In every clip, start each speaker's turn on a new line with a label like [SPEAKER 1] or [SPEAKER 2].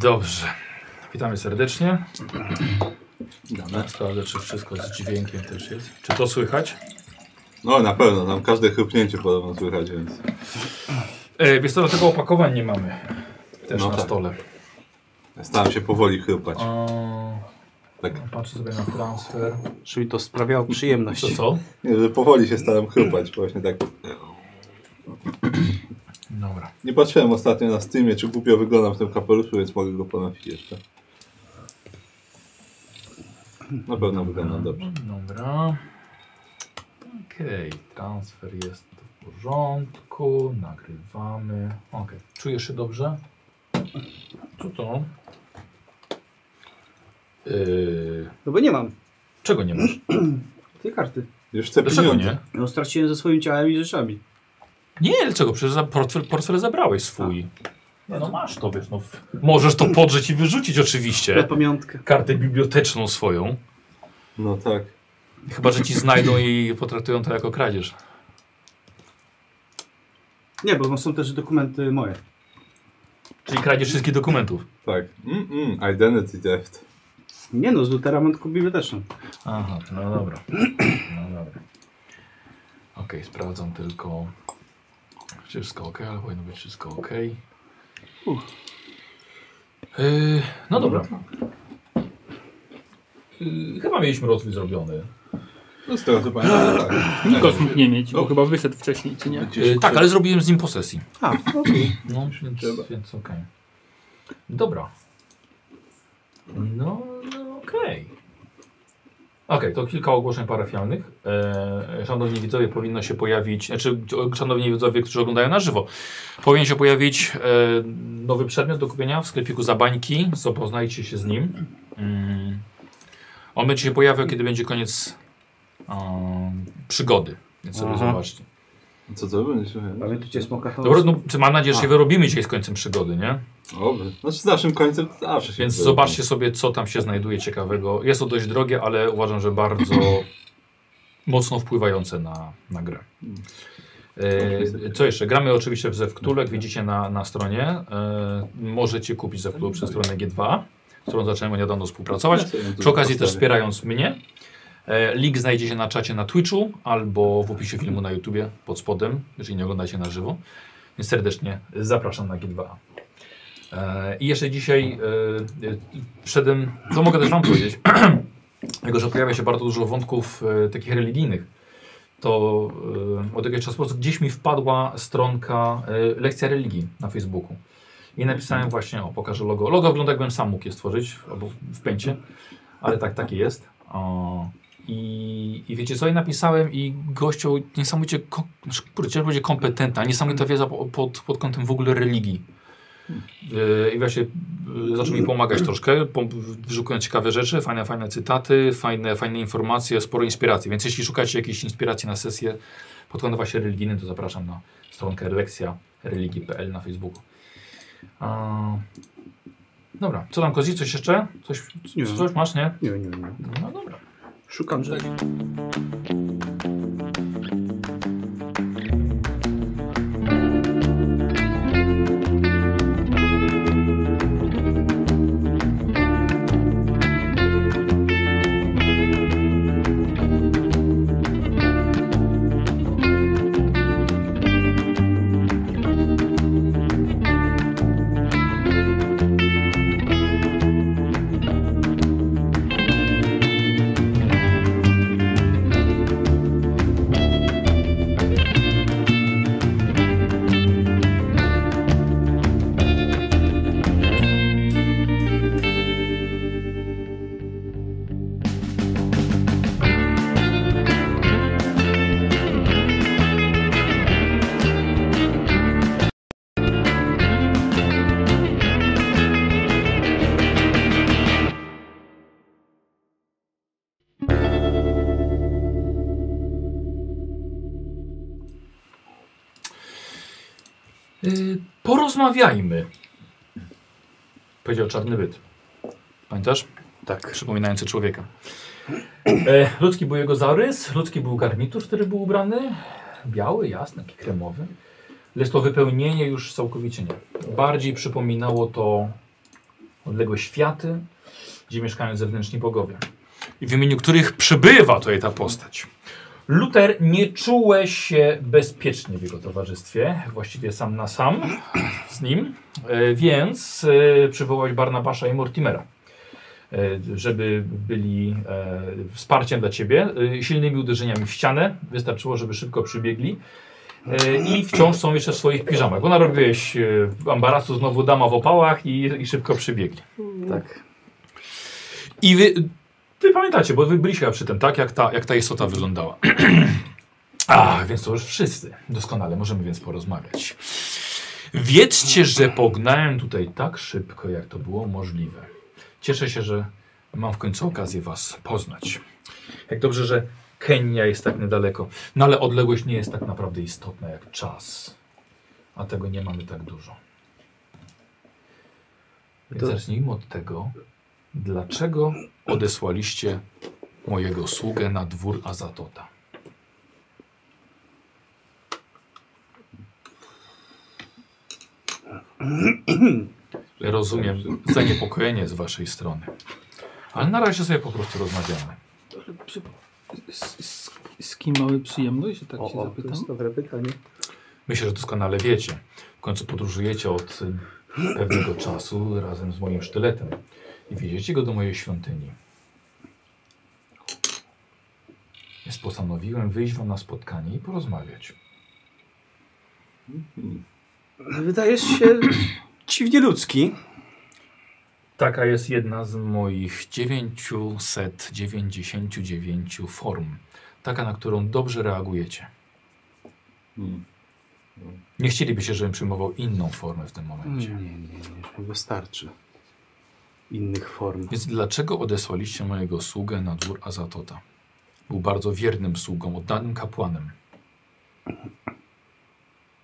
[SPEAKER 1] Dobrze. Witamy serdecznie.
[SPEAKER 2] Dobra.
[SPEAKER 1] Sprawdzę, czy wszystko z dźwiękiem też jest. Czy to słychać?
[SPEAKER 3] No na pewno, tam każde chrypnięcie podobno słychać, więc...
[SPEAKER 1] E, wiesz co, do tego opakowań nie mamy. Też
[SPEAKER 3] No
[SPEAKER 1] na
[SPEAKER 3] tak.
[SPEAKER 1] stole.
[SPEAKER 3] Staram się powoli chrypać.
[SPEAKER 1] O,
[SPEAKER 3] Tak.
[SPEAKER 1] no patrzę sobie na transfer.
[SPEAKER 2] Czyli to sprawiało
[SPEAKER 1] To
[SPEAKER 2] przyjemność.
[SPEAKER 1] co?
[SPEAKER 3] Nie, że powoli się staram chrypać, właśnie tak.
[SPEAKER 1] Dobra.
[SPEAKER 3] Nie patrzyłem ostatnio na Steamie, czy głupio wyglądam w tym kapeluszu, więc mogę go ponosić jeszcze. Na pewno wygląda dobrze.
[SPEAKER 1] Dobra. Okej, transfer jest w porządku. Nagrywamy. Okej, czujesz się dobrze? Co to? Yy,
[SPEAKER 4] No bo nie mam
[SPEAKER 1] czego nie masz?
[SPEAKER 4] tej karty.
[SPEAKER 3] Już chcę
[SPEAKER 1] Dlaczego
[SPEAKER 3] pieniądze.
[SPEAKER 1] nie?
[SPEAKER 4] No straciłem ze swoim ciałem i rzeczami.
[SPEAKER 1] Nie, dlaczego? Przecież za portfel, portfel zabrałeś swój. Nie, no masz to, wiesz, no. w- Możesz to podrzeć i wyrzucić
[SPEAKER 4] Na
[SPEAKER 1] oczywiście.
[SPEAKER 4] pamiątkę.
[SPEAKER 1] Kartę biblioteczną swoją.
[SPEAKER 3] No tak.
[SPEAKER 1] Chyba, że ci znajdą i potraktują to jako kradzież.
[SPEAKER 4] Nie, bo są też dokumenty moje.
[SPEAKER 1] Czyli kradzież wszystkich dokumentów.
[SPEAKER 3] Tak. Mm -mm, identity theft.
[SPEAKER 4] Nie no, z Lutera mam tylko biblioteczną.
[SPEAKER 1] Aha, no dobra. No dobra. Okej, sprawdzam tylko. Wszystko ok, ale powinno być wszystko ok. Yy, no dobra. Yy, chyba mieliśmy rozwój zrobiony.
[SPEAKER 3] No z tego co pamiętam, tak.
[SPEAKER 5] Nikos mógł nie mieć, bo
[SPEAKER 3] No.
[SPEAKER 5] chyba wyszedł wcześniej, czy nie?
[SPEAKER 3] Gdzieś
[SPEAKER 1] Yy, tak, ale zrobiłem z nim posesji.
[SPEAKER 4] A, okej.
[SPEAKER 1] No, więc,
[SPEAKER 3] trzeba.
[SPEAKER 1] więc okej. Dobra. No, no okej. Okej, to kilka ogłoszeń parafialnych. E, szanowni widzowie, powinno się pojawić, znaczy o- szanowni widzowie, którzy oglądają na żywo, powinien się pojawić e, nowy przedmiot do kupienia w sklepiku Zabańki. Zapoznajcie się z nim. Mm. On będzie się pojawiał, kiedy będzie koniec e, przygody. Więc sobie
[SPEAKER 2] Aha.
[SPEAKER 1] zobaczcie.
[SPEAKER 3] Co to będzie?
[SPEAKER 4] Pamiętacie smoka to?
[SPEAKER 1] Dobra, no, czy mam nadzieję, że się wyrobimy dzisiaj z końcem przygody, nie?
[SPEAKER 3] Dobrze. Znaczy z naszym końcem to zawsze się
[SPEAKER 1] Więc
[SPEAKER 3] wyda.
[SPEAKER 1] zobaczcie sobie, co tam się znajduje ciekawego. Jest to dość drogie, ale uważam, że bardzo mocno wpływające na, na grę. E, co jeszcze? Gramy oczywiście w Zewktule, jak widzicie na, na stronie. E, możecie kupić Zewktule przez stronę G2, z którą zacząłem niedawno współpracować.
[SPEAKER 3] Ja sobie tu
[SPEAKER 1] Przy okazji też
[SPEAKER 3] postawię.
[SPEAKER 1] wspierając mnie. E, Link znajdziecie na czacie na Twitchu albo w opisie filmu na YouTubie pod spodem, jeżeli nie oglądacie na żywo. Więc serdecznie zapraszam na G2. E, I jeszcze dzisiaj e, e, przedem, co mogę też Wam powiedzieć, jako że pojawia się bardzo dużo wątków e, takich religijnych, to e, od jakiegoś czasu po prostu gdzieś mi wpadła stronka e, Lekcja Religii na Facebooku. I napisałem właśnie, o pokażę logo. Logo wygląda jakbym sam mógł je stworzyć, albo w pęcie, ale tak, takie jest. O, i, I wiecie co, i napisałem i gościu niesamowicie, ko- znaczy, kurde, ciężko będzie kompetentna, niesamowita wiedza po, pod, pod kątem w ogóle religii. Yy, I właśnie yy, zaczął mi pomagać troszkę, pom- wyszukując ciekawe rzeczy, fajne, fajne cytaty, fajne, fajne informacje, sporo inspiracji. Więc jeśli szukacie jakiejś inspiracji na sesję pod kątem właśnie religijnym, to zapraszam na stronkę lekcjareligii.pl na Facebooku. A, dobra, co tam Kozi, coś jeszcze? Coś,
[SPEAKER 4] Nie.
[SPEAKER 1] coś masz, nie?
[SPEAKER 4] Nie, nie, nie.
[SPEAKER 1] No dobra.
[SPEAKER 5] Szukam rzeczy.
[SPEAKER 1] Y, porozmawiajmy. Powiedział czarny byt. Pamiętasz?
[SPEAKER 2] Tak.
[SPEAKER 1] Przypominający człowieka. E, ludzki był jego zarys, ludzki był garnitur, który był ubrany. Biały, jasny, taki kremowy. Lecz to wypełnienie już całkowicie nie. Bardziej przypominało to odległe światy, gdzie mieszkają zewnętrzni bogowie. I w imieniu których przybywa tutaj ta postać. Luther, nie czułeś się bezpiecznie w jego towarzystwie, właściwie sam na sam z nim, e, więc e, przywołałeś Barnabasza i Mortimera, e, żeby byli e, wsparciem dla ciebie. E, Silnymi uderzeniami w ścianę wystarczyło, żeby szybko przybiegli. E, I wciąż są jeszcze w swoich piżamach. Bo narobiłeś e, ambarasu, znowu dama w opałach i, i szybko przybiegli.
[SPEAKER 4] Tak.
[SPEAKER 1] I wy, wy pamiętacie, bo wy byliście przy tym, tak? Jak ta, jak ta istota wyglądała. A, więc to już wszyscy. Doskonale, możemy więc porozmawiać. Wiedzcie, że pognałem tutaj tak szybko, jak to było możliwe. Cieszę się, że mam w końcu okazję was poznać. Jak dobrze, że Kenia jest tak niedaleko. No ale odległość nie jest tak naprawdę istotna jak czas. A tego nie mamy tak dużo. Więc
[SPEAKER 4] To-
[SPEAKER 1] zacznijmy od tego, Dlaczego odesłaliście mojego sługę na dwór Azatota? Ja Rozumiem zaniepokojenie z waszej strony. Ale na razie sobie po prostu rozmawiamy.
[SPEAKER 5] Z, z, z kim mamy przyjemność, że tak
[SPEAKER 4] O,
[SPEAKER 5] się
[SPEAKER 4] o, to
[SPEAKER 5] zapytam?
[SPEAKER 4] jest dobre pytanie.
[SPEAKER 1] Myślę, że doskonale wiecie. W końcu podróżujecie od y, pewnego czasu razem z moim sztyletem. I wieziecie go do mojej świątyni. Więc postanowiłem wyjść wam na spotkanie i porozmawiać.
[SPEAKER 4] Wydajesz się dziwnie ludzki.
[SPEAKER 1] Taka jest jedna z moich 999 form. Taka, na którą dobrze reagujecie.
[SPEAKER 3] Hmm.
[SPEAKER 1] Nie chcielibyście, żebym przyjmował inną formę w tym
[SPEAKER 4] Nie,
[SPEAKER 1] momencie.
[SPEAKER 4] nie, nie, nie, już mi wystarczy. Innych form.
[SPEAKER 1] Więc dlaczego odesłaliście mojego sługę na dwór Azatota? Był bardzo wiernym sługą, oddanym kapłanem.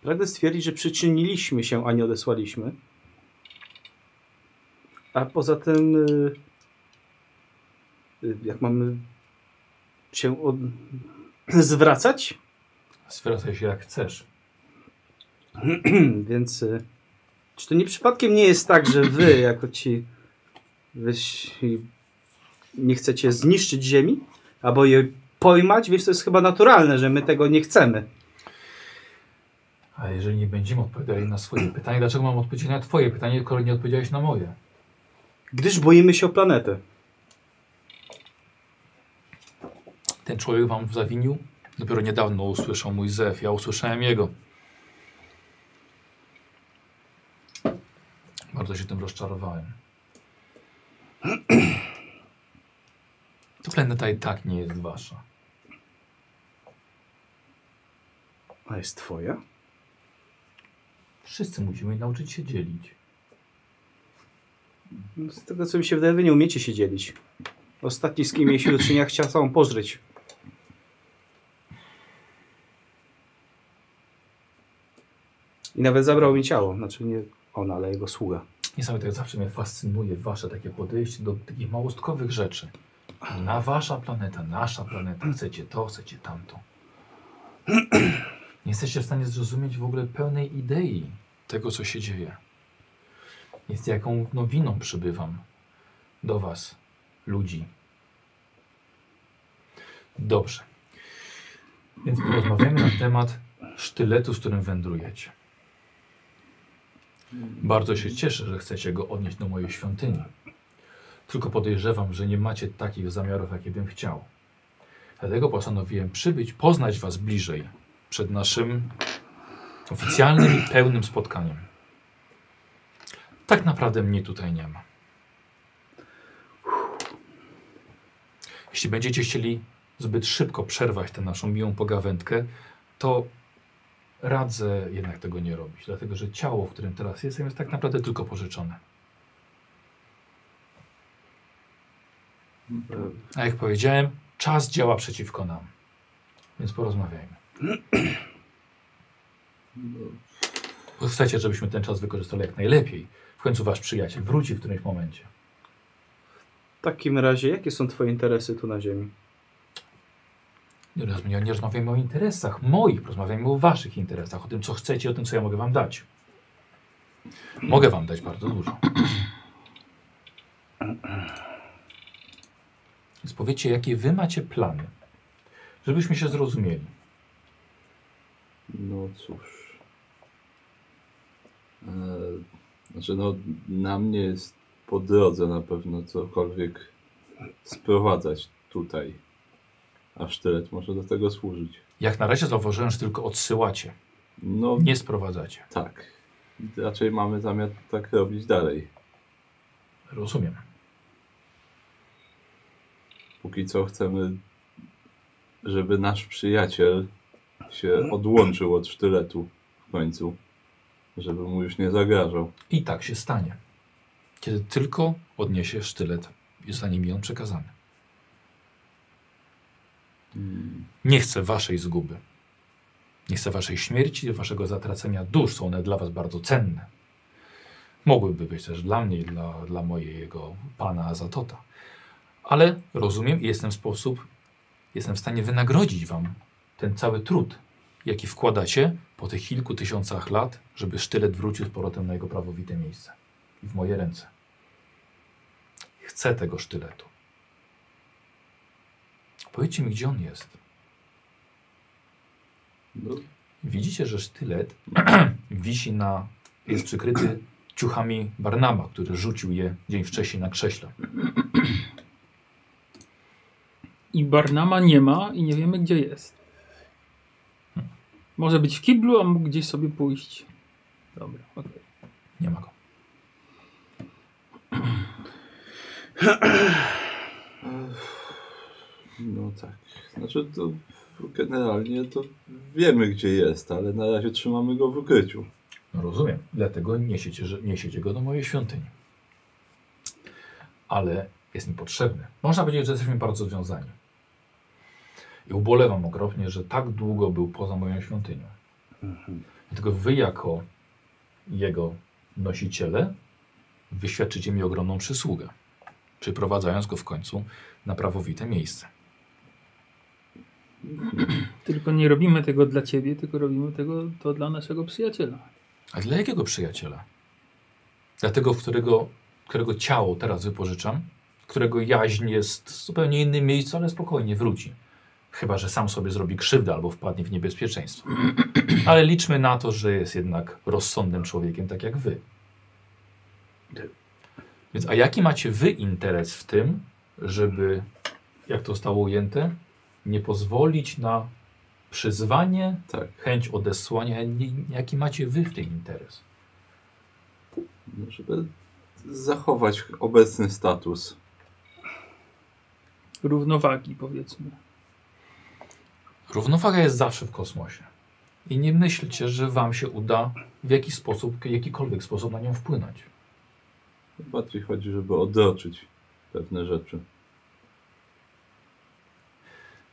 [SPEAKER 4] Pragnę stwierdzić, że przyczyniliśmy się, a nie odesłaliśmy. A poza tym, y, y, jak mamy się od... zwracać,
[SPEAKER 1] Zwracaj się jak chcesz.
[SPEAKER 4] więc y, czy to nie przypadkiem nie jest tak, że wy, jako ci, wyś, nie chcecie zniszczyć ziemi, albo je pojmać, więc to jest chyba naturalne, że my tego nie chcemy.
[SPEAKER 1] A jeżeli nie będziemy odpowiadali na swoje pytanie, dlaczego mam odpowiedzieć na twoje pytanie, skoro nie odpowiedziałeś na moje?
[SPEAKER 4] Gdyż boimy się o planetę.
[SPEAKER 1] Ten człowiek wam zawinił? Dopiero niedawno usłyszał mój zew, ja usłyszałem jego. Bardzo się tym rozczarowałem. To planeta i tak nie jest wasza.
[SPEAKER 4] A jest twoja?
[SPEAKER 1] Wszyscy musimy nauczyć się dzielić.
[SPEAKER 4] No, Z tego co mi się wydaje, wy nie umiecie się dzielić. Ostatni z kim mieliśmy do czynienia chciał całą pożreć. I nawet zabrał mi ciało. Znaczy nie on, ale jego sługa.
[SPEAKER 1] Niesamowite, jak zawsze mnie fascynuje wasze takie podejście do takich małostkowych rzeczy. Na wasza planeta, nasza planeta, chcecie to, chcecie tamto. Nie jesteście w stanie zrozumieć w ogóle pełnej idei tego, co się dzieje. Jest jaką nowiną przybywam do was, ludzi. Dobrze. Więc porozmawiamy na temat sztyletu, z którym wędrujecie. Bardzo się cieszę, że chcecie go odnieść do mojej świątyni. Tylko podejrzewam, że nie macie takich zamiarów, jakie bym chciał. Dlatego postanowiłem przybyć, poznać Was bliżej przed naszym oficjalnym i pełnym spotkaniem. Tak naprawdę mnie tutaj nie ma. Jeśli będziecie chcieli zbyt szybko przerwać tę naszą miłą pogawędkę, to radzę jednak tego nie robić, dlatego że ciało, w którym teraz jestem, jest tak naprawdę tylko pożyczone. A jak powiedziałem, czas działa przeciwko nam. Więc porozmawiajmy. Bo Chcecie, żebyśmy ten czas wykorzystali jak najlepiej. W końcu wasz przyjaciel wróci w którymś momencie.
[SPEAKER 4] W takim razie, jakie są twoje interesy tu na ziemi?
[SPEAKER 1] Nie, roz- nie, nie rozmawiajmy o interesach moich, rozmawiajmy o waszych interesach, o tym, co chcecie, o tym, co ja mogę wam dać. Mogę wam dać bardzo dużo. Więc powiedzcie, jakie wy macie plany, żebyśmy się zrozumieli.
[SPEAKER 3] No cóż. E, Znaczy, no, na mnie jest po drodze na pewno cokolwiek sprowadzać tutaj. A sztylet może do tego służyć.
[SPEAKER 1] Jak na razie zauważyłem, że tylko odsyłacie,
[SPEAKER 3] No
[SPEAKER 1] nie sprowadzacie.
[SPEAKER 3] tak. Raczej mamy zamiar tak robić dalej.
[SPEAKER 1] Rozumiem.
[SPEAKER 3] Póki co chcemy, żeby nasz przyjaciel się odłączył od sztyletu w końcu. Żeby mu już nie zagrażał.
[SPEAKER 1] I tak się stanie. Kiedy tylko odniesie sztylet i zostanie mi on przekazany. Nie chcę waszej zguby. Nie chcę waszej śmierci, waszego zatracenia dusz. Są one dla was bardzo cenne. Mogłyby być też dla mnie i dla, dla mojego pana Azatota. Ale rozumiem i jestem w sposób, jestem w stanie wynagrodzić wam ten cały trud, jaki wkładacie po tych kilku tysiącach lat, żeby sztylet wrócił z powrotem na jego prawowite miejsce i w moje ręce. Chcę tego sztyletu. Powiedzcie mi, gdzie on jest.
[SPEAKER 3] No,
[SPEAKER 1] Widzicie, że sztylet wisi na. jest przykryty ciuchami Barnaba, który rzucił je dzień wcześniej na krześle.
[SPEAKER 5] I Barnama nie ma i nie wiemy, gdzie jest.
[SPEAKER 4] Hmm.
[SPEAKER 5] Może być w kiblu, a mógł gdzieś sobie pójść. Dobra, okej.
[SPEAKER 1] Nie ma go.
[SPEAKER 3] No tak. Znaczy to generalnie to wiemy gdzie jest, ale na razie trzymamy go w ukryciu.
[SPEAKER 1] No rozumiem, dlatego niesiecie, że- niesiecie go do mojej świątyni. Ale jest mi potrzebny. Można powiedzieć, że jesteśmy bardzo związani. I ubolewam ogromnie, że tak długo był poza moją świątynią. Dlatego wy jako jego nosiciele wyświadczycie mi ogromną przysługę, przyprowadzając go w końcu na prawowite miejsce.
[SPEAKER 5] Tylko nie robimy tego dla ciebie, tylko robimy tego to dla naszego przyjaciela.
[SPEAKER 1] A dla jakiego przyjaciela? Dla tego, w którego, którego ciało teraz wypożyczam, którego jaźń jest w zupełnie innym miejscu, ale spokojnie wróci. Chyba, że sam sobie zrobi krzywdę albo wpadnie w niebezpieczeństwo. Ale liczmy na to, że jest jednak rozsądnym człowiekiem, tak jak wy. Więc a jaki macie wy interes w tym, żeby, jak to zostało ujęte, nie pozwolić na przyzwanie
[SPEAKER 3] Tak.
[SPEAKER 1] chęć odesłania, nie- jaki macie wy w tej interes.
[SPEAKER 3] No, Żeby zachować obecny status.
[SPEAKER 5] Równowagi, powiedzmy.
[SPEAKER 1] Równowaga jest zawsze w kosmosie. I nie myślcie, że wam się uda w jakiś sposób, jakikolwiek sposób na nią wpłynąć.
[SPEAKER 3] Bardziej chodzi, żeby odroczyć pewne rzeczy.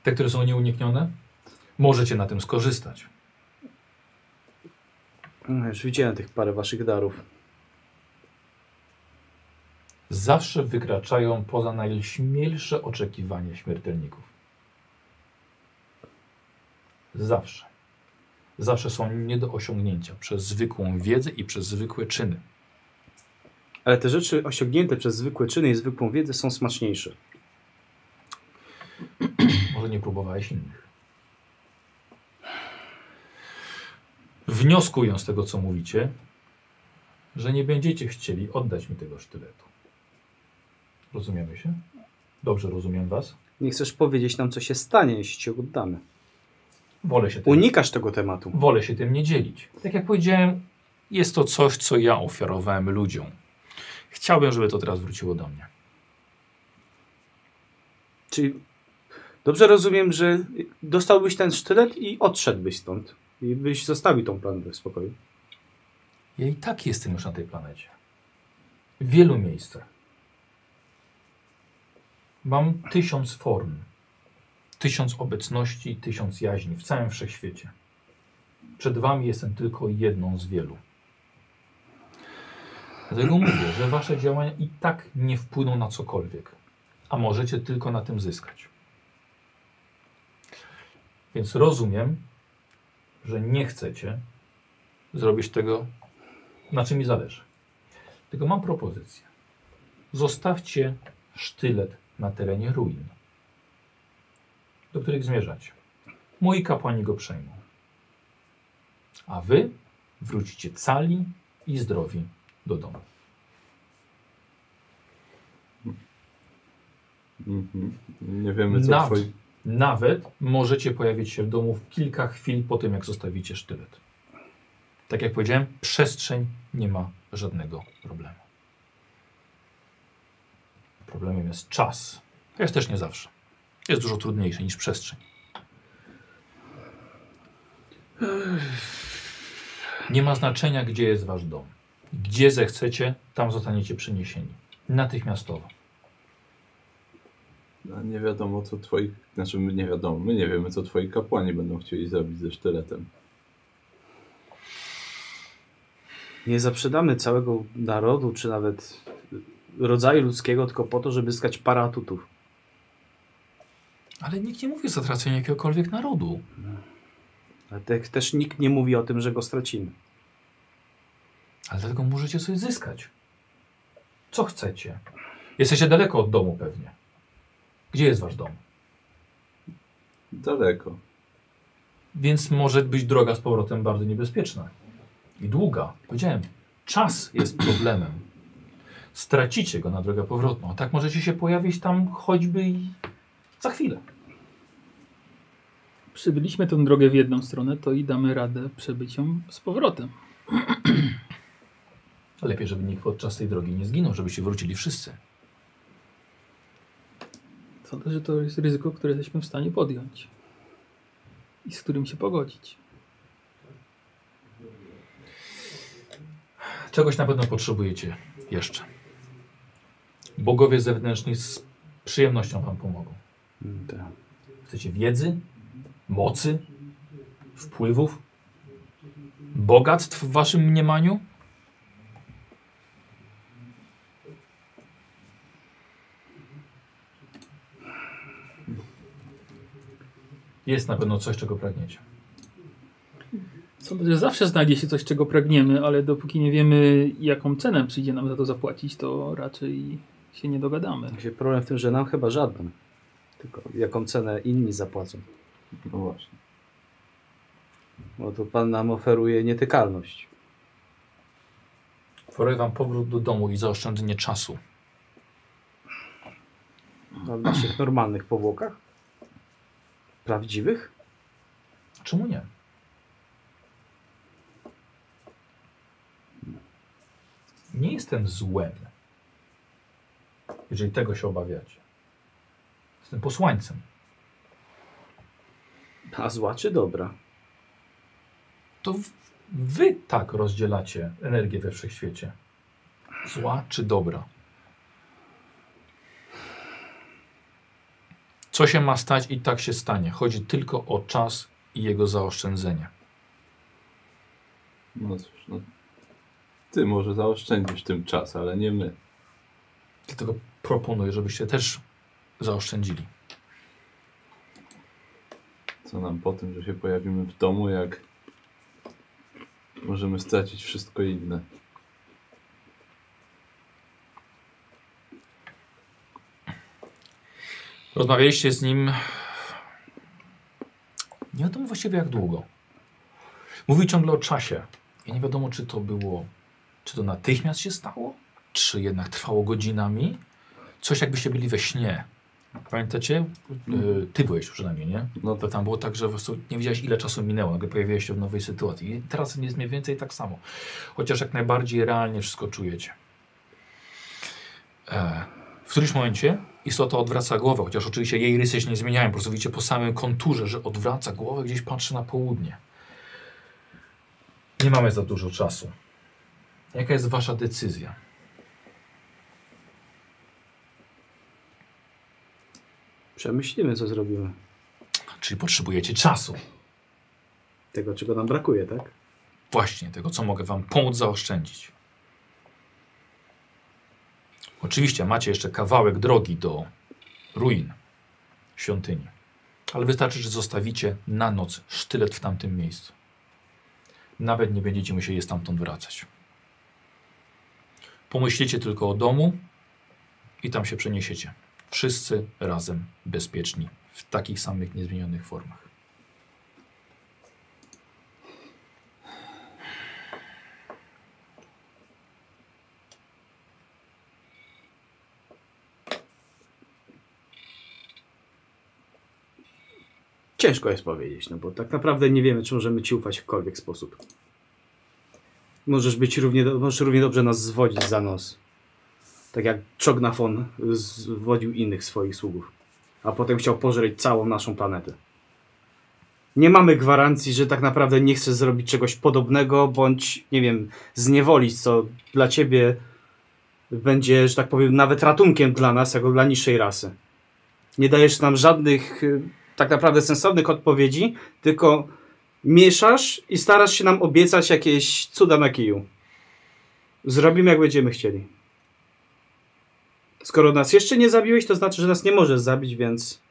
[SPEAKER 1] Te, które są nieuniknione, możecie na tym skorzystać.
[SPEAKER 4] No, już widziałem tych parę waszych darów.
[SPEAKER 1] Zawsze wykraczają poza najśmielsze oczekiwania śmiertelników. Zawsze. Zawsze są nie do osiągnięcia przez zwykłą wiedzę i przez zwykłe czyny.
[SPEAKER 4] Ale te rzeczy osiągnięte przez zwykłe czyny i zwykłą wiedzę są smaczniejsze.
[SPEAKER 1] Może nie próbowałeś innych. Wnioskuję z tego, co mówicie, że nie będziecie chcieli oddać mi tego sztyletu. Rozumiemy się? Dobrze rozumiem was?
[SPEAKER 4] Nie chcesz powiedzieć nam, co się stanie, jeśli cię oddamy.
[SPEAKER 1] Wolę się tym,
[SPEAKER 4] Unikasz tego tematu.
[SPEAKER 1] wolę się tym nie dzielić. Tak jak powiedziałem, jest to coś, co ja ofiarowałem ludziom. Chciałbym, żeby to teraz wróciło do mnie.
[SPEAKER 4] Czyli dobrze rozumiem, że dostałbyś ten sztylet i odszedłbyś stąd. I byś zostawił tą planetę w spokoju.
[SPEAKER 1] Ja i tak jestem już na tej planecie. W wielu miejscach. Mam tysiąc form, tysiąc obecności, tysiąc jaźni w całym wszechświecie. Przed Wami jestem tylko jedną z wielu. Dlatego mówię, że Wasze działania i tak nie wpłyną na cokolwiek, a możecie tylko na tym zyskać. Więc rozumiem, że nie chcecie zrobić tego, na czym mi zależy. Tylko mam propozycję. Zostawcie sztylet na terenie ruin, do których zmierzacie. Moi kapłani go przejmą. A wy wrócicie cali i zdrowi do domu.
[SPEAKER 3] Mhm. Nie wiemy co
[SPEAKER 1] Nawet.
[SPEAKER 3] twoi...
[SPEAKER 1] Nawet możecie pojawić się w domu w kilka chwil po tym, jak zostawicie sztylet. Tak jak powiedziałem, przestrzeń nie ma żadnego problemu. Problemem jest czas. Jest też nie zawsze. Jest dużo trudniejszy niż przestrzeń. Nie ma znaczenia, gdzie jest wasz dom. Gdzie zechcecie, tam zostaniecie przeniesieni. Natychmiastowo.
[SPEAKER 3] No, nie wiadomo co twoi... Znaczy my nie wiadomo, my nie wiemy co twoi kapłani będą chcieli zrobić ze sztyletem.
[SPEAKER 4] Nie zaprzedamy całego narodu, czy nawet rodzaju ludzkiego, tylko po to, żeby zyskać parę atutów.
[SPEAKER 1] Ale nikt nie mówi o zatraceniu jakiegokolwiek narodu.
[SPEAKER 4] Ale te, też nikt nie mówi o tym, że go stracimy.
[SPEAKER 1] Ale dlatego możecie coś zyskać. Co chcecie? Jesteście daleko od domu pewnie. Gdzie jest wasz dom?
[SPEAKER 3] Daleko.
[SPEAKER 1] Więc może być droga z powrotem bardzo niebezpieczna. I długa. Powiedziałem, czas jest problemem. Stracicie go na drogę powrotną. A tak możecie się pojawić tam choćby i za chwilę.
[SPEAKER 5] Przybyliśmy tą drogę w jedną stronę, to i damy radę przebyć ją z powrotem.
[SPEAKER 1] Lepiej, żeby nikt podczas tej drogi nie zginął, żebyście wrócili wszyscy.
[SPEAKER 5] Sądzę, że to jest ryzyko, które jesteśmy w stanie podjąć i z którym się pogodzić.
[SPEAKER 1] Czegoś na pewno potrzebujecie jeszcze. Bogowie zewnętrzni z przyjemnością wam pomogą.
[SPEAKER 4] Tak.
[SPEAKER 1] Chcecie wiedzy, mocy, wpływów, bogactw w waszym mniemaniu? Jest na pewno coś, czego pragniecie.
[SPEAKER 5] Sądzę, że zawsze znajdzie się coś, czego pragniemy, ale dopóki nie wiemy, jaką cenę przyjdzie nam za to zapłacić, to raczej się nie dogadamy.
[SPEAKER 4] Właśnie Tak Problem w tym, że nam chyba żaden. Tylko jaką cenę inni zapłacą.
[SPEAKER 3] No właśnie.
[SPEAKER 4] Bo to pan nam oferuje nietykalność.
[SPEAKER 1] Oferuję wam powrót do domu i zaoszczędzenie czasu.
[SPEAKER 4] Na naszych normalnych powłokach. Prawdziwych?
[SPEAKER 1] Czemu nie? Nie jestem złem, jeżeli tego się obawiacie. Jestem posłańcem.
[SPEAKER 4] A zła czy dobra?
[SPEAKER 1] To w- wy tak rozdzielacie energię we wszechświecie. Zła czy dobra? Co się ma stać i tak się stanie. Chodzi tylko o czas i jego zaoszczędzenie.
[SPEAKER 3] No cóż, no... Ty może zaoszczędzisz tym czas, ale nie my.
[SPEAKER 1] Dlatego proponuję, żebyście też zaoszczędzili.
[SPEAKER 3] Co nam po tym, że się pojawimy w domu, jak możemy stracić wszystko inne.
[SPEAKER 1] Rozmawialiście z nim. Nie wiadomo właściwie jak długo. Mówił ciągle o czasie. I nie wiadomo, czy to było. Czy to natychmiast się stało? Czy jednak trwało godzinami? Coś jakbyście byli we śnie. Pamiętacie? Y, Ty byłeś przynajmniej, nie?
[SPEAKER 3] No
[SPEAKER 1] To
[SPEAKER 3] to
[SPEAKER 1] tam było tak, że po prostu nie wiedziałeś ile czasu minęło, nagle pojawiłeś się w nowej sytuacji. I teraz jest mniej więcej tak samo. Chociaż jak najbardziej realnie wszystko czujecie. E, w którymś momencie istota odwraca głowę, chociaż oczywiście jej rysy się nie zmieniają. Po prostu widzicie po samym konturze, że odwraca głowę, gdzieś patrzy na południe. Nie mamy za dużo czasu. Jaka jest wasza decyzja?
[SPEAKER 4] Przemyślimy, co zrobimy.
[SPEAKER 1] Czyli potrzebujecie czasu.
[SPEAKER 4] Tego, czego nam brakuje, tak?
[SPEAKER 1] właśnie tego, co mogę Wam pomóc zaoszczędzić. Oczywiście macie jeszcze kawałek drogi do ruin świątyni. Ale wystarczy, że zostawicie na noc sztylet w tamtym miejscu. Nawet nie będziecie musieli stamtąd wracać. Pomyślicie tylko o domu i tam się przeniesiecie. Wszyscy razem bezpieczni w takich samych niezmienionych formach.
[SPEAKER 4] Ciężko jest powiedzieć, no bo tak naprawdę nie wiemy, czy możemy ci ufać w jakikolwiek sposób. Możesz być równie, do- możesz równie dobrze nas zwodzić za nos. Tak jak Czognafon zwodził innych swoich sługów. A potem chciał pożreć całą naszą planetę. Nie mamy gwarancji, że tak naprawdę nie chcesz zrobić czegoś podobnego, bądź, nie wiem, zniewolić, co dla ciebie będzie, że tak powiem, nawet ratunkiem dla nas, jako dla niższej rasy. Nie dajesz nam żadnych y, tak naprawdę sensownych odpowiedzi, tylko mieszasz i starasz się nam obiecać jakieś cuda na kiju. Zrobimy jak będziemy chcieli. Skoro nas jeszcze nie zabiłeś, to znaczy, że nas nie możesz zabić, więc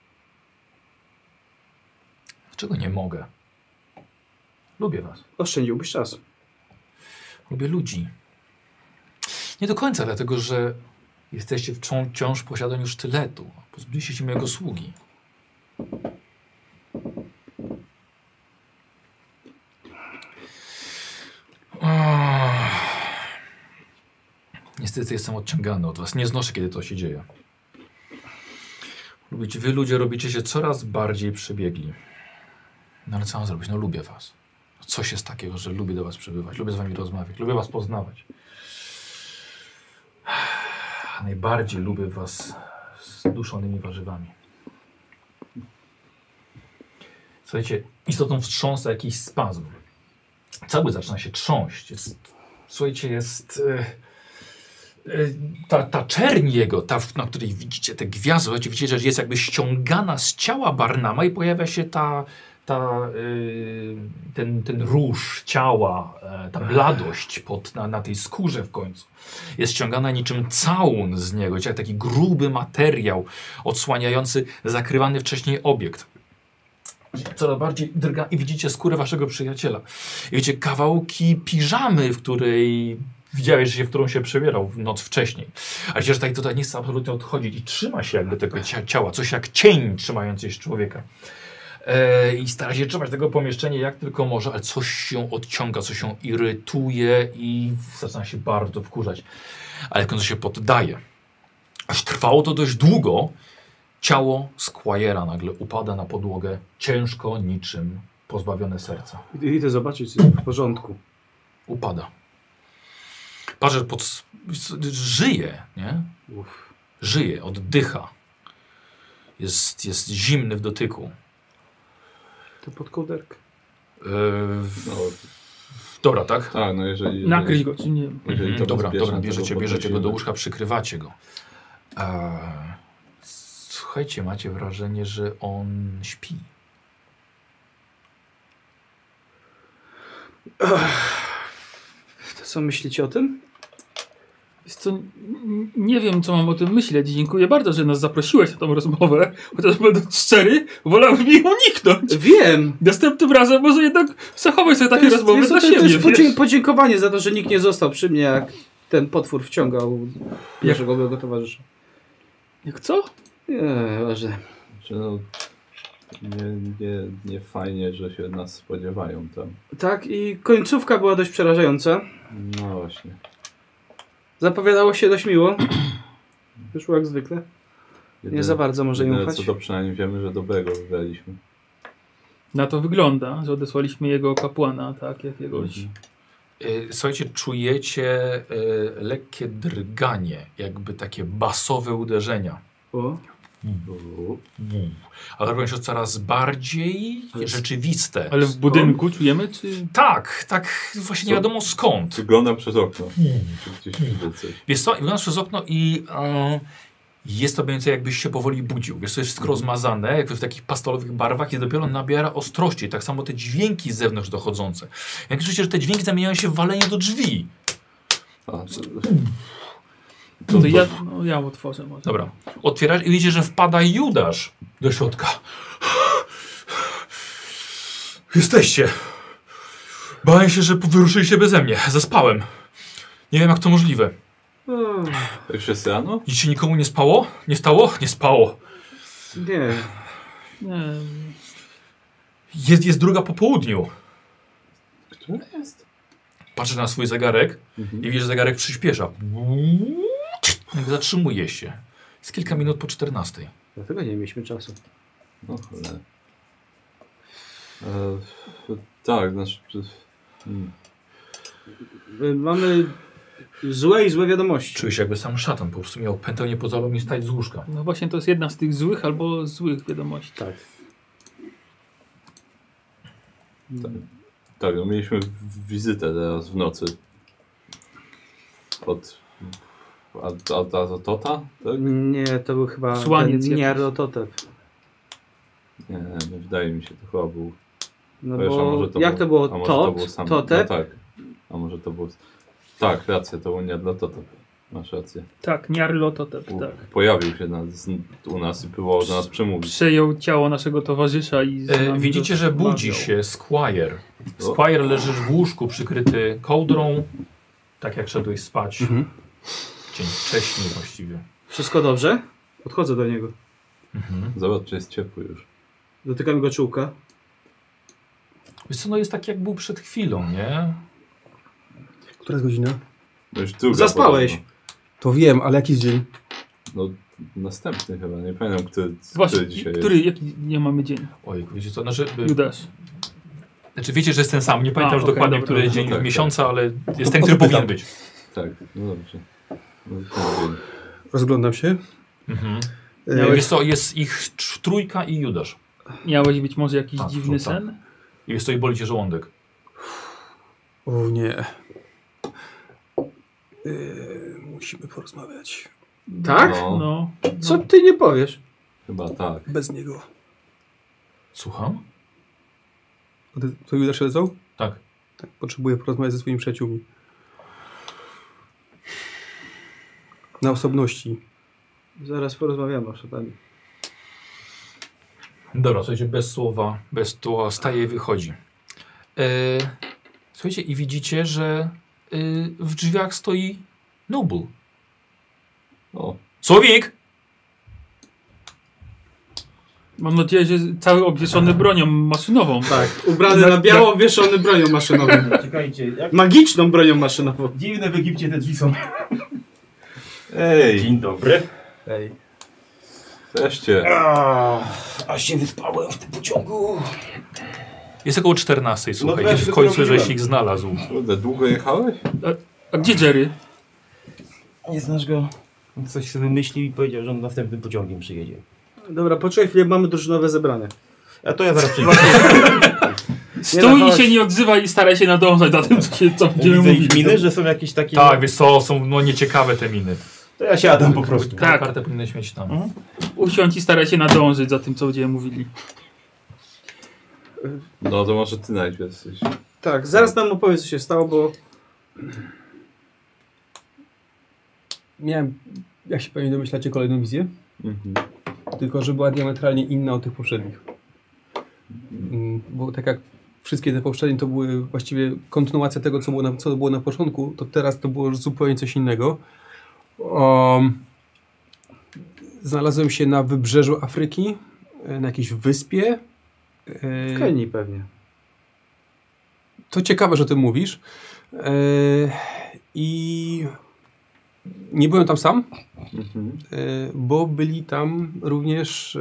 [SPEAKER 1] Dlaczego nie mogę? Lubię was.
[SPEAKER 4] oszczędziłbyś czasu.
[SPEAKER 1] Lubię ludzi. Nie do końca, dlatego że jesteście w czą- wciąż w posiadaniu sztyletu. Pozbyliście się mojego sługi. Ach. Niestety jestem odciągany od was. Nie znoszę, kiedy to się dzieje. Lubicie, wy ludzie robicie się coraz bardziej przebiegli. No ale co mam zrobić? No lubię was. Coś jest takiego, że lubię do Was przybywać, lubię z Wami rozmawiać, lubię Was poznawać. A Najbardziej lubię Was z duszonymi warzywami. Słuchajcie, istotą wstrząsa jakiś spazm. Cały zaczyna się trząść. Jest, słuchajcie, jest. e, e, Ta, ta czerń jego, ta, w- na której widzicie te gwiazdy, słuchajcie, widzicie, że jest jakby ściągana z ciała Barnama i pojawia się ta, ta, y, ten, ten róż ciała, e, ta bladość pod, na, na tej skórze w końcu jest ściągana niczym całun z niego, jak taki gruby materiał odsłaniający zakrywany wcześniej obiekt. Coraz bardziej drga i widzicie skórę waszego przyjaciela. I widzicie kawałki piżamy, w której widziałeś, że się, w którą się przebierał w noc wcześniej. Ale widzicie, że tak tutaj nie chce absolutnie odchodzić i trzyma się jakby tego cia- ciała, coś jak cień trzymający się człowieka. E, I stara się trzymać tego pomieszczenia jak tylko może, ale coś się odciąga, coś się irytuje i zaczyna się bardzo wkurzać. Ale w końcu się poddaje. Aż trwało to dość długo. Ciało Squires nagle upada na podłogę, ciężko, niczym pozbawione serca.
[SPEAKER 4] I- Idę zobaczyć, co jest w porządku.
[SPEAKER 1] Upada. Patrz, pod... s- s- żyje, nie?
[SPEAKER 4] Uff.
[SPEAKER 1] Żyje, oddycha. Jest, jest zimny w dotyku.
[SPEAKER 4] To pod kołderkę.
[SPEAKER 1] Yy, w...
[SPEAKER 3] No,
[SPEAKER 1] Dobra, tak?
[SPEAKER 3] tak, no jeżeli...
[SPEAKER 5] Nakryć go, czy nie?
[SPEAKER 3] jeżeli
[SPEAKER 1] Mhm,
[SPEAKER 3] to
[SPEAKER 1] dobra,
[SPEAKER 3] zbierzemy,
[SPEAKER 1] dobra,
[SPEAKER 3] to
[SPEAKER 1] bierzecie,
[SPEAKER 3] go
[SPEAKER 1] bierzecie go do
[SPEAKER 3] podnosimy.
[SPEAKER 1] łóżka, przykrywacie go. Eee, słuchajcie, macie wrażenie, że on śpi.
[SPEAKER 4] To co myślicie o tym?
[SPEAKER 5] Wiesz co, n- n- nie wiem, co mam o tym myśleć. Dziękuję bardzo, że nas zaprosiłeś na tą rozmowę. Chociaż będąc szczery, wolałbym jej uniknąć.
[SPEAKER 4] Wiem!
[SPEAKER 5] Następnym razem może jednak zachować sobie takie rozmowy
[SPEAKER 4] wiesz co,
[SPEAKER 5] dla
[SPEAKER 4] to, to
[SPEAKER 5] siebie.
[SPEAKER 4] jest
[SPEAKER 5] wiesz?
[SPEAKER 4] podzie- podziękowanie za to, że nikt nie został przy mnie, jak ten potwór wciągał pierwszego mojego towarzysza.
[SPEAKER 5] Jak co?
[SPEAKER 4] Nie, że
[SPEAKER 3] Znaczy, no, nie, nie, nie fajnie, że się nas spodziewają tam.
[SPEAKER 4] Tak, i końcówka była dość przerażająca.
[SPEAKER 3] No właśnie.
[SPEAKER 4] Zapowiadało się dość miło. Wyszło jak zwykle.
[SPEAKER 3] Jedyne-
[SPEAKER 4] Nie za bardzo może im
[SPEAKER 3] jedyne,
[SPEAKER 4] ufać.
[SPEAKER 3] co to przynajmniej wiemy, że dobrego wybraliśmy.
[SPEAKER 5] Na to wygląda, że odesłaliśmy jego kapłana, tak, jakiegoś.
[SPEAKER 3] Mhm.
[SPEAKER 1] Eee, słuchajcie, czujecie eee, lekkie drganie, jakby takie basowe uderzenia.
[SPEAKER 4] O,
[SPEAKER 3] U,
[SPEAKER 1] Bum. Ale robią się coraz bardziej
[SPEAKER 4] Ale-
[SPEAKER 1] rzeczywiste.
[SPEAKER 5] Ale w budynku czujemy, czy...
[SPEAKER 1] Tak, tak, właśnie nie
[SPEAKER 3] Co?
[SPEAKER 1] wiadomo skąd.
[SPEAKER 3] Wyglądam przez okno. Czy gdzieś widzę coś.
[SPEAKER 1] Wiesz co, wyglądasz przez okno i e, jest to mniej więcej jakbyś się powoli budził. Wiesz, to jest wszystko rozmazane, jakby w takich pastelowych barwach i dopiero nabiera ostrości. Tak samo te dźwięki z zewnątrz dochodzące. Jak słyszycie, że te dźwięki zamieniają się w walenie do drzwi.
[SPEAKER 3] A, to,
[SPEAKER 5] To, to ja, no, ja otworzę może.
[SPEAKER 1] Dobra, otwierasz i widzisz, że wpada Judasz do środka. Jesteście! Bałem się, że wyruszyliście beze mnie. Zaspałem. Nie wiem, jak to możliwe.
[SPEAKER 4] O,
[SPEAKER 3] Jak wszyscy rano?
[SPEAKER 1] Nic się nikomu nie spało? Nie stało? Nie spało.
[SPEAKER 4] nie.
[SPEAKER 5] Nie,
[SPEAKER 1] Jest, jest druga po południu.
[SPEAKER 3] Która jest?
[SPEAKER 1] Patrzę na swój zegarek
[SPEAKER 3] Mhm.
[SPEAKER 1] i widzę, że zegarek przyspiesza. Jak Zatrzymuje się. Jest kilka minut po 14.
[SPEAKER 4] Dlatego nie mieliśmy czasu.
[SPEAKER 3] No cholera. E, f- tak, znaczy... Hmm.
[SPEAKER 4] Y, Mamy złe i złe wiadomości.
[SPEAKER 1] Czuję się jakby sam szatan. Po prostu miał pętę, nie pozwalał mi stać z łóżka.
[SPEAKER 5] no właśnie to jest jedna z tych złych albo złych wiadomości.
[SPEAKER 4] Tak.
[SPEAKER 3] Tak, no mieliśmy w- wizytę teraz w nocy. Od... Od, od, od Tota? Tak?
[SPEAKER 4] Nie, to był chyba
[SPEAKER 5] Słaniec
[SPEAKER 4] ten
[SPEAKER 5] jakiś.
[SPEAKER 4] Niarototep.
[SPEAKER 3] Nie, nie, wydaje mi się, to chyba był...
[SPEAKER 4] No
[SPEAKER 3] Wiesz, a
[SPEAKER 4] bo
[SPEAKER 3] może to
[SPEAKER 4] jak
[SPEAKER 3] był-
[SPEAKER 4] to
[SPEAKER 3] a
[SPEAKER 4] było?
[SPEAKER 3] może
[SPEAKER 4] Tot,
[SPEAKER 3] był sam-
[SPEAKER 4] Totep?
[SPEAKER 3] No tak. A może to był... Tak, racja, to był nie dla Totep. Masz rację.
[SPEAKER 5] Tak, Niarlototep,
[SPEAKER 3] U,
[SPEAKER 5] tak.
[SPEAKER 3] Pojawił się na, z, u nas i próbował do nas przemówić.
[SPEAKER 5] Przejął ciało naszego towarzysza i. z
[SPEAKER 1] E,
[SPEAKER 5] nami
[SPEAKER 1] widzicie, że
[SPEAKER 5] rozmawiał.
[SPEAKER 1] budzi się Squire. Squire leży w łóżku przykryty kołdrą. Tak jak szedłeś spać.
[SPEAKER 4] Mhm.
[SPEAKER 1] Dzień wcześniej właściwie.
[SPEAKER 4] Wszystko dobrze? Podchodzę do niego.
[SPEAKER 1] Mhm.
[SPEAKER 3] Zobacz, czy jest ciepły już.
[SPEAKER 4] Dotykam go czułka.
[SPEAKER 1] Wiesz co, no jest tak jak był przed chwilą, nie?
[SPEAKER 6] Która jest godzina?
[SPEAKER 3] No już druga
[SPEAKER 4] Zaspałeś.
[SPEAKER 3] podobno.
[SPEAKER 6] To wiem, ale jakiś dzień.
[SPEAKER 3] No następny chyba, nie pamiętam, który,
[SPEAKER 5] Właśnie,
[SPEAKER 3] który dzisiaj
[SPEAKER 5] który,
[SPEAKER 3] jest.
[SPEAKER 5] jaki nie mamy dzień?
[SPEAKER 1] Ojku, wiecie co, znaczy, y,
[SPEAKER 5] Judasz.
[SPEAKER 1] znaczy wiecie, że jest ten sam, nie pamiętam
[SPEAKER 5] A,
[SPEAKER 1] już
[SPEAKER 5] okej,
[SPEAKER 1] dokładnie,
[SPEAKER 5] dobra.
[SPEAKER 1] który jest dzień
[SPEAKER 3] No tak,
[SPEAKER 1] miesiąca, ale jest ten, który powinien być.
[SPEAKER 3] Tak, no dobrze. No, to wiem.
[SPEAKER 6] Rozglądam się.
[SPEAKER 1] Mhm.
[SPEAKER 6] E,
[SPEAKER 5] Miałeś-
[SPEAKER 1] Wiesz co, jest ich trz- trójka i Judasz.
[SPEAKER 5] Miałeś być może jakiś
[SPEAKER 1] Tak,
[SPEAKER 5] dziwny
[SPEAKER 1] tak.
[SPEAKER 5] sen?
[SPEAKER 1] I wiesz co, i boli cię żołądek.
[SPEAKER 6] O nie. E, musimy porozmawiać.
[SPEAKER 4] Tak?
[SPEAKER 3] No,
[SPEAKER 5] No.
[SPEAKER 4] Co ty nie powiesz?
[SPEAKER 3] chyba tak.
[SPEAKER 6] Bez niego.
[SPEAKER 1] Słucham?
[SPEAKER 6] A ty- To Judasz lezał?
[SPEAKER 1] Tak.
[SPEAKER 6] Tak, potrzebuję porozmawiać ze swoimi przyjaciółmi. Na osobności.
[SPEAKER 4] Zaraz porozmawiamy o szatanie.
[SPEAKER 1] Dobra, słuchajcie, bez słowa, bez tła, staje i wychodzi. E, słuchajcie, i widzicie, że y, w drzwiach stoi Noble.
[SPEAKER 3] O,
[SPEAKER 1] Słowik!
[SPEAKER 5] Mam nadzieję, że cały obwieszony bronią maszynową.
[SPEAKER 4] Tak, ubrany na biało, obwieszony bronią maszynową.
[SPEAKER 7] Czekajcie, jak
[SPEAKER 4] Magiczną bronią maszynową.
[SPEAKER 7] dziwne w Egipcie te drzwi są.
[SPEAKER 3] ej,
[SPEAKER 7] Dzień dobry.
[SPEAKER 3] też cię.
[SPEAKER 7] A się wyspałem w tym pociągu.
[SPEAKER 1] Jest około 14, słuchaj,
[SPEAKER 7] to ja
[SPEAKER 1] gdzieś
[SPEAKER 7] się
[SPEAKER 1] w końcu
[SPEAKER 7] dopiero
[SPEAKER 1] żeś ich znalazł.
[SPEAKER 3] Kurde, długo jechałeś?
[SPEAKER 5] A gdzie Jerry?
[SPEAKER 7] Nie znasz go. On Coś sobie wymyślił i powiedział, że on następnym pociągiem przyjedzie.
[SPEAKER 4] Dobra, poczekaj chwilę, mamy drużynowe zebranie.
[SPEAKER 7] A to ja zaraz przyjdę.
[SPEAKER 5] Stój
[SPEAKER 4] no
[SPEAKER 5] i
[SPEAKER 4] chodź.
[SPEAKER 5] się nie odzywaj i staraj się nadążać za tym, co, się, co będziemy
[SPEAKER 7] Widzę ich
[SPEAKER 5] mówić.
[SPEAKER 7] miny, że są jakieś takie...
[SPEAKER 1] Tak, wiesz co, są no, nieciekawe te miny.
[SPEAKER 7] To ja siadam po prostu.
[SPEAKER 1] Tak.
[SPEAKER 5] Tak.
[SPEAKER 1] Kartę powinieneś mieć tam.
[SPEAKER 7] Mhm.
[SPEAKER 5] Usiądź i staraj się nadążyć za tym, co będziemy mówili.
[SPEAKER 3] No to może ty najpierw jesteś.
[SPEAKER 4] Tak, zaraz nam opowiedz, co się stało, bo
[SPEAKER 6] Miałem, jak się pewnie domyślacie, kolejną wizję.
[SPEAKER 3] Mhm.
[SPEAKER 6] Tylko, że była diametralnie inna od tych poprzednich. Mm, Bo tak jak wszystkie te poprzednie to były właściwie kontynuacja tego, co było na, co było na początku, to teraz to było zupełnie coś innego. Um, znalazłem się na wybrzeżu Afryki, e, na jakiejś wyspie. E,
[SPEAKER 4] w Kenii pewnie.
[SPEAKER 6] to ciekawe, że ty mówisz. E, I nie byłem tam sam,
[SPEAKER 3] Mhm.
[SPEAKER 6] e, bo byli tam również e,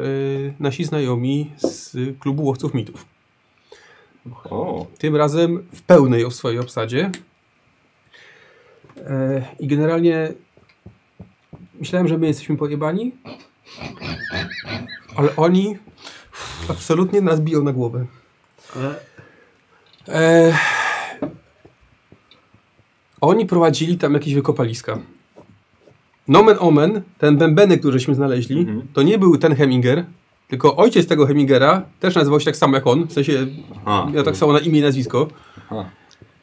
[SPEAKER 6] nasi znajomi z klubu łowców mitów.
[SPEAKER 3] O,
[SPEAKER 6] Tym razem w pełnej o swojej obsadzie. E, I generalnie myślałem, że my jesteśmy pojebani, ale oni absolutnie nas biją na głowę.
[SPEAKER 4] Ale
[SPEAKER 6] E, oni prowadzili tam jakieś wykopaliska. Nomen omen, ten bębenek, który żeśmy znaleźli,
[SPEAKER 3] Mhm.
[SPEAKER 6] to nie był ten Heminger, tylko ojciec tego Hemingera też nazywał się tak samo jak on, w sensie
[SPEAKER 3] aha.
[SPEAKER 6] miał tak samo na imię i nazwisko.
[SPEAKER 3] Aha.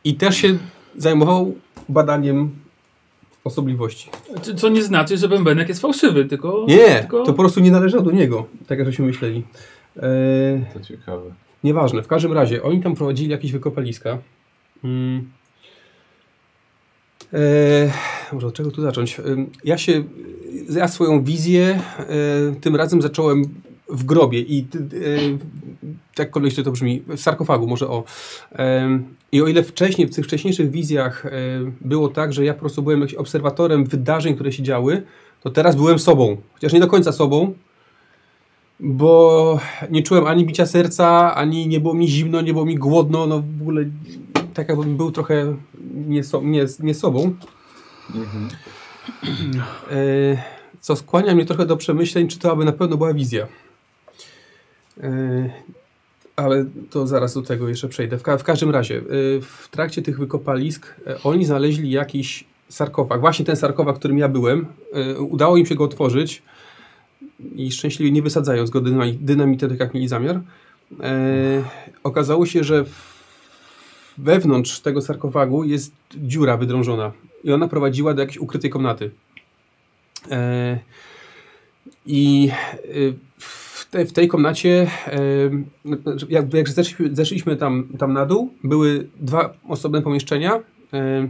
[SPEAKER 6] I też się zajmował badaniem osobliwości.
[SPEAKER 5] Co- Co nie znaczy, że bębenek jest fałszywy, tylko...
[SPEAKER 6] Nie,
[SPEAKER 5] tylko...
[SPEAKER 6] to po prostu nie należało do niego, tak jak żeśmy myśleli. E,
[SPEAKER 3] To ciekawe.
[SPEAKER 6] Nieważne, w każdym razie oni tam prowadzili jakieś wykopaliska. Mm. E, może od czego tu zacząć? Ym, Ja się, e, ja swoją wizję e, tym razem zacząłem w grobie i ty- e, tak kolejnie to brzmi, w sarkofagu może o. Em, I o ile wcześniej, w tych wcześniejszych wizjach e, było tak, że ja po prostu byłem jakimś obserwatorem wydarzeń, które się działy, to teraz byłem sobą, chociaż nie do końca sobą, bo nie czułem ani bicia serca, ani nie było mi zimno, nie było mi głodno, no w ogóle tak jakbym był trochę nie, so, nie, nie sobą. E, Co skłania mnie trochę do przemyśleń, czy to aby na pewno była wizja. E, Ale to zaraz do tego jeszcze przejdę. W, ka w każdym razie, e, w trakcie tych wykopalisk e, oni znaleźli jakiś sarkofag. Właśnie ten sarkofag, w którym ja byłem. E, Udało im się go otworzyć i szczęśliwie nie wysadzając go dynami- dynamitem, tak jak mieli zamiar. E, okazało się, że w, wewnątrz tego sarkofagu jest dziura wydrążona i ona prowadziła do jakiejś ukrytej komnaty. E, I e, w, te, w tej komnacie, e, znaczy, jak, jak zeszliśmy, zeszliśmy tam, tam na dół, były dwa osobne pomieszczenia. E,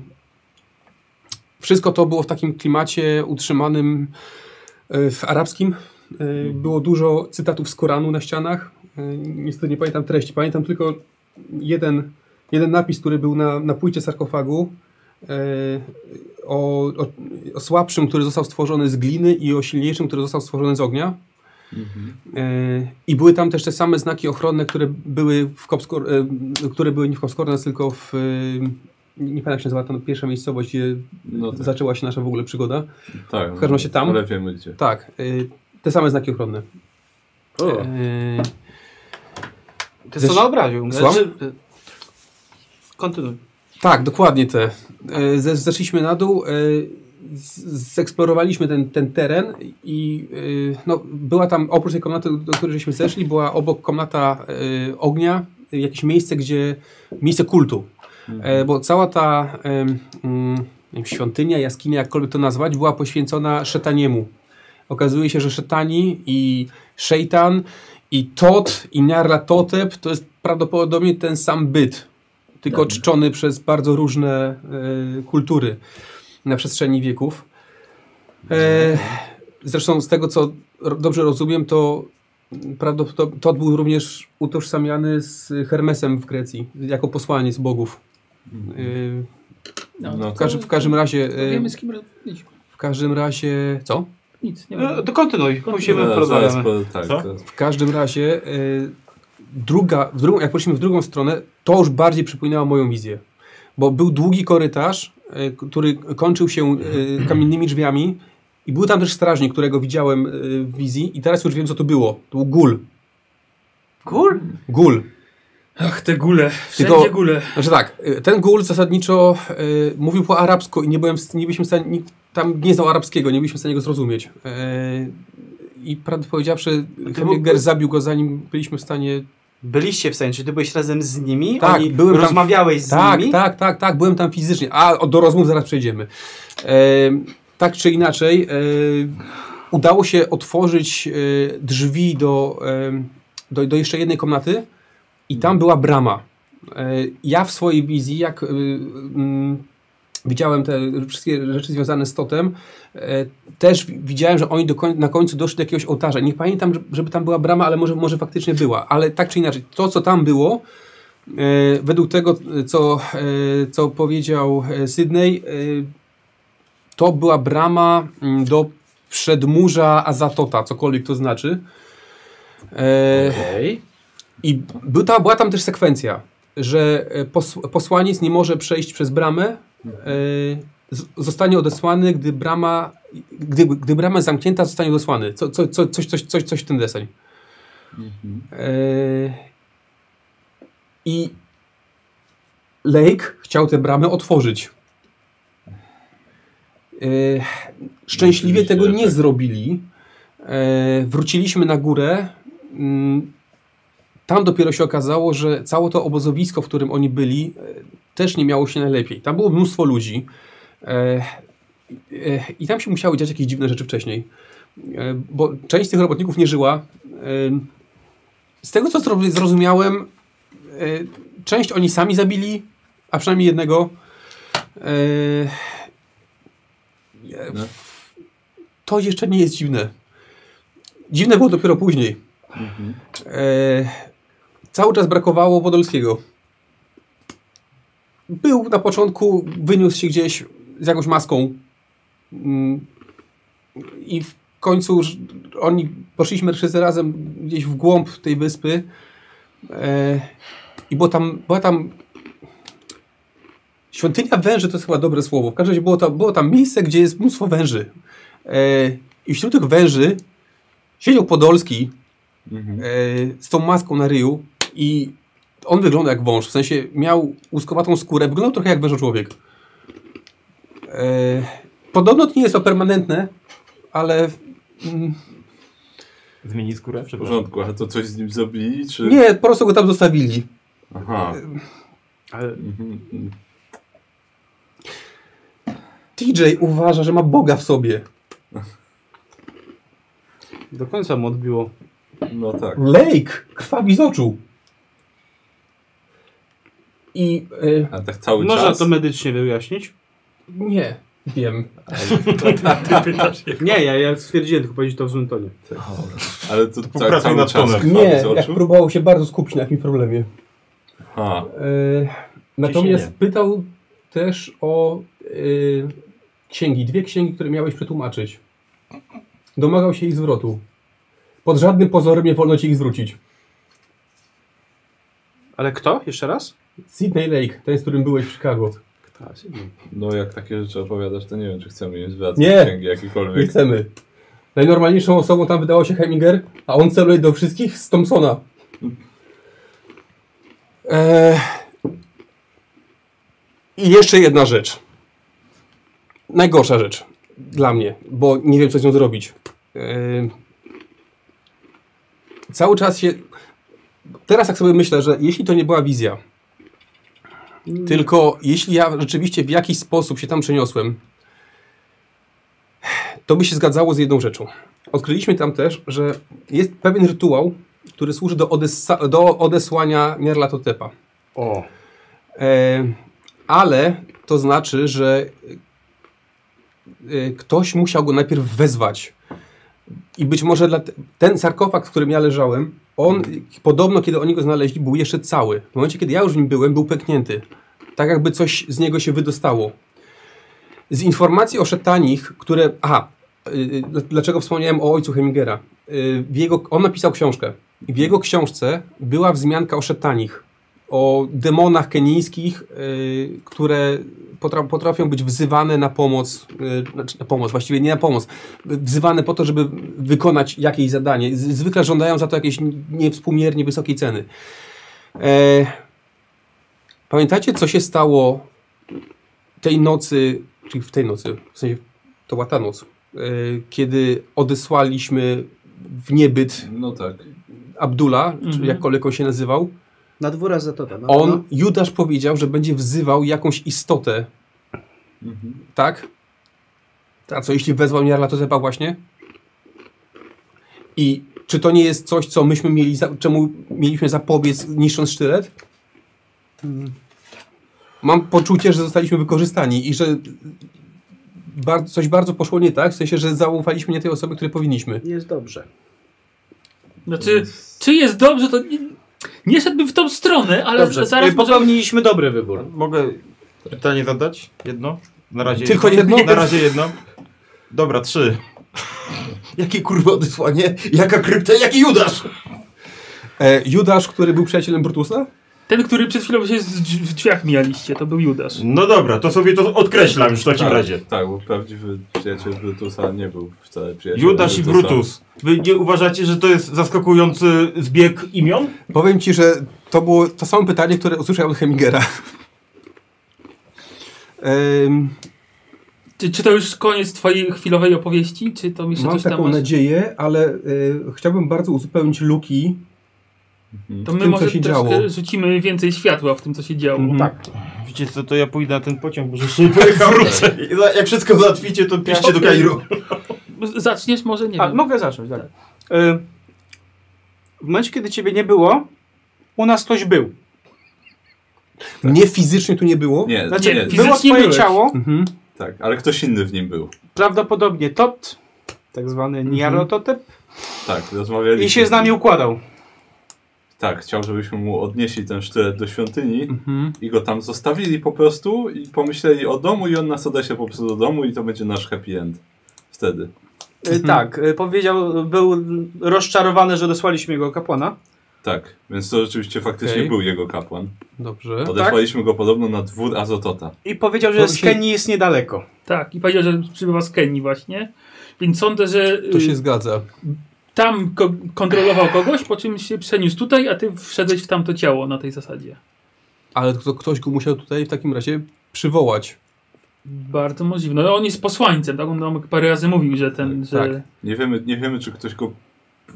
[SPEAKER 6] wszystko to było w takim klimacie utrzymanym e, w arabskim. E, Było dużo cytatów z Koranu na ścianach. E, Niestety nie pamiętam treści. Pamiętam tylko jeden, jeden napis, który był na, na płycie sarkofagu e, o, o, o słabszym, który został stworzony z gliny i o silniejszym, który został stworzony z ognia. E, I były tam też te same znaki ochronne, które były w Kopskor, e, które były nie w Kopskornas, tylko w e, nie pamiętam jak się nazywa ta pierwsza miejscowość, gdzie
[SPEAKER 3] No tak.
[SPEAKER 6] zaczęła się nasza w ogóle przygoda.
[SPEAKER 3] tak.
[SPEAKER 6] w każdym razie tam?
[SPEAKER 3] Ale wiemy gdzie.
[SPEAKER 6] Tak, y, te same znaki ochronne.
[SPEAKER 3] O,
[SPEAKER 6] Y,
[SPEAKER 4] Ty
[SPEAKER 6] Zesz-
[SPEAKER 4] co na obraził.
[SPEAKER 6] Słucham?
[SPEAKER 4] Znaczy, kontynuuj.
[SPEAKER 6] tak, dokładnie te. Y, ze- Zeszliśmy na dół, y, z- zeksplorowaliśmy ten, ten teren i y, no, była tam, oprócz tej komnaty, do której żeśmy zeszli, była obok komnata y, ognia, y, jakieś miejsce, gdzie, miejsce kultu. E, bo cała ta em, mm, nie wiem, świątynia, jaskinia, jakkolwiek to nazwać, była poświęcona szetaniemu. Okazuje się, że szetani i szejtan i Tot i Nyarlathotep to jest prawdopodobnie ten sam byt, tylko czczony przez bardzo różne e, kultury na przestrzeni wieków. E, zresztą z tego, co ro- dobrze rozumiem, to prawdopodobnie Tot był również utożsamiany z Hermesem w Grecji, jako posłaniec bogów. E,
[SPEAKER 5] No,
[SPEAKER 3] No
[SPEAKER 5] no,
[SPEAKER 6] w, każdy, w każdym razie...
[SPEAKER 5] to
[SPEAKER 6] E,
[SPEAKER 5] wiemy z kim rozmawialiśmy.
[SPEAKER 6] w każdym razie... Co?
[SPEAKER 5] Nic, nie ma.
[SPEAKER 4] No, to kontynuuj, musimy
[SPEAKER 3] zaraz, zaraz,
[SPEAKER 4] porozmawiać.
[SPEAKER 3] po, tak,
[SPEAKER 7] Co?
[SPEAKER 3] zaraz.
[SPEAKER 6] W każdym razie y, druga, w drugą, jak poszliśmy w drugą stronę, to już bardziej przypominało moją wizję. Bo był długi korytarz, y, który kończył się y, kamiennymi drzwiami i był tam też strażnik, którego widziałem y, w wizji i teraz już wiem, co to było. To był gul.
[SPEAKER 4] Gór?
[SPEAKER 6] Gul.
[SPEAKER 5] Ach, te gule. Wszędzie
[SPEAKER 6] Tylko-
[SPEAKER 5] gule.
[SPEAKER 6] Znaczy tak, y, ten gul zasadniczo y, mówił po arabsku i nie, byłem, w st- nie byliśmy w stanie, nikt tam nie znał arabskiego, nie byliśmy w stanie go zrozumieć. Y, I prawdę powiedziawszy, Hemminger zabił go zanim byliśmy w stanie
[SPEAKER 4] Byliście w stanie, czy ty byłeś razem z nimi?
[SPEAKER 6] Tak,
[SPEAKER 4] Oni
[SPEAKER 6] byłem tam-
[SPEAKER 4] rozmawiałeś z
[SPEAKER 6] tak,
[SPEAKER 4] nimi?
[SPEAKER 6] Tak, tak, tak, byłem tam fizycznie. A o- do rozmów zaraz przejdziemy. Em, tak czy inaczej, em, udało się otworzyć e, drzwi do, em, do, do jeszcze jednej komnaty i tam była brama. E, ja w swojej wizji, jak y, mm, widziałem te wszystkie rzeczy związane z Totem, e, też wi- widziałem, że oni do koń, na końcu doszli do jakiegoś ołtarza. Nie pamiętam, że- żeby tam była brama, ale może, może faktycznie była. Ale tak czy inaczej, to co tam było, E, według tego, co, e, co powiedział e, Sydney, e, to była brama mm, do przedmurza Azatota, cokolwiek to znaczy. E, I był ta, była tam też sekwencja, że e, pos, posłaniec nie może przejść przez bramę, e, z, zostanie odesłany, gdy brama, gdy, gdy brama jest zamknięta, zostanie odesłany. Co, co, co, coś, coś, coś, coś w ten deseń. E, i Lake chciał tę bramę otworzyć. E, szczęśliwie
[SPEAKER 3] Oczywiście,
[SPEAKER 6] tego nie
[SPEAKER 3] tak.
[SPEAKER 6] zrobili. E, wróciliśmy na górę. Mm, Tam dopiero się okazało, że całe to obozowisko, w którym oni byli, e, też nie miało się najlepiej. Tam było mnóstwo ludzi. E, e, I tam się musiały dziać jakieś dziwne rzeczy wcześniej. E, Yy, bo część z tych robotników nie żyła. E, z tego co zrobi- zrozumiałem, y, część oni sami zabili, a przynajmniej jednego. Y,
[SPEAKER 3] No.
[SPEAKER 6] to jeszcze nie jest dziwne. Dziwne było dopiero później. E, cały czas brakowało Podolskiego. Był na początku, wyniósł się gdzieś z jakąś maską. Mm. I w końcu już oni poszliśmy wszyscy razem gdzieś w głąb tej wyspy. E, I było tam, była tam świątynia węży, to jest chyba dobre słowo. W każdym razie było tam, było tam miejsce, gdzie jest mnóstwo węży. E, I wśród tych węży siedział Podolski e, z tą maską na ryju i on wygląda jak wąż, w sensie miał łuskowatą skórę, wyglądał trochę jak wężoczłowiek. E, podobno to nie jest to permanentne, ale mm,
[SPEAKER 7] Zmieni skórę?
[SPEAKER 3] W porządku, a to coś z nim zrobili, czy...
[SPEAKER 6] nie, po prostu go tam zostawili.
[SPEAKER 3] Aha.
[SPEAKER 7] Ale
[SPEAKER 3] Mhm.
[SPEAKER 6] TJ uważa, że ma Boga w sobie.
[SPEAKER 4] Do końca mu odbiło.
[SPEAKER 3] No tak.
[SPEAKER 6] Lake krwawi z oczu. I e,
[SPEAKER 3] A tak cały
[SPEAKER 4] Można
[SPEAKER 3] czas?
[SPEAKER 4] to medycznie wyjaśnić?
[SPEAKER 6] nie wiem.
[SPEAKER 7] tak,
[SPEAKER 4] Nie, ja, ja stwierdziłem, tylko powiedzieć to w złym tonie.
[SPEAKER 3] Ale to, ca-
[SPEAKER 7] popracuj
[SPEAKER 3] cały
[SPEAKER 7] nad
[SPEAKER 3] czas
[SPEAKER 7] tonem.
[SPEAKER 3] krwawi
[SPEAKER 6] Nie,
[SPEAKER 3] z
[SPEAKER 6] jak
[SPEAKER 3] oczu?
[SPEAKER 6] próbował się bardzo skupić na jakimś problemie.
[SPEAKER 3] Aha.
[SPEAKER 6] E, natomiast pytał też o e, księgi, dwie księgi, które miałeś przetłumaczyć. Domagał się ich zwrotu. Pod żadnym pozorem nie wolno ci ich zwrócić.
[SPEAKER 4] Ale kto? Jeszcze raz?
[SPEAKER 6] Sydney Lake, ten, z którym byłeś w Chicago.
[SPEAKER 4] Tak, Sydney.
[SPEAKER 3] No jak takie rzeczy opowiadasz, to nie wiem, czy chcemy im zwracać
[SPEAKER 6] Nie.
[SPEAKER 3] księgi
[SPEAKER 6] Nie
[SPEAKER 3] jakiekolwiek.
[SPEAKER 6] chcemy. Najnormalniejszą osobą tam wydało się Heminger, a on celuje do wszystkich z Thompsona. Eee... I jeszcze jedna rzecz. Najgorsza rzecz dla mnie, bo nie wiem, co z nią zrobić. Eee... Cały czas się. Teraz tak sobie myślę, że jeśli to nie była wizja, tylko jeśli ja rzeczywiście w jakiś sposób się tam przeniosłem, to by się zgadzało z jedną rzeczą. Odkryliśmy tam też, że jest pewien rytuał, który służy do, odessa- do odesłania Nierlatotepa.
[SPEAKER 4] O.
[SPEAKER 6] E, ale to znaczy, że e, ktoś musiał go najpierw wezwać. I być może dla te, ten sarkofag, w którym ja leżałem, on podobno, kiedy oni go znaleźli, był jeszcze cały. W momencie, kiedy ja już w nim byłem, był pęknięty. Tak jakby coś z niego się wydostało. Z informacji o szetanich, które... Aha, y, dl- dlaczego wspomniałem o ojcu Hemingera? Y, w jego, on napisał książkę. I w jego książce była wzmianka o szetanich o demonach kenijskich, y, które potra potrafią być wzywane na pomoc, y, znaczy na pomoc, właściwie nie na pomoc, y, wzywane po to, żeby wykonać jakieś zadanie. Z zwykle żądają za to jakiejś n- niewspółmiernie wysokiej ceny. E Pamiętacie, co się stało tej nocy, czyli w tej nocy, w sensie to była ta noc, y, kiedy odesłaliśmy w niebyt
[SPEAKER 3] No tak.
[SPEAKER 6] Abdula,
[SPEAKER 5] Mhm.
[SPEAKER 6] czy jakkolwiek on się nazywał,
[SPEAKER 4] Na dwóra za to. Na
[SPEAKER 6] on, Judasz powiedział, że będzie wzywał jakąś istotę,
[SPEAKER 3] Mhm.
[SPEAKER 6] tak? A co jeśli wezwał Jarlatotepa właśnie? I czy to nie jest coś, co myśmy mieli, za, czemu mieliśmy zapobiec niszcząc sztylet?
[SPEAKER 8] Hmm.
[SPEAKER 6] Mam poczucie, że zostaliśmy wykorzystani i że bar- coś bardzo poszło nie tak, w sensie, że zaufaliśmy nie tej osobie, której powinniśmy.
[SPEAKER 4] Jest dobrze.
[SPEAKER 5] Znaczy, czy jest dobrze, to nie, nie szedłbym w tą stronę, ale
[SPEAKER 4] Dobrze.
[SPEAKER 5] zaraz
[SPEAKER 4] Y, Popełniliśmy dobry wybór.
[SPEAKER 7] Mogę pytanie zadać? Jedno? Na razie
[SPEAKER 6] Tylko jedno?
[SPEAKER 7] Na razie jedno. Dobra, trzy.
[SPEAKER 8] Jakie kurwa odesłanie? Jaka krypta? Jaki Judasz?
[SPEAKER 6] E, Judasz, który był przyjacielem Brutusa?
[SPEAKER 5] ten, który przed chwilą się z drzwi- w drzwiach mijaliście, to był Judasz.
[SPEAKER 7] No dobra, to sobie to odkreślam już w takim
[SPEAKER 3] Tak,
[SPEAKER 7] razie.
[SPEAKER 3] Tak, bo prawdziwy przyjaciel Brutusa nie był wcale przyjacielem
[SPEAKER 7] Judasz i
[SPEAKER 3] Brutusa.
[SPEAKER 7] Brutus. Wy nie uważacie, że to jest zaskakujący zbieg imion?
[SPEAKER 6] Powiem ci, że to było to samo pytanie, które usłyszałem od Hemingera. Em,
[SPEAKER 5] Czy, czy to już koniec twojej chwilowej opowieści, czy to jeszcze
[SPEAKER 6] mam
[SPEAKER 5] coś tam
[SPEAKER 6] taką
[SPEAKER 5] masz?
[SPEAKER 6] nadzieję, ale y, chciałbym bardzo uzupełnić luki.
[SPEAKER 5] To my
[SPEAKER 6] tym, co
[SPEAKER 5] może
[SPEAKER 6] się
[SPEAKER 5] troszkę
[SPEAKER 6] działo.
[SPEAKER 5] rzucimy więcej światła w tym, co się działo.
[SPEAKER 6] Tak.
[SPEAKER 7] Wiecie co, to ja pójdę na ten pociąg, może szybko wrócę.
[SPEAKER 8] Jak wszystko załatwicie, to piszcie do Kairu.
[SPEAKER 5] Zaczniesz może, nie
[SPEAKER 4] A,
[SPEAKER 6] no.
[SPEAKER 4] E,
[SPEAKER 5] wiem.
[SPEAKER 4] mogę zacząć, dalej. Y, w momencie, kiedy ciebie nie było, u nas ktoś był.
[SPEAKER 6] Mnie fizycznie tu nie było.
[SPEAKER 3] Nie, nie,
[SPEAKER 4] Znaczy, było
[SPEAKER 5] fizycznie
[SPEAKER 4] twoje
[SPEAKER 5] byłeś.
[SPEAKER 4] ciało,
[SPEAKER 6] Mhm.
[SPEAKER 3] tak, ale ktoś inny w nim był.
[SPEAKER 4] prawdopodobnie Tot, tak zwany
[SPEAKER 7] Mhm.
[SPEAKER 4] Niarototep,
[SPEAKER 3] Tak, rozmawialiśmy.
[SPEAKER 4] i się z nami układał. E,
[SPEAKER 3] Tak, chciał, żebyśmy mu odnieśli ten sztylet do świątyni
[SPEAKER 6] Mhm.
[SPEAKER 3] i go tam zostawili po prostu i pomyśleli o domu i on nas odeśle po prostu do domu i to będzie nasz happy end. Wtedy.
[SPEAKER 4] E,
[SPEAKER 7] Mhm.
[SPEAKER 4] Tak, e, powiedział, był rozczarowany, że dosłaliśmy jego kapłana.
[SPEAKER 3] Tak, więc to rzeczywiście faktycznie
[SPEAKER 6] Okej. No tak.
[SPEAKER 3] był jego kapłan.
[SPEAKER 6] Dobrze.
[SPEAKER 3] Odesłaliśmy go podobno na dwór Azotota.
[SPEAKER 4] I powiedział,
[SPEAKER 6] To
[SPEAKER 4] że z
[SPEAKER 6] się-
[SPEAKER 4] Kenii jest niedaleko.
[SPEAKER 5] Tak, i powiedział, że przybywa z Kenii właśnie. Więc sądzę, że y,
[SPEAKER 6] To się zgadza.
[SPEAKER 5] tam ko kontrolował kogoś, po czym się przeniósł tutaj, a ty wszedłeś w tamto ciało na tej zasadzie.
[SPEAKER 6] Ale to ktoś go musiał tutaj w takim razie przywołać.
[SPEAKER 5] Bardzo możliwe. No on jest posłańcem, tak? On nam parę razy mówił, że ten, że...
[SPEAKER 6] Tak.
[SPEAKER 3] Nie wiemy, nie wiemy, czy ktoś go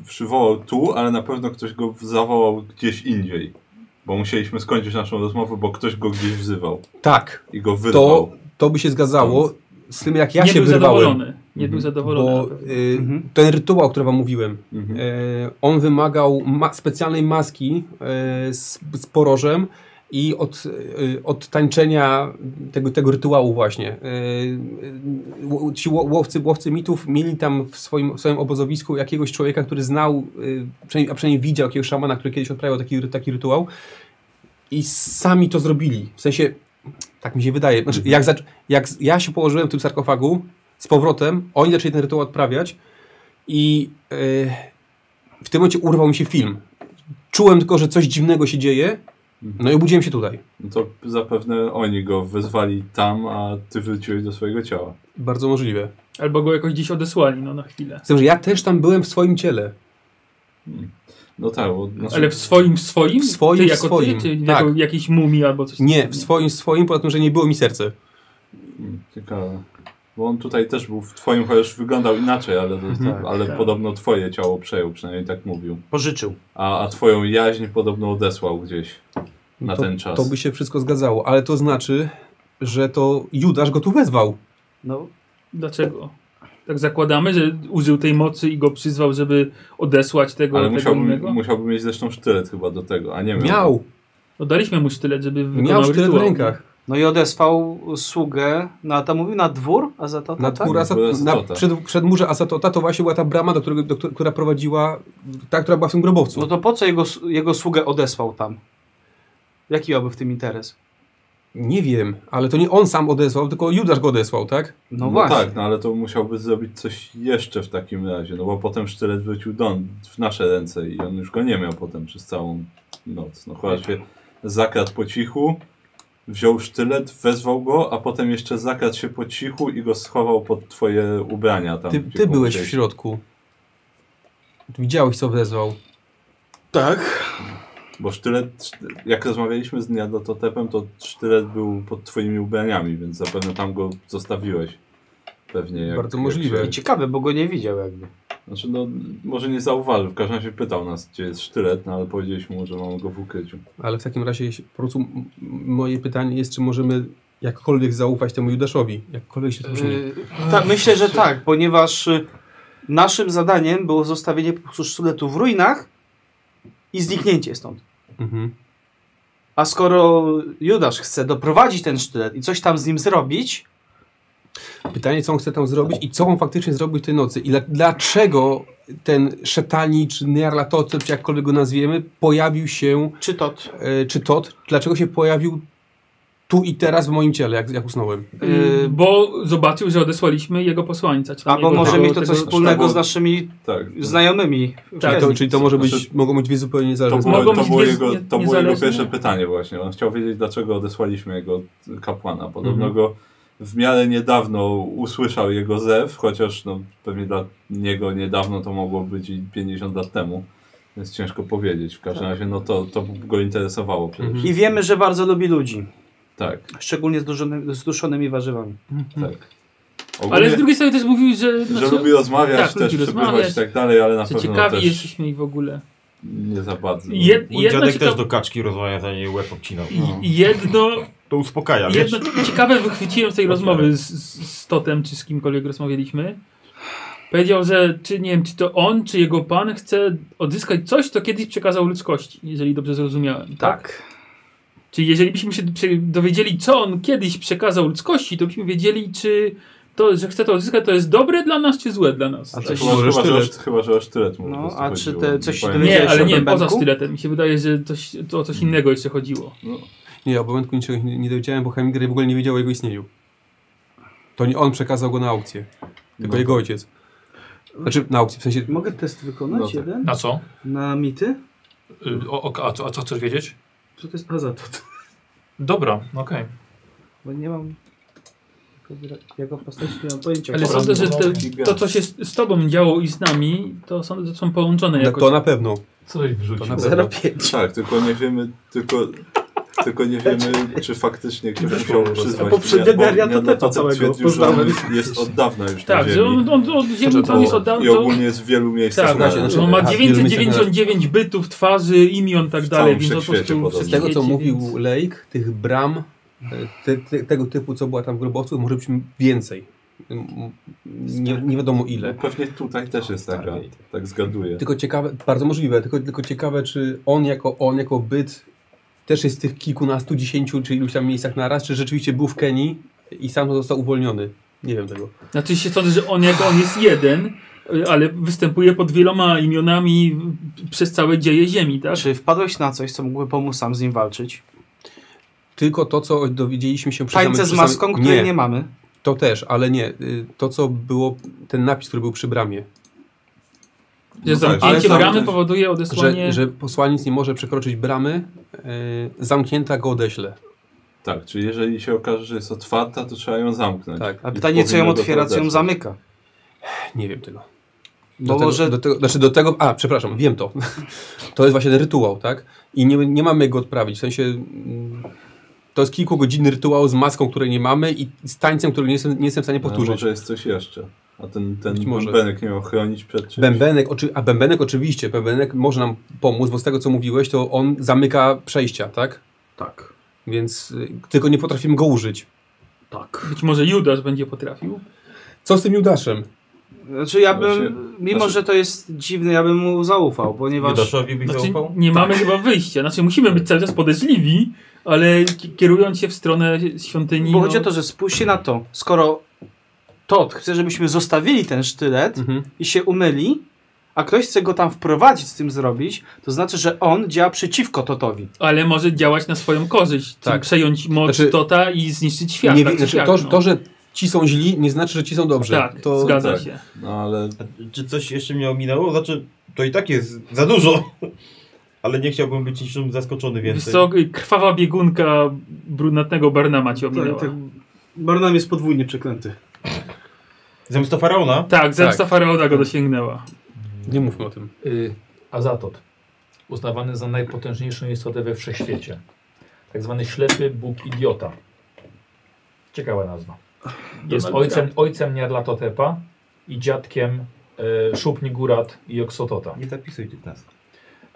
[SPEAKER 3] przywołał tu, ale na pewno ktoś go zawołał gdzieś indziej. Bo musieliśmy skończyć naszą rozmowę, bo ktoś go gdzieś wzywał
[SPEAKER 6] Tak.
[SPEAKER 3] i go
[SPEAKER 6] To,
[SPEAKER 3] wyrwał.
[SPEAKER 6] to by się zgadzało z tym, jak ja
[SPEAKER 5] nie
[SPEAKER 6] się
[SPEAKER 5] był
[SPEAKER 6] wyrwałem.
[SPEAKER 5] zadowolony. Nie był
[SPEAKER 3] Mhm.
[SPEAKER 5] zadowolony. na
[SPEAKER 6] Bo
[SPEAKER 5] pewno.
[SPEAKER 6] y,
[SPEAKER 4] Mhm.
[SPEAKER 6] ten rytuał, o którym wam mówiłem,
[SPEAKER 3] Mhm.
[SPEAKER 6] E, on wymagał ma specjalnej maski e, z, z porożem i od, e, od tańczenia tego, tego rytuału właśnie. E, e, ł- ci ło- łowcy, łowcy mitów mieli tam w swoim, w swoim obozowisku jakiegoś człowieka, który znał, e, przynajmniej- a przynajmniej widział jakiegoś szamana, który kiedyś odprawiał taki, ry- taki rytuał i sami to zrobili. W sensie, tak mi się wydaje, znaczy,
[SPEAKER 3] Mhm.
[SPEAKER 6] jak, zac- jak z- ja się położyłem w tym sarkofagu z powrotem, oni zaczęli ten rytuał odprawiać i e, w tym momencie urwał mi się film. Czułem tylko, że coś dziwnego się dzieje.
[SPEAKER 3] Mhm.
[SPEAKER 6] No i obudziłem się tutaj.
[SPEAKER 3] No to zapewne oni go wezwali tam, a ty wróciłeś do swojego ciała.
[SPEAKER 6] Bardzo możliwe.
[SPEAKER 5] Albo go jakoś gdzieś odesłali, no na chwilę.
[SPEAKER 6] Z tym, że ja też tam byłem w swoim ciele.
[SPEAKER 3] No tak, bo znaczy,
[SPEAKER 5] Ale w swoim, w swoim?
[SPEAKER 6] W swoim,
[SPEAKER 5] ty
[SPEAKER 6] w
[SPEAKER 5] jako
[SPEAKER 6] swoim,
[SPEAKER 5] Ty, czy
[SPEAKER 6] tak.
[SPEAKER 5] jako jakiejś mumii albo coś
[SPEAKER 6] Nie, w swoim, swoim, poza tym, że nie było mi serce.
[SPEAKER 3] mm, ciekawe. Bo on tutaj też był w twoim, chociaż wyglądał inaczej, ale, to, ale
[SPEAKER 5] tak.
[SPEAKER 3] podobno twoje ciało przejął, przynajmniej tak mówił.
[SPEAKER 4] Pożyczył.
[SPEAKER 3] A, a twoją jaźń podobno odesłał gdzieś na
[SPEAKER 6] No to,
[SPEAKER 3] ten czas.
[SPEAKER 6] To by się wszystko zgadzało, ale to znaczy, że to Judasz go tu wezwał.
[SPEAKER 4] No,
[SPEAKER 5] Dlaczego? Tak zakładamy, że użył tej mocy i go przyzwał, żeby odesłać tego,
[SPEAKER 3] Ale
[SPEAKER 5] tego
[SPEAKER 3] musiałby,
[SPEAKER 5] innego?
[SPEAKER 3] musiałby mieć zresztą sztylet chyba do tego, a nie miał.
[SPEAKER 6] Miał,
[SPEAKER 5] No daliśmy mu sztylet, żeby wykonał
[SPEAKER 6] miał sztylet w
[SPEAKER 5] rytuał.
[SPEAKER 6] rękach.
[SPEAKER 4] no i odesłał sługę na, tam mówił, na dwór, a za to
[SPEAKER 6] Na,
[SPEAKER 4] tak?
[SPEAKER 6] dwór Asat,
[SPEAKER 3] Była
[SPEAKER 6] na
[SPEAKER 3] Asatota.
[SPEAKER 6] przed, przedmurze Asatota to właśnie była ta brama, do którego, do, któ- która prowadziła, ta, która była w tym grobowcu.
[SPEAKER 4] No to po co jego, jego sługę odesłał tam? Jaki miałby w tym interes?
[SPEAKER 6] Nie wiem, ale to nie on sam odesłał, tylko Judasz go odesłał, tak?
[SPEAKER 4] No, właśnie.
[SPEAKER 3] tak, no ale to musiałby zrobić coś jeszcze w takim razie, no bo potem sztylet wrócił do, w nasze ręce i on już go nie miał potem przez całą noc. No chyba
[SPEAKER 5] Tak.
[SPEAKER 3] się zakradł po cichu, wziął sztylet, wezwał go, a potem jeszcze zakradł się po cichu i go schował pod twoje ubrania tam.
[SPEAKER 6] Ty,
[SPEAKER 3] gdzie
[SPEAKER 6] ty byłeś w
[SPEAKER 3] musiałeś.
[SPEAKER 6] środku. Widziałeś, co wezwał.
[SPEAKER 8] Tak.
[SPEAKER 3] Bo sztylet, szty- jak rozmawialiśmy z Niadototepem, to sztylet był pod twoimi ubraniami, więc zapewne tam go zostawiłeś. Pewnie jak,
[SPEAKER 6] Bardzo
[SPEAKER 3] jak
[SPEAKER 6] możliwe.
[SPEAKER 3] się-
[SPEAKER 4] I ciekawe, bo go nie widział jakby.
[SPEAKER 3] Znaczy, no, może nie zauważył, w każdym razie pytał nas, gdzie jest sztylet, no ale powiedzieliśmy mu, że mamy go w ukryciu.
[SPEAKER 6] Ale w takim razie jeśli- po prostu m- m- moje pytanie jest, czy możemy jakkolwiek zaufać temu Judaszowi. Jakkolwiek się to brzmi.
[SPEAKER 4] Yy, ta, myślę, że tak, ponieważ y, naszym zadaniem było zostawienie po prostu sztyletu w ruinach i zniknięcie stąd.
[SPEAKER 6] Mhm.
[SPEAKER 4] A skoro Judasz chce doprowadzić ten sztylet i coś tam z nim zrobić,
[SPEAKER 6] Pytanie, co on chce tam zrobić i co on faktycznie zrobił tej nocy. I dla, dlaczego ten szetani, czy Nyarlatotep, czy jakkolwiek go nazwiemy, pojawił się,
[SPEAKER 4] czy to
[SPEAKER 6] e, czy Tot, dlaczego się pojawił tu i teraz w moim ciele, jak, jak usnąłem.
[SPEAKER 5] Y, Bo zobaczył, że odesłaliśmy jego posłańca. Czy tam
[SPEAKER 4] Albo
[SPEAKER 5] jego
[SPEAKER 4] może
[SPEAKER 5] tego-
[SPEAKER 4] mieć to coś
[SPEAKER 5] tego-
[SPEAKER 4] wspólnego
[SPEAKER 3] sztabu-
[SPEAKER 4] z naszymi
[SPEAKER 3] Tak.
[SPEAKER 4] znajomymi. w
[SPEAKER 5] Tak,
[SPEAKER 6] To,
[SPEAKER 4] Kenii.
[SPEAKER 6] czyli to może być,
[SPEAKER 3] Znaczy-
[SPEAKER 6] mogą być dwie zupełnie
[SPEAKER 3] To
[SPEAKER 6] niezależne sprawy.
[SPEAKER 3] było,
[SPEAKER 5] Mogą
[SPEAKER 3] to
[SPEAKER 5] być
[SPEAKER 3] było,
[SPEAKER 5] nie-
[SPEAKER 3] jego,
[SPEAKER 5] nie-
[SPEAKER 3] to było jego
[SPEAKER 5] niezależne.
[SPEAKER 3] pierwsze pytanie właśnie. On chciał wiedzieć, dlaczego odesłaliśmy jego
[SPEAKER 5] Mhm.
[SPEAKER 3] kapłana. Podobno go w miarę niedawno usłyszał jego zew, chociaż no, pewnie dla niego niedawno to mogło być i 50 lat temu. Więc ciężko powiedzieć. W
[SPEAKER 5] Tak.
[SPEAKER 3] każdym razie no, to, to go interesowało przede
[SPEAKER 6] Mhm.
[SPEAKER 3] wszystkim.
[SPEAKER 4] I wiemy, że bardzo lubi ludzi,
[SPEAKER 3] Tak,
[SPEAKER 4] szczególnie z, duszony, z duszonymi warzywami.
[SPEAKER 3] tak.
[SPEAKER 5] Mhm. Ale z
[SPEAKER 3] Ogólnie,
[SPEAKER 5] drugiej strony też mówił, że...
[SPEAKER 3] że
[SPEAKER 5] znaczy,
[SPEAKER 3] lubi rozmawiać,
[SPEAKER 5] tak,
[SPEAKER 3] też
[SPEAKER 5] lubi
[SPEAKER 3] przebywać i
[SPEAKER 5] rozmawiać,
[SPEAKER 3] tak dalej, ale na
[SPEAKER 5] że
[SPEAKER 3] pewno
[SPEAKER 5] ciekawi
[SPEAKER 3] też
[SPEAKER 5] jesteśmy i w ogóle.
[SPEAKER 3] nie za bardzo.
[SPEAKER 5] Jed,
[SPEAKER 7] Mój
[SPEAKER 5] jedno,
[SPEAKER 7] dziadek też
[SPEAKER 5] cieka...
[SPEAKER 7] do kaczki rozmawia, za jej łeb obcinał.
[SPEAKER 3] No.
[SPEAKER 5] i- jedno
[SPEAKER 7] To uspokaja, wiesz?
[SPEAKER 5] Jedno ciekawe wychwyciłem z tej rozmowy z, z- z Totem, czy z kimkolwiek rozmawialiśmy. Powiedział, że czy nie wiem, czy to on, czy jego pan chce odzyskać coś, co kiedyś przekazał ludzkości, jeżeli dobrze zrozumiałem. Tak. Czyli jeżeli byśmy się prze- dowiedzieli, co on kiedyś przekazał ludzkości, to byśmy wiedzieli, czy to, że chce to odzyskać, to jest dobre dla nas, czy złe dla nas.
[SPEAKER 4] A
[SPEAKER 5] Tak.
[SPEAKER 4] coś-
[SPEAKER 3] Chyba,
[SPEAKER 6] Może
[SPEAKER 3] chyba, że,
[SPEAKER 6] sztylet.
[SPEAKER 3] o- chyba, że o sztylet mu
[SPEAKER 4] No,
[SPEAKER 3] po prostu
[SPEAKER 4] a czy
[SPEAKER 3] chodziło.
[SPEAKER 4] te- coś się
[SPEAKER 3] pamiętam.
[SPEAKER 5] Nie,
[SPEAKER 4] Dowiedziałeś się
[SPEAKER 5] ale
[SPEAKER 4] o
[SPEAKER 5] nie, poza
[SPEAKER 4] bębenku?
[SPEAKER 5] styletem. Mi się wydaje, że coś, to o coś innego jeszcze chodziło.
[SPEAKER 6] Nie, o Bowenku niczego nie, nie dowiedziałem, bo Hemingway w ogóle nie wiedział o jego istnieniu. To nie on przekazał go na aukcję, tylko
[SPEAKER 5] No.
[SPEAKER 6] jego ojciec. Znaczy na aukcję, w sensie
[SPEAKER 4] Mogę test wykonać
[SPEAKER 3] No tak.
[SPEAKER 4] jeden?
[SPEAKER 1] Na co?
[SPEAKER 4] Na mity?
[SPEAKER 1] Y, O, o, a, co a co chcesz wiedzieć?
[SPEAKER 4] Co to jest azot?
[SPEAKER 1] Dobra, okej.
[SPEAKER 4] Bo nie mam... Jako postaci nie mam pojęcia.
[SPEAKER 5] Ale
[SPEAKER 1] Dobra,
[SPEAKER 5] sądzę, że
[SPEAKER 1] no,
[SPEAKER 5] te,
[SPEAKER 3] gigant.
[SPEAKER 5] to, co się z, z tobą działo i z nami, to sądzę, że są
[SPEAKER 3] No
[SPEAKER 5] połączone
[SPEAKER 6] na,
[SPEAKER 5] jakoś.
[SPEAKER 6] to na pewno.
[SPEAKER 1] Co żeś wrzucił?
[SPEAKER 6] To na
[SPEAKER 4] 0,5.
[SPEAKER 3] Tak, tylko nie wiemy, tylko, tylko nie
[SPEAKER 4] Znaczy,
[SPEAKER 3] wiemy, czy faktycznie ktoś musiał przyzwać.
[SPEAKER 4] poprzednia
[SPEAKER 3] bo
[SPEAKER 4] Daria to
[SPEAKER 3] Jan
[SPEAKER 4] też
[SPEAKER 3] Lopata
[SPEAKER 4] całego
[SPEAKER 3] twierdził, że
[SPEAKER 4] poznałem.
[SPEAKER 3] on Jest od dawna już na
[SPEAKER 5] Tak,
[SPEAKER 3] ziemi.
[SPEAKER 5] że on, on, on, ziemi to on jest oddany.
[SPEAKER 3] I ogólnie jest w wielu miejscach.
[SPEAKER 5] Tak,
[SPEAKER 3] na-
[SPEAKER 6] Słuchajcie, znaczy-
[SPEAKER 5] on ma
[SPEAKER 6] aha,
[SPEAKER 5] 999 bytów, twarzy, imion i tak
[SPEAKER 3] W
[SPEAKER 5] dalej,
[SPEAKER 3] całym
[SPEAKER 5] więc on po
[SPEAKER 3] wszechświecie
[SPEAKER 5] prostu
[SPEAKER 3] podobno.
[SPEAKER 6] Z
[SPEAKER 5] wszystkie
[SPEAKER 6] tego, co
[SPEAKER 5] dzieci,
[SPEAKER 6] mówił
[SPEAKER 5] więc-
[SPEAKER 6] Lake, tych bram, e, te, te, tego typu, co była tam w grobowcu, może być więcej. M- m- Nie, nie wiadomo ile.
[SPEAKER 3] Pewnie tutaj też jest taka, tak zgaduję.
[SPEAKER 6] Tylko ciekawe, bardzo możliwe, tylko, tylko ciekawe, czy on jako, on jako byt też jest w tych kilkunastu, dziesięciu, czy iluś tam miejscach naraz, czy rzeczywiście był w Kenii i sam został uwolniony. Nie wiem tego.
[SPEAKER 5] Znaczy się sądzę, że on jako on jest jeden, y, ale występuje pod wieloma imionami y, przez całe dzieje Ziemi, tak?
[SPEAKER 4] Czy wpadłeś na coś, co mógłby pomóc sam z nim walczyć?
[SPEAKER 6] Tylko to, co dowiedzieliśmy się przy
[SPEAKER 4] Tańce
[SPEAKER 6] samym-
[SPEAKER 4] z
[SPEAKER 6] przy samym-
[SPEAKER 4] maską, której nie, mamy.
[SPEAKER 6] To też, ale nie. y, To, co było, ten napis, który był przy bramie,
[SPEAKER 5] Że
[SPEAKER 3] No tak,
[SPEAKER 5] zamknięcie
[SPEAKER 3] ale tam
[SPEAKER 5] bramy
[SPEAKER 3] też-
[SPEAKER 5] powoduje odesłanie...
[SPEAKER 6] że, że posłaniec nie może przekroczyć bramy, y, zamknięta go odeśle.
[SPEAKER 3] Tak, czyli jeżeli się okaże, że jest otwarta, to trzeba ją zamknąć.
[SPEAKER 6] Tak.
[SPEAKER 4] A
[SPEAKER 3] I
[SPEAKER 4] pytanie, co ją
[SPEAKER 3] powinno
[SPEAKER 4] otwiera, co ją
[SPEAKER 3] doprowadzić.
[SPEAKER 4] zamyka.
[SPEAKER 6] Nie wiem tego.
[SPEAKER 4] Bo
[SPEAKER 6] do
[SPEAKER 4] może-
[SPEAKER 6] Tego, do tego, znaczy do tego, a przepraszam, wiem to. To jest właśnie ten rytuał, tak? I nie, nie mamy go odprawić, w sensie mm, to jest kilkugodzinny rytuał z maską, której nie mamy i z tańcem, który nie jestem, nie jestem w stanie
[SPEAKER 3] Ale
[SPEAKER 6] powtórzyć.
[SPEAKER 3] No, Może jest coś jeszcze. A ten, ten
[SPEAKER 6] Być może.
[SPEAKER 3] bębenek miał chronić przed czymś.
[SPEAKER 6] Bębenek, oczy, a bębenek oczywiście, bębenek może nam pomóc, bo z tego co mówiłeś, to on zamyka przejścia, tak?
[SPEAKER 8] Tak.
[SPEAKER 6] Więc y, tylko nie potrafimy go użyć.
[SPEAKER 8] Tak.
[SPEAKER 5] Być może Judasz będzie potrafił.
[SPEAKER 6] Co z tym Judaszem?
[SPEAKER 4] Znaczy ja bym,
[SPEAKER 3] Znaczy-
[SPEAKER 4] mimo
[SPEAKER 3] znaczy-
[SPEAKER 4] że to jest dziwne, ja bym mu zaufał, ponieważ...
[SPEAKER 8] Judaszowi byś
[SPEAKER 5] Znaczy,
[SPEAKER 8] zaufał?
[SPEAKER 5] nie mamy
[SPEAKER 3] Tak.
[SPEAKER 5] chyba wyjścia. Znaczy musimy być cały czas podejrzliwi, ale ki- kierując się w stronę świątyni... no,
[SPEAKER 4] Bo chodzi o to, że spójrzcie na to, skoro Todd chce, żebyśmy zostawili ten sztylet
[SPEAKER 6] Mhm.
[SPEAKER 4] i się umyli, a ktoś chce go tam wprowadzić, z tym zrobić, to znaczy, że on działa przeciwko Totowi.
[SPEAKER 5] Ale może działać na swoją korzyść. czyli
[SPEAKER 6] Tak.
[SPEAKER 5] Przejąć moc
[SPEAKER 6] Znaczy-
[SPEAKER 5] Tota i zniszczyć świat.
[SPEAKER 6] nie,
[SPEAKER 5] tak
[SPEAKER 6] wie-
[SPEAKER 5] czy
[SPEAKER 6] znaczy,
[SPEAKER 5] siak,
[SPEAKER 6] to,
[SPEAKER 5] no.
[SPEAKER 6] to, że ci są źli, nie znaczy, że ci są dobrzy.
[SPEAKER 5] Tak,
[SPEAKER 6] to,
[SPEAKER 5] zgadza
[SPEAKER 3] tak.
[SPEAKER 5] się.
[SPEAKER 3] No ale
[SPEAKER 8] A Czy coś jeszcze mnie ominęło? Znaczy, to i tak jest za dużo. Ale nie chciałbym być niczym zaskoczony więcej.
[SPEAKER 5] Wysok, y, krwawa biegunka brunatnego Barnama ci ominęła. Tak,
[SPEAKER 4] Barnam jest podwójnie przeklęty.
[SPEAKER 8] Zemsta Faraona?
[SPEAKER 5] Tak, zemsta
[SPEAKER 6] Tak.
[SPEAKER 5] Faraona go dosięgnęła.
[SPEAKER 6] Nie mówmy o tym.
[SPEAKER 1] Y, Azatot. Uznawany za najpotężniejszą istotę we wszechświecie. Tak zwany ślepy Bóg idiota. Ciekawa nazwa. Jest ojcem, ojcem Niarlatotepa i dziadkiem y, Szupni Gurat i Oksotota.
[SPEAKER 8] Nie zapisuj tych nas.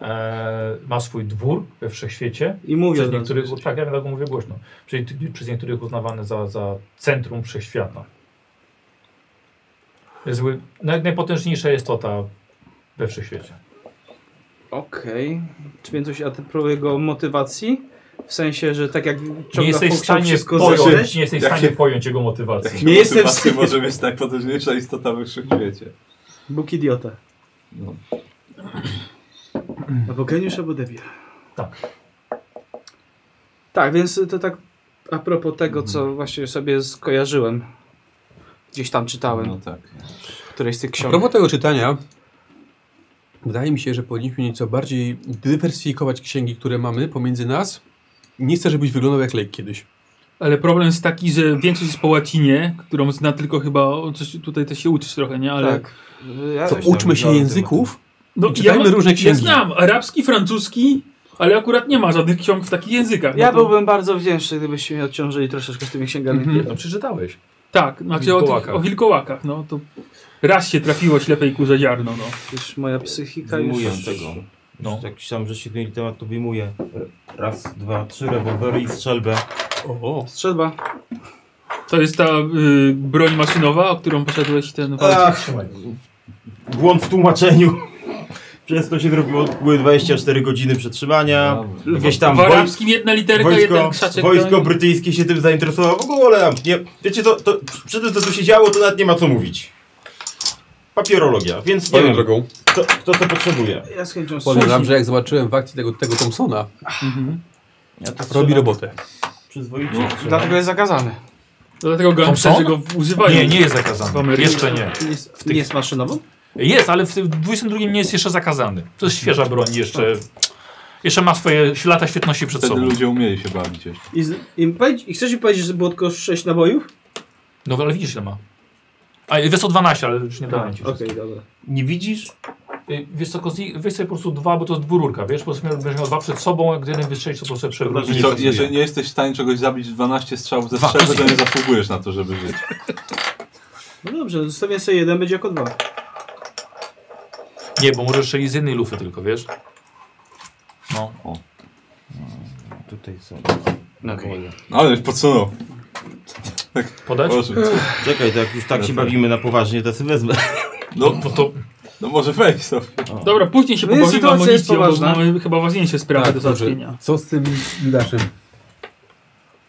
[SPEAKER 1] E, ma swój dwór we wszechświecie.
[SPEAKER 4] I mówię
[SPEAKER 1] Przez
[SPEAKER 4] od razu.
[SPEAKER 1] niektórych, tak, ja tego mówię głośno. Czyli ty- przez niektórych uznawany za, za centrum wszechświata. Jest zły- naj, najpotężniejsza istota we wszechświecie.
[SPEAKER 4] Okej. Czy więc coś, a ty próbuję go motywacji? W sensie, że tak jak
[SPEAKER 1] Nie
[SPEAKER 4] ciągle
[SPEAKER 1] jesteś w
[SPEAKER 4] Hulk chciał
[SPEAKER 1] stanie
[SPEAKER 4] wszystko
[SPEAKER 1] pojąć,
[SPEAKER 4] zeszyć?
[SPEAKER 1] nie jesteś w
[SPEAKER 3] Jakie-
[SPEAKER 1] stanie pojąć jego motywacji.
[SPEAKER 4] Nie jestem w
[SPEAKER 3] motywację
[SPEAKER 4] stanie-
[SPEAKER 3] może mieć najpotężniejsza istota we wszechświecie.
[SPEAKER 4] Bóg idiota.
[SPEAKER 3] No.
[SPEAKER 4] Albo geniusz, albo debil.
[SPEAKER 1] Tak.
[SPEAKER 4] Tak, więc to tak a propos tego, co właśnie sobie skojarzyłem. Gdzieś tam czytałem,
[SPEAKER 3] No tak.
[SPEAKER 4] w którejś z tych
[SPEAKER 6] A
[SPEAKER 4] książek.
[SPEAKER 6] propos tego czytania, wydaje mi się, że powinniśmy nieco bardziej dywersyfikować księgi, które mamy pomiędzy nas. Nie chcę, żebyś wyglądał jak lek kiedyś.
[SPEAKER 5] Ale problem jest taki, że większość jest po łacinie, którą zna tylko chyba, o coś tutaj też się uczysz trochę, nie? Ale
[SPEAKER 4] Tak. Ja
[SPEAKER 6] To
[SPEAKER 4] już-
[SPEAKER 6] uczmy się
[SPEAKER 8] myślałem o tym.
[SPEAKER 6] języków.
[SPEAKER 5] no,
[SPEAKER 6] I czytajmy różne
[SPEAKER 5] Ja
[SPEAKER 6] księgi.
[SPEAKER 5] znam arabski, francuski, ale akurat nie ma żadnych ksiąg w takich językach.
[SPEAKER 4] ja
[SPEAKER 5] no to-
[SPEAKER 4] byłbym bardzo wdzięczny, gdybyście mnie odciążyli troszeczkę z tymi księgami.
[SPEAKER 1] No przeczytałeś.
[SPEAKER 5] Mhm. Tak, znaczy o, tych,
[SPEAKER 1] Wilkołakach.
[SPEAKER 5] o wilkołakach, no to raz się trafiło ślepej kurze ziarno, no.
[SPEAKER 4] Już moja psychika
[SPEAKER 8] Wyjmuję
[SPEAKER 4] już...
[SPEAKER 8] tego.
[SPEAKER 1] No.
[SPEAKER 8] Jak myślałem, że się zmieni temat, to wyjmuję. Raz, dwa, trzy rewolwery i strzelbę.
[SPEAKER 6] O,
[SPEAKER 4] Strzelba.
[SPEAKER 5] To jest ta y, broń maszynowa, o którą poszedłeś ten walczyć.
[SPEAKER 8] Ach, błąd w tłumaczeniu. Przez to się zrobiło, były 24 godziny przetrzymania, jakieś tam
[SPEAKER 5] W
[SPEAKER 8] wojs-
[SPEAKER 5] arabskim jedna literka, jeden
[SPEAKER 8] wojsko,
[SPEAKER 5] krzaczek.
[SPEAKER 8] wojsko
[SPEAKER 5] do-
[SPEAKER 8] brytyjskie się tym zainteresowało, w ogóle tam, nie, wiecie co, to, przy tym co tu się działo, to nawet nie ma co mówić. Papierologia, więc nie
[SPEAKER 6] Swoją
[SPEAKER 8] wiem,
[SPEAKER 6] drogą.
[SPEAKER 8] kto, kto to potrzebuje.
[SPEAKER 4] Ja z chęcią
[SPEAKER 6] Powiem wam,
[SPEAKER 4] słucham.
[SPEAKER 6] że jak zobaczyłem w akcji tego, tego Thompsona,
[SPEAKER 5] Mhm.
[SPEAKER 8] Ja to Tak,
[SPEAKER 6] robi
[SPEAKER 8] trzeba
[SPEAKER 6] robotę.
[SPEAKER 8] Przyzwoicie.
[SPEAKER 4] Dlatego jest zakazane.
[SPEAKER 5] Dlatego
[SPEAKER 1] Thompson?
[SPEAKER 5] gangsterzy go używają.
[SPEAKER 1] Nie, nie jest zakazany. Jeszcze nie.
[SPEAKER 4] Jest, nie jest maszynową?
[SPEAKER 1] Jest, ale w tym 22 nie jest jeszcze zakazany. To jest świeża broń, jeszcze, jeszcze ma swoje lata świetności przed
[SPEAKER 3] Wtedy
[SPEAKER 1] sobą.
[SPEAKER 3] ludzie umieli się bawić jeszcze.
[SPEAKER 4] I, z, im powiedz, I chcesz mi powiedzieć, że było tylko 6 nabojów?
[SPEAKER 1] No ale widzisz ile ma. A wiesz co 12, ale już nie dałem ci.
[SPEAKER 4] Okej, dobra.
[SPEAKER 8] Nie widzisz?
[SPEAKER 1] Y, Wiesz co, Kozi, weź sobie po prostu dwa, bo to jest dwururka, wiesz? Po prostu miał- będziesz miał dwa przed sobą, jak jeden wystrzelić, to po prostu sobie przewrócisz.
[SPEAKER 3] I
[SPEAKER 1] i
[SPEAKER 3] co,
[SPEAKER 1] pasuje.
[SPEAKER 3] jeżeli nie jesteś w stanie czegoś zabić w 12 strzałów ze
[SPEAKER 1] Dwa.
[SPEAKER 3] strzelby, to nie zasługujesz na to, żeby żyć.
[SPEAKER 4] No dobrze, zostawię sobie jeden, będzie jako dwa.
[SPEAKER 1] Nie, bo możesz strzelić z jednej lufy tylko, wiesz? No.
[SPEAKER 7] Tutaj są.
[SPEAKER 3] No ale już podsunął.
[SPEAKER 1] Podać?
[SPEAKER 3] Proszę.
[SPEAKER 8] Czekaj, to jak już tak się bawimy na poważnie, to sobie wezmę.
[SPEAKER 3] No,
[SPEAKER 1] No to
[SPEAKER 3] no może wejść sobie.
[SPEAKER 5] Dobra, później się
[SPEAKER 4] No jest
[SPEAKER 5] pobawimy
[SPEAKER 4] sytuacja jest
[SPEAKER 5] amunicją, bo
[SPEAKER 4] poważna.
[SPEAKER 5] mamy chyba ważniejsze sprawy do
[SPEAKER 6] Tak, dobrze.
[SPEAKER 5] załatwienia.
[SPEAKER 6] Co z tym Judaszem?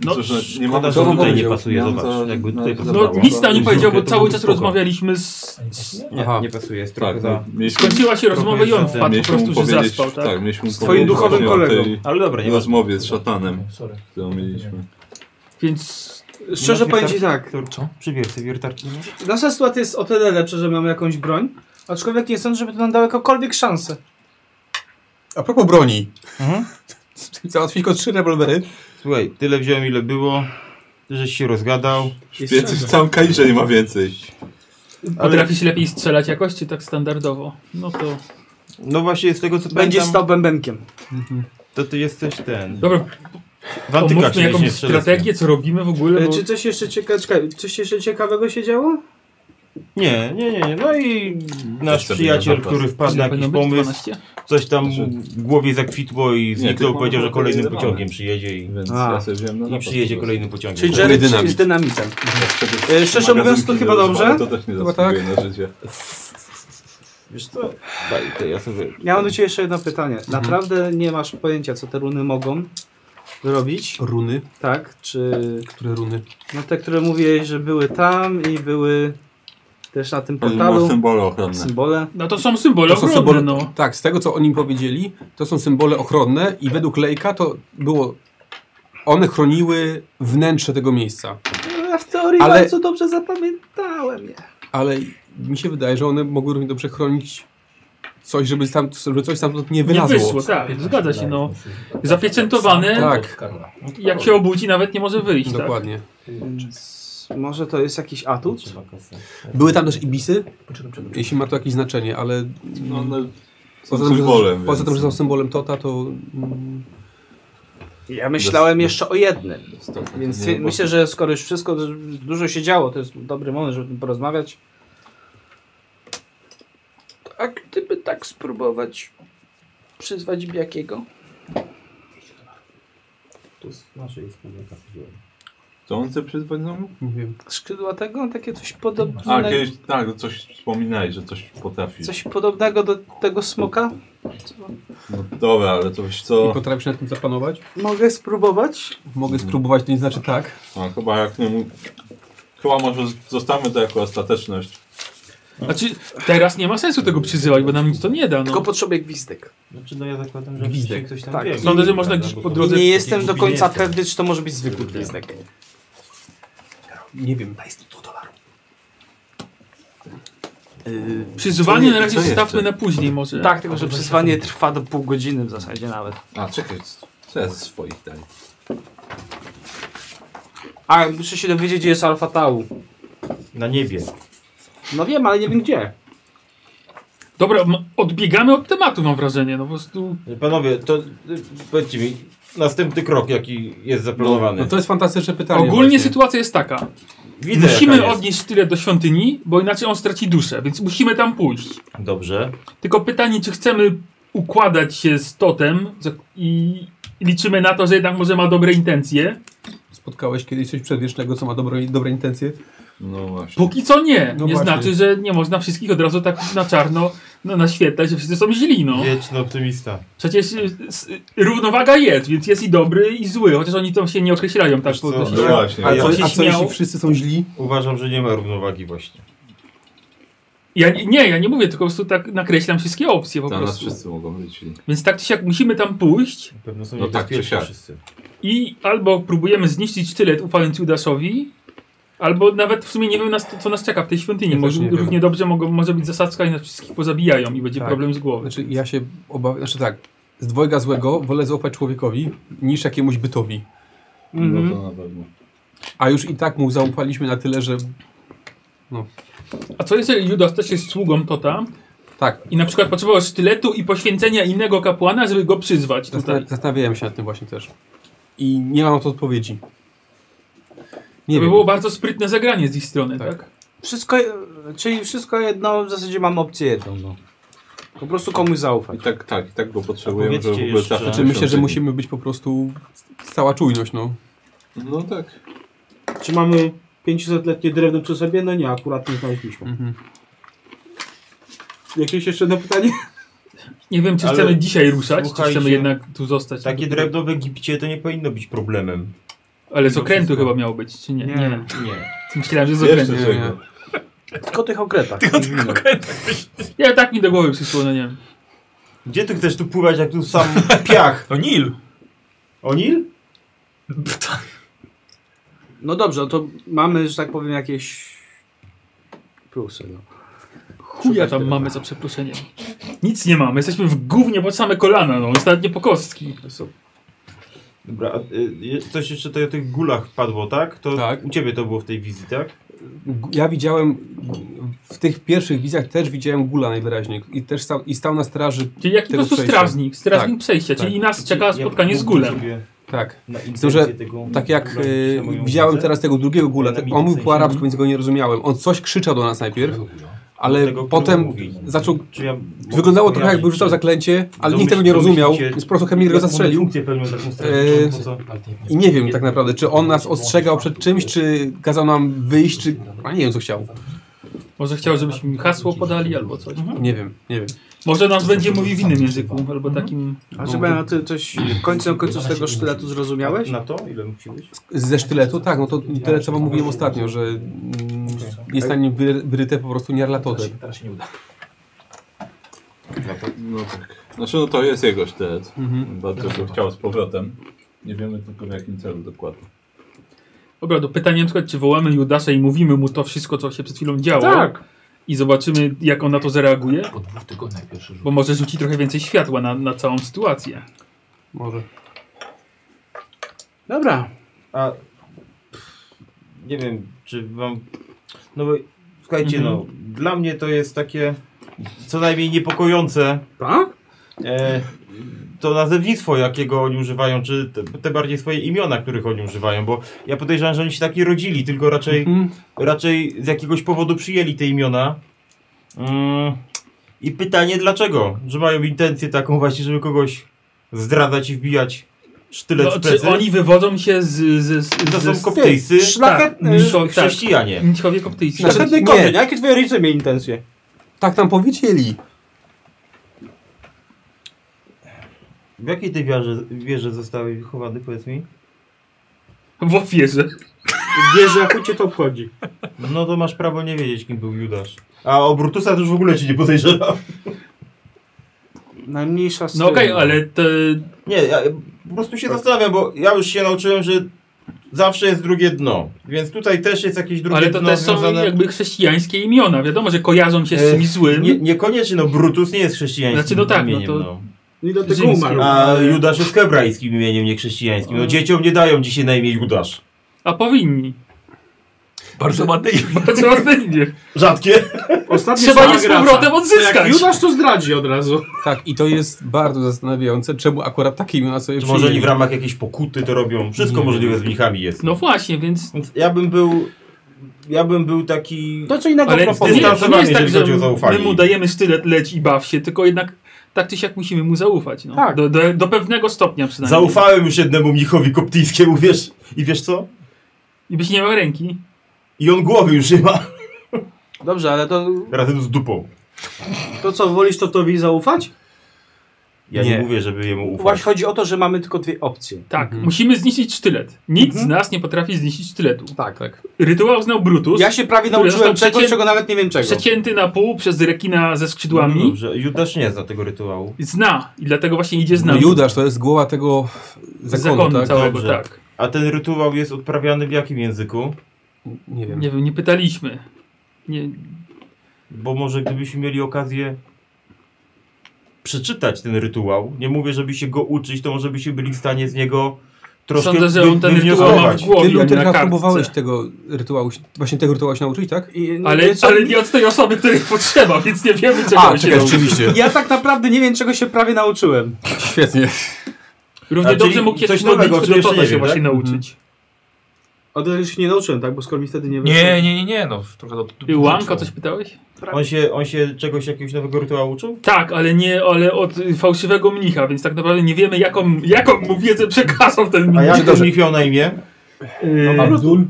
[SPEAKER 5] No,
[SPEAKER 3] Cóż, że nie
[SPEAKER 8] Szkoda,
[SPEAKER 3] mamy
[SPEAKER 8] że
[SPEAKER 6] co
[SPEAKER 8] tutaj nie
[SPEAKER 6] powiedział.
[SPEAKER 8] pasuje,
[SPEAKER 3] No to-
[SPEAKER 8] zobacz. Jakby tutaj
[SPEAKER 3] no to-
[SPEAKER 5] no
[SPEAKER 8] pasowało.
[SPEAKER 3] Dobra.
[SPEAKER 5] nic nam nie powiedział, bo
[SPEAKER 8] Żółkie to
[SPEAKER 5] cały
[SPEAKER 8] byłby
[SPEAKER 5] czas
[SPEAKER 8] spoko.
[SPEAKER 5] rozmawialiśmy z... z...
[SPEAKER 8] Nie,
[SPEAKER 6] Aha.
[SPEAKER 8] nie pasuje, jest trochę
[SPEAKER 3] Tak,
[SPEAKER 8] za...
[SPEAKER 3] no, mieliśmy,
[SPEAKER 5] Skończyła się rozmowa i on
[SPEAKER 8] miesiące,
[SPEAKER 5] wpadł po
[SPEAKER 3] mieliśmy mu
[SPEAKER 5] prostu, że
[SPEAKER 3] powiedzieć,
[SPEAKER 5] zaspał, tak?
[SPEAKER 3] mieliśmy mu
[SPEAKER 4] Z twoim
[SPEAKER 3] powiedzieć
[SPEAKER 4] duchowym
[SPEAKER 3] właśnie o tej
[SPEAKER 4] kolegą.
[SPEAKER 8] Ale dobra, nie ma...
[SPEAKER 3] rozmowie z szatanem,
[SPEAKER 1] Sorry.
[SPEAKER 3] którą mieliśmy.
[SPEAKER 5] Więc
[SPEAKER 4] Szczerze powiem ci tak,
[SPEAKER 1] Co?
[SPEAKER 8] Przybierz sobie wiertarki. nie?
[SPEAKER 4] nasza sytuacja jest o tyle lepsza, że mamy jakąś broń, aczkolwiek nie sądzę, żeby to nam dało jakąkolwiek szansę.
[SPEAKER 6] A propos broni.
[SPEAKER 8] Mhm.
[SPEAKER 6] Załatwili tylko trzy rewolwery.
[SPEAKER 8] Słuchaj, tyle wziąłem ile było, ty żeś się rozgadał.
[SPEAKER 3] Więcej w całym kalicze nie ma więcej.
[SPEAKER 5] potrafi się lepiej strzelać jakoś, czy tak standardowo? No to...
[SPEAKER 8] No właśnie z tego co
[SPEAKER 4] Będzie
[SPEAKER 8] pamiętam,
[SPEAKER 4] stał bębenkiem.
[SPEAKER 8] to ty jesteś ten...
[SPEAKER 5] Dobra,
[SPEAKER 8] W antykach
[SPEAKER 5] pomówmy
[SPEAKER 8] się nie
[SPEAKER 5] jakąś
[SPEAKER 8] strzelec.
[SPEAKER 5] strategię, co robimy w ogóle,
[SPEAKER 4] E,
[SPEAKER 5] bo...
[SPEAKER 4] Czy coś jeszcze, cieka... Czekaj, coś jeszcze ciekawego się działo?
[SPEAKER 8] Nie, nie, nie, nie. No i nasz
[SPEAKER 3] Jeszcze
[SPEAKER 8] przyjaciel,
[SPEAKER 3] jeden zapas.
[SPEAKER 8] który wpadł na
[SPEAKER 5] Ile powinno
[SPEAKER 8] jakiś
[SPEAKER 5] no być? Znaczy-
[SPEAKER 8] pomysł,
[SPEAKER 5] 12?
[SPEAKER 8] coś tam w głowie zakwitło i
[SPEAKER 3] tylko
[SPEAKER 8] zniknął, powiedział, że
[SPEAKER 3] mamy
[SPEAKER 8] kolejnym
[SPEAKER 3] wydawane.
[SPEAKER 8] pociągiem przyjedzie i...
[SPEAKER 3] Więc
[SPEAKER 4] A.
[SPEAKER 3] ja sobie wziąłem
[SPEAKER 5] No
[SPEAKER 3] na
[SPEAKER 8] I
[SPEAKER 3] zapas
[SPEAKER 8] przyjedzie
[SPEAKER 3] po prostu.
[SPEAKER 8] kolejnym pociągiem.
[SPEAKER 4] Czyli
[SPEAKER 3] Dobra,
[SPEAKER 4] Jared
[SPEAKER 3] dynamit.
[SPEAKER 4] z dynamitem.
[SPEAKER 3] Wtedy
[SPEAKER 4] szczerze
[SPEAKER 3] magazynki
[SPEAKER 4] mówiąc, to
[SPEAKER 3] nie
[SPEAKER 4] chyba
[SPEAKER 3] rozwalę,
[SPEAKER 4] dobrze.
[SPEAKER 3] To też nie
[SPEAKER 6] Chyba
[SPEAKER 3] zasługuje na życie.
[SPEAKER 8] Wiesz co? Daj, to ja sobie...
[SPEAKER 4] Ja mam do Ciebie jeszcze jedno pytanie. Naprawdę nie masz pojęcia, co te runy mogą zrobić?
[SPEAKER 6] Runy.
[SPEAKER 4] Tak? Czy
[SPEAKER 6] Które runy?
[SPEAKER 4] no te, które mówiłeś, że były tam i były też na tym
[SPEAKER 3] Ma
[SPEAKER 4] portalu?
[SPEAKER 3] symbole ochronne.
[SPEAKER 4] Symbole.
[SPEAKER 5] No to są symbole
[SPEAKER 6] są
[SPEAKER 5] ogromne,
[SPEAKER 6] symbole,
[SPEAKER 5] no.
[SPEAKER 6] Tak, z tego co oni powiedzieli, to są symbole ochronne i według Lejka to było... One chroniły wnętrze tego miejsca.
[SPEAKER 4] Ja w teorii
[SPEAKER 6] Ale-
[SPEAKER 4] bardzo dobrze zapamiętałem je.
[SPEAKER 6] Ale mi się wydaje, że one mogły równie dobrze chronić coś, żeby, tam, żeby coś tam nie
[SPEAKER 5] Nie
[SPEAKER 6] wylazło.
[SPEAKER 5] wyszło, tak, zgadza się, no. Zapieczętowane,
[SPEAKER 6] Tak,
[SPEAKER 5] jak się obudzi, nawet nie może wyjść, tak?
[SPEAKER 6] dokładnie.
[SPEAKER 4] Więc może to jest jakiś atut?
[SPEAKER 5] tak?
[SPEAKER 6] Były tam też ibisy, jeśli ma to jakieś znaczenie, ale
[SPEAKER 3] No, one są
[SPEAKER 6] poza, tym, że,
[SPEAKER 3] symbolem.
[SPEAKER 6] poza tym, że
[SPEAKER 3] więc-
[SPEAKER 6] są symbolem Tota, to mm,
[SPEAKER 4] Ja myślałem jeszcze o jednym.
[SPEAKER 3] Stopy,
[SPEAKER 4] Więc
[SPEAKER 3] nie, bo-
[SPEAKER 4] myślę, że skoro już wszystko że dużo się działo, to jest dobry moment, żeby o tym porozmawiać. A gdyby tak spróbować przyzwać Biakiego?
[SPEAKER 8] Tu z naszej wspólnika
[SPEAKER 3] Co on chce przyzwać znowu?
[SPEAKER 6] nie wiem.
[SPEAKER 4] Skrzydła tego? Takie coś
[SPEAKER 3] A,
[SPEAKER 4] podobnego.
[SPEAKER 3] kiedyś, tak, no coś wspominałeś, że coś potrafi.
[SPEAKER 4] Coś podobnego do tego smoka?
[SPEAKER 3] No dobra, ale to wiesz
[SPEAKER 6] Nie
[SPEAKER 3] co,
[SPEAKER 6] potrafisz nad tym zapanować?
[SPEAKER 4] Mogę spróbować?
[SPEAKER 6] Mogę spróbować, to nie znaczy tak.
[SPEAKER 3] a, chyba jak nie mu... Chyba może z- zostawmy to jako ostateczność.
[SPEAKER 5] Znaczy, teraz nie ma sensu tego przyzywać, bo nam nic to nie da,
[SPEAKER 4] Tylko
[SPEAKER 5] no.
[SPEAKER 4] potrzebuję gwizdek.
[SPEAKER 8] Znaczy no ja zakładam, że
[SPEAKER 6] Gwizdek.
[SPEAKER 8] wcześniej coś tam No
[SPEAKER 4] Tak.
[SPEAKER 8] wiem.
[SPEAKER 5] Sądzę, że można gdzieś po
[SPEAKER 4] I
[SPEAKER 5] drodze...
[SPEAKER 4] nie jestem do
[SPEAKER 8] nie
[SPEAKER 4] końca
[SPEAKER 8] jestem.
[SPEAKER 4] pewny, czy to może być zwykły gwizdek.
[SPEAKER 6] Nie wiem.
[SPEAKER 5] Przyzywanie
[SPEAKER 3] Co
[SPEAKER 5] na
[SPEAKER 3] je-
[SPEAKER 5] razie
[SPEAKER 3] co
[SPEAKER 5] zostawmy
[SPEAKER 3] jeszcze?
[SPEAKER 5] na później może.
[SPEAKER 4] Tak, tylko że przyzwanie trwa do pół godziny w zasadzie nawet.
[SPEAKER 3] A, czekaj, co ja ze swoich daję?
[SPEAKER 4] A, muszę się dowiedzieć, gdzie jest Alfa Tau.
[SPEAKER 8] Na niebie.
[SPEAKER 4] No wiem, ale nie wiem gdzie.
[SPEAKER 5] Dobra, m- odbiegamy od tematu mam wrażenie, no po prostu...
[SPEAKER 8] Panowie, to y, powiedzcie mi, następny krok jaki jest zaplanowany.
[SPEAKER 6] No to jest fantastyczne pytanie.
[SPEAKER 5] Ogólnie
[SPEAKER 6] właśnie.
[SPEAKER 5] sytuacja jest taka.
[SPEAKER 8] Widzę,
[SPEAKER 5] musimy
[SPEAKER 8] jaka jest.
[SPEAKER 5] odnieść tyle do świątyni, bo inaczej on straci duszę, więc musimy tam pójść.
[SPEAKER 8] Dobrze.
[SPEAKER 5] Tylko pytanie, czy chcemy układać się z Totem za- i liczymy na to, że jednak może ma dobre intencje.
[SPEAKER 6] Spotkałeś kiedyś coś przedwiecznego, co ma dobre, dobre intencje?
[SPEAKER 3] No właśnie.
[SPEAKER 5] Póki co nie.
[SPEAKER 6] No
[SPEAKER 5] nie
[SPEAKER 6] właśnie.
[SPEAKER 5] znaczy, że nie można wszystkich od razu tak na czarno no, naświetlać, że wszyscy są źli, no.
[SPEAKER 8] Wieczny optymista.
[SPEAKER 5] Przecież y, s- y, równowaga jest, więc jest i dobry, i zły, chociaż oni tam się nie określają tak
[SPEAKER 8] Wiesz
[SPEAKER 5] po
[SPEAKER 8] co,
[SPEAKER 5] prostu.
[SPEAKER 3] No właśnie.
[SPEAKER 6] A
[SPEAKER 8] Ja
[SPEAKER 6] co,
[SPEAKER 5] się
[SPEAKER 6] a co
[SPEAKER 5] śmiał.
[SPEAKER 6] jeśli wszyscy są źli?
[SPEAKER 8] Uważam, że nie ma równowagi właśnie.
[SPEAKER 5] Ja nie- nie, ja nie mówię, tylko po prostu tak nakreślam wszystkie opcje po
[SPEAKER 3] Dla nas
[SPEAKER 5] prostu.
[SPEAKER 3] wszyscy mogą być. źli.
[SPEAKER 5] Więc tak czy siak musimy tam pójść
[SPEAKER 8] Na pewno są
[SPEAKER 3] No tak,
[SPEAKER 8] niebezpieczni
[SPEAKER 3] czy siak.
[SPEAKER 8] wszyscy.
[SPEAKER 5] i albo próbujemy zniszczyć sztylet ufając Judaszowi, albo nawet w sumie nie wiem, nas, co nas czeka w tej świątyni.
[SPEAKER 6] Ja też
[SPEAKER 5] może,
[SPEAKER 6] nie wiem.
[SPEAKER 5] równie dobrze mogą, może być zasadzka i nas wszystkich pozabijają i będzie
[SPEAKER 6] Tak.
[SPEAKER 5] problem z głową.
[SPEAKER 6] Znaczy ja się obawiam, znaczy tak, z dwojga złego wolę zaufać człowiekowi niż jakiemuś bytowi.
[SPEAKER 4] Mhm.
[SPEAKER 3] No to na pewno.
[SPEAKER 6] A już i tak mu zaufaliśmy na tyle, że
[SPEAKER 5] A co jeżeli Judas też jest sługą Tota
[SPEAKER 6] tak,
[SPEAKER 5] i na przykład potrzebował sztyletu i poświęcenia innego kapłana, żeby go przyzwać tutaj?
[SPEAKER 6] zastan- zastanawiałem się nad tym właśnie też. I nie mam na to odpowiedzi. Nie
[SPEAKER 5] to by
[SPEAKER 6] wiem.
[SPEAKER 5] było bardzo sprytne zagranie z ich strony, tak?
[SPEAKER 6] Tak.
[SPEAKER 4] Wszystko, czyli wszystko jedno, w zasadzie mam opcję jedną. No. Po prostu komuś zaufać.
[SPEAKER 3] I tak, tak, i tak go potrzebujemy,
[SPEAKER 7] powiedzcie
[SPEAKER 3] żeby w ogóle
[SPEAKER 7] jeszcze-
[SPEAKER 3] trafić
[SPEAKER 6] Znaczy
[SPEAKER 3] do
[SPEAKER 6] myślę, że
[SPEAKER 3] świątyni.
[SPEAKER 6] musimy być po prostu cała czujność, no.
[SPEAKER 3] No tak.
[SPEAKER 4] Czy mamy 500-letnie drewno przy sobie? No nie, akurat nie znaleźliśmy.
[SPEAKER 6] Mhm.
[SPEAKER 4] Jakieś jeszcze jedno pytanie?
[SPEAKER 5] Nie wiem, czy
[SPEAKER 8] Ale
[SPEAKER 5] chcemy dzisiaj ruszać, czy
[SPEAKER 8] słuchajcie,
[SPEAKER 5] chcemy jednak tu zostać.
[SPEAKER 8] Takie drewno w Egipcie to nie powinno być problemem.
[SPEAKER 5] Ale z okrętu
[SPEAKER 8] wszystko.
[SPEAKER 5] chyba miało być, czy nie?
[SPEAKER 4] Nie.
[SPEAKER 8] Nie.
[SPEAKER 5] Myślałem, że z
[SPEAKER 3] Jeszcze
[SPEAKER 5] okrętu.
[SPEAKER 6] nie,
[SPEAKER 3] czego.
[SPEAKER 4] Tylko tych Mhm. okretach.
[SPEAKER 5] Ja tak mi do głowy przyszło, no nie wiem.
[SPEAKER 8] Gdzie ty chcesz tu pływać, jak tu sam piach?
[SPEAKER 1] No Nil!
[SPEAKER 8] O Nil?
[SPEAKER 4] No dobrze, no to mamy, że tak powiem, jakieś plusy. No.
[SPEAKER 5] Chuja tam mamy za przeproszeniem. Nic nie mamy, jesteśmy w gównie pod same kolana, no, ostatnie po kostki.
[SPEAKER 8] Dobra, a, y, je- coś jeszcze tutaj o tych gulach padło, tak? To
[SPEAKER 6] Tak.
[SPEAKER 8] u ciebie to było w tej wizji, tak?
[SPEAKER 6] G- Ja widziałem, w tych pierwszych wizjach też widziałem Gula najwyraźniej i też stał, i stał na straży,
[SPEAKER 5] Czyli jaki po
[SPEAKER 6] Tego
[SPEAKER 5] prostu
[SPEAKER 6] przejścia.
[SPEAKER 5] strażnik, strażnik przejścia,
[SPEAKER 8] tak.
[SPEAKER 5] czyli nas czeka spotkanie z gulem.
[SPEAKER 6] tak.
[SPEAKER 8] Na
[SPEAKER 6] To, że
[SPEAKER 8] intencję tego
[SPEAKER 6] Tak jak
[SPEAKER 8] gula,
[SPEAKER 6] y,
[SPEAKER 8] na moją
[SPEAKER 6] widziałem
[SPEAKER 8] wiedzę,
[SPEAKER 6] teraz tego drugiego gula, tak, on mówił po arabsku, więc go nie rozumiałem. On coś krzyczał do nas najpierw, ale
[SPEAKER 8] tego, no. który
[SPEAKER 6] potem
[SPEAKER 8] mówi.
[SPEAKER 6] zaczął...
[SPEAKER 8] Czy ja
[SPEAKER 6] Wyglądało trochę jakby rzucał zaklęcie, ale nikt tego nie rozumiał, więc po prostu Hemir go zastrzelił.
[SPEAKER 8] Funkcję pełnią taką
[SPEAKER 6] Eee,
[SPEAKER 8] strażniczą, po co?
[SPEAKER 6] I nie wiem tak naprawdę, czy on nas ostrzegał przed czymś, czy kazał nam wyjść, czy... A nie wiem, co chciał.
[SPEAKER 5] Może chciał, żebyśmy im hasło podali albo coś.
[SPEAKER 6] Nie wiem, nie wiem.
[SPEAKER 5] Może nas będzie mówił w innym języku, albo takim...
[SPEAKER 4] A że no, ty coś końcem końców z tego sztyletu zrozumiałeś?
[SPEAKER 8] Na to? Ile musi być?
[SPEAKER 6] Ze sztyletu? Tak, no to tyle, co wam mówiłem ostatnio, że mm, jest na nim wyry- wyryte po prostu niarlatotę.
[SPEAKER 3] No tak. Znaczy no to jest jego sztylet.
[SPEAKER 6] Mhm.
[SPEAKER 3] Bardzo go chciał z powrotem. Nie wiemy tylko w jakim celu dokładnie.
[SPEAKER 5] Dobra, do pytania na przykład, czy wołamy Judasza i mówimy mu to wszystko, co się przed chwilą działo
[SPEAKER 4] Tak.
[SPEAKER 5] i zobaczymy, jak on na to zareaguje?
[SPEAKER 1] Po dwóch tygodniach pierwszy rzut.
[SPEAKER 5] Bo może rzuci trochę więcej światła na, na całą sytuację.
[SPEAKER 6] Może.
[SPEAKER 4] Dobra.
[SPEAKER 8] A nie wiem, czy wam. No bo słuchajcie,
[SPEAKER 5] Mhm.
[SPEAKER 8] no, dla mnie to jest takie co najmniej niepokojące
[SPEAKER 4] Pa?
[SPEAKER 8] e, to nazewnictwo, jakiego oni używają, czy te, te bardziej swoje imiona, których oni używają, bo ja podejrzewam, że oni się taki rodzili, tylko raczej,
[SPEAKER 6] Mhm.
[SPEAKER 8] raczej z jakiegoś powodu przyjęli te imiona. Mm, I pytanie dlaczego? Że mają intencję taką właśnie, żeby kogoś zdradzać i wbijać sztylet
[SPEAKER 5] No,
[SPEAKER 8] w plecy?
[SPEAKER 5] czy oni wywodzą się z... z, z,
[SPEAKER 8] To
[SPEAKER 5] z,
[SPEAKER 8] są
[SPEAKER 5] z
[SPEAKER 8] koptyjscy y-
[SPEAKER 4] Szlachetny.
[SPEAKER 5] Tak, to- tak.
[SPEAKER 8] chrześcijanie.
[SPEAKER 5] Michowie koptyjscy. Tak,
[SPEAKER 6] Znaczy-
[SPEAKER 4] Szlachetny
[SPEAKER 6] nie.
[SPEAKER 4] kobiet. Jakie twoje rodzice mieli intencje?
[SPEAKER 6] Tak nam powiedzieli.
[SPEAKER 8] W jakiej ty wierze, wierze zostałeś wychowany, powiedz mi?
[SPEAKER 5] W ofierze. No
[SPEAKER 4] Wiesz, że chuj cię to obchodzi.
[SPEAKER 8] No to masz prawo nie wiedzieć, kim był Judasz. A o Brutusa to już w ogóle ci nie podejrzewam.
[SPEAKER 4] Najmniejsza z
[SPEAKER 5] No okej,
[SPEAKER 4] tyłu.
[SPEAKER 5] ale to...
[SPEAKER 8] Nie, ja po prostu się zastanawiam, bo ja już się nauczyłem, że zawsze jest drugie dno. Więc tutaj też jest jakieś drugie
[SPEAKER 5] Ale to
[SPEAKER 8] dno
[SPEAKER 5] też są
[SPEAKER 8] związane...
[SPEAKER 5] jakby chrześcijańskie imiona. Wiadomo, że kojarzą się z
[SPEAKER 8] E,
[SPEAKER 5] czymś złym.
[SPEAKER 8] Nie, niekoniecznie, no Brutus nie jest chrześcijańskim
[SPEAKER 5] Znaczy, no tak, no
[SPEAKER 8] imieniem,
[SPEAKER 5] to-
[SPEAKER 4] I do tego
[SPEAKER 5] Ziemski.
[SPEAKER 4] umarł.
[SPEAKER 8] A Judasz jest hebrajskim imieniem, nie chrześcijańskim. No dzieciom nie dają dzisiaj na imię Judasz.
[SPEAKER 5] A powinni.
[SPEAKER 1] Bardzo ładny
[SPEAKER 5] Bardzo ładnie idzie.
[SPEAKER 8] Rzadkie.
[SPEAKER 4] Ostatni
[SPEAKER 5] Trzeba je z
[SPEAKER 4] paragraf.
[SPEAKER 5] powrotem
[SPEAKER 4] Jak
[SPEAKER 5] odzyskać.
[SPEAKER 4] Judasz to zdradzi od razu.
[SPEAKER 6] Tak, i to jest bardzo zastanawiające, czemu akurat takie imiona sobie
[SPEAKER 8] Czy może
[SPEAKER 6] przyjęli.
[SPEAKER 8] oni w ramach jakiejś pokuty to robią? Wszystko
[SPEAKER 6] Nie.
[SPEAKER 8] możliwe z mnichami jest.
[SPEAKER 5] No właśnie, więc...
[SPEAKER 8] Więc ja bym był. Ja bym był taki.
[SPEAKER 4] To co innego
[SPEAKER 5] Ale to nie,
[SPEAKER 4] proponuję.
[SPEAKER 5] to nie jest
[SPEAKER 8] Zdystansowani,
[SPEAKER 5] tak,
[SPEAKER 8] jeżeli
[SPEAKER 5] że
[SPEAKER 8] chodzi o zaufanie.
[SPEAKER 5] my mu dajemy stylet, leć i baw się, tylko jednak tak czy siak musimy mu zaufać. No.
[SPEAKER 4] Tak.
[SPEAKER 5] Do, do, do pewnego stopnia przynajmniej.
[SPEAKER 8] Zaufałem już jednemu mnichowi koptyjskiemu, wiesz? I wiesz co?
[SPEAKER 5] I byś nie miał ręki.
[SPEAKER 8] I on głowy już nie ma.
[SPEAKER 4] Dobrze, ale to,
[SPEAKER 8] Razem z dupą.
[SPEAKER 4] to co, wolisz Totowi zaufać?
[SPEAKER 8] Ja nie,
[SPEAKER 2] Nie.
[SPEAKER 8] mówię, żeby jemu
[SPEAKER 4] Właśnie
[SPEAKER 8] ufać.
[SPEAKER 4] chodzi o to, że mamy tylko dwie opcje.
[SPEAKER 5] Tak, musimy zniszczyć sztylet. Nikt z nas nie potrafi zniszczyć sztyletu.
[SPEAKER 4] Mhm. Tak.
[SPEAKER 5] Rytuał znał Brutus,
[SPEAKER 4] Ja się prawie
[SPEAKER 5] Które
[SPEAKER 4] nauczyłem
[SPEAKER 5] został
[SPEAKER 4] czegoś,
[SPEAKER 5] przecię-
[SPEAKER 4] czego nawet nie wiem czego.
[SPEAKER 5] przecięty na pół przez rekina ze skrzydłami.
[SPEAKER 8] No dobrze, Judasz nie zna tego rytuału.
[SPEAKER 5] Zna i dlatego właśnie idzie z
[SPEAKER 6] No,
[SPEAKER 5] nami.
[SPEAKER 6] Judasz to jest głowa tego zakonu,
[SPEAKER 5] zakonu
[SPEAKER 6] tak?
[SPEAKER 5] całego,
[SPEAKER 8] Dobrze.
[SPEAKER 5] tak.
[SPEAKER 8] A ten rytuał jest odprawiany w jakim języku?
[SPEAKER 6] Nie wiem.
[SPEAKER 5] Nie wiem, nie pytaliśmy. Nie,
[SPEAKER 8] Bo może gdybyśmy mieli okazję przeczytać ten rytuał, nie mówię, żeby się go uczyć, to może byśmy byli w stanie z niego troszkę
[SPEAKER 5] sądzę, że on ten rytuał ma w
[SPEAKER 8] wywnioskować.
[SPEAKER 6] Ty,
[SPEAKER 5] głowie, a nie
[SPEAKER 6] Luter,
[SPEAKER 5] na
[SPEAKER 6] chyba
[SPEAKER 5] kartce.
[SPEAKER 6] próbowałeś tego rytuału, się- właśnie tego rytuału się nauczyć, tak?
[SPEAKER 4] I- no,
[SPEAKER 5] Ale,
[SPEAKER 4] co-
[SPEAKER 5] ale nie od tej osoby, której potrzeba, więc nie wiemy czego
[SPEAKER 6] A,
[SPEAKER 5] się
[SPEAKER 6] czekaj,
[SPEAKER 5] nauczy.
[SPEAKER 6] oczywiście.
[SPEAKER 4] Ja tak naprawdę nie wiem, czego się prawie nauczyłem.
[SPEAKER 6] Świetnie.
[SPEAKER 5] Równie
[SPEAKER 8] A,
[SPEAKER 5] dobrze
[SPEAKER 8] czyli
[SPEAKER 5] mógł
[SPEAKER 8] coś
[SPEAKER 5] kiedyś
[SPEAKER 8] nowego,
[SPEAKER 5] modlitwy
[SPEAKER 8] czyli
[SPEAKER 5] do Tota
[SPEAKER 8] jeszcze nie
[SPEAKER 5] się
[SPEAKER 8] wiem,
[SPEAKER 5] właśnie
[SPEAKER 8] tak?
[SPEAKER 4] Mhm.
[SPEAKER 5] nauczyć.
[SPEAKER 4] A to już nie nauczyłem, tak? Bo skoro mi wtedy nie wyszło.
[SPEAKER 3] Mhm.
[SPEAKER 1] Nie, nie, nie, nie, no trochę do... do
[SPEAKER 5] Ty Łamka coś pytałeś?
[SPEAKER 8] On się, on się czegoś, jakiegoś nowego rytuału uczył?
[SPEAKER 5] Tak, ale nie, ale od y, fałszywego mnicha, więc tak naprawdę nie wiemy jaką, jaką mu wiedzę przekazał ten
[SPEAKER 8] A
[SPEAKER 5] mnich.
[SPEAKER 8] jak ten ich miał na imię?
[SPEAKER 5] Y,
[SPEAKER 6] Abdul?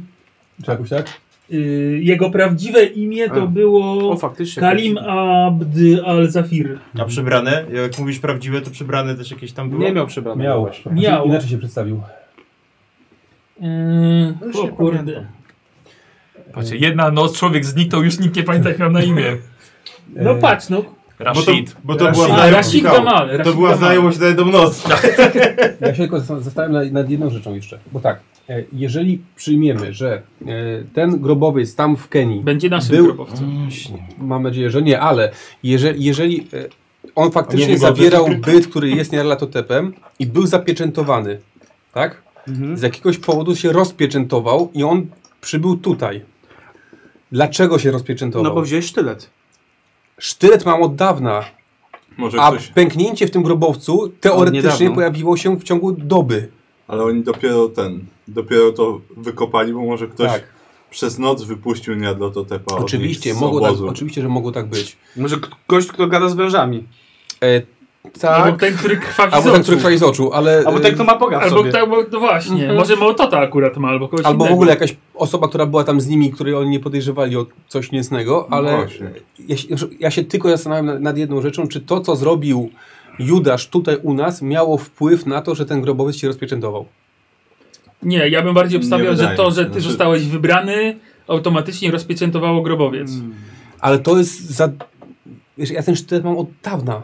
[SPEAKER 6] Czy jakoś tak?
[SPEAKER 5] y, jego prawdziwe imię to
[SPEAKER 4] A.
[SPEAKER 5] było
[SPEAKER 4] O, faktycznie.
[SPEAKER 5] Kalim Abd al-Zafir.
[SPEAKER 8] A przybrane? Jak mówisz prawdziwe, to przybrane też jakieś tam było?
[SPEAKER 4] Nie miał
[SPEAKER 5] No
[SPEAKER 4] przebrania.
[SPEAKER 6] Miał.
[SPEAKER 5] Miał.
[SPEAKER 6] Znaczy, Inaczej się przedstawił.
[SPEAKER 5] Yy,
[SPEAKER 4] już
[SPEAKER 5] o
[SPEAKER 4] nie
[SPEAKER 5] kurde.
[SPEAKER 1] Patrzcie, jedna noc, człowiek zniknął, już nikt nie pamięta jak miał na imię.
[SPEAKER 5] No patrz, no.
[SPEAKER 8] Bo to,
[SPEAKER 1] Rashid.
[SPEAKER 8] bo to była
[SPEAKER 5] Rashid.
[SPEAKER 8] znajomość.
[SPEAKER 5] Rashid
[SPEAKER 8] Michał.
[SPEAKER 5] Gamal,
[SPEAKER 8] To
[SPEAKER 5] Rashid
[SPEAKER 8] była
[SPEAKER 5] Gamal. No
[SPEAKER 8] znajomość na jedną noc.
[SPEAKER 6] Ja się tylko zasta- zastanawiam nad- nad jedną rzeczą jeszcze. Bo tak, e, jeżeli przyjmiemy, że e, ten grobowiec tam w Kenii,
[SPEAKER 5] Będzie naszym
[SPEAKER 6] Był-
[SPEAKER 5] grobowcem.
[SPEAKER 3] No
[SPEAKER 6] mam nadzieję, że nie, ale jeżeli, jeżeli e, on
[SPEAKER 8] On nie
[SPEAKER 6] faktycznie
[SPEAKER 8] był
[SPEAKER 6] zawierał byt, który jest Nierlatotepem i był zapieczętowany, tak? Z jakiegoś powodu się rozpieczętował i on przybył tutaj. Dlaczego się rozpieczętował?
[SPEAKER 4] No bo wziąłeś sztylet.
[SPEAKER 6] Sztylet mam od dawna,
[SPEAKER 3] Może
[SPEAKER 6] a
[SPEAKER 3] ktoś...
[SPEAKER 6] pęknięcie w tym grobowcu teoretycznie
[SPEAKER 4] niedawno.
[SPEAKER 6] pojawiło się w ciągu doby.
[SPEAKER 3] Ale oni dopiero ten... Dopiero to wykopali, bo może ktoś
[SPEAKER 6] Tak.
[SPEAKER 3] przez noc wypuścił Niadlototepa od
[SPEAKER 6] Oczywiście,
[SPEAKER 3] nich z
[SPEAKER 6] mogło tak,
[SPEAKER 3] obozu.
[SPEAKER 6] oczywiście, że mogło tak być.
[SPEAKER 4] Może k- gość, kto gada z wężami.
[SPEAKER 6] E,
[SPEAKER 5] Tak.
[SPEAKER 6] tak.
[SPEAKER 5] Albo ten, który krwawi z
[SPEAKER 6] Albo ten,
[SPEAKER 5] oczu.
[SPEAKER 6] który krwawi z oczu, ale. e,
[SPEAKER 4] Albo ten, kto ma Boga w
[SPEAKER 5] Albo
[SPEAKER 4] sobie.
[SPEAKER 5] tak, bo, no właśnie, może Małtota akurat ma, albo kogoś
[SPEAKER 6] Albo w
[SPEAKER 5] innego.
[SPEAKER 6] ogóle jakaś osoba, która była tam z nimi, której oni nie podejrzewali o coś niecnego, ale
[SPEAKER 3] No Właśnie.
[SPEAKER 6] ja się, znaczy, ja się tylko zastanawiam nad- nad jedną rzeczą, czy to, co zrobił Judasz tutaj u nas, miało wpływ na to, że ten grobowiec się rozpieczętował.
[SPEAKER 5] Nie, ja bym bardziej
[SPEAKER 3] Nie
[SPEAKER 5] obstawiał, że
[SPEAKER 3] wydaje
[SPEAKER 5] to,
[SPEAKER 3] mi się.
[SPEAKER 5] że ty
[SPEAKER 3] Znaczy-
[SPEAKER 5] zostałeś wybrany, automatycznie rozpieczętowało grobowiec.
[SPEAKER 6] Ale to jest za... Wiesz, ja ten sztylet mam od dawna.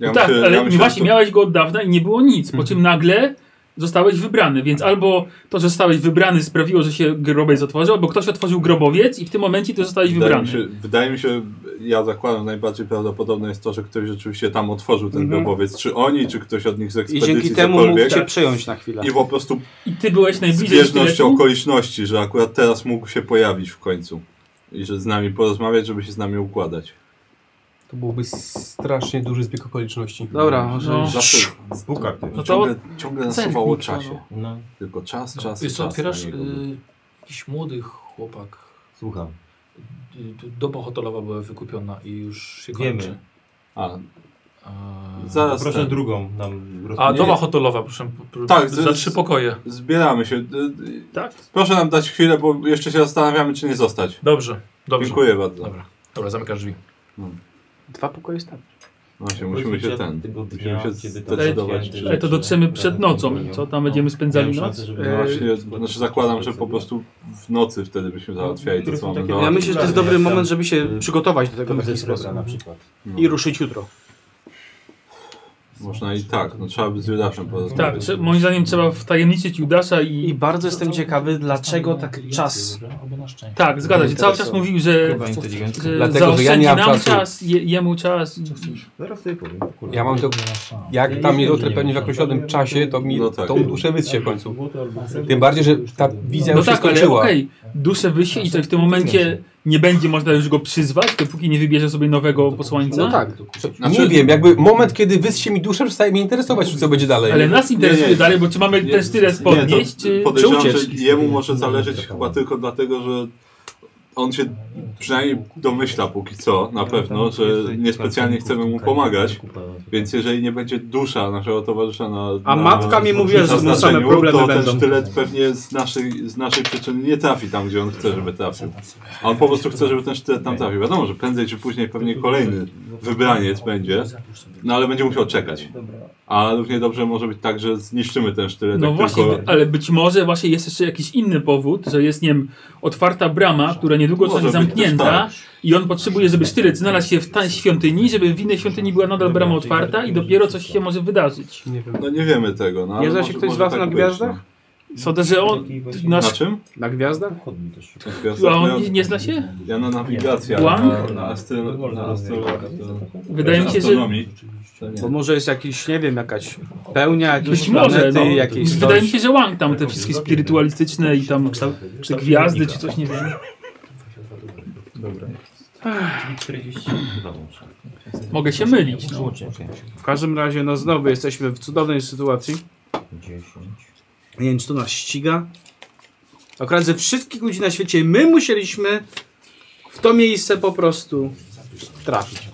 [SPEAKER 3] Ja
[SPEAKER 5] tak,
[SPEAKER 3] myślę-
[SPEAKER 5] ale
[SPEAKER 3] ja myślę,
[SPEAKER 5] właśnie
[SPEAKER 3] że to- Mhm.
[SPEAKER 5] miałeś go od dawna i nie było nic, po czym nagle zostałeś wybrany, więc albo to, że zostałeś wybrany sprawiło, że się grobowiec otworzył, albo ktoś otworzył grobowiec i w tym momencie ty zostałeś
[SPEAKER 3] Wydaje
[SPEAKER 5] wybrany.
[SPEAKER 3] mi, się, wydaje mi się, ja zakładam, najbardziej prawdopodobne jest to, że ktoś rzeczywiście tam otworzył ten
[SPEAKER 4] Mhm.
[SPEAKER 3] grobowiec. Czy oni, czy ktoś od nich z
[SPEAKER 4] I
[SPEAKER 3] ekspedycji,
[SPEAKER 4] dzięki temu mógł
[SPEAKER 3] cokolwiek.
[SPEAKER 4] cię przejąć na chwilę.
[SPEAKER 3] I po prostu
[SPEAKER 5] I ty byłeś najbliżej
[SPEAKER 3] zbieżnością
[SPEAKER 5] sztyletu.
[SPEAKER 3] okoliczności, że akurat teraz mógł się pojawić w końcu. I że z nami porozmawiać, żeby się z nami układać.
[SPEAKER 6] To byłby strasznie duży zbieg okoliczności.
[SPEAKER 4] Dobra, może
[SPEAKER 5] No.
[SPEAKER 4] już.
[SPEAKER 3] Zawsze
[SPEAKER 8] Puka ktoś.
[SPEAKER 5] No to-
[SPEAKER 3] Znaczy, ciągle, ciągle nasuwało o
[SPEAKER 1] Zerknij,
[SPEAKER 3] czasie.
[SPEAKER 8] No,
[SPEAKER 3] Tylko czas, czas i
[SPEAKER 1] Wiesz co,
[SPEAKER 3] czas
[SPEAKER 1] otwierasz
[SPEAKER 3] na
[SPEAKER 1] y,
[SPEAKER 3] niego był.
[SPEAKER 1] jakiś młody chłopak.
[SPEAKER 8] słucham.
[SPEAKER 1] Y, tu Doba hotelowa była wykupiona i już się
[SPEAKER 8] Wiemy.
[SPEAKER 1] kończy.
[SPEAKER 3] A,
[SPEAKER 1] Eee,
[SPEAKER 3] zaraz
[SPEAKER 8] Proszę
[SPEAKER 3] ten.
[SPEAKER 8] drugą nam
[SPEAKER 1] A,
[SPEAKER 8] rozpowiedzieć.
[SPEAKER 1] doba hotelowa, proszę. p- p-
[SPEAKER 3] Tak,
[SPEAKER 1] za
[SPEAKER 3] z-
[SPEAKER 1] trzy pokoje.
[SPEAKER 3] Zbieramy się. Y, y,
[SPEAKER 5] Tak?
[SPEAKER 3] Proszę nam dać chwilę, bo jeszcze się zastanawiamy, czy nie zostać.
[SPEAKER 1] Dobrze, dobrze.
[SPEAKER 3] Dziękuję bardzo.
[SPEAKER 1] Dobra, dobra zamykasz drzwi.
[SPEAKER 4] Dwa pokoje starczy.
[SPEAKER 3] Właśnie, musimy No się ten.
[SPEAKER 8] Tego
[SPEAKER 3] musimy
[SPEAKER 8] dnia,
[SPEAKER 3] się
[SPEAKER 8] kiedy tam
[SPEAKER 3] zdecydować,
[SPEAKER 8] się
[SPEAKER 3] czy-
[SPEAKER 5] Ale to dotrzemy przed nocą i co, tam będziemy spędzali
[SPEAKER 8] Miałem
[SPEAKER 5] noc?
[SPEAKER 8] szansę, żeby
[SPEAKER 4] E,
[SPEAKER 8] zobaczyć.
[SPEAKER 3] Właśnie, znaczy zakładam, że po prostu w nocy wtedy byśmy załatwiali no, to, co mamy
[SPEAKER 4] Ja
[SPEAKER 8] Ja
[SPEAKER 3] załatwić.
[SPEAKER 4] myślę, że to jest dobry moment, żeby się przygotować do tego w
[SPEAKER 8] Tam ze
[SPEAKER 4] taki sposób.
[SPEAKER 8] srebra na przykład.
[SPEAKER 3] No,
[SPEAKER 4] I ruszyć jutro.
[SPEAKER 3] Można i tak, no trzeba by z Judaszem
[SPEAKER 5] Tak,
[SPEAKER 3] porozmawiać.
[SPEAKER 5] trze- moim zdaniem trzeba wtajemniczyć Judasza i...
[SPEAKER 4] I bardzo jestem ciekawy, dlaczego tak czas.
[SPEAKER 5] Tak, zgadza się. Cały czas mówił, że,
[SPEAKER 7] Chyba inteligencja.
[SPEAKER 5] że
[SPEAKER 6] Dlatego, że ja
[SPEAKER 5] zaoszczędzi
[SPEAKER 6] nie mam
[SPEAKER 5] nam
[SPEAKER 6] czasu.
[SPEAKER 5] czas, je, jemu czas.
[SPEAKER 8] Zaraz sobie powiem. kurwa.
[SPEAKER 6] Ja mam to... Jak tam jest hotel pewnie w określonym czasie, to mi
[SPEAKER 3] No tak.
[SPEAKER 6] tą duszę wyssie w końcu. Tym bardziej, że ta wizja
[SPEAKER 5] No
[SPEAKER 6] już
[SPEAKER 5] tak,
[SPEAKER 6] się
[SPEAKER 5] ale
[SPEAKER 6] skończyła. tak
[SPEAKER 5] okej, duszę wysie i coś w tym momencie nie będzie można już go przyzwać, dopóki nie wybierze sobie nowego posłańca.
[SPEAKER 4] No tak.
[SPEAKER 3] Znaczy-
[SPEAKER 6] nie wiem, jakby moment, kiedy wyssie mi duszę, przestaje mnie interesować, co będzie dalej.
[SPEAKER 5] Ale nas interesuje
[SPEAKER 3] nie.
[SPEAKER 5] dalej, bo czy mamy
[SPEAKER 3] Nie,
[SPEAKER 5] ten stylet
[SPEAKER 3] Nie, to
[SPEAKER 5] podnieść, czy, czy
[SPEAKER 3] podejrzewam,
[SPEAKER 5] uciec?
[SPEAKER 3] że jemu może zależeć chyba tylko dlatego, że on się przynajmniej domyśla póki co,
[SPEAKER 8] No,
[SPEAKER 3] na pewno, że niespecjalnie chcemy mu pomagać. Więc jeżeli nie będzie dusza naszego towarzysza na.
[SPEAKER 4] A
[SPEAKER 3] na,
[SPEAKER 4] matka mi mówiła, że
[SPEAKER 3] na
[SPEAKER 4] to są same
[SPEAKER 3] znaczeniu,
[SPEAKER 4] problemy
[SPEAKER 3] to
[SPEAKER 4] będą.
[SPEAKER 3] ten sztylet pewnie z naszej, z naszej przyczyny nie trafi tam, gdzie on chce, żeby trafił. A on po prostu chce, żeby ten sztylet tam trafił. Wiadomo, że prędzej czy później pewnie kolejny wybraniec będzie, no ale będzie musiał czekać. A równie dobrze może być tak, że zniszczymy ten sztylet.
[SPEAKER 5] No
[SPEAKER 3] jak
[SPEAKER 5] właśnie,
[SPEAKER 3] tak tylko...
[SPEAKER 5] ale być może właśnie jest jeszcze jakiś inny powód, że jest, nie wiem, otwarta brama, która niedługo
[SPEAKER 3] Może
[SPEAKER 5] zostanie
[SPEAKER 3] być
[SPEAKER 5] zamknięta
[SPEAKER 3] też tak.
[SPEAKER 5] i on potrzebuje, żeby sztylet znalazł się w tej świątyni, żeby w innej świątyni była nadal brama otwarta i dopiero coś się może wydarzyć.
[SPEAKER 6] Nie wiem.
[SPEAKER 3] No nie wiemy tego. No, ale
[SPEAKER 4] Nie zna się
[SPEAKER 3] może-
[SPEAKER 4] ktoś z
[SPEAKER 3] może
[SPEAKER 4] was na
[SPEAKER 3] być,
[SPEAKER 4] gwiazdach?
[SPEAKER 5] Sądzę, że on...
[SPEAKER 3] No.
[SPEAKER 5] Nasz,
[SPEAKER 3] Na czym?
[SPEAKER 4] Na gwiazdach?
[SPEAKER 3] Na
[SPEAKER 5] a
[SPEAKER 3] gwiazdach?
[SPEAKER 5] on
[SPEAKER 3] Ja-
[SPEAKER 5] nie zna się?
[SPEAKER 3] Ja na nawigacji, ale
[SPEAKER 5] Łam?
[SPEAKER 3] na, na astro... Na astro...
[SPEAKER 5] Wydaje mi się, że...
[SPEAKER 3] astronomii.
[SPEAKER 4] Bo może jest jakiś, nie wiem, jakaś pełnia, jakieś
[SPEAKER 5] Być może,
[SPEAKER 4] planety,
[SPEAKER 5] no,
[SPEAKER 4] jakieś coś.
[SPEAKER 5] wydaje mi się, że Wang tam te wszystkie spirytualistyczne i tam czy gwiazdy czy coś, nie wiem. Mogę się mylić, no.
[SPEAKER 4] W każdym razie, no znowu jesteśmy w cudownej sytuacji. Nie wiem, czy to nas ściga. Akurat ze wszystkich ludzi na świecie my musieliśmy w to miejsce po prostu trafić.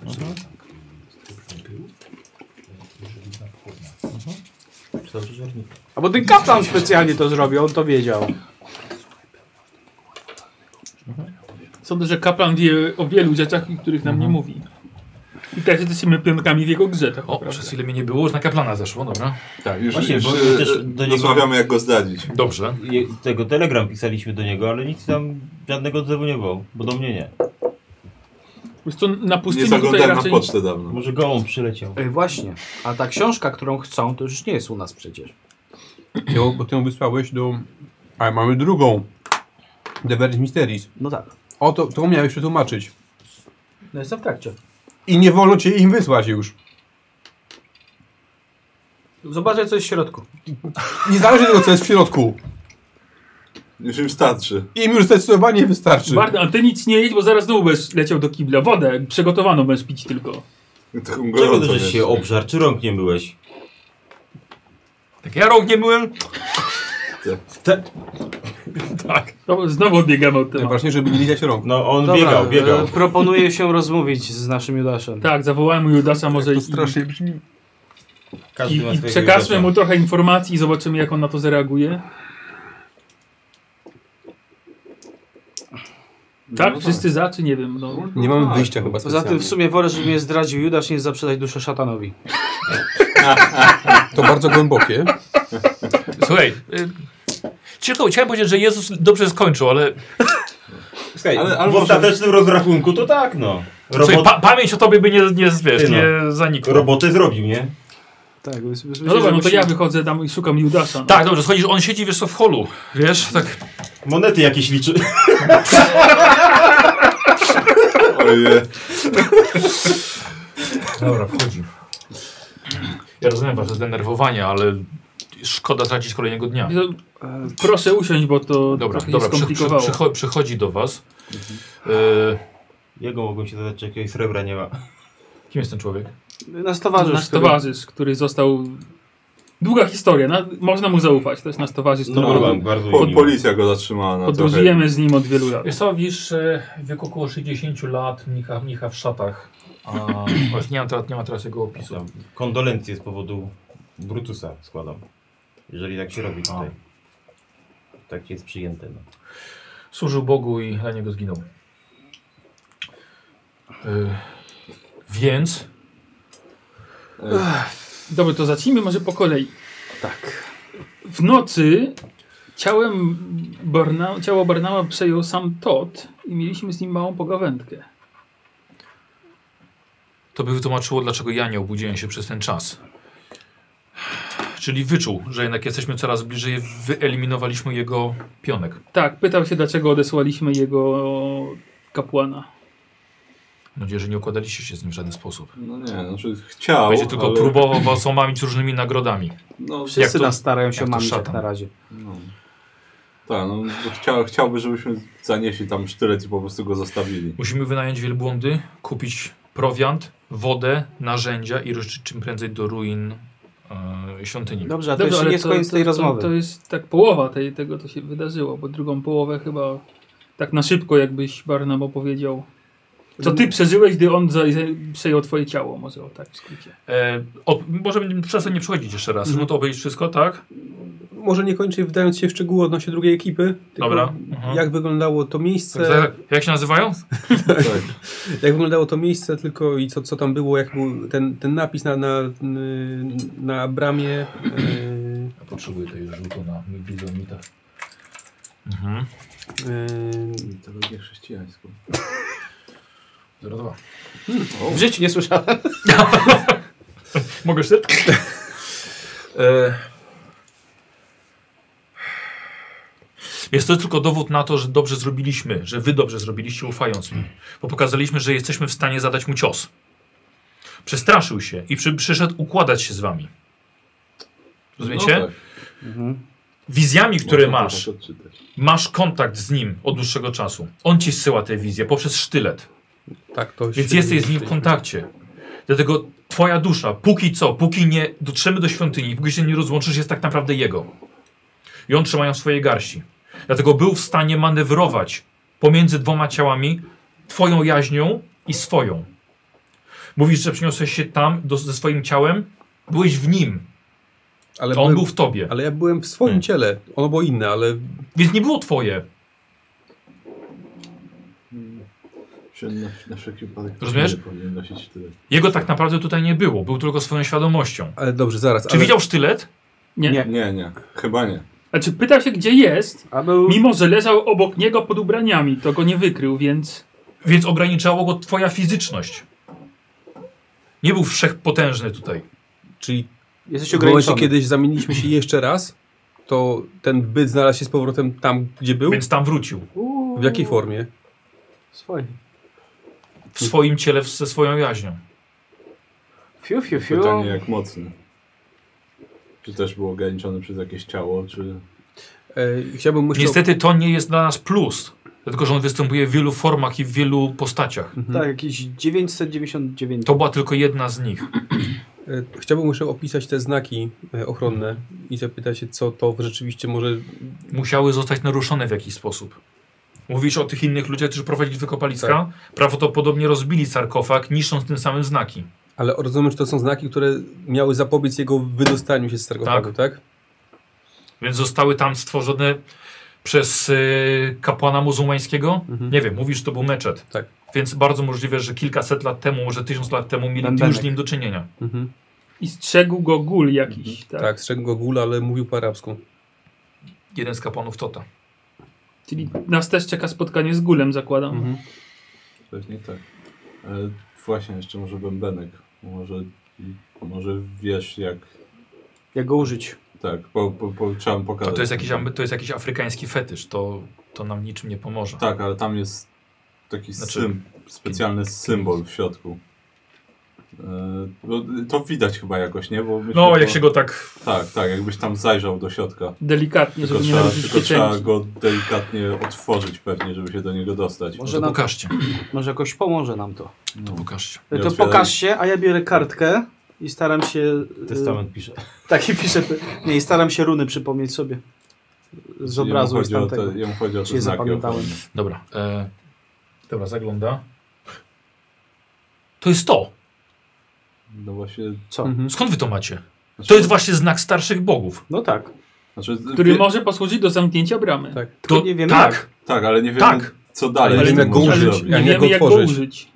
[SPEAKER 4] A bo ten kaplan specjalnie to zrobił, on to wiedział.
[SPEAKER 5] Sądzę, że kaplan wie o wielu rzeczach, o których nam nie mówi. I teraz jesteśmy pionkami w jego grze, tak
[SPEAKER 1] Mhm. O,
[SPEAKER 5] naprawdę.
[SPEAKER 1] przez chwilę mnie nie było, już na kaplana zeszło, dobra.
[SPEAKER 3] Tak, już,
[SPEAKER 8] Właśnie,
[SPEAKER 3] już
[SPEAKER 8] bo
[SPEAKER 3] e,
[SPEAKER 8] też do niego-
[SPEAKER 3] rozmawiamy jak go zdradzić.
[SPEAKER 1] Dobrze.
[SPEAKER 8] Je, tego telegram pisaliśmy do niego, ale nic tam, żadnego odzewu nie było, bo do mnie nie.
[SPEAKER 5] Wiesz co, na
[SPEAKER 3] Nie
[SPEAKER 5] pustyni tutaj
[SPEAKER 3] zaglądałem na
[SPEAKER 5] raczej...
[SPEAKER 3] pocztę dawno.
[SPEAKER 8] Może gołąb przyleciał.
[SPEAKER 4] Ej, właśnie. A ta książka, którą chcą, to już nie jest u nas przecież.
[SPEAKER 6] Jo, bo ty ją wysłałeś do... Ale mamy drugą. The Very Mysteries.
[SPEAKER 4] No tak.
[SPEAKER 6] O, to, to miałeś przetłumaczyć.
[SPEAKER 4] No jestem w trakcie.
[SPEAKER 6] I nie wolno cię im wysłać już.
[SPEAKER 4] Zobaczę, co jest w środku.
[SPEAKER 6] Nie zależy tego, co jest w środku.
[SPEAKER 3] Już im starczy.
[SPEAKER 6] Im już zdecydowanie wystarczy.
[SPEAKER 5] Barda, a ty nic nie jedź, bo zaraz znowu będziesz leciał do kibla. Wodę przygotowaną będziesz pić tylko.
[SPEAKER 3] Taką
[SPEAKER 8] Czego
[SPEAKER 3] gorącą
[SPEAKER 8] ty żeś
[SPEAKER 3] jest.
[SPEAKER 8] się obżar? Czy rąk nie byłeś?
[SPEAKER 1] Tak ja rąk nie byłem.
[SPEAKER 5] No, Znowu odbiegamy od tematu.
[SPEAKER 6] Najważniejsze, żeby nie lizać rąk.
[SPEAKER 8] No on biegał, biegał.
[SPEAKER 4] e, Proponuję się rozmówić z naszym Judaszem.
[SPEAKER 5] Tak, zawołałem Judasa może i,
[SPEAKER 6] To strasznie brzmi.
[SPEAKER 8] Każdy
[SPEAKER 5] i,
[SPEAKER 8] ma
[SPEAKER 5] i
[SPEAKER 8] swojego
[SPEAKER 5] przekażmy
[SPEAKER 8] Judasza.
[SPEAKER 5] mu trochę informacji i zobaczymy jak on na to zareaguje.
[SPEAKER 1] No
[SPEAKER 5] Tak? Wszyscy za, czy nie wiem, no.
[SPEAKER 6] Nie mamy wyjścia chyba
[SPEAKER 4] Poza tym
[SPEAKER 6] specjalnie.
[SPEAKER 4] w sumie wolę, żeby mnie zdradził Judasz, niż zaprzedać duszę szatanowi.
[SPEAKER 6] To bardzo głębokie.
[SPEAKER 1] Słuchaj. Y, ciekawe, chciałem powiedzieć, że Jezus dobrze skończył, ale
[SPEAKER 8] Słuchaj,
[SPEAKER 3] Ale- ale
[SPEAKER 8] w
[SPEAKER 3] może-
[SPEAKER 8] ostatecznym rozrachunku to tak, no.
[SPEAKER 1] słuchaj,
[SPEAKER 8] Robot,
[SPEAKER 1] pa pamięć o tobie by nie, nie,
[SPEAKER 8] Ty
[SPEAKER 1] wiesz,
[SPEAKER 8] no.
[SPEAKER 1] nie zanikła.
[SPEAKER 8] robotę zrobił, nie?
[SPEAKER 4] Tak,
[SPEAKER 5] No dobra, no to ja wychodzę tam i szukam Judasa. No.
[SPEAKER 1] Tak, dobrze, schodzisz, on siedzi, wiesz co, w holu, wiesz, tak,
[SPEAKER 8] Monety jakieś liczy.
[SPEAKER 3] Ojej.
[SPEAKER 1] Dobra, wchodzi. Ja rozumiem wasze zdenerwowanie, ale szkoda tracić kolejnego dnia.
[SPEAKER 5] To- e, Proszę usiąść, bo No, to
[SPEAKER 1] Dobra,
[SPEAKER 5] trochę
[SPEAKER 1] dobra, przy,
[SPEAKER 5] jest
[SPEAKER 1] przy,
[SPEAKER 5] skomplikowało. Mhm.
[SPEAKER 1] przycho przychodzi do was. Y,
[SPEAKER 8] Jego mogłem się zadać, czy jakiegoś srebra nie ma.
[SPEAKER 1] kim jest ten człowiek?
[SPEAKER 4] Nasz towarzysz.
[SPEAKER 5] nasz
[SPEAKER 4] który-
[SPEAKER 5] towarzysz, który został... Długa historia, na, można mu zaufać. To jest nasz towarzysz,
[SPEAKER 8] No,
[SPEAKER 5] który
[SPEAKER 3] dobra.
[SPEAKER 8] no bardzo
[SPEAKER 3] Po,
[SPEAKER 8] miło.
[SPEAKER 3] policja go zatrzymała na trochę.
[SPEAKER 5] podróżujemy z nim od wielu lat.
[SPEAKER 1] Wiesz co, widzisz, e, wiek około 60 lat, mnicha, mnicha w szatach. A, właśnie nie, mam teraz, nie ma teraz jego opisu.
[SPEAKER 8] Tam Kondolencje z powodu Brutusa składam. Jeżeli tak się robi tutaj. Tak jest przyjęte. No.
[SPEAKER 1] Służył Bogu i dla niego zginął. Y, więc
[SPEAKER 5] Dobra, to zacznijmy może po kolei. Tak. W nocy ciałem Barna, ciało Barnała przejął sam Todd i mieliśmy z nim małą pogawędkę.
[SPEAKER 1] to by wytłumaczyło, dlaczego ja nie obudziłem się przez ten czas. Czyli wyczuł, że jednak jesteśmy coraz bliżej, wyeliminowaliśmy jego pionek.
[SPEAKER 5] Tak, pytał się, dlaczego odesłaliśmy jego kapłana.
[SPEAKER 1] Mam nadzieję, że nie układaliście się z nim w żaden sposób.
[SPEAKER 3] No nie, znaczy chciał,
[SPEAKER 1] Będzie tylko
[SPEAKER 3] ale...
[SPEAKER 1] próbował was omamić różnymi nagrodami.
[SPEAKER 3] No,
[SPEAKER 1] Jak
[SPEAKER 4] Wszyscy
[SPEAKER 1] to-
[SPEAKER 4] nas starają się
[SPEAKER 1] jak to
[SPEAKER 4] mamić jak
[SPEAKER 1] szatan.
[SPEAKER 4] na razie.
[SPEAKER 3] no. Tak, no bo chciał, chciałby, żebyśmy zanieśli tam sztylet i po prostu go zostawili.
[SPEAKER 1] Musimy wynająć wielbłądy, kupić prowiant, wodę, narzędzia i ruszyć czym prędzej do ruin e, świątyni.
[SPEAKER 4] Dobrze, a to jeszcze nie jest
[SPEAKER 5] to-
[SPEAKER 4] koniec
[SPEAKER 5] to-
[SPEAKER 4] tej
[SPEAKER 5] to,
[SPEAKER 4] rozmowy.
[SPEAKER 5] To jest tak połowa tej, tego, co się wydarzyło, bo drugą połowę chyba Tak na szybko, jakbyś Barnum opowiedział. Co ty przeżyłeś, gdy on za- za- przejął twoje ciało, może o tak w skrócie.
[SPEAKER 1] E, o, może będziemy przez to nie przechodzić jeszcze raz.
[SPEAKER 6] Mhm.
[SPEAKER 1] Żeby to obejrzeć wszystko, tak?
[SPEAKER 6] Może nie kończę wdając się w szczegóły odnośnie drugiej ekipy. tylko
[SPEAKER 1] Dobra. Mhm.
[SPEAKER 6] Jak wyglądało to
[SPEAKER 1] Tak,
[SPEAKER 6] miejsce,
[SPEAKER 1] tak, jak się nazywają?
[SPEAKER 6] jak wyglądało to miejsce tylko i co, co tam było, jak był ten, ten napis na, na, na bramie. Yy,
[SPEAKER 1] Ja potrzebuję tej rzutu na tak- bizonita. Mhm.
[SPEAKER 6] yy,
[SPEAKER 3] Mitologię chrześcijańską.
[SPEAKER 1] 02.
[SPEAKER 4] W życiu nie słyszałem.
[SPEAKER 1] Mogę szedł? Jest to tylko dowód na to, że dobrze zrobiliśmy, że wy dobrze zrobiliście ufając mi. Bo pokazaliśmy, że jesteśmy w stanie zadać mu cios. Przestraszył się i przy, przyszedł układać się z wami. Rozumiecie?
[SPEAKER 3] No tak,
[SPEAKER 1] Wizjami, które
[SPEAKER 4] No,
[SPEAKER 3] można to
[SPEAKER 1] masz,
[SPEAKER 3] tak odczytać.
[SPEAKER 1] masz kontakt z nim od dłuższego czasu. On ci zsyła te wizje poprzez sztylet.
[SPEAKER 6] tak, to
[SPEAKER 1] Więc
[SPEAKER 6] się-
[SPEAKER 1] jesteś z nim w kontakcie. Dlatego twoja dusza, póki co, póki nie dotrzemy do świątyni, póki się nie rozłączysz, jest tak naprawdę jego. I on trzymają w swojej garści. Dlatego był w stanie manewrować pomiędzy dwoma ciałami, twoją jaźnią i swoją. Mówisz, że przeniosłeś się tam do, ze swoim ciałem, byłeś w nim,
[SPEAKER 6] Ale,
[SPEAKER 1] a on
[SPEAKER 6] byłem,
[SPEAKER 1] był w tobie.
[SPEAKER 6] ale ja byłem w swoim
[SPEAKER 1] Hmm.
[SPEAKER 6] ciele. Ono było inne, ale
[SPEAKER 1] Więc nie było twoje,
[SPEAKER 3] Się Na, na wszelki wypadek
[SPEAKER 1] Rozumiesz?
[SPEAKER 3] powinien nosić tyle.
[SPEAKER 1] jego tak naprawdę tutaj nie było, był tylko swoją świadomością.
[SPEAKER 6] Ale dobrze, zaraz.
[SPEAKER 1] Czy
[SPEAKER 6] ale,
[SPEAKER 1] widział sztylet?
[SPEAKER 5] Nie.
[SPEAKER 4] Nie.
[SPEAKER 3] Nie, nie, chyba nie.
[SPEAKER 5] Znaczy pytał się, gdzie jest,
[SPEAKER 4] A był...
[SPEAKER 5] mimo że leżał obok niego pod ubraniami, to go nie wykrył, więc...
[SPEAKER 1] Więc ograniczało go twoja fizyczność. Nie był wszechpotężny tutaj.
[SPEAKER 6] Czyli
[SPEAKER 4] Jesteś
[SPEAKER 6] w momencie,
[SPEAKER 4] ograniczony.
[SPEAKER 6] kiedyś zamieniliśmy się jeszcze raz, to ten byt znalazł się z powrotem tam, gdzie był?
[SPEAKER 1] Więc tam wrócił.
[SPEAKER 4] Uuu,
[SPEAKER 6] W jakiej formie?
[SPEAKER 4] Swoje.
[SPEAKER 1] W swoim ciele, w- ze swoją jaźnią.
[SPEAKER 4] Fiu, fiu, fiu.
[SPEAKER 3] Pytanie jak mocny. Czy też był ograniczony przez jakieś ciało, czy...
[SPEAKER 6] E, chciałbym myśleć
[SPEAKER 1] Niestety to nie jest dla nas plus. Dlatego, że on występuje w wielu formach i w wielu postaciach.
[SPEAKER 4] Tak, jakieś 999.
[SPEAKER 1] To była tylko jedna z nich.
[SPEAKER 6] o, e, Chciałbym jeszcze opisać te znaki e, ochronne i zapytać się, co to rzeczywiście może...
[SPEAKER 1] Musiały zostać naruszone w jakiś sposób. Mówisz o tych innych ludziach, którzy prowadzili wykopaliska? Prawdopodobnie rozbili sarkofag, niszcząc tym samym znaki.
[SPEAKER 6] Ale rozumiem, że to są znaki, które miały zapobiec jego wydostaniu się z sarkofagu, tak? tak?
[SPEAKER 1] Więc zostały tam stworzone przez y, kapłana muzułmańskiego?
[SPEAKER 6] Mhm.
[SPEAKER 1] Nie wiem, mówisz, że to był meczet.
[SPEAKER 6] Tak.
[SPEAKER 1] Więc bardzo możliwe, że kilkaset lat temu, może tysiąc lat temu mieli
[SPEAKER 4] Bębenek.
[SPEAKER 1] już z nim do czynienia.
[SPEAKER 6] Mhm.
[SPEAKER 5] I strzegł go gul jakiś, tak?
[SPEAKER 6] Tak, strzegł go gula, ale mówił po arabsku.
[SPEAKER 1] Jeden z kapłanów Tota.
[SPEAKER 5] Czyli nas też czeka spotkanie z gulem, zakładam.
[SPEAKER 6] Mhm.
[SPEAKER 3] Pewnie tak. Ale właśnie, jeszcze może bębenek. Może, może wiesz jak...
[SPEAKER 4] Jak go użyć?
[SPEAKER 3] Tak, po, po, po, trzeba mu
[SPEAKER 1] To,
[SPEAKER 3] pokazać.
[SPEAKER 1] to, jest jakiś, am- to jest jakiś afrykański fetysz, to, to nam niczym nie pomoże.
[SPEAKER 3] Tak, ale tam jest taki
[SPEAKER 1] Znaczy-
[SPEAKER 3] sym, specjalny symbol w środku. E, bo To widać chyba jakoś, nie? Bo myślę,
[SPEAKER 1] No,
[SPEAKER 3] że-
[SPEAKER 1] jak się go tak...
[SPEAKER 3] Tak, tak, jakbyś tam zajrzał do środka.
[SPEAKER 5] Delikatnie,
[SPEAKER 3] Tylko,
[SPEAKER 5] żeby nie
[SPEAKER 3] trzeba,
[SPEAKER 5] naruszyć
[SPEAKER 3] tylko trzeba
[SPEAKER 5] pieczęci.
[SPEAKER 3] go delikatnie otworzyć pewnie, żeby się do niego dostać.
[SPEAKER 1] No
[SPEAKER 4] Może
[SPEAKER 1] to
[SPEAKER 4] nam,
[SPEAKER 1] pokażcie,
[SPEAKER 4] może jakoś pomoże nam to.
[SPEAKER 1] to pokażcie.
[SPEAKER 3] Nie
[SPEAKER 4] to
[SPEAKER 3] otwieraj.
[SPEAKER 4] pokaż się, a ja biorę kartkę i staram się... y,
[SPEAKER 7] Testament pisze.
[SPEAKER 4] Tak, i piszę... Nie, i staram się runy przypomnieć sobie. Z obrazu
[SPEAKER 3] jemu
[SPEAKER 4] z
[SPEAKER 3] chodzi o
[SPEAKER 4] tamtego.
[SPEAKER 3] te, jemu chodzi o te
[SPEAKER 4] Cię
[SPEAKER 3] znaki
[SPEAKER 4] zapamiętałem.
[SPEAKER 3] ochronne.
[SPEAKER 1] Dobra. E, dobra, zagląda. To jest to.
[SPEAKER 3] No właśnie...
[SPEAKER 4] Co?
[SPEAKER 6] Mhm.
[SPEAKER 1] Skąd wy to macie?
[SPEAKER 3] Znaczy,
[SPEAKER 1] To jest właśnie znak starszych bogów.
[SPEAKER 4] No tak.
[SPEAKER 3] Znaczy,
[SPEAKER 5] Który
[SPEAKER 3] wie-
[SPEAKER 5] może posłużyć do zamknięcia bramy.
[SPEAKER 6] Tak.
[SPEAKER 1] To,
[SPEAKER 4] nie wiemy
[SPEAKER 1] tak,
[SPEAKER 3] Tak, ale nie wiem
[SPEAKER 1] Tak.
[SPEAKER 3] co dalej.
[SPEAKER 6] Ale
[SPEAKER 3] z tym
[SPEAKER 6] nie wiem, jak go
[SPEAKER 3] możesz
[SPEAKER 5] Ale
[SPEAKER 6] użyć.
[SPEAKER 3] zrobić.
[SPEAKER 5] nie
[SPEAKER 6] jak
[SPEAKER 5] wiemy
[SPEAKER 6] go
[SPEAKER 5] jak go
[SPEAKER 6] otworzyć?
[SPEAKER 5] użyć.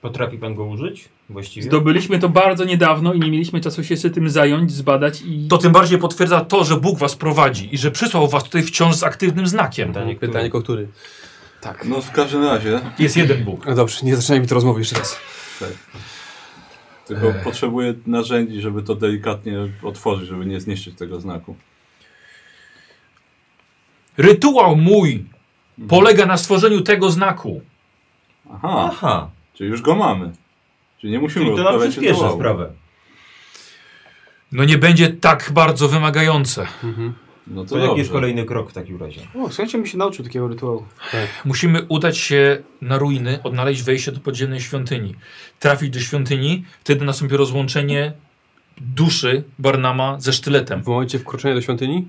[SPEAKER 7] Potrafi pan go użyć? Właściwie?
[SPEAKER 5] Zdobyliśmy to bardzo niedawno i nie mieliśmy czasu się jeszcze tym zająć, zbadać i...
[SPEAKER 1] to tym bardziej potwierdza to, że Bóg was prowadzi i że przysłał was tutaj wciąż z aktywnym znakiem.
[SPEAKER 7] Pytanie, które-
[SPEAKER 6] Pytanie, o który?
[SPEAKER 3] No w każdym razie,
[SPEAKER 1] Jest jeden Bóg.
[SPEAKER 6] No dobrze, nie zaczynajmy tej rozmowy jeszcze raz.
[SPEAKER 3] tylko potrzebuję narzędzi, żeby to delikatnie otworzyć, żeby nie zniszczyć tego znaku.
[SPEAKER 1] Rytuał mój
[SPEAKER 5] Mhm.
[SPEAKER 1] polega na stworzeniu tego znaku.
[SPEAKER 3] Aha,
[SPEAKER 7] Aha,
[SPEAKER 3] czyli już go mamy. Czyli nie musimy
[SPEAKER 7] czyli to nam
[SPEAKER 3] odprawiać
[SPEAKER 7] przyspiesza
[SPEAKER 3] rytuału.
[SPEAKER 7] sprawę.
[SPEAKER 1] No nie będzie tak bardzo wymagające.
[SPEAKER 3] No to
[SPEAKER 7] To jaki
[SPEAKER 3] dobrze.
[SPEAKER 7] jest kolejny krok w takim razie?
[SPEAKER 4] O, słuchajcie, mi się nauczył takiego rytuału.
[SPEAKER 1] Musimy udać się na ruiny, odnaleźć wejście do podziemnej świątyni. Trafić do świątyni, wtedy nastąpi rozłączenie duszy Barnama ze sztyletem.
[SPEAKER 6] W momencie wkroczenia do świątyni?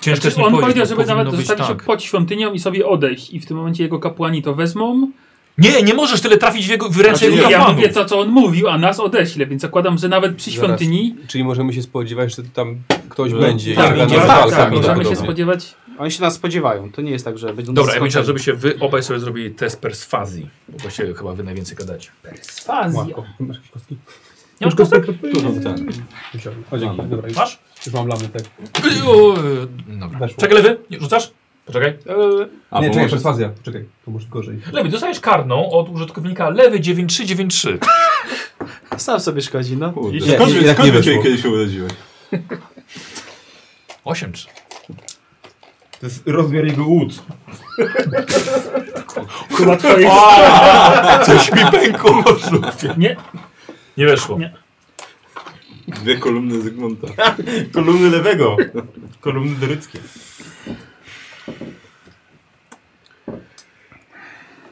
[SPEAKER 1] Ciężko jest mi
[SPEAKER 5] Znaczy,
[SPEAKER 1] powiedzieć,
[SPEAKER 5] on powiedział,
[SPEAKER 1] bo
[SPEAKER 5] żeby
[SPEAKER 1] powinno
[SPEAKER 5] nawet
[SPEAKER 1] być
[SPEAKER 5] zostawić się
[SPEAKER 1] tak.
[SPEAKER 5] pod świątynią i sobie odejść. I w tym momencie jego kapłani to wezmą.
[SPEAKER 1] Nie, nie możesz tyle trafić w, jego, w ręce
[SPEAKER 3] Znaczy
[SPEAKER 1] jego
[SPEAKER 5] Ja
[SPEAKER 1] kapłanów.
[SPEAKER 5] mówię to, co on mówił, a nas odeśle, więc zakładam, że nawet przy
[SPEAKER 6] Zaraz.
[SPEAKER 5] świątyni
[SPEAKER 6] Czyli możemy się spodziewać, że tam ktoś
[SPEAKER 3] No,
[SPEAKER 6] będzie.
[SPEAKER 3] tak,
[SPEAKER 6] i
[SPEAKER 3] idzie
[SPEAKER 6] walka
[SPEAKER 3] walka,
[SPEAKER 6] będzie
[SPEAKER 3] tak,
[SPEAKER 5] możemy się
[SPEAKER 3] dokładnie.
[SPEAKER 5] spodziewać.
[SPEAKER 4] Oni się nas spodziewają. To nie jest tak, że będą
[SPEAKER 1] Dobra, ja
[SPEAKER 4] nas
[SPEAKER 1] bym chciał, żebyście wy obaj sobie zrobili test perswazji, bo właściwie chyba wy najwięcej gadacie.
[SPEAKER 5] Perswazja.
[SPEAKER 6] Łatwo. Masz kostki?
[SPEAKER 1] Nie masz kostek?
[SPEAKER 3] Tu mam ten.
[SPEAKER 6] Wziąłem. tak. O, dzięki.
[SPEAKER 3] Mamy.
[SPEAKER 6] Dobra, już,
[SPEAKER 1] Masz?
[SPEAKER 6] już mam lamy, tak.
[SPEAKER 1] O, e, Dobra.
[SPEAKER 6] Weszło.
[SPEAKER 1] Czekaj, lewy, nie, rzucasz? Poczekaj. E,
[SPEAKER 3] A,
[SPEAKER 6] nie,
[SPEAKER 3] bo
[SPEAKER 6] czekaj,
[SPEAKER 3] może-
[SPEAKER 6] perswazja. Czekaj, to może gorzej.
[SPEAKER 1] Lewy, dostajesz karną od użytkownika lewy 9393.
[SPEAKER 4] Sam sobie szkodzi, no.
[SPEAKER 3] Kurde.
[SPEAKER 6] Nie,
[SPEAKER 3] Skąd,
[SPEAKER 6] nie,
[SPEAKER 3] nie,
[SPEAKER 6] jak
[SPEAKER 3] skąd
[SPEAKER 6] nie
[SPEAKER 3] wy się
[SPEAKER 6] wyszło.
[SPEAKER 3] kiedyś urodziłeś?
[SPEAKER 1] 83.
[SPEAKER 8] To jest rozmiar jego łód.
[SPEAKER 5] Chyba twoje...
[SPEAKER 3] Coś mi pękło w żółwie.
[SPEAKER 5] Nie,
[SPEAKER 1] Nie weszło.
[SPEAKER 5] Nie.
[SPEAKER 3] Dwie kolumny Zygmunta.
[SPEAKER 8] Kolumny lewego. Kolumny doryckie.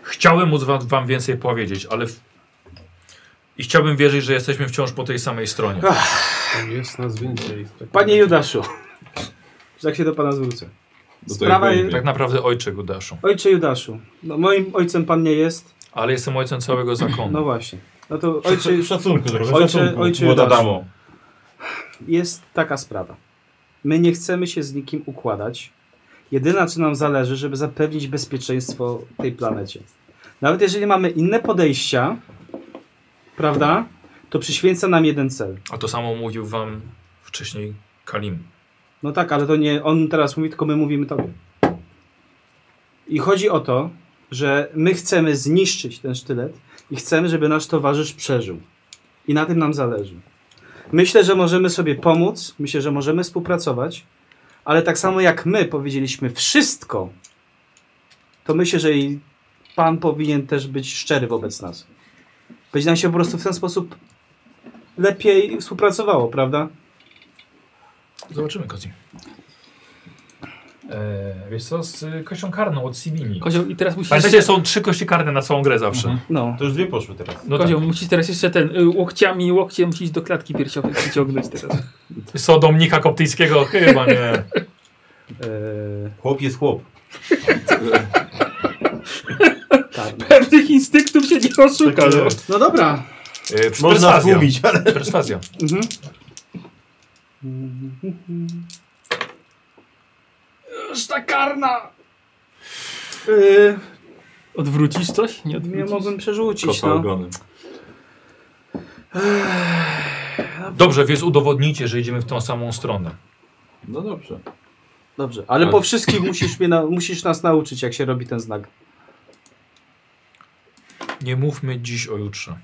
[SPEAKER 1] Chciałem móc wam, wam więcej powiedzieć, ale... W... I chciałbym wierzyć, że jesteśmy wciąż po tej samej stronie.
[SPEAKER 6] Jest nas więcej. Tak.
[SPEAKER 4] Panie Judaszu, że tak się do pana zwrócę.
[SPEAKER 3] Do
[SPEAKER 4] Sprawa
[SPEAKER 3] tej
[SPEAKER 4] jest-
[SPEAKER 3] węgry.
[SPEAKER 1] Tak naprawdę ojcze Gudaszu.
[SPEAKER 4] Ojcze Judaszu, no moim ojcem pan nie jest,
[SPEAKER 1] Ale jestem ojcem całego zakonu.
[SPEAKER 4] no właśnie. No to ojcze,
[SPEAKER 8] Szacunku trochę,
[SPEAKER 4] Ojcze-
[SPEAKER 8] szacunku.
[SPEAKER 4] ojcze
[SPEAKER 8] młoda
[SPEAKER 4] Judaszu.
[SPEAKER 8] damo.
[SPEAKER 4] jest taka sprawa. My nie chcemy się z nikim układać. Jedyne, co nam zależy, żeby zapewnić bezpieczeństwo tej planecie. Nawet jeżeli mamy inne podejścia, prawda, to przyświęca nam jeden cel.
[SPEAKER 1] A to samo mówił wam wcześniej Kalim.
[SPEAKER 4] No tak, ale to nie on teraz mówi, tylko my mówimy tobie. I chodzi o to, że my chcemy zniszczyć ten sztylet i chcemy, żeby nasz towarzysz przeżył. I na tym nam zależy. Myślę, że możemy sobie pomóc, myślę, że możemy współpracować, ale tak samo jak my powiedzieliśmy wszystko, to myślę, że i pan powinien też być szczery wobec nas. Będzie nam się po prostu w ten sposób lepiej współpracowało, prawda?
[SPEAKER 1] Zobaczymy, Kozi. E, wiesz co, z y, kością karną od Sibini.
[SPEAKER 5] kozioł, i teraz musisz...
[SPEAKER 1] Pamiętajcie, są trzy kości karne na całą grę zawsze.
[SPEAKER 5] Mhm.
[SPEAKER 4] No.
[SPEAKER 8] To już dwie poszły teraz.
[SPEAKER 1] No tak.
[SPEAKER 5] Kozioł, musisz teraz jeszcze ten, y, łokciami, łokciem musisz do klatki piersiowej przyciągnąć teraz.
[SPEAKER 1] Co Dominika Koptyjskiego? Chyba nie.
[SPEAKER 5] E,
[SPEAKER 4] Eee,
[SPEAKER 8] Chłop jest chłop.
[SPEAKER 4] tak.
[SPEAKER 5] Pewnych instynktów się nie oszuka,
[SPEAKER 1] Tak
[SPEAKER 5] no.
[SPEAKER 4] No dobra.
[SPEAKER 1] E,
[SPEAKER 8] Można
[SPEAKER 1] perswazja.
[SPEAKER 8] zgubić, ale...
[SPEAKER 1] Perswazja.
[SPEAKER 4] Mhm. Sztakarna! Yy,
[SPEAKER 5] Odwrócisz coś? Nie
[SPEAKER 4] nie
[SPEAKER 5] odwrócisz?
[SPEAKER 4] mogłem przerzucić,
[SPEAKER 3] Kota
[SPEAKER 4] no.
[SPEAKER 3] ogonem.
[SPEAKER 1] Dobrze, więc udowodnijcie, że idziemy w tą samą stronę.
[SPEAKER 3] No dobrze.
[SPEAKER 4] Dobrze, ale
[SPEAKER 3] Tak.
[SPEAKER 4] po wszystkim musisz, mnie na, musisz nas nauczyć, jak się robi ten znak.
[SPEAKER 1] Nie mówmy dziś o jutrze.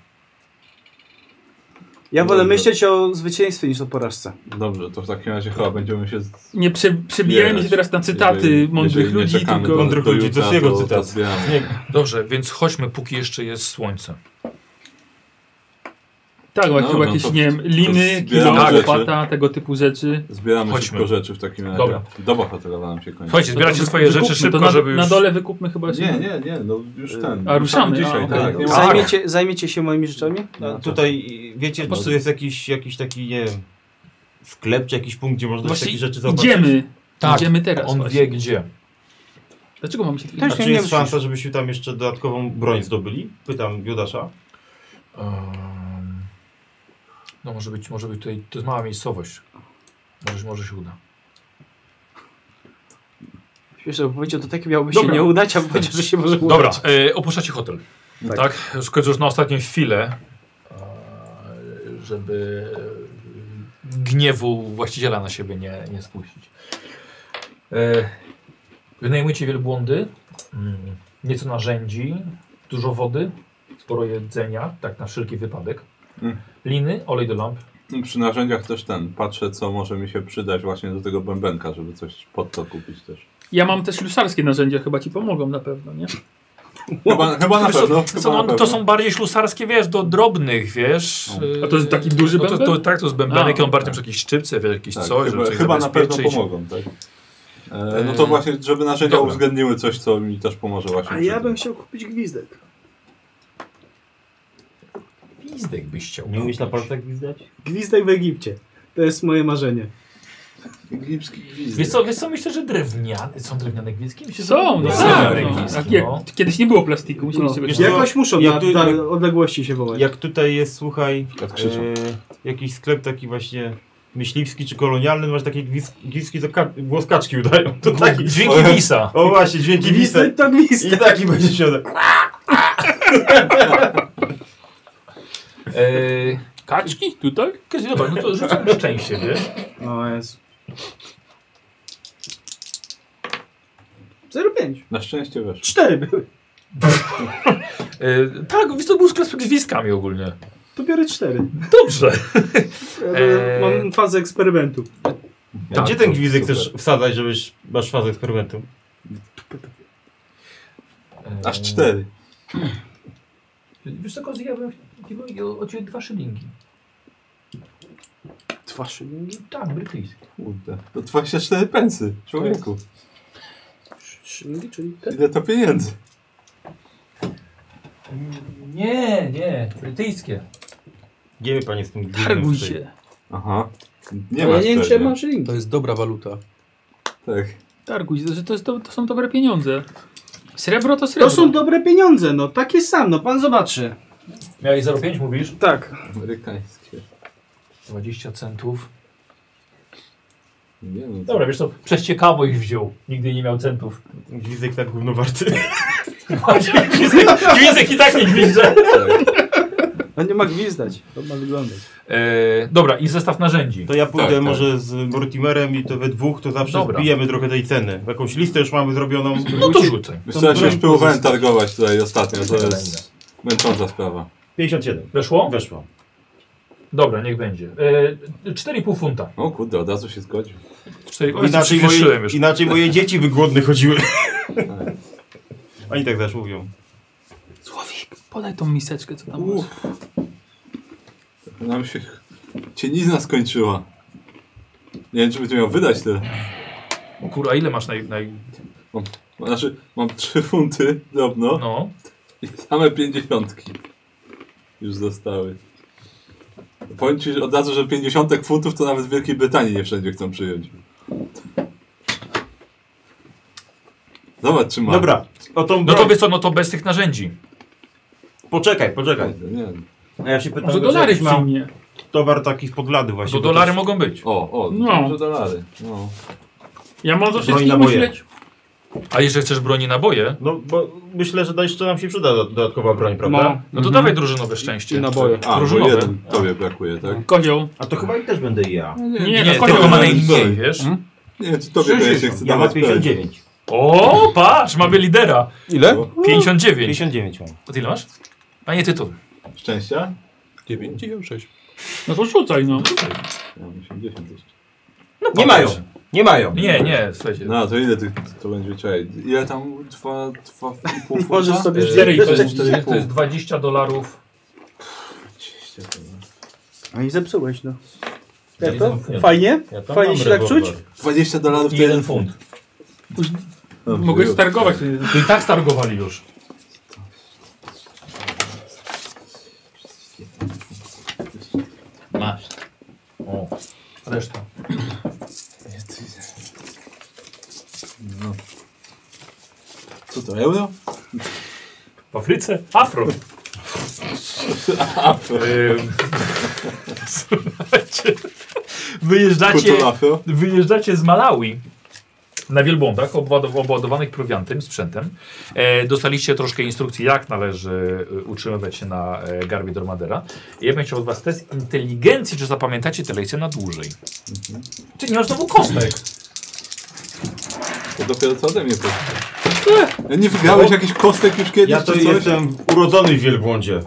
[SPEAKER 4] Ja wolę
[SPEAKER 3] Dobra.
[SPEAKER 4] myśleć o zwycięstwie niż o porażce.
[SPEAKER 3] Dobrze, to w takim razie chyba będziemy się... z-
[SPEAKER 5] Nie prze, przebijajmy
[SPEAKER 3] zbierać.
[SPEAKER 5] się teraz na cytaty
[SPEAKER 3] Jeżeli-
[SPEAKER 5] mądrych
[SPEAKER 3] jeżeli nie
[SPEAKER 5] ludzi,
[SPEAKER 3] czekamy
[SPEAKER 5] tylko...
[SPEAKER 8] Mądrych
[SPEAKER 3] do
[SPEAKER 8] ludzi, to
[SPEAKER 3] jutra,
[SPEAKER 8] z jego
[SPEAKER 3] to- to
[SPEAKER 8] cytat.
[SPEAKER 3] zbieramy.
[SPEAKER 8] Nie,
[SPEAKER 1] Dobrze, więc chodźmy, póki jeszcze jest słońce.
[SPEAKER 5] Tak,
[SPEAKER 3] No,
[SPEAKER 5] chyba
[SPEAKER 3] no
[SPEAKER 5] jakieś,
[SPEAKER 3] to-
[SPEAKER 5] nie wiem, liny,
[SPEAKER 3] zbieramy
[SPEAKER 5] kilo,
[SPEAKER 3] rzeczy.
[SPEAKER 5] łopata, tego typu rzeczy.
[SPEAKER 3] Zbieramy
[SPEAKER 1] Chodźmy.
[SPEAKER 3] szybko rzeczy w takim razie.
[SPEAKER 1] Dobra.
[SPEAKER 3] Doba hotelowa nam się kończy.
[SPEAKER 1] Słuchajcie, zbieracie
[SPEAKER 5] No to
[SPEAKER 1] swoje
[SPEAKER 5] wykupmy,
[SPEAKER 1] rzeczy
[SPEAKER 5] to
[SPEAKER 1] szybko,
[SPEAKER 5] na,
[SPEAKER 1] żeby już...
[SPEAKER 5] Na dole wykupmy chyba
[SPEAKER 3] Nie,
[SPEAKER 5] się.
[SPEAKER 3] nie, nie, no
[SPEAKER 4] Y,
[SPEAKER 3] już ten.
[SPEAKER 5] A, ruszamy,
[SPEAKER 3] Dzisiaj, tak.
[SPEAKER 5] a,
[SPEAKER 4] Dobra.
[SPEAKER 3] nie ma-
[SPEAKER 4] Zajmiecie, zajmiecie się moimi rzeczami?
[SPEAKER 3] No tak.
[SPEAKER 8] Tutaj, wiecie,
[SPEAKER 3] No.
[SPEAKER 8] czy tu jest jakiś, jakiś taki, nie wiem, sklep czy jakiś punkt, gdzie można
[SPEAKER 1] Właśnie
[SPEAKER 8] takie rzeczy zobaczyć?
[SPEAKER 5] Idziemy.
[SPEAKER 1] Tak,
[SPEAKER 5] Idziemy teraz.
[SPEAKER 1] On
[SPEAKER 5] właśnie.
[SPEAKER 1] wie gdzie.
[SPEAKER 5] Dlaczego mamy się
[SPEAKER 4] Też
[SPEAKER 8] A
[SPEAKER 5] tak
[SPEAKER 4] nie-
[SPEAKER 8] czy jest
[SPEAKER 4] wiem,
[SPEAKER 8] szansa, żebyśmy tam jeszcze dodatkową broń zdobyli? Pytam Judasza.
[SPEAKER 1] Ehm, No może być, może być tutaj, to jest mała miejscowość. Może, może się uda.
[SPEAKER 4] Wiesz, bo powiedział, to takie miałoby się
[SPEAKER 1] Dobra.
[SPEAKER 4] nie udać, a powiedział, że się może udać.
[SPEAKER 1] Dobra, e, opuszczacie hotel. Tak.
[SPEAKER 4] Tak.
[SPEAKER 1] Już, końcu już na ostatnią chwilę, e, żeby e, gniewu właściciela na siebie nie, nie spuścić. E, wynajmujecie wielbłądy, mm, nieco narzędzi, dużo wody, sporo jedzenia, tak na wszelki wypadek.
[SPEAKER 3] Mm.
[SPEAKER 1] Liny, olej do lamp.
[SPEAKER 3] Przy narzędziach też ten. Patrzę, co może mi się przydać właśnie do tego bębenka, żeby coś pod to kupić też.
[SPEAKER 5] Ja mam też ślusarskie narzędzia, chyba ci pomogą na pewno, nie?
[SPEAKER 3] Chyba, chyba na
[SPEAKER 1] Wiesz co,
[SPEAKER 3] pewno.
[SPEAKER 1] co,
[SPEAKER 3] chyba na
[SPEAKER 1] no,
[SPEAKER 3] pewno.
[SPEAKER 1] to są bardziej ślusarskie, wiesz, do drobnych, wiesz.
[SPEAKER 5] A to jest taki duży
[SPEAKER 1] no, to, to,
[SPEAKER 5] bęben?
[SPEAKER 1] Tak, to jest bębenek,
[SPEAKER 5] A.
[SPEAKER 1] on bardziej przy jakiejś szczypce, wiesz, jakieś
[SPEAKER 3] tak,
[SPEAKER 1] coś,
[SPEAKER 3] chyba,
[SPEAKER 1] żeby coś
[SPEAKER 3] chyba na pewno
[SPEAKER 1] zabezpieczyć.
[SPEAKER 3] pomogą, tak? E, no to
[SPEAKER 1] E,
[SPEAKER 3] właśnie, żeby narzędzia
[SPEAKER 1] dobra.
[SPEAKER 3] uwzględniły coś, co mi też pomoże właśnie.
[SPEAKER 4] A
[SPEAKER 3] przy
[SPEAKER 4] ja
[SPEAKER 3] tym.
[SPEAKER 4] bym chciał kupić gwizdek.
[SPEAKER 1] Pizdek byś chciał. no.
[SPEAKER 8] Nie umiesz na palcach gwizdać?
[SPEAKER 4] Gwizdek w Egipcie. To jest moje marzenie.
[SPEAKER 3] Egipski
[SPEAKER 1] Wiesz
[SPEAKER 3] gwizdek.
[SPEAKER 1] co, wiesz co, myślę, że drewniane, są drewniane gwizdki? Myślę, że
[SPEAKER 5] Są, no
[SPEAKER 1] są
[SPEAKER 5] tak.
[SPEAKER 1] gwizdki,
[SPEAKER 5] No. Tak, jak,
[SPEAKER 1] no.
[SPEAKER 5] Kiedyś nie było plastiku, musieli
[SPEAKER 4] No,
[SPEAKER 5] sobie...
[SPEAKER 8] wiesz co?
[SPEAKER 4] Jakoś muszą
[SPEAKER 8] Jak
[SPEAKER 4] na,
[SPEAKER 8] tu-
[SPEAKER 4] na
[SPEAKER 8] jak-
[SPEAKER 4] odległości się wołać.
[SPEAKER 8] Jak tutaj jest, słuchaj,
[SPEAKER 3] Nad
[SPEAKER 8] e,
[SPEAKER 3] krzyżem.
[SPEAKER 8] jakiś sklep taki właśnie myśliwski czy kolonialny, masz takie gwiz- gwizdki, to ka- głoskaczki udają. To taki
[SPEAKER 1] Dźwięki wisa.
[SPEAKER 8] O właśnie, dźwięki
[SPEAKER 4] Gwizdek
[SPEAKER 8] wisy.
[SPEAKER 4] to
[SPEAKER 8] I
[SPEAKER 4] gwizdek.
[SPEAKER 8] taki będzie środek.
[SPEAKER 1] Eee, kaczki?
[SPEAKER 5] Kaczki tutaj?
[SPEAKER 1] Kaczki, Dobra, no to rzucam szczęście, wiesz?
[SPEAKER 4] No jest. 0,5.
[SPEAKER 3] Na szczęście weszło.
[SPEAKER 4] Cztery były.
[SPEAKER 1] Eee, tak, wiesz, to był sklep z gwizdkami ogólnie.
[SPEAKER 4] To biorę cztery.
[SPEAKER 1] Dobrze.
[SPEAKER 4] Ja
[SPEAKER 1] Eee.
[SPEAKER 4] Mam fazę eksperymentu.
[SPEAKER 8] A gdzie ten gwizdek
[SPEAKER 3] super.
[SPEAKER 8] chcesz wsadzać, żebyś masz fazę eksperymentu?
[SPEAKER 3] Aż cztery.
[SPEAKER 1] Eee, Wiesz co, Kozy, ja bym ja bym od ciebie dwa szylingi.
[SPEAKER 4] Dwa szylingi?
[SPEAKER 1] Tak, brytyjski.
[SPEAKER 3] Kurde. To 24 pensy, człowieku.
[SPEAKER 4] Szylingi, czyli te?
[SPEAKER 3] Ile to pieniędzy?
[SPEAKER 1] Nie, nie, brytyjskie.
[SPEAKER 8] Wiemy panie z tym gwizdem.
[SPEAKER 5] Targuj
[SPEAKER 8] tutaj.
[SPEAKER 5] się.
[SPEAKER 3] Aha. Nie
[SPEAKER 4] Ja
[SPEAKER 3] masz
[SPEAKER 4] nie wiem, czy ja
[SPEAKER 3] pewnie.
[SPEAKER 4] mam szylingi.
[SPEAKER 6] To jest dobra waluta.
[SPEAKER 3] Tak.
[SPEAKER 5] Targuj się, że to, jest, to, to są dobre pieniądze. Srebro to srebro.
[SPEAKER 4] To są dobre pieniądze, no. Takie sam, no. Pan zobaczy.
[SPEAKER 1] Miałeś 0,5 mówisz?
[SPEAKER 4] Tak.
[SPEAKER 3] Amerykańskie.
[SPEAKER 1] 20 centów.
[SPEAKER 3] Nie no.
[SPEAKER 1] Dobra, wiesz co, przez ciekawość wziął. Nigdy nie miał centów.
[SPEAKER 8] Gwizdek tak gówno warty.
[SPEAKER 1] Gwizdek i tak nie gwizdze.
[SPEAKER 4] On nie ma gwizdać. To ma wyglądać.
[SPEAKER 1] Eee, dobra, i zestaw narzędzi.
[SPEAKER 8] To ja pójdę
[SPEAKER 3] Tak, tak.
[SPEAKER 8] może z Mortimerem i to we dwóch to zawsze
[SPEAKER 1] Dobra.
[SPEAKER 8] zbijemy trochę tej ceny. Jakąś listę już mamy zrobioną.
[SPEAKER 1] No to rzucaj.
[SPEAKER 3] Wiesz co, ja się
[SPEAKER 8] Tam
[SPEAKER 3] już próbowałem targować tutaj ostatnio, to
[SPEAKER 1] Kolejne.
[SPEAKER 3] jest męcząca sprawa.
[SPEAKER 8] 57.
[SPEAKER 1] Weszło?
[SPEAKER 8] Weszło.
[SPEAKER 1] Dobra, niech będzie. E, 4,5 funta.
[SPEAKER 3] O kurde, od razu się zgodził.
[SPEAKER 1] 4,
[SPEAKER 8] Inaczej moje,
[SPEAKER 1] wywyższyłem już.
[SPEAKER 8] inaczej moje dzieci by głodne chodziły. Oni tak też mówią.
[SPEAKER 5] Słowik, podaj tą miseczkę, co tam masz.
[SPEAKER 3] Uff. Nam się cienizna skończyła. Nie wiem, czy bym miał wydać tyle.
[SPEAKER 1] Kurwa, ile masz naj... naj...
[SPEAKER 3] Znaczy, mam 3 funty drobno
[SPEAKER 1] No.
[SPEAKER 3] i same pięćdziesiątki już zostały. Powiem ci że od razu, że pięćdziesiątek funtów to nawet w Wielkiej Brytanii nie wszędzie chcą przyjąć. Zobacz, czy mam.
[SPEAKER 8] Dobra, o tą
[SPEAKER 1] No to
[SPEAKER 8] broń.
[SPEAKER 1] wiesz co, no to bez tych narzędzi.
[SPEAKER 8] Poczekaj, poczekaj.
[SPEAKER 3] Kurde, nie wiem.
[SPEAKER 8] A ja się pytam,
[SPEAKER 5] Może
[SPEAKER 8] że
[SPEAKER 5] dolary
[SPEAKER 8] jakiś mam
[SPEAKER 5] wciągnie.
[SPEAKER 8] towar taki z podlady
[SPEAKER 1] To
[SPEAKER 8] właśnie. bo
[SPEAKER 1] dolary
[SPEAKER 8] to
[SPEAKER 1] mogą być.
[SPEAKER 3] O, o,
[SPEAKER 5] No.
[SPEAKER 3] no. dolary. No.
[SPEAKER 5] Ja mam do
[SPEAKER 8] Broń
[SPEAKER 5] wszystkich
[SPEAKER 8] naboje.
[SPEAKER 5] myśleć.
[SPEAKER 1] A jeżeli chcesz broni naboje,
[SPEAKER 8] No bo myślę, że jeszcze nam się przyda do- dodatkowa broń, prawda?
[SPEAKER 4] No.
[SPEAKER 1] no to
[SPEAKER 5] Mhm.
[SPEAKER 1] dawaj drużynowe szczęście.
[SPEAKER 4] I naboje.
[SPEAKER 3] A, bo
[SPEAKER 1] Różowe.
[SPEAKER 3] jeden tobie brakuje, tak?
[SPEAKER 5] Kozioł.
[SPEAKER 8] A to chyba i też będę ja.
[SPEAKER 1] Nie,
[SPEAKER 5] Nie,
[SPEAKER 1] nie
[SPEAKER 5] no
[SPEAKER 1] tylko
[SPEAKER 5] kozioł.
[SPEAKER 1] ma
[SPEAKER 3] mamy-
[SPEAKER 1] najmniej, wiesz?
[SPEAKER 3] Nie wiem, czy tobie to się chce
[SPEAKER 8] Ja mam
[SPEAKER 3] dawać
[SPEAKER 8] 59.
[SPEAKER 1] O, patrz, mamy lidera.
[SPEAKER 6] Ile?
[SPEAKER 1] 59.
[SPEAKER 8] 59 mam.
[SPEAKER 1] A Ty ile masz? Panie tytuł.
[SPEAKER 3] pewnie. Szczęścia?
[SPEAKER 6] 96.
[SPEAKER 5] No to rzucaj, no.
[SPEAKER 3] Ja mam 80 jeszcze.
[SPEAKER 8] Nie mają. Nie mają.
[SPEAKER 1] Nie, nie, słuchajcie.
[SPEAKER 3] No, to ile ty, to będzie czekaj? Ile tam? Dwa, dwa i pół funta?
[SPEAKER 4] Możesz sobie
[SPEAKER 1] E,
[SPEAKER 4] zjeść.
[SPEAKER 1] to jest-
[SPEAKER 3] cztery i pół.
[SPEAKER 1] To jest 20 dolarów.
[SPEAKER 3] 20 chyba.
[SPEAKER 4] A i zepsułeś, no.
[SPEAKER 1] Ja
[SPEAKER 4] Jak to?
[SPEAKER 1] widzę, nie.
[SPEAKER 4] Fajnie?
[SPEAKER 8] Ja tam
[SPEAKER 4] Fajnie
[SPEAKER 8] mam
[SPEAKER 4] się tak
[SPEAKER 8] rewolwer.
[SPEAKER 4] czuć?
[SPEAKER 3] 20 dolarów to
[SPEAKER 1] I
[SPEAKER 3] jeden
[SPEAKER 1] jeden
[SPEAKER 3] funt.
[SPEAKER 1] funt.
[SPEAKER 3] Dobrze,
[SPEAKER 5] Mogę
[SPEAKER 3] już.
[SPEAKER 5] stargować.
[SPEAKER 1] To i tak stargowali już. Masz. O, reszta.
[SPEAKER 3] No. Co to, euro?
[SPEAKER 1] W Afryce? Afro.
[SPEAKER 3] Afro.
[SPEAKER 1] Ym, Słuchajcie, wyjeżdżacie,
[SPEAKER 3] Kultura afro?
[SPEAKER 1] wyjeżdżacie z Malawi na wielbłądach obładow- obładowanych prowiantem, sprzętem. E, dostaliście troszkę instrukcji, jak należy e, utrzymywać się na e, garbie Dormadera. I ja bym chciał od was test inteligencji, czy zapamiętacie te lekcje na dłużej. Czy Mhm. nie masz znowu kostek?
[SPEAKER 3] To dopiero co ode mnie poszło. Ja nie wygrałeś jakichś kostek już kiedyś
[SPEAKER 8] Ja to
[SPEAKER 3] czy coś?
[SPEAKER 8] jestem urodzony w wielbłądzie.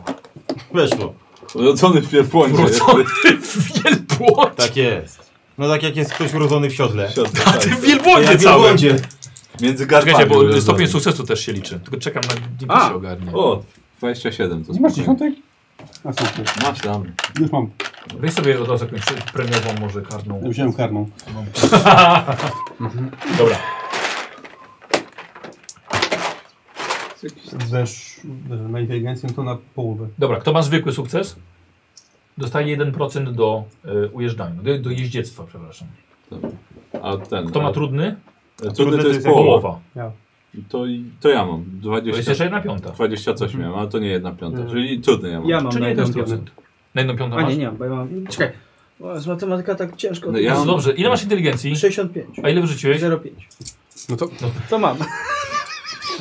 [SPEAKER 8] Weszło.
[SPEAKER 3] Urodzony w Pierpłonie.
[SPEAKER 1] Urodzony w wielbłądzie.
[SPEAKER 8] Tak jest. No tak jak jest ktoś urodzony w
[SPEAKER 1] A
[SPEAKER 8] siodle.
[SPEAKER 1] ty w
[SPEAKER 8] To ja
[SPEAKER 1] wielbłądzie
[SPEAKER 8] w
[SPEAKER 1] całym.
[SPEAKER 8] wielbłądzie.
[SPEAKER 3] Między garbami.
[SPEAKER 1] Czekajcie, bo
[SPEAKER 3] urodzony.
[SPEAKER 1] stopień sukcesu też się liczy. Tylko czekam na
[SPEAKER 6] A,
[SPEAKER 1] dzięki się ogarnie.
[SPEAKER 3] O, 27 to
[SPEAKER 6] Nie masz
[SPEAKER 3] spokojnie.
[SPEAKER 6] dziesiątek? A super.
[SPEAKER 3] Masz tam.
[SPEAKER 6] Już mam.
[SPEAKER 1] Weź sobie od razu jakąś premiową, może karną. Mhm.
[SPEAKER 6] Ja Wziąłem karną.
[SPEAKER 1] Dobra.
[SPEAKER 6] Wesz na inteligencję to na połowę.
[SPEAKER 1] Dobra, kto ma zwykły sukces, e, dostaje 1% do y, ujeżdżania, do, do jeździectwa, przepraszam.
[SPEAKER 3] Dobra. A ten.
[SPEAKER 1] Kto
[SPEAKER 3] a,
[SPEAKER 1] ma trudny?
[SPEAKER 3] e,
[SPEAKER 8] trudny
[SPEAKER 3] Trudny to jest
[SPEAKER 8] to jest
[SPEAKER 3] połowa.
[SPEAKER 1] Połowa.
[SPEAKER 3] To, i- to ja mam.
[SPEAKER 1] To jest jeszcze Mhm.
[SPEAKER 3] 20,
[SPEAKER 1] jedna piąta.
[SPEAKER 3] 20 coś miałem, ale to nie jedna piąta.
[SPEAKER 6] Mhm.
[SPEAKER 3] Czyli trudny ja mam.
[SPEAKER 4] Ja mam
[SPEAKER 1] Czy
[SPEAKER 4] na
[SPEAKER 1] nie
[SPEAKER 4] jedną
[SPEAKER 1] jeden
[SPEAKER 4] piątą.
[SPEAKER 1] procent? Na jedną piątą
[SPEAKER 4] A
[SPEAKER 1] masz?
[SPEAKER 4] nie, nie, bo ja mam... Czekaj. O, z matematyka tak ciężko.
[SPEAKER 3] No ja
[SPEAKER 1] No
[SPEAKER 3] mam-
[SPEAKER 1] dobrze, ile masz inteligencji?
[SPEAKER 4] 65.
[SPEAKER 1] A ile wyrzuciłeś?
[SPEAKER 4] 0,5.
[SPEAKER 6] No to
[SPEAKER 4] To mam.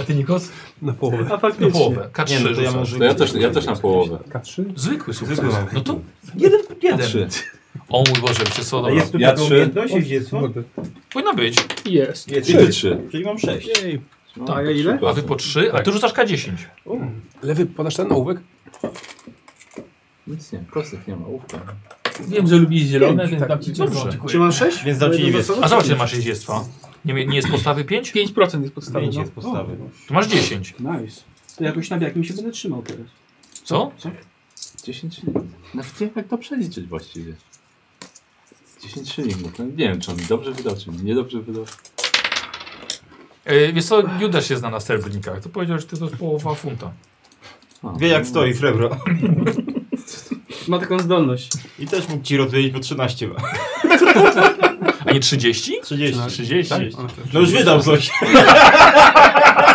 [SPEAKER 1] A ty Nikos?
[SPEAKER 6] na połowę.
[SPEAKER 4] A
[SPEAKER 1] Na
[SPEAKER 4] faktycznie.
[SPEAKER 1] połowę. K3
[SPEAKER 8] Nie, no to ja
[SPEAKER 1] rzucasz.
[SPEAKER 8] mam
[SPEAKER 3] To ja też, ja też na połowę.
[SPEAKER 6] K3?
[SPEAKER 1] Zwykły sukces.
[SPEAKER 8] Zwykły mam.
[SPEAKER 1] No to jeden, jeden.
[SPEAKER 3] Trzy.
[SPEAKER 1] O mój Boże, wiecie co,
[SPEAKER 8] A
[SPEAKER 1] dobra.
[SPEAKER 8] jest tu
[SPEAKER 3] Ja
[SPEAKER 8] taka
[SPEAKER 3] trzy.
[SPEAKER 8] umiejętność? Jest tu?
[SPEAKER 6] Kurde.
[SPEAKER 1] Powinna być.
[SPEAKER 5] Jest.
[SPEAKER 8] Jest.
[SPEAKER 3] I ty trzy.
[SPEAKER 8] Czyli mam sześć.
[SPEAKER 6] Jej.
[SPEAKER 3] No,
[SPEAKER 4] Tak,
[SPEAKER 3] to
[SPEAKER 4] a ile?
[SPEAKER 3] trzy
[SPEAKER 1] A wy po
[SPEAKER 3] klasy.
[SPEAKER 1] 3, a ty rzucasz K10.
[SPEAKER 6] Lewy, podasz ten ołówek?
[SPEAKER 3] Nic nie, prostych nie ma, łówka.
[SPEAKER 5] Wiem, że lubisz zielone, więc
[SPEAKER 6] tak,
[SPEAKER 5] dam ci
[SPEAKER 1] dobrze.
[SPEAKER 5] dziękuję.
[SPEAKER 4] Czy mam 6?
[SPEAKER 8] Więc dam ci niebieskie.
[SPEAKER 1] A zobacz, ile masz jeździectwa. Nie, mie- nie jest postawy 5?
[SPEAKER 5] 5% jest no. podstawą.
[SPEAKER 8] Zdjęcie z podstawy.
[SPEAKER 1] To masz 10.
[SPEAKER 4] Nice. To jakoś na jakim się będę
[SPEAKER 6] Znaczy,
[SPEAKER 4] trzymał teraz.
[SPEAKER 1] Co?
[SPEAKER 3] 10 szylingów. Nawet nie wiem, jak Znaczy, to przeliczyć właściwie. 10 szylingów. No, nie wiem, czy on dobrze wydał, czy niedobrze wydał.
[SPEAKER 1] E, wiesz co, Judasz się zna na srebrnikach. To powiedział, że to jest połowa funta.
[SPEAKER 3] A,
[SPEAKER 8] Wie jak
[SPEAKER 3] no.
[SPEAKER 8] stoi srebro.
[SPEAKER 4] Ma taką zdolność.
[SPEAKER 8] I też mógł ci rozwiedzieć po 13. ma.
[SPEAKER 1] A nie 30?
[SPEAKER 8] 30.
[SPEAKER 1] 30.
[SPEAKER 6] Tak?
[SPEAKER 8] No już wydał coś.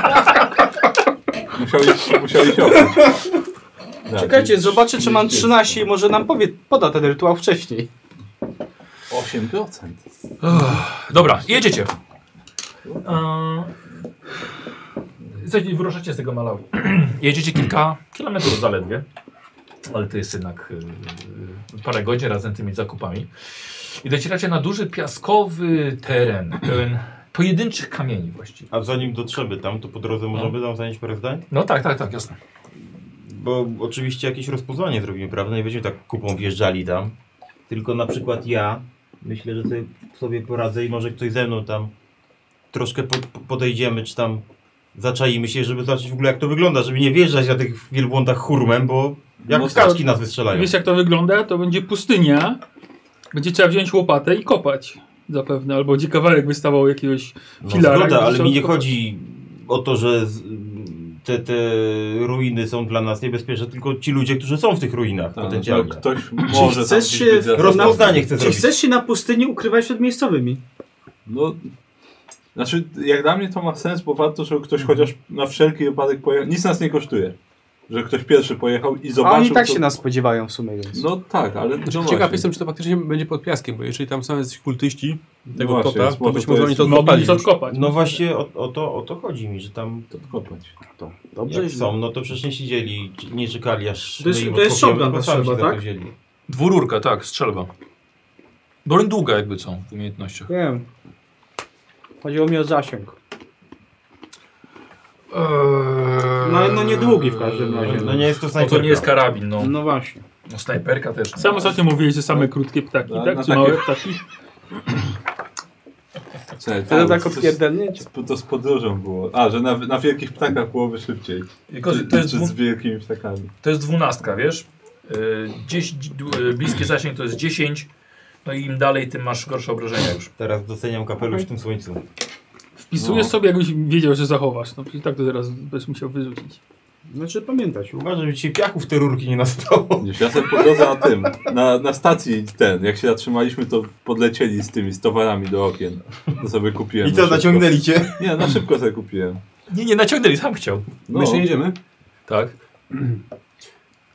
[SPEAKER 3] Musiał iść, musiał iść oprócz. Tak,
[SPEAKER 4] Czekajcie,
[SPEAKER 3] czyli
[SPEAKER 4] zobaczę czy mam
[SPEAKER 3] 30.
[SPEAKER 4] 13 i może nam powie, poda ten rytuał wcześniej.
[SPEAKER 3] 8%.
[SPEAKER 1] Dobra, jedziecie. Eee, wyruszacie z tego Malawi. jedziecie kilka kilometrów zaledwie. Ale to jest jednak yy, parę godzin razem tymi zakupami. I docieracie na duży piaskowy teren, pełen pojedynczych kamieni właściwie.
[SPEAKER 8] A zanim dotrzemy tam, to po drodze można by tam zanieść parę zdań?
[SPEAKER 1] No tak, tak, tak, jasne.
[SPEAKER 8] Bo oczywiście jakieś rozpoznanie zrobimy, prawda? Nie będziemy tak kupą wjeżdżali tam. Tylko na przykład ja myślę, że sobie, sobie poradzę i może ktoś ze mną tam troszkę po, podejdziemy, czy tam zaczaimy się, żeby zobaczyć w ogóle jak to wygląda, żeby nie wjeżdżać na tych wielbłądach hurmem, bo jak
[SPEAKER 3] No
[SPEAKER 8] no kaczki nas wystrzelają.
[SPEAKER 5] Wiesz jak to wygląda? To będzie pustynia. Będzie trzeba wziąć łopatę i kopać. Zapewne. Albo gdzie kawałek wystawał jakiegoś
[SPEAKER 8] No
[SPEAKER 5] filara.
[SPEAKER 8] zgoda,
[SPEAKER 5] gdzie
[SPEAKER 8] ale
[SPEAKER 5] trzeba
[SPEAKER 8] mi nie
[SPEAKER 5] odkopać.
[SPEAKER 8] chodzi o to, że z, te, te ruiny są dla nas niebezpieczne, tylko ci ludzie, którzy są w tych ruinach
[SPEAKER 3] Tak, to
[SPEAKER 8] potencjalnie.
[SPEAKER 3] ktoś może
[SPEAKER 4] chcesz
[SPEAKER 3] tam
[SPEAKER 4] się
[SPEAKER 3] gdzieś być
[SPEAKER 8] Rozpoznanie chcę
[SPEAKER 4] Czy
[SPEAKER 8] zrobić.
[SPEAKER 4] chcesz się na pustyni ukrywać przed miejscowymi?
[SPEAKER 3] No, znaczy, jak dla mnie to ma sens, bo warto, żeby ktoś chociaż na wszelki wypadek pojechał. Nic nas nie kosztuje. Że ktoś pierwszy pojechał i
[SPEAKER 4] A
[SPEAKER 3] zobaczył.
[SPEAKER 4] oni tak
[SPEAKER 3] to-
[SPEAKER 4] się nas spodziewają w sumie, więc.
[SPEAKER 3] No tak, ale. No
[SPEAKER 6] Ciekaw
[SPEAKER 3] właśnie.
[SPEAKER 6] jestem, czy to faktycznie będzie pod piaskiem, bo jeżeli tam są jacyś kultyści
[SPEAKER 3] No
[SPEAKER 6] tego
[SPEAKER 3] właśnie,
[SPEAKER 6] tota,
[SPEAKER 3] więc
[SPEAKER 6] to
[SPEAKER 3] może
[SPEAKER 6] być
[SPEAKER 3] to
[SPEAKER 6] może
[SPEAKER 3] jest-
[SPEAKER 6] oni to
[SPEAKER 5] Mogli
[SPEAKER 6] odkopali
[SPEAKER 5] to
[SPEAKER 6] już.
[SPEAKER 5] kopać.
[SPEAKER 8] No właśnie o, o, to, o to chodzi mi, że tam
[SPEAKER 3] To kopać.
[SPEAKER 4] To
[SPEAKER 8] jak są, no to przecież nie siedzieli, nie czekali aż
[SPEAKER 4] To jest-
[SPEAKER 8] my im
[SPEAKER 4] to jest
[SPEAKER 8] odpowiemy,
[SPEAKER 4] shotgun
[SPEAKER 8] tylko sami
[SPEAKER 4] potrzeba,
[SPEAKER 8] się za to
[SPEAKER 4] tak?
[SPEAKER 8] wzięli.
[SPEAKER 1] Dwururka, tak, strzelba. Broń długa jakby co w umiejętnościach.
[SPEAKER 4] Wiem. Chodziło mi o zasięg. No, no niedługi w każdym razie.
[SPEAKER 8] No nie jest to
[SPEAKER 1] No to
[SPEAKER 8] snajperka.
[SPEAKER 1] nie jest karabin, no.
[SPEAKER 4] No właśnie.
[SPEAKER 1] no snajperka też.
[SPEAKER 5] Sam ostatnio mówiłeś, że same krótkie ptaki,
[SPEAKER 3] No,
[SPEAKER 5] tak?
[SPEAKER 3] no
[SPEAKER 5] Czy
[SPEAKER 3] takie-
[SPEAKER 5] małe ptaki?
[SPEAKER 3] Czekaj,
[SPEAKER 4] To
[SPEAKER 3] tak,
[SPEAKER 4] tak
[SPEAKER 3] coś-
[SPEAKER 4] odpierdolnięcie.
[SPEAKER 3] To z podróżą było. A, że na, na wielkich ptakach byłoby szybciej.
[SPEAKER 1] Tylko, że
[SPEAKER 3] Czy,
[SPEAKER 1] to, jest
[SPEAKER 3] czy z
[SPEAKER 1] dwu,
[SPEAKER 3] wielkimi ptakami.
[SPEAKER 1] to jest dwunastka, wiesz? Yy, Gdzieś d- yy, bliski zasięg to jest 10. No i im dalej, tym masz gorsze obrażenia już.
[SPEAKER 8] Teraz doceniam kapelusz w tym słońcu.
[SPEAKER 5] Wpisujesz
[SPEAKER 3] No.
[SPEAKER 5] sobie, jakbyś wiedział, że zachowasz. No przecież tak to teraz będziesz musiał wyrzucić.
[SPEAKER 4] Znaczy pamiętać.
[SPEAKER 8] Uważam, żeby ci piachów te rurki nie nastało.
[SPEAKER 3] Gdzieś ja sobie po drodze na tym, na, na stacji ten, jak się zatrzymaliśmy, to podlecieli z tymi, z towarami do okien. To sobie kupiłem.
[SPEAKER 8] I
[SPEAKER 3] na
[SPEAKER 8] co,
[SPEAKER 3] szybko.
[SPEAKER 8] naciągnęli cię?
[SPEAKER 3] Nie, na szybko sobie kupiłem.
[SPEAKER 1] Nie, nie naciągnęli, sam chciał.
[SPEAKER 3] No.
[SPEAKER 6] My jeszcze jedziemy.
[SPEAKER 1] Tak.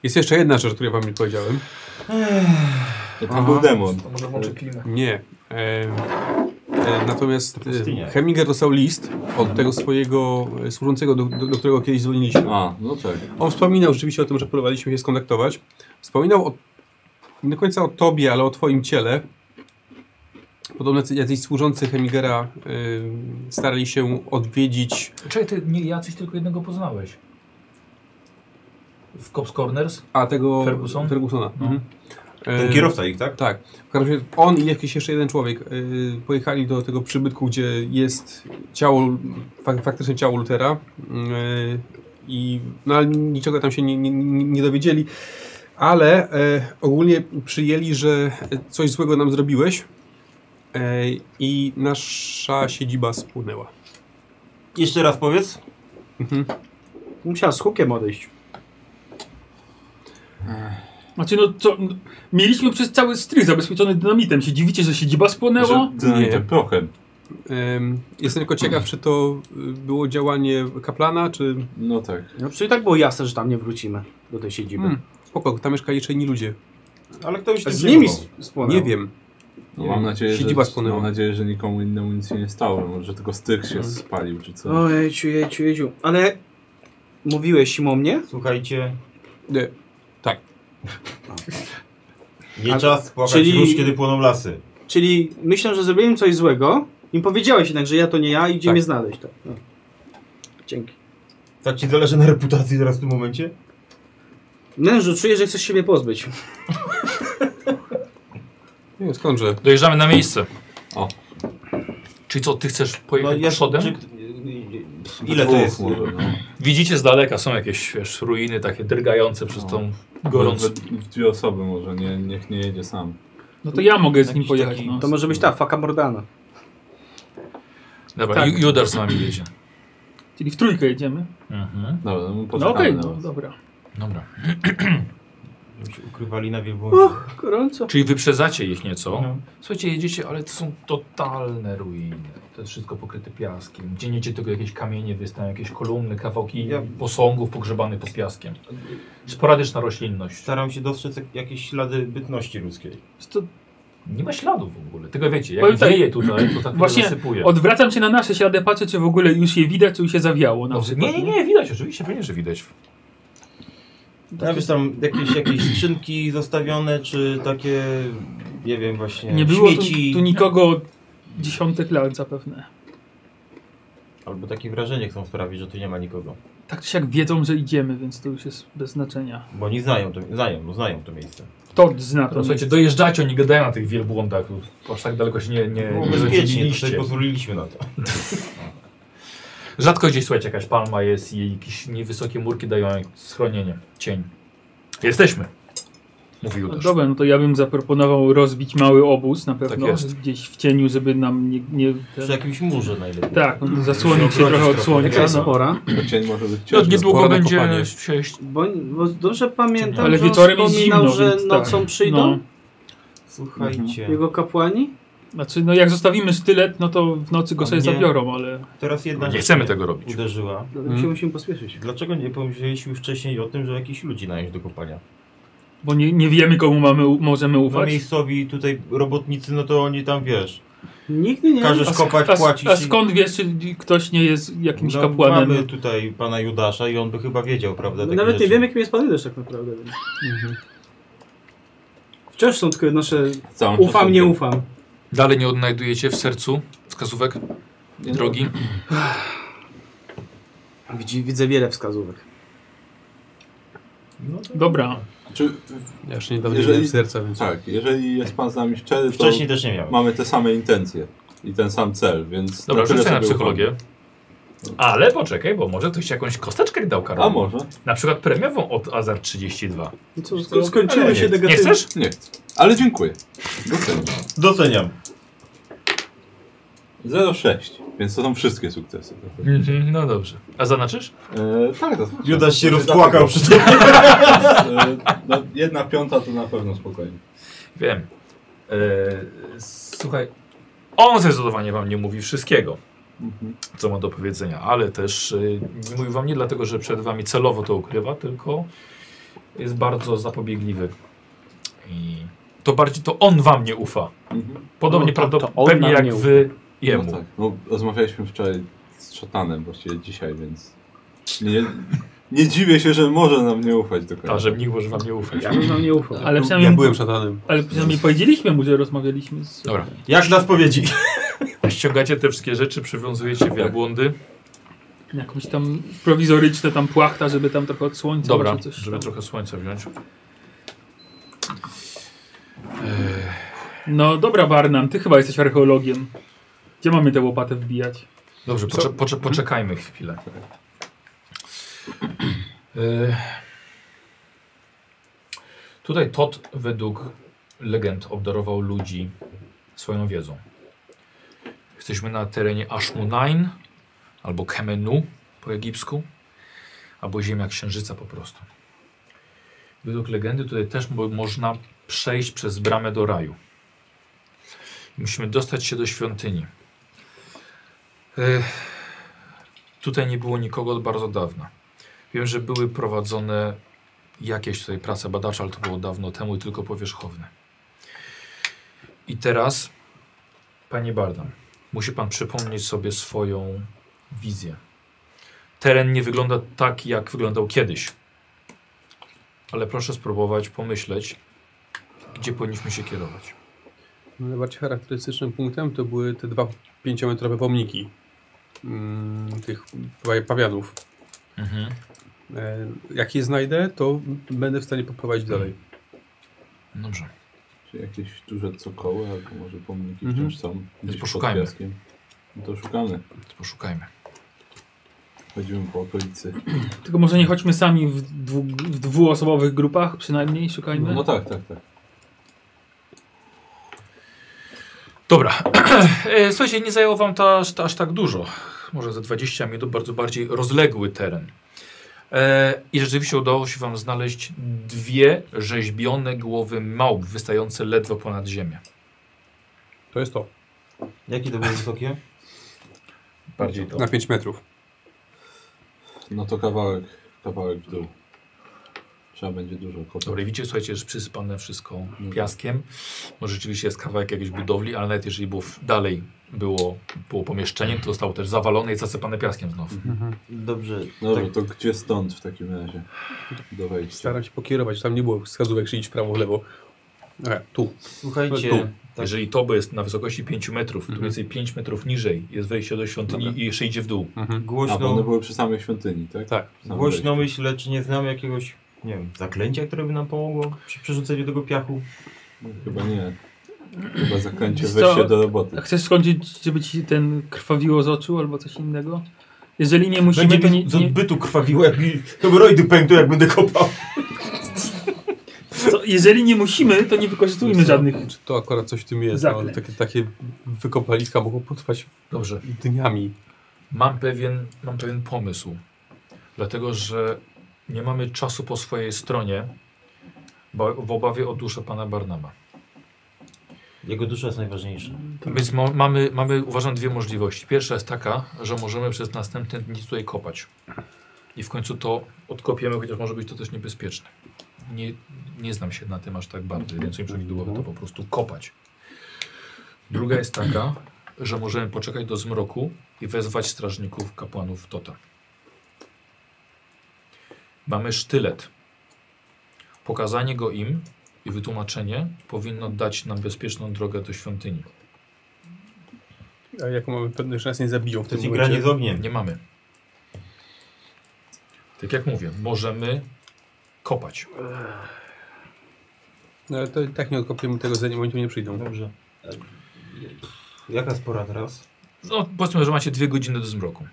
[SPEAKER 6] Jest jeszcze jedna rzecz, o której wam nie powiedziałem.
[SPEAKER 3] To tam był demon.
[SPEAKER 1] To może włączę klimę.
[SPEAKER 6] Nie. E, e, natomiast
[SPEAKER 8] pustynia.
[SPEAKER 6] e, Heminger dostał list od tego swojego e, służącego, do, do, do którego kiedyś dzwoniliśmy.
[SPEAKER 3] A, no tak.
[SPEAKER 6] On wspominał rzeczywiście o tym, że próbowaliśmy się skontaktować. Wspominał o, nie do końca o tobie, ale o twoim ciele. Podobno jacy- jacyś służący Hemigera y, starali się odwiedzić.
[SPEAKER 1] Czekaj, ty nie ja coś tylko jednego poznałeś. W Cops Corners?
[SPEAKER 6] A tego.
[SPEAKER 1] Ferguson?
[SPEAKER 6] Fergusona.
[SPEAKER 1] No.
[SPEAKER 6] Mhm.
[SPEAKER 8] Ten
[SPEAKER 6] E,
[SPEAKER 3] Yy,
[SPEAKER 8] kierowca ich, tak?
[SPEAKER 6] Tak. W każdym razie on i jakiś jeszcze jeden człowiek y, pojechali do tego przybytku, gdzie jest ciało, fak, faktycznie ciało Lutera. y, I no, ale niczego tam się nie, nie, nie nie dowiedzieli. Ale e, ogólnie przyjęli, że coś złego nam zrobiłeś e, i nasza siedziba spłynęła.
[SPEAKER 8] Jeszcze raz powiedz.
[SPEAKER 4] Musiała z hukiem odejść.
[SPEAKER 5] Znaczy, no co, no, mieliśmy przez cały strych zabezpieczony dynamitem. Się dziwicie, że siedziba spłonęła?
[SPEAKER 3] Że dynamitem prochem.
[SPEAKER 6] Em, jestem tylko ciekaw, czy to y, było działanie kaplana, czy...
[SPEAKER 3] No tak.
[SPEAKER 4] No przecież i tak było jasne, że tam nie wrócimy do tej siedziby.
[SPEAKER 6] Hmm, spoko, tam mieszkali jeszcze inni ludzie.
[SPEAKER 8] Ale kto już
[SPEAKER 4] A
[SPEAKER 8] tym
[SPEAKER 4] z nimi
[SPEAKER 8] przejmował?
[SPEAKER 4] spłonęło.
[SPEAKER 6] Nie wiem.
[SPEAKER 3] No, mam, nadzieję, że,
[SPEAKER 6] Siedziba spłonęła.
[SPEAKER 3] mam nadzieję, że nikomu innemu nic się nie stało. Może tylko styk się spalił czy co.
[SPEAKER 4] Ojejciu, jejciu, jejciu. Ale mówiłeś im o mnie?
[SPEAKER 8] Słuchajcie,
[SPEAKER 6] Nie.
[SPEAKER 8] nie
[SPEAKER 4] A-
[SPEAKER 8] czas płakać
[SPEAKER 4] czyli-
[SPEAKER 8] róż, kiedy płoną lasy.
[SPEAKER 4] Czyli myślę, że zrobiłem coś złego. Im powiedziałeś jednak, że ja to nie ja i gdzie
[SPEAKER 6] Tak.
[SPEAKER 4] mnie znaleźć. Tak. No. Dzięki.
[SPEAKER 8] Tak ci zależy na reputacji teraz w tym momencie?
[SPEAKER 4] Mężu, czuję, że chcesz się mnie pozbyć.
[SPEAKER 6] Nie, skądże?
[SPEAKER 1] Dojeżdżamy na miejsce.
[SPEAKER 3] O. No,
[SPEAKER 1] Czyli co, ty chcesz pojechać przodem?
[SPEAKER 8] No, czy- y, Ile to
[SPEAKER 3] Dwóch
[SPEAKER 8] jest?
[SPEAKER 3] Może, no.
[SPEAKER 1] Widzicie z daleka, są jakieś wiesz, ruiny takie drgające przez
[SPEAKER 3] No.
[SPEAKER 1] tą gorącą.
[SPEAKER 3] Gorąco. W dwie osoby może, nie, niech nie jedzie sam.
[SPEAKER 5] No to ja mogę z nim
[SPEAKER 8] Jakiś
[SPEAKER 5] pojechać.
[SPEAKER 8] taki-
[SPEAKER 5] No.
[SPEAKER 4] To może być ta, faka Mordana.
[SPEAKER 1] Dobra,
[SPEAKER 5] Tak.
[SPEAKER 1] Ju- Judar z nami jedzie.
[SPEAKER 5] Czyli w trójkę jedziemy.
[SPEAKER 1] Mhm.
[SPEAKER 3] Dobra, no
[SPEAKER 5] No
[SPEAKER 3] poczekamy
[SPEAKER 5] okej,
[SPEAKER 3] na
[SPEAKER 5] no
[SPEAKER 3] was.
[SPEAKER 5] dobra.
[SPEAKER 1] Dobra.
[SPEAKER 8] Żeby się Ukrywali na wielbłądzie.
[SPEAKER 4] Uch, gorąco.
[SPEAKER 1] Czyli wyprzedzacie ich nieco.
[SPEAKER 8] No.
[SPEAKER 1] Słuchajcie, jedziecie, ale to są totalne ruiny. To jest wszystko pokryte piaskiem. Dzieniecie tylko jakieś kamienie, wystają jakieś kolumny, kawałki
[SPEAKER 8] Ja-
[SPEAKER 1] posągów pogrzebanych pod piaskiem. Sporadyczna roślinność.
[SPEAKER 8] Staram się dostrzec jak- jakieś ślady bytności ludzkiej.
[SPEAKER 5] Więc To
[SPEAKER 1] Nie ma śladów w ogóle. Tego wiecie, jak
[SPEAKER 5] Powiem tak,
[SPEAKER 1] wieje tutaj, to tak
[SPEAKER 5] właśnie
[SPEAKER 1] zasypuje.
[SPEAKER 5] odwracam się na nasze ślady, patrzę, czy w ogóle już je widać, czy już się zawiało. Na
[SPEAKER 1] No,
[SPEAKER 5] przykład,
[SPEAKER 1] nie, nie, nie, widać oczywiście, pewnie, że widać.
[SPEAKER 8] Nawet tam jakieś, jakieś skrzynki zostawione, czy takie, nie wiem, właśnie
[SPEAKER 5] Nie było tu,
[SPEAKER 8] śmieci.
[SPEAKER 5] tu nikogo od dziesiątek lat zapewne.
[SPEAKER 8] Albo takie wrażenie chcą sprawić, że tu nie ma nikogo.
[SPEAKER 5] Tak czy siak wiedzą, że idziemy, więc to już jest bez znaczenia.
[SPEAKER 8] Bo oni znają to, znają, no znają to miejsce.
[SPEAKER 5] Tord zna to.
[SPEAKER 1] No, słuchajcie, dojeżdżacie, oni gadają na tych wielbłądach. Aż tak daleko się nie,
[SPEAKER 5] No,
[SPEAKER 1] nie,
[SPEAKER 8] Było
[SPEAKER 1] nie
[SPEAKER 8] bezpiecznie, tutaj
[SPEAKER 1] rozdzieliliście.
[SPEAKER 8] pozwoliliśmy na to.
[SPEAKER 1] Rzadko gdzieś słuchajcie, jakaś palma jest i jakieś niewysokie murki dają schronienie, cień. Jesteśmy, mówił
[SPEAKER 5] No
[SPEAKER 1] też.
[SPEAKER 5] Dobra, no to ja bym zaproponował rozbić mały obóz na pewno,
[SPEAKER 1] jest.
[SPEAKER 5] gdzieś w cieniu, żeby nam nie... nie
[SPEAKER 8] Przy jakimś murze najlepiej.
[SPEAKER 5] tak, no, zasłonić się trochę od
[SPEAKER 4] Jaka
[SPEAKER 5] słońca.
[SPEAKER 4] jest
[SPEAKER 5] No.
[SPEAKER 4] pora?
[SPEAKER 3] Bo Cień może być
[SPEAKER 1] No,
[SPEAKER 3] ciężki.
[SPEAKER 1] niedługo
[SPEAKER 6] Pora na
[SPEAKER 1] będzie
[SPEAKER 6] kopanie.
[SPEAKER 1] przejść.
[SPEAKER 4] Bo, bo dobrze pamiętam,
[SPEAKER 5] Ale
[SPEAKER 4] że on
[SPEAKER 5] wieczorem jest
[SPEAKER 4] wspominał,
[SPEAKER 5] zimno,
[SPEAKER 4] że
[SPEAKER 5] więc
[SPEAKER 4] nocą
[SPEAKER 5] tak. No.
[SPEAKER 4] przyjdą
[SPEAKER 8] Słuchajcie,
[SPEAKER 4] jego kapłani?
[SPEAKER 5] Znaczy, no jak zostawimy sztylet, no to w nocy go sobie
[SPEAKER 8] Nie.
[SPEAKER 5] zabiorą, ale...
[SPEAKER 8] teraz jedna
[SPEAKER 1] Nie
[SPEAKER 8] rzecz
[SPEAKER 1] chcemy
[SPEAKER 8] mnie
[SPEAKER 1] tego robić.
[SPEAKER 8] uderzyła.
[SPEAKER 4] Dlatego
[SPEAKER 6] Mm.
[SPEAKER 4] się musimy pospieszyć.
[SPEAKER 8] Dlaczego nie pomyśleliśmy wcześniej o tym, że jakichś ludzi nająć do kopania?
[SPEAKER 5] Bo nie, nie wiemy, komu mamy, u- możemy
[SPEAKER 8] No
[SPEAKER 5] ufać.
[SPEAKER 8] miejscowi tutaj robotnicy, no to oni tam, wiesz,
[SPEAKER 4] Nigdy nie
[SPEAKER 8] każesz kopać,
[SPEAKER 5] a,
[SPEAKER 8] płacisz.
[SPEAKER 5] a
[SPEAKER 8] i-
[SPEAKER 5] skąd wiesz, czy ktoś nie jest jakimś
[SPEAKER 8] No,
[SPEAKER 5] kapłanem?
[SPEAKER 8] Mamy tutaj pana Judasza i on by chyba wiedział, prawda?
[SPEAKER 4] My
[SPEAKER 8] takie
[SPEAKER 4] Nawet nie
[SPEAKER 8] rzeczy.
[SPEAKER 4] wiem, jakim jest pan Judasz tak naprawdę. Mhm. Wciąż są tylko nasze
[SPEAKER 3] Całą
[SPEAKER 4] ufam,
[SPEAKER 3] czasem-
[SPEAKER 4] nie ufam.
[SPEAKER 1] Dalej nie odnajdujecie w sercu wskazówek
[SPEAKER 3] no,
[SPEAKER 1] drogi.
[SPEAKER 4] Widzi, widzę wiele wskazówek.
[SPEAKER 5] Dobra,
[SPEAKER 3] Czy,
[SPEAKER 6] Ja jeszcze niedawno
[SPEAKER 3] Jeżeli-
[SPEAKER 6] Jeżeli... miałem serca, więc...
[SPEAKER 3] tak, jeżeli jest pan z nami szczery, to
[SPEAKER 8] Wcześniej też nie miałem.
[SPEAKER 3] mamy te same intencje i ten sam cel, więc...
[SPEAKER 1] Dobra,
[SPEAKER 3] tyle
[SPEAKER 1] rzucę na
[SPEAKER 3] sobie
[SPEAKER 1] psychologię. Ale poczekaj, bo może ktoś ci jakąś kosteczkę dał
[SPEAKER 3] ufam.
[SPEAKER 1] Karol.
[SPEAKER 3] A może?
[SPEAKER 1] Na przykład premiową od Azar 32.
[SPEAKER 4] No co, sko- skończyły
[SPEAKER 8] Ale
[SPEAKER 4] się
[SPEAKER 8] nie.
[SPEAKER 1] Nie
[SPEAKER 4] negatywnie.
[SPEAKER 1] chcesz?
[SPEAKER 3] Nie. Ale dziękuję. Doceniam.
[SPEAKER 8] Doceniam.
[SPEAKER 3] 0,6, więc to są wszystkie sukcesy.
[SPEAKER 1] Mhm, no dobrze. A zaznaczysz?
[SPEAKER 3] E, tak, to
[SPEAKER 8] Judasz się rozpłakał przy tym.
[SPEAKER 3] E, no, jedna piąta to na pewno spokojnie.
[SPEAKER 1] Wiem. Eee, słuchaj, on zdecydowanie wam nie mówi wszystkiego,
[SPEAKER 3] Mhm.
[SPEAKER 1] co ma do powiedzenia, ale też yy, nie mówi wam nie dlatego, że przed wami celowo to ukrywa, tylko jest bardzo zapobiegliwy. I to bardziej to on wam nie ufa.
[SPEAKER 3] Mhm.
[SPEAKER 1] Podobnie
[SPEAKER 4] No, to- to on
[SPEAKER 1] prawdopodobnie
[SPEAKER 4] nam
[SPEAKER 1] jak
[SPEAKER 4] nie ufa.
[SPEAKER 1] wy jemu.
[SPEAKER 3] No tak, no rozmawialiśmy wczoraj z Szotanem, właściwie dzisiaj, więc... Nie, nie dziwię się, że może nam nie ufać do końca.
[SPEAKER 1] A że nikt może wam nie ufać.
[SPEAKER 4] Ja bym wam nie ufał.
[SPEAKER 5] ale
[SPEAKER 6] Ja
[SPEAKER 5] przynajmniej,
[SPEAKER 6] byłem szatanem.
[SPEAKER 5] ale przynajmniej powiedzieliśmy mu, że rozmawialiśmy z...
[SPEAKER 1] Dobra.
[SPEAKER 8] Jak nas powiedzi.
[SPEAKER 1] Ściągacie te wszystkie rzeczy, przywiązujecie wielbłądy.
[SPEAKER 5] jakąś tam prowizoryczne tam płachta, żeby tam trochę od słońca
[SPEAKER 1] Dobra,
[SPEAKER 5] może coś.
[SPEAKER 1] żeby trochę słońca wziąć.
[SPEAKER 5] No dobra Barnam, ty chyba jesteś archeologiem. Gdzie mamy tę łopatę wbijać?
[SPEAKER 1] Dobrze, pocze, pocze, poczekajmy chwilę. Y, Tutaj Tot według legend obdarował ludzi swoją wiedzą. Jesteśmy na terenie Ashmunain albo Kemenu po egipsku, albo ziemia księżyca po prostu. Według legendy tutaj też mo- można przejść przez bramę do raju. Musimy dostać się do świątyni. Ech, Y, tutaj nie było nikogo od bardzo dawna. Wiem, że były prowadzone jakieś tutaj prace badawcze, ale to było dawno temu i tylko powierzchowne. I teraz, panie Bardam, musi pan przypomnieć sobie swoją wizję. Teren nie wygląda tak, jak wyglądał kiedyś. Ale proszę spróbować pomyśleć, gdzie powinniśmy się kierować.
[SPEAKER 6] No, Najbardziej charakterystycznym punktem to były te dwa pięciometrowe pomniki mm, tych pa- pawianów.
[SPEAKER 1] Mhm.
[SPEAKER 6] E, jak je znajdę, to będę w stanie poprowadzić dalej.
[SPEAKER 1] Dobrze.
[SPEAKER 3] Czy jakieś duże cokoły, albo może pomniki
[SPEAKER 6] Mhm.
[SPEAKER 3] wciąż są gdzieś
[SPEAKER 1] poszukajmy.
[SPEAKER 3] pod piaskiem. No to szukamy.
[SPEAKER 1] To poszukajmy.
[SPEAKER 3] Chodzimy po okolicy.
[SPEAKER 5] Tylko może nie chodźmy sami w, dwu, w dwuosobowych grupach, przynajmniej szukajmy.
[SPEAKER 3] No tak, tak, tak.
[SPEAKER 1] Dobra. E, Słuchajcie, nie zajęło wam to aż, aż tak dużo. Może za 20 minut bardzo bardziej rozległy teren. E, I rzeczywiście udało się wam znaleźć dwie rzeźbione głowy małp wystające ledwo ponad ziemię.
[SPEAKER 6] To jest to.
[SPEAKER 8] Jakie to było wysokie?
[SPEAKER 1] Bardziej to.
[SPEAKER 6] Na 5 metrów.
[SPEAKER 3] No to kawałek, kawałek w dół. Trzeba będzie dużo kopać.
[SPEAKER 1] Dobra, i widzicie, słuchajcie, że przysypane wszystko piaskiem. Może rzeczywiście jest kawałek jakiejś budowli, ale nawet jeżeli było w- dalej było, było pomieszczenie, to zostało też zawalone i zasypane piaskiem znowu.
[SPEAKER 8] Dobrze.
[SPEAKER 3] Dobra,
[SPEAKER 8] tak,
[SPEAKER 3] to gdzie stąd w takim razie? Do wejścia.
[SPEAKER 6] Staram się pokierować, tam nie było wskazówek, czy iść w prawo, w lewo. E, tu. Tu.
[SPEAKER 8] słuchajcie, tak,
[SPEAKER 1] Jeżeli to by jest na wysokości 5 metrów, to więcej 5 metrów niżej jest wejście do świątyni i jeszcze idzie w dół.
[SPEAKER 3] A, bo one
[SPEAKER 8] głośno,
[SPEAKER 3] były przy samej świątyni, tak?
[SPEAKER 6] Mhm. Tak.
[SPEAKER 3] Sam
[SPEAKER 8] głośno myślę, czy nie znamy jakiegoś, nie wiem, zaklęcia, które by nam pomogło przy przerzuceniu tego piachu?
[SPEAKER 3] wejście. No, Chyba nie. Chyba zakręcie
[SPEAKER 5] Wiesz co?
[SPEAKER 3] weź się do roboty.
[SPEAKER 5] A Chcesz skończyć, żeby ci ten krwawiło z oczu albo coś innego? Jeżeli nie musimy,
[SPEAKER 8] Będzie
[SPEAKER 5] to nie,
[SPEAKER 8] mi z
[SPEAKER 5] nie,
[SPEAKER 8] odbytu krwawiło, jak mi hemoroidy pękną, jak będę kopał.
[SPEAKER 5] to, jeżeli nie musimy, to nie wykorzystujmy żadnych.
[SPEAKER 6] Czy to akurat coś w tym jest? No,
[SPEAKER 5] Zaklęć.
[SPEAKER 6] takie, takie wykopaliska mogą potrwać
[SPEAKER 1] Dobrze,
[SPEAKER 6] dniami.
[SPEAKER 1] mam pewien, mam pewien pomysł. Dlatego, że nie mamy czasu po swojej stronie bo w obawie o duszę pana Barnaba.
[SPEAKER 8] Jego dusza jest najważniejsza.
[SPEAKER 1] Więc mo- mamy, mamy, uważam, dwie możliwości. Pierwsza jest taka, że możemy przez następne dni tutaj kopać. I w końcu to odkopiemy, chociaż może być to też niebezpieczne. Nie, nie znam się na tym aż tak bardzo, więc im przewidywało to po prostu kopać. Druga jest taka, że możemy poczekać do zmroku i wezwać strażników kapłanów Tota. Mamy sztylet. Pokazanie go im i wytłumaczenie powinno dać nam bezpieczną drogę do świątyni.
[SPEAKER 6] A jaką mamy pewność, że nas nie zabiją w
[SPEAKER 8] To
[SPEAKER 6] tym
[SPEAKER 8] jest
[SPEAKER 6] momencie?
[SPEAKER 8] granie z ogniem.
[SPEAKER 1] Nie mamy. Tak jak mówię, możemy kopać.
[SPEAKER 6] No, ale to i tak nie odkopiemy tego, zanim oni tu nie przyjdą.
[SPEAKER 8] Dobrze. Jaka jest pora teraz?
[SPEAKER 1] No, powiedzmy, że macie dwie godziny do zmroku.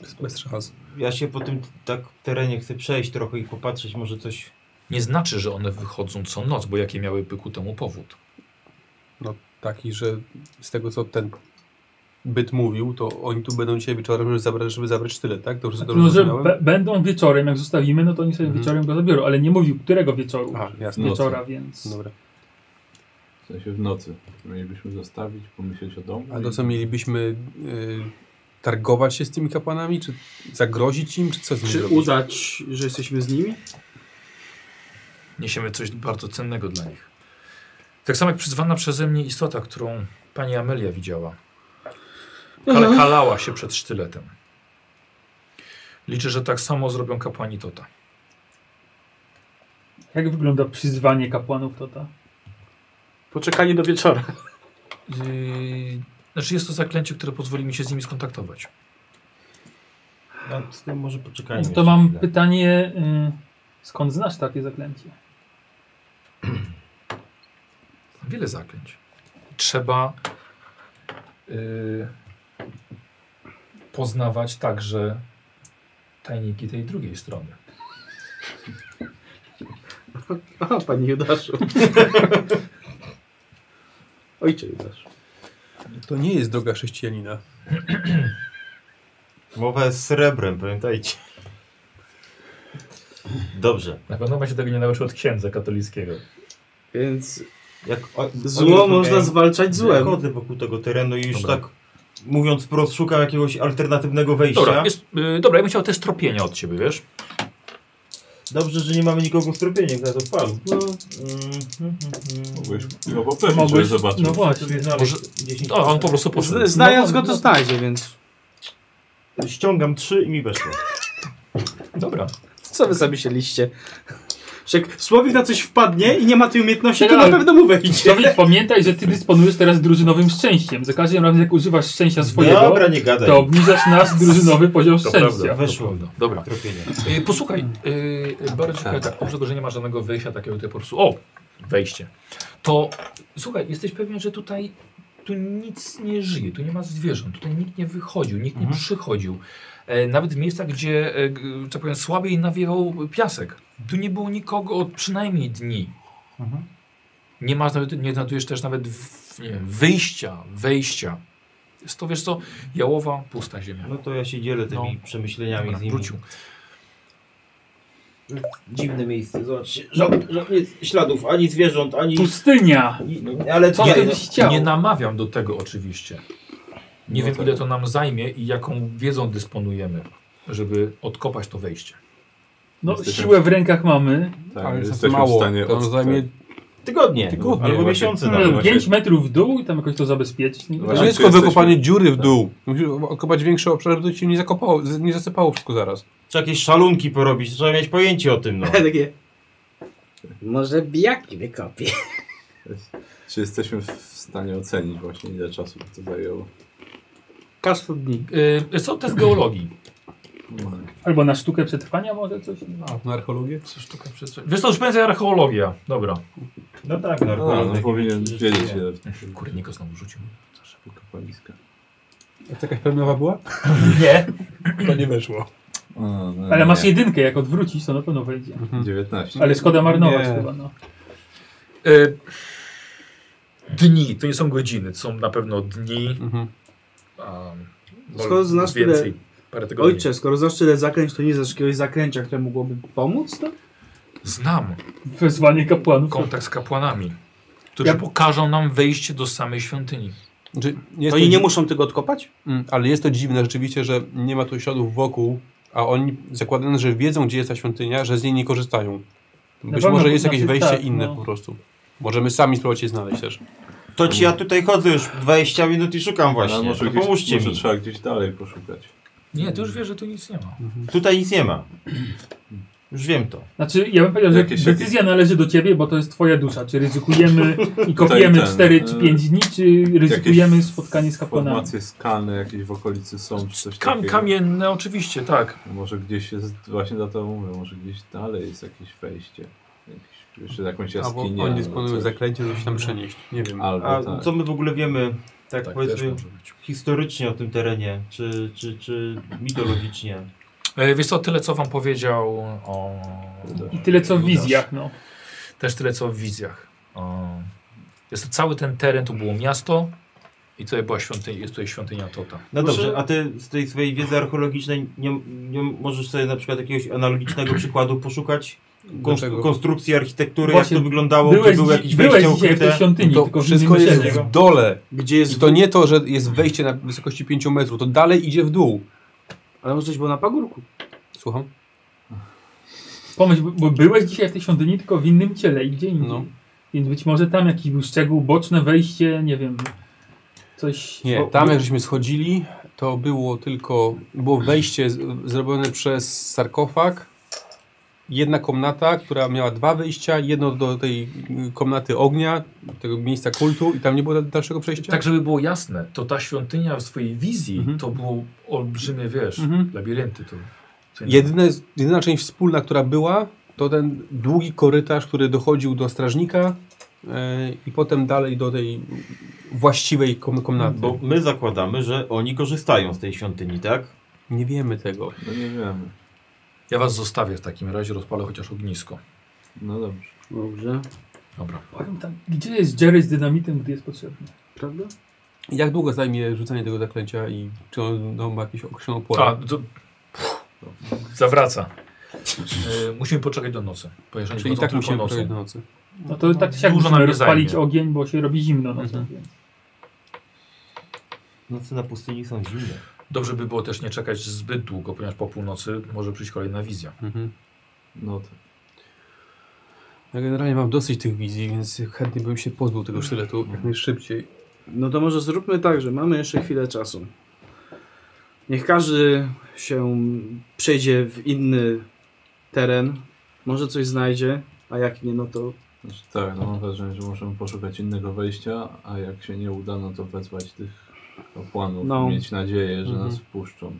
[SPEAKER 6] Bez, bez szans.
[SPEAKER 8] Ja się po tym t- tak terenie chcę przejść trochę i popatrzeć, może coś...
[SPEAKER 1] Nie znaczy, że one wychodzą co noc, bo jaki miałyby ku temu powód.
[SPEAKER 6] No taki, że z tego co ten byt mówił, to oni tu będą dzisiaj wieczorem, żeby zabrać, żeby zabrać tyle, tak? Dobrze, dobrze
[SPEAKER 5] No, że
[SPEAKER 6] zrozumiałem?
[SPEAKER 5] be- będą wieczorem, jak zostawimy, no to oni sobie
[SPEAKER 6] Mhm.
[SPEAKER 5] wieczorem go zabiorą, ale nie mówił którego wieczoru.
[SPEAKER 6] Aha, jasne.
[SPEAKER 3] No.
[SPEAKER 5] Wieczora, więc.
[SPEAKER 6] Dobra.
[SPEAKER 3] W sensie w nocy. Mielibyśmy zostawić, pomyśleć o domu.
[SPEAKER 6] A
[SPEAKER 3] i-
[SPEAKER 6] to co, mielibyśmy y, targować się z tymi kapłanami, czy zagrozić im, czy co z nimi
[SPEAKER 4] Czy
[SPEAKER 6] zrobić?
[SPEAKER 4] udać, że jesteśmy z nimi?
[SPEAKER 1] Niesiemy coś bardzo cennego dla nich. Tak samo jak przyzwana przeze mnie istota, którą pani Amelia widziała.
[SPEAKER 4] Mhm.
[SPEAKER 1] Kale kalała się przed sztyletem. Liczę, że tak samo zrobią kapłani Tota.
[SPEAKER 5] Jak wygląda przyzwanie kapłanów Tota?
[SPEAKER 4] Poczekanie do wieczora.
[SPEAKER 1] Yy, znaczy jest to zaklęcie, które pozwoli mi się z nimi skontaktować.
[SPEAKER 8] A z tym może poczekajmy.
[SPEAKER 5] No to
[SPEAKER 8] jeszcze
[SPEAKER 5] mam
[SPEAKER 8] chwilę.
[SPEAKER 5] pytanie, y, skąd znasz takie zaklęcie?
[SPEAKER 1] Wiele zaklęć. Trzeba y, poznawać także tajniki tej drugiej strony.
[SPEAKER 4] Aha, panie Judaszu. Ojcze Judaszu.
[SPEAKER 6] To nie jest droga chrześcijanina.
[SPEAKER 8] Mowa jest srebrem, pamiętajcie. Dobrze.
[SPEAKER 1] Na pewno pan się tego nie nauczył od księdza katolickiego.
[SPEAKER 4] Więc
[SPEAKER 8] Jak o,
[SPEAKER 4] zło można zwalczać złem.
[SPEAKER 8] Chodzę wokół tego terenu i już
[SPEAKER 1] Dobra.
[SPEAKER 8] tak mówiąc wprost szukam jakiegoś alternatywnego wejścia.
[SPEAKER 1] Dobra, jest, y, dobra, ja bym chciał też tropienia od ciebie, wiesz?
[SPEAKER 8] Dobrze, że nie mamy nikogo w tropieniu, kto to odpalił. No. mhm,
[SPEAKER 3] Mogłeś no go popełnić, żeby
[SPEAKER 5] Mogłeś,
[SPEAKER 3] zobaczyć.
[SPEAKER 5] no właśnie.
[SPEAKER 8] Sobie znaleźć
[SPEAKER 1] O, on po prostu poszedł.
[SPEAKER 4] Z, znając
[SPEAKER 5] No,
[SPEAKER 4] go to
[SPEAKER 5] no.
[SPEAKER 4] znajdzie, więc
[SPEAKER 8] Ściągam trzy i mi weszło.
[SPEAKER 1] Dobra.
[SPEAKER 4] co wy zamyśleliście? Że jak Słowik na coś wpadnie i nie ma tej umiejętności, to
[SPEAKER 5] Czekaj,
[SPEAKER 4] na
[SPEAKER 5] ale-
[SPEAKER 4] pewno mu wejdzie.
[SPEAKER 5] Słowik, pamiętaj, że ty dysponujesz teraz drużynowym szczęściem. Za każdym razem, jak używasz szczęścia swojego,
[SPEAKER 8] Dobra, nie gadaj.
[SPEAKER 5] to obniżasz nasz drużynowy poziom
[SPEAKER 1] To
[SPEAKER 5] szczęścia.
[SPEAKER 1] prawda.
[SPEAKER 8] Weszło.
[SPEAKER 1] Dobra.
[SPEAKER 8] Tropienie.
[SPEAKER 1] Y, posłuchaj, y, bardzo ciekawe, tak, oprócz tego, że nie ma żadnego wyjścia takiego tutaj po prostu. O! Wejście. To słuchaj, jesteś pewien, że tutaj tu nic nie żyje, tu nie ma zwierząt, tutaj nikt nie wychodził, nikt nie przychodził. E, nawet w miejscach, gdzie, e, g- że tak powiem, słabiej nawiewał piasek. Tu nie było nikogo od przynajmniej dni. Nie ma, nie znajdujesz też nawet w, nie wiem, wyjścia, wejścia. Jest to, wiesz co, jałowa, pusta ziemia.
[SPEAKER 8] No to ja się dzielę tymi przemyśleniami
[SPEAKER 1] Dobra,
[SPEAKER 8] z nimi.
[SPEAKER 1] wrócił.
[SPEAKER 8] Dziwne miejsce, zobaczcie. Żadnych żadnych śladów, ani zwierząt, ani...
[SPEAKER 5] Pustynia!
[SPEAKER 8] i- Ale
[SPEAKER 5] Co
[SPEAKER 8] nie,
[SPEAKER 5] ty
[SPEAKER 8] no,
[SPEAKER 5] byś chciał?
[SPEAKER 1] Nie namawiam do tego oczywiście. Nie
[SPEAKER 3] No
[SPEAKER 1] wiem,
[SPEAKER 3] tak.
[SPEAKER 1] ile to nam zajmie i jaką wiedzą dysponujemy, żeby odkopać to wejście.
[SPEAKER 5] No, siłę w rękach mamy.
[SPEAKER 3] Tak,
[SPEAKER 6] ale jest
[SPEAKER 3] jesteśmy
[SPEAKER 6] mało.
[SPEAKER 3] w stanie
[SPEAKER 6] to
[SPEAKER 3] od- tak.
[SPEAKER 6] zajmie
[SPEAKER 8] tygodnie,
[SPEAKER 6] Tygodnie.
[SPEAKER 8] albo
[SPEAKER 3] Właśnie.
[SPEAKER 8] miesiące
[SPEAKER 3] No,
[SPEAKER 8] nawet.
[SPEAKER 5] No, 5 metrów w dół i tam jakoś to zabezpieczyć. Nie?
[SPEAKER 3] No
[SPEAKER 6] To
[SPEAKER 3] właśnie.
[SPEAKER 6] nie
[SPEAKER 3] Znaczy,
[SPEAKER 6] jest tylko
[SPEAKER 3] jesteśmy-
[SPEAKER 6] wykopanie dziury w dół. Musisz okopać większy obszar, żeby to ci nie zakopało, z- nie zasypało wszystko zaraz.
[SPEAKER 1] no.
[SPEAKER 8] Trzeba jakieś szalunki porobić, trzeba mieć pojęcie o tym, no.
[SPEAKER 4] Takie,
[SPEAKER 9] Może bijaki wykopie.
[SPEAKER 3] Czy jesteśmy w stanie ocenić właśnie ile czasu by to zajęło?
[SPEAKER 4] Kastu dni.
[SPEAKER 1] Yy, co test geologii?
[SPEAKER 8] No,
[SPEAKER 3] No,
[SPEAKER 5] Albo na sztukę przetrwania może coś? No.
[SPEAKER 6] Na archeologię?
[SPEAKER 1] Sztuka przestrzeni. Wiesz, to już będzie archeologia. Dobra.
[SPEAKER 8] No tak, no,
[SPEAKER 3] No,
[SPEAKER 8] no,
[SPEAKER 3] no powinien wiedzieć ile w
[SPEAKER 1] Kurde, Niko znowu rzucił.
[SPEAKER 3] wykopaliska.
[SPEAKER 6] A to jakaś pełnowa była?
[SPEAKER 1] Nie.
[SPEAKER 6] To nie weszło.
[SPEAKER 3] A, no,
[SPEAKER 5] Ale
[SPEAKER 3] nie.
[SPEAKER 5] masz jedynkę, jak odwrócić, to na pewno wejdzie.
[SPEAKER 3] 19.
[SPEAKER 5] Ale szkoda marnować
[SPEAKER 6] Nie.
[SPEAKER 5] chyba, no.
[SPEAKER 1] Yy, dni, to nie są godziny, to są na pewno dni.
[SPEAKER 6] Mhm.
[SPEAKER 1] A,
[SPEAKER 4] Skoro znasz tyle-
[SPEAKER 1] więcej, parę tygodni.
[SPEAKER 4] Ojcze, skoro znasz tyle zakręć, to nie znasz jakiegoś zakręcia, które mogłoby pomóc, to?
[SPEAKER 1] Znam
[SPEAKER 5] Wezwanie kapłanów.
[SPEAKER 1] kontakt z kapłanami, którzy
[SPEAKER 5] Ja-
[SPEAKER 1] pokażą nam wejście do samej świątyni.
[SPEAKER 6] Znaczy, jest
[SPEAKER 4] to
[SPEAKER 6] to
[SPEAKER 4] oni nie
[SPEAKER 6] dzi-
[SPEAKER 4] muszą tego odkopać?
[SPEAKER 6] Mm, Ale jest to dziwne rzeczywiście, że nie ma tu śladów wokół, a oni zakładając, że wiedzą, gdzie jest ta świątynia, że z niej nie korzystają. Być
[SPEAKER 5] pewno,
[SPEAKER 6] może jest jakieś
[SPEAKER 5] znaczy,
[SPEAKER 6] wejście
[SPEAKER 5] tak,
[SPEAKER 6] inne
[SPEAKER 5] no.
[SPEAKER 6] po prostu. Możemy sami spróbować je znaleźć też.
[SPEAKER 8] To ci ja tutaj chodzę już 20 minut i szukam
[SPEAKER 3] Ale
[SPEAKER 8] właśnie.
[SPEAKER 3] może
[SPEAKER 8] To
[SPEAKER 3] gdzieś,
[SPEAKER 8] pomóżcie
[SPEAKER 3] może
[SPEAKER 8] mi.
[SPEAKER 3] trzeba gdzieś dalej poszukać.
[SPEAKER 1] Nie, ty już wiesz, że tu nic nie ma.
[SPEAKER 8] Tutaj nic nie ma. Już wiem to.
[SPEAKER 5] Znaczy, ja bym powiedział, że
[SPEAKER 3] Jakieś-
[SPEAKER 5] decyzja należy do ciebie, bo to jest twoja dusza. Czy ryzykujemy i
[SPEAKER 3] Tutaj
[SPEAKER 5] kopiemy
[SPEAKER 3] ten,
[SPEAKER 5] 4 czy
[SPEAKER 3] e,
[SPEAKER 5] 5 dni, czy ryzykujemy
[SPEAKER 3] jakieś
[SPEAKER 5] spotkanie z kapłanami?
[SPEAKER 3] Formacje skalne jakieś w okolicy są, czy coś
[SPEAKER 1] Kam,
[SPEAKER 3] takiego.
[SPEAKER 1] kamienne, oczywiście, tak.
[SPEAKER 3] Może gdzieś jest, właśnie dlatego mówię, może gdzieś dalej jest jakieś wejście. Jakieś, jeszcze jakąś
[SPEAKER 6] Albo
[SPEAKER 3] jaskinię.
[SPEAKER 6] oni
[SPEAKER 3] albo
[SPEAKER 6] dysponują
[SPEAKER 3] coś.
[SPEAKER 6] zaklęciem, żeby się tam przenieść. Nie wiem.
[SPEAKER 8] A
[SPEAKER 3] Albo tak.
[SPEAKER 8] co my w ogóle wiemy, tak,
[SPEAKER 1] Tak też
[SPEAKER 8] powiedzmy,
[SPEAKER 1] może być.
[SPEAKER 8] historycznie o tym terenie, czy, czy, czy mitologicznie?
[SPEAKER 1] E, Wiesz co, tyle co wam powiedział o...
[SPEAKER 5] I tyle co w
[SPEAKER 1] Judasz.
[SPEAKER 5] wizjach, no.
[SPEAKER 1] Też tyle co w wizjach. O... Jest to cały ten teren, tu było miasto i tutaj była świątynia, jest tutaj świątynia Tota.
[SPEAKER 8] No dobrze, a ty z tej swojej wiedzy archeologicznej nie, nie możesz sobie na przykład jakiegoś analogicznego przykładu poszukać? Konst
[SPEAKER 6] Dlaczego?
[SPEAKER 8] konstrukcji architektury,
[SPEAKER 5] Właśnie,
[SPEAKER 8] jak to wyglądało, gdzie
[SPEAKER 5] Byłeś,
[SPEAKER 8] były
[SPEAKER 5] dzi-
[SPEAKER 8] jakieś
[SPEAKER 5] byłeś
[SPEAKER 8] wejścia
[SPEAKER 5] dzisiaj w tej
[SPEAKER 8] ukryte?
[SPEAKER 5] świątyni,
[SPEAKER 6] No To
[SPEAKER 5] tylko w
[SPEAKER 6] wszystko
[SPEAKER 5] innym
[SPEAKER 6] jest
[SPEAKER 5] sensie.
[SPEAKER 6] w dole.
[SPEAKER 4] Gdzie jest...
[SPEAKER 6] I to nie to, że jest wejście na wysokości 5 metrów, to dalej idzie w dół.
[SPEAKER 4] Ale może coś było na pagórku.
[SPEAKER 6] Słucham?
[SPEAKER 5] Pomyśl, bo- bo byłeś dzisiaj w tej świątyni, tylko w innym ciele i gdzie indziej.
[SPEAKER 6] No.
[SPEAKER 5] Więc być może tam jakiś był szczegół, boczne wejście, nie wiem, coś...
[SPEAKER 6] Nie,
[SPEAKER 5] o-
[SPEAKER 6] tam jak żeśmy schodzili, to było tylko, było wejście z, zrobione przez sarkofag, jedna komnata, która miała dwa wyjścia, jedno do tej y, komnaty ognia, tego miejsca kultu i tam nie było da- dalszego przejścia?
[SPEAKER 1] Tak, żeby było jasne, to ta świątynia w swojej wizji
[SPEAKER 6] Mhm.
[SPEAKER 1] to było olbrzymie, wiesz,
[SPEAKER 6] Mhm.
[SPEAKER 1] labirynty. To... co nie-
[SPEAKER 6] Jedyne, jedyna część wspólna, która była, to ten długi korytarz, który dochodził do strażnika y, i potem dalej do tej właściwej kom komnaty.
[SPEAKER 8] Bo my zakładamy, że oni korzystają z tej świątyni, tak?
[SPEAKER 6] Nie wiemy tego.
[SPEAKER 3] No nie wiemy.
[SPEAKER 1] Ja was zostawię w takim razie, rozpalę chociaż ognisko.
[SPEAKER 3] No dobrze.
[SPEAKER 4] Dobrze.
[SPEAKER 1] Dobra.
[SPEAKER 5] Powiem tam, gdzie jest Jerry z dynamitem, gdy jest potrzebny?
[SPEAKER 4] Prawda?
[SPEAKER 6] Jak długo zajmie rzucanie tego zaklęcia i czy on no, ma jakąś określoną porę?
[SPEAKER 1] A, to... Puh, zawraca. E, musimy poczekać do nocy. Ponieważ oni
[SPEAKER 6] Czyli i
[SPEAKER 1] chodzą
[SPEAKER 6] tak
[SPEAKER 1] tylko
[SPEAKER 6] musimy
[SPEAKER 1] nocą.
[SPEAKER 6] projekt nocy.
[SPEAKER 5] No to tak się
[SPEAKER 1] Dużo
[SPEAKER 5] dużo
[SPEAKER 1] nam nie
[SPEAKER 5] rozpalić
[SPEAKER 1] zajmie.
[SPEAKER 5] ogień, bo się robi zimno no nocą.
[SPEAKER 6] Mhm.
[SPEAKER 5] więc.
[SPEAKER 8] Noce na pustyni są zimne.
[SPEAKER 1] Dobrze by było też nie czekać zbyt długo, ponieważ po północy może przyjść kolejna wizja.
[SPEAKER 6] Mhm.
[SPEAKER 3] No tak.
[SPEAKER 6] Ja generalnie mam dosyć tych wizji, więc chętnie bym się pozbył tego sztyletu
[SPEAKER 3] Mhm.
[SPEAKER 6] jak najszybciej.
[SPEAKER 4] No to może zróbmy tak, że mamy jeszcze chwilę czasu. Niech każdy się przejdzie w inny teren. Może coś znajdzie, a jak nie, no to
[SPEAKER 3] Znaczy, tak, no mam wrażenie, że możemy poszukać innego wejścia, a jak się nie uda, no to wezwać tych kapłanów
[SPEAKER 4] No.
[SPEAKER 3] i mieć nadzieję, że
[SPEAKER 6] Mhm.
[SPEAKER 3] nas wpuszczą.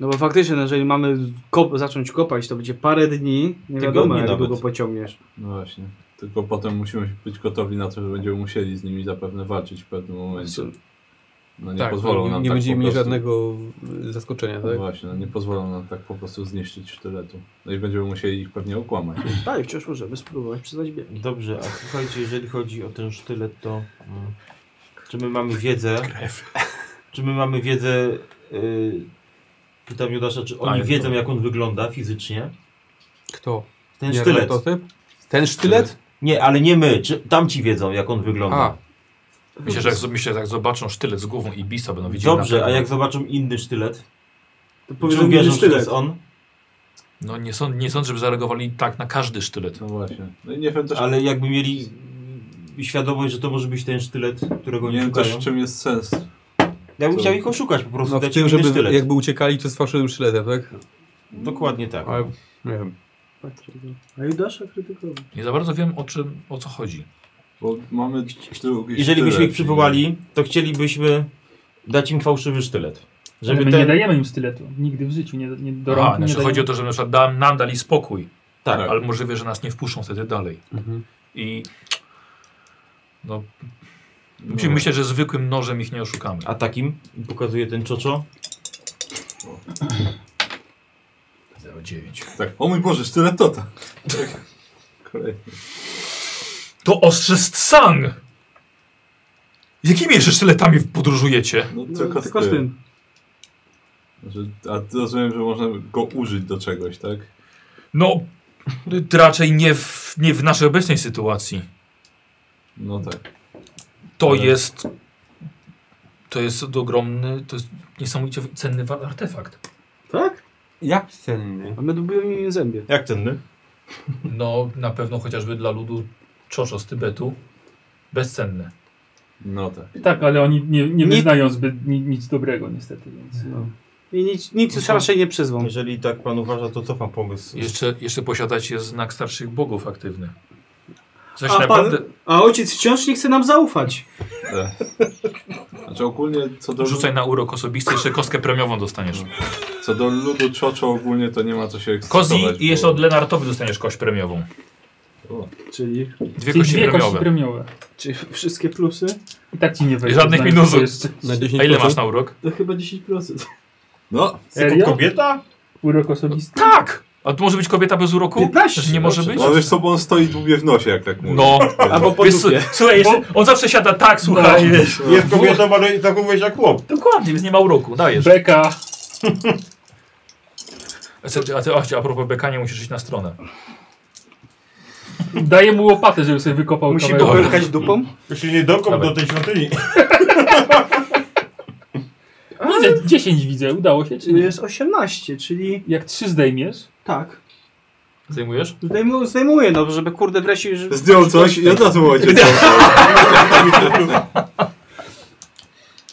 [SPEAKER 4] No bo faktycznie, jeżeli mamy kop zacząć kopać, to będzie parę dni. Nie
[SPEAKER 8] Tygodni
[SPEAKER 4] wiadomo, jak
[SPEAKER 8] nawet.
[SPEAKER 4] długo pociągniesz.
[SPEAKER 3] No właśnie. Tylko potem musimy być gotowi na to, że będziemy musieli z nimi zapewne walczyć w pewnym momencie. No nie pozwolą
[SPEAKER 6] nie,
[SPEAKER 3] nam
[SPEAKER 6] nie
[SPEAKER 3] tak
[SPEAKER 6] będziemy
[SPEAKER 3] po
[SPEAKER 6] mieli
[SPEAKER 3] prostu-
[SPEAKER 6] żadnego y, zaskoczenia,
[SPEAKER 3] No
[SPEAKER 6] tak?
[SPEAKER 3] właśnie, no nie pozwolą nam tak po prostu zniszczyć sztyletu. No i będziemy musieli ich pewnie okłamać.
[SPEAKER 4] Tak, wciąż możemy spróbować przyznać bieg.
[SPEAKER 8] Dobrze, a słuchajcie, jeżeli chodzi o ten sztylet, to mm, czy my mamy wiedzę? Czy my mamy wiedzę? y, pytam Judasza, czy oni
[SPEAKER 1] Tak,
[SPEAKER 8] wiedzą,
[SPEAKER 1] no.
[SPEAKER 8] jak on wygląda fizycznie?
[SPEAKER 6] Kto? No,
[SPEAKER 8] Ten
[SPEAKER 6] Nie,
[SPEAKER 8] sztylet.
[SPEAKER 6] Ratotep? Ten sztylet?
[SPEAKER 8] Nie, ale nie my. Czy tamci wiedzą, jak on wygląda?
[SPEAKER 6] A,
[SPEAKER 1] No, Myślę, że jak, myślę, że jak zobaczą sztylet z głową Ibisa, będą widzieli...
[SPEAKER 8] Dobrze,
[SPEAKER 1] na-
[SPEAKER 8] a jak zobaczą inny sztylet?
[SPEAKER 4] To
[SPEAKER 8] Czy
[SPEAKER 4] powiedzmy, że
[SPEAKER 8] uwierzą, że to
[SPEAKER 4] sztylet.
[SPEAKER 8] jest on?
[SPEAKER 1] No nie sądzę, nie sądzę, żeby zareagowali tak na każdy sztylet.
[SPEAKER 3] No właśnie. No i nie wiem też,
[SPEAKER 8] Ale jakby mieli świadomość, że to może być ten sztylet, którego
[SPEAKER 3] nie
[SPEAKER 8] nie
[SPEAKER 3] wiem też
[SPEAKER 8] szukają.
[SPEAKER 3] w czym jest sens.
[SPEAKER 8] Ja bym
[SPEAKER 3] co-
[SPEAKER 8] chciał ich oszukać po prostu,
[SPEAKER 6] no w
[SPEAKER 8] dać
[SPEAKER 6] tym,
[SPEAKER 8] im inny
[SPEAKER 6] żeby
[SPEAKER 8] sztylet.
[SPEAKER 6] jakby uciekali, to z fałszywym sztyletem, tak?
[SPEAKER 8] Dokładnie tak.
[SPEAKER 6] Ale, nie wiem.
[SPEAKER 4] A Judasza krytykował.
[SPEAKER 1] Nie za bardzo wiem o czym, o co chodzi.
[SPEAKER 3] Bo mamy drugi
[SPEAKER 8] Jeżeli byśmy
[SPEAKER 3] sztylet
[SPEAKER 8] ich przywołali, to chcielibyśmy dać im fałszywy sztylet.
[SPEAKER 5] Ale
[SPEAKER 8] Żeby
[SPEAKER 5] my nie
[SPEAKER 8] ten...
[SPEAKER 5] dajemy im styletu. Nigdy w życiu nie, nie do rąk
[SPEAKER 1] Aha,
[SPEAKER 5] nie
[SPEAKER 1] znaczy chodzi o
[SPEAKER 5] dajemy.
[SPEAKER 1] to, że na przykład da, nam dali spokój,
[SPEAKER 8] Tak,
[SPEAKER 1] ale możliwe, że nas nie wpuszczą wtedy dalej.
[SPEAKER 6] Mhm.
[SPEAKER 1] I no,
[SPEAKER 3] i-
[SPEAKER 1] musimy myśleć, że zwykłym nożem ich nie oszukamy.
[SPEAKER 8] a takim pokazuje ten czoczo.
[SPEAKER 1] 09.
[SPEAKER 3] Tak, o mój Boże, sztylet to tak. Kolejny.
[SPEAKER 1] To ostrze Stsang! Jakimi jeszcze sztyletami podróżujecie?
[SPEAKER 3] No,
[SPEAKER 4] No,
[SPEAKER 3] tylko,
[SPEAKER 4] tylko
[SPEAKER 3] z
[SPEAKER 4] z
[SPEAKER 3] tym.
[SPEAKER 4] tym.
[SPEAKER 3] Że, a rozumiem, że można go użyć do czegoś, tak?
[SPEAKER 1] No, to raczej nie w, nie w naszej obecnej sytuacji.
[SPEAKER 3] No tak.
[SPEAKER 1] To
[SPEAKER 3] Ale-
[SPEAKER 1] jest. To jest ogromny, to jest niesamowicie cenny wa- artefakt.
[SPEAKER 4] Tak?
[SPEAKER 6] Jak cenny?
[SPEAKER 4] A my dobijemy im zębie.
[SPEAKER 8] Jak cenny?
[SPEAKER 1] No, na pewno chociażby dla ludu Czoszo z Tybetu bezcenny.
[SPEAKER 3] No tak.
[SPEAKER 5] Tak, ale oni nie, nie
[SPEAKER 4] Nie-
[SPEAKER 5] wyznają zbyt ni, nic dobrego niestety, więc...
[SPEAKER 4] No. I nic, nic już raczej nie przyzwą.
[SPEAKER 8] Jeżeli tak pan uważa, to cofam pomysł.
[SPEAKER 1] Jeszcze, jeszcze posiadać jest znak starszych bogów aktywny. Coś
[SPEAKER 4] A, pan,
[SPEAKER 1] naprawdę.
[SPEAKER 4] a ojciec wciąż nie chce nam zaufać.
[SPEAKER 3] E. Znaczy ogólnie co do,
[SPEAKER 1] Rzucaj na urok osobisty, jeszcze kostkę premiową dostaniesz.
[SPEAKER 3] co do ludu czoczo ogólnie to nie ma co się ekscytować.
[SPEAKER 1] Kozi i jeszcze
[SPEAKER 3] bo-
[SPEAKER 1] od Lenartowi dostaniesz kość premiową.
[SPEAKER 3] O,
[SPEAKER 4] Czyli,
[SPEAKER 1] Dwie
[SPEAKER 5] Czyli
[SPEAKER 1] kości
[SPEAKER 5] dwie kości
[SPEAKER 1] premiowe.
[SPEAKER 5] premiowe.
[SPEAKER 4] czyli wszystkie plusy?
[SPEAKER 5] I tak ci nie wejdzie.
[SPEAKER 1] Żadnych
[SPEAKER 5] znając
[SPEAKER 1] minusów.
[SPEAKER 5] to Jeszcze.
[SPEAKER 6] Na 10%?
[SPEAKER 1] A ile masz na urok?
[SPEAKER 4] To chyba 10%.
[SPEAKER 3] No,
[SPEAKER 5] Serio?
[SPEAKER 8] Kobieta?
[SPEAKER 5] Urok osobisty?
[SPEAKER 1] Tak! A to może być kobieta bez uroku?
[SPEAKER 4] 15,
[SPEAKER 1] Że nie może
[SPEAKER 4] dobrze,
[SPEAKER 1] być?
[SPEAKER 3] no wiesz co, bo on stoi długie w nosie, jak tak mówię.
[SPEAKER 1] No.
[SPEAKER 4] Albo po
[SPEAKER 1] Wiesz, su-
[SPEAKER 4] dupie.
[SPEAKER 1] słuchaj, jeszcze, on zawsze siada tak, słuchaj. wiesz.
[SPEAKER 8] Jest kobietą, ale zachowuje się tak jak chłop.
[SPEAKER 1] Dokładnie, więc nie ma uroku. Dajesz.
[SPEAKER 5] Beka.
[SPEAKER 1] A ty, a, ty, a, ty, a propos bekania musisz iść na stronę.
[SPEAKER 5] Daję mu łopatę, żeby sobie wykopał
[SPEAKER 4] Musi
[SPEAKER 5] kawałek.
[SPEAKER 4] popychać dupą?
[SPEAKER 8] Jeśli nie dokąd
[SPEAKER 1] Dawaj.
[SPEAKER 8] do tej świątyni.
[SPEAKER 5] Widzę, 10 No, widzę, udało się, czy
[SPEAKER 4] Czyli
[SPEAKER 5] nie?
[SPEAKER 4] jest 18, czyli
[SPEAKER 5] Jak 3 zdejmiesz,
[SPEAKER 4] tak.
[SPEAKER 1] Zajmujesz?
[SPEAKER 4] Zdejmu, zdejmuję, no, żeby kurde wreszcie... Żeby...
[SPEAKER 3] Zdjął coś i od razu ojciec.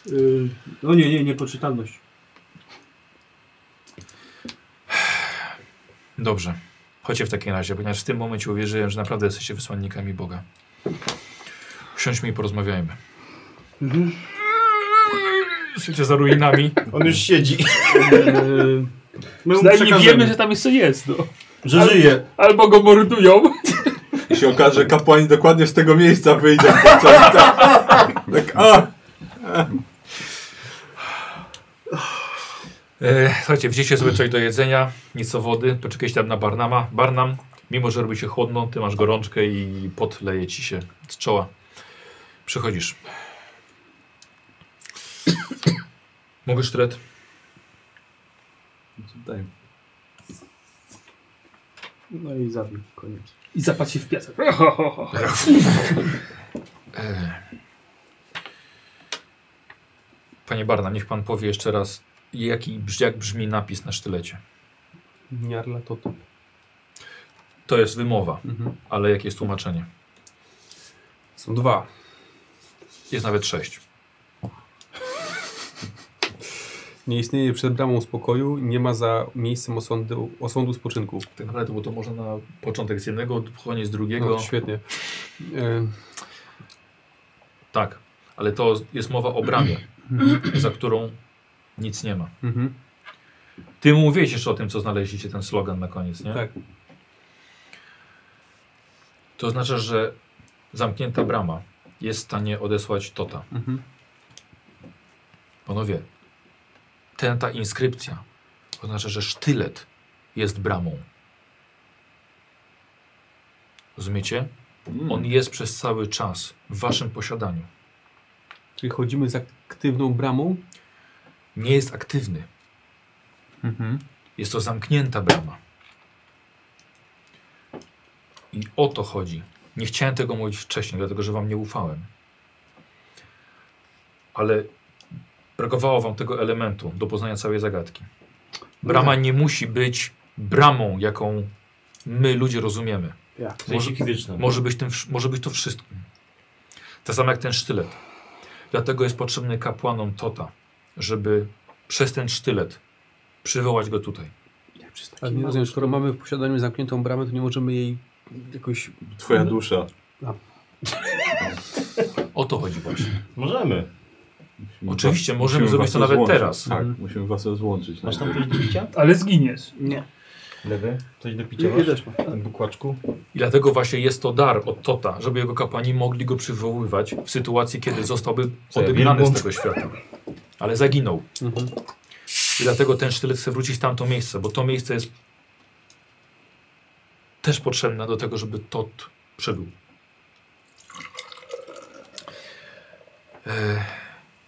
[SPEAKER 4] Yy, no nie, nie, niepoczytalność.
[SPEAKER 1] Dobrze. Chodźcie w takim razie, ponieważ w tym momencie uwierzyłem, że naprawdę jesteście wysłannikami Boga. Usiądźmy i porozmawiajmy.
[SPEAKER 4] Mhm.
[SPEAKER 1] Jesteście za ruinami.
[SPEAKER 8] On już siedzi.
[SPEAKER 4] Yy, my mu
[SPEAKER 5] przynajmniej
[SPEAKER 4] przekażemy.
[SPEAKER 5] wiemy, że tam jeszcze jest, no.
[SPEAKER 8] Że żyje.
[SPEAKER 5] Albo go mordują.
[SPEAKER 3] I się okaże, że kapłani dokładnie z tego miejsca wyjdą. Tak, tak, tak a,
[SPEAKER 1] E, słuchajcie, wzięcie sobie coś do jedzenia, nieco wody, poczekajcie tam na Barnama. Barnam, mimo że robi się chłodno, ty masz gorączkę i pot leje ci się z czoła. Przychodzisz. Mogę sztylet?
[SPEAKER 3] Daj.
[SPEAKER 10] No i zabił. Koniec.
[SPEAKER 5] I zapadł się w piasek.
[SPEAKER 1] E. Panie Barna, niech pan powie jeszcze raz, jaki, brz- jak brzmi napis na sztylecie.
[SPEAKER 6] Niarla Toto.
[SPEAKER 1] To jest wymowa,
[SPEAKER 6] Mhm.
[SPEAKER 1] ale jakie jest tłumaczenie?
[SPEAKER 6] Są dwa.
[SPEAKER 1] Jest nawet sześć.
[SPEAKER 6] Nie istnieje przed bramą spokoju, nie ma za miejscem osądu, osądu spoczynku.
[SPEAKER 1] Tak naprawdę, bo to można na początek z jednego, koniec drugiego.
[SPEAKER 6] No, świetnie. E,
[SPEAKER 1] tak, ale to jest mowa o bramie, za którą nic nie ma.
[SPEAKER 6] mhm.
[SPEAKER 1] Ty mówiłeś jeszcze o tym, co znaleźliście ten slogan na koniec, nie?
[SPEAKER 6] Tak.
[SPEAKER 1] To oznacza, że zamknięta brama jest w stanie odesłać Tota.
[SPEAKER 6] Mhm.
[SPEAKER 1] Panowie, ten, ta inskrypcja oznacza, że sztylet jest bramą. Rozumiecie? On jest przez cały czas w waszym posiadaniu.
[SPEAKER 6] Czyli chodzimy z aktywną bramą.
[SPEAKER 1] Nie jest aktywny.
[SPEAKER 6] Mhm.
[SPEAKER 1] Jest to zamknięta brama. I o to chodzi. Nie chciałem tego mówić wcześniej, dlatego że wam nie ufałem. Ale brakowało wam tego elementu do poznania całej zagadki. Brama nie musi być bramą, jaką my ludzie rozumiemy.
[SPEAKER 8] W sensie fizycznym.
[SPEAKER 1] Może być, tym, wsz- może być to wszystkim. Tak samo jak ten sztylet. Dlatego jest potrzebny kapłanom Tota, żeby przez ten sztylet przywołać go tutaj.
[SPEAKER 6] Ale Tak, nie rozumiem, skoro mamy w posiadaniu zamkniętą bramę, to nie możemy jej jakoś...
[SPEAKER 3] Twoja dusza.
[SPEAKER 1] O to chodzi właśnie.
[SPEAKER 8] Możemy.
[SPEAKER 3] Musimy
[SPEAKER 1] Oczywiście,
[SPEAKER 3] was-
[SPEAKER 1] możemy
[SPEAKER 3] musimy
[SPEAKER 1] zrobić
[SPEAKER 3] was
[SPEAKER 1] to nawet
[SPEAKER 3] rozłączyć.
[SPEAKER 1] teraz.
[SPEAKER 3] Tak, musimy was rozłączyć. no.
[SPEAKER 8] Masz tam coś do picia?
[SPEAKER 5] Ale zginiesz.
[SPEAKER 4] Nie.
[SPEAKER 8] Lewy? Coś do picia
[SPEAKER 4] Nie, nie
[SPEAKER 8] masz?
[SPEAKER 4] też ma.
[SPEAKER 8] W tym bukłaczku?
[SPEAKER 1] I dlatego właśnie jest to dar od Tota, żeby jego kapłani mogli go przywoływać w sytuacji, kiedy zostałby
[SPEAKER 8] Co ja,
[SPEAKER 1] odebrany z
[SPEAKER 8] wielbłąd?
[SPEAKER 1] tego świata. Ale zaginął.
[SPEAKER 6] Mhm.
[SPEAKER 1] I dlatego ten sztylet chce wrócić w tamto miejsce, bo to miejsce jest też potrzebne do tego, żeby Tot przebył. E,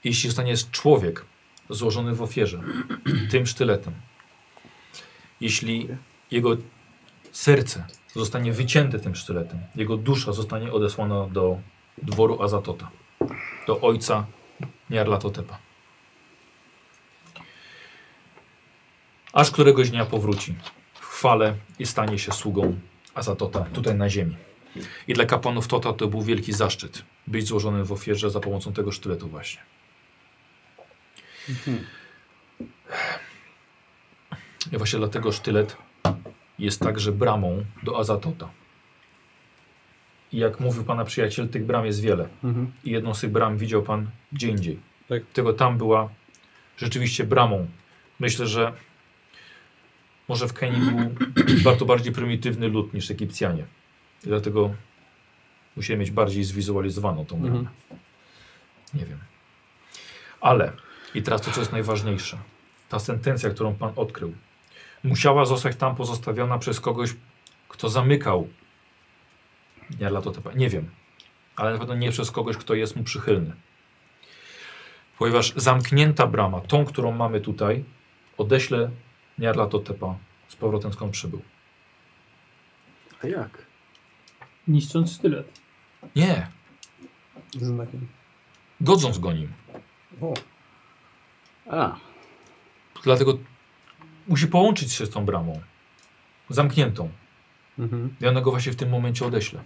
[SPEAKER 1] jeśli zostanie człowiek złożony w ofierze tym sztyletem, jeśli jego serce zostanie wycięte tym sztyletem, jego dusza zostanie odesłana do dworu Azatota, do ojca Niarlatotepa. aż któregoś dnia powróci w chwale i stanie się sługą Azatota tutaj na ziemi. I dla kapłanów Tota to był wielki zaszczyt być złożonym w ofierze za pomocą tego sztyletu właśnie. I właśnie dlatego sztylet jest także bramą do Azatota. I jak mówił Pana przyjaciel, tych bram jest wiele.
[SPEAKER 6] Mhm.
[SPEAKER 1] I jedną z tych bram widział Pan gdzie indziej.
[SPEAKER 6] Tak.
[SPEAKER 1] Tego tam była rzeczywiście bramą. Myślę, że może w Kenii był bardzo bardziej prymitywny lud niż Egipcjanie. I dlatego musieli mieć bardziej zwizualizowaną tą bramę.
[SPEAKER 6] Mhm.
[SPEAKER 1] Nie wiem. Ale, i teraz to, co jest najważniejsze. Ta sentencja, którą Pan odkrył, musiała zostać tam pozostawiona przez kogoś, kto zamykał. Ja dla to nie wiem, ale na pewno nie przez kogoś, kto jest mu przychylny. Ponieważ zamknięta brama, tą, którą mamy tutaj, odeślę Niarlatotepa z powrotem skąd przybył.
[SPEAKER 10] A jak?
[SPEAKER 5] Niszcząc sztylet.
[SPEAKER 1] Nie,
[SPEAKER 6] Ze znakiem.
[SPEAKER 1] godząc go nim.
[SPEAKER 10] A,
[SPEAKER 1] Dlatego musi połączyć się z tą bramą. Zamkniętą.
[SPEAKER 6] Mhm.
[SPEAKER 1] Ja go właśnie w tym momencie odeślę.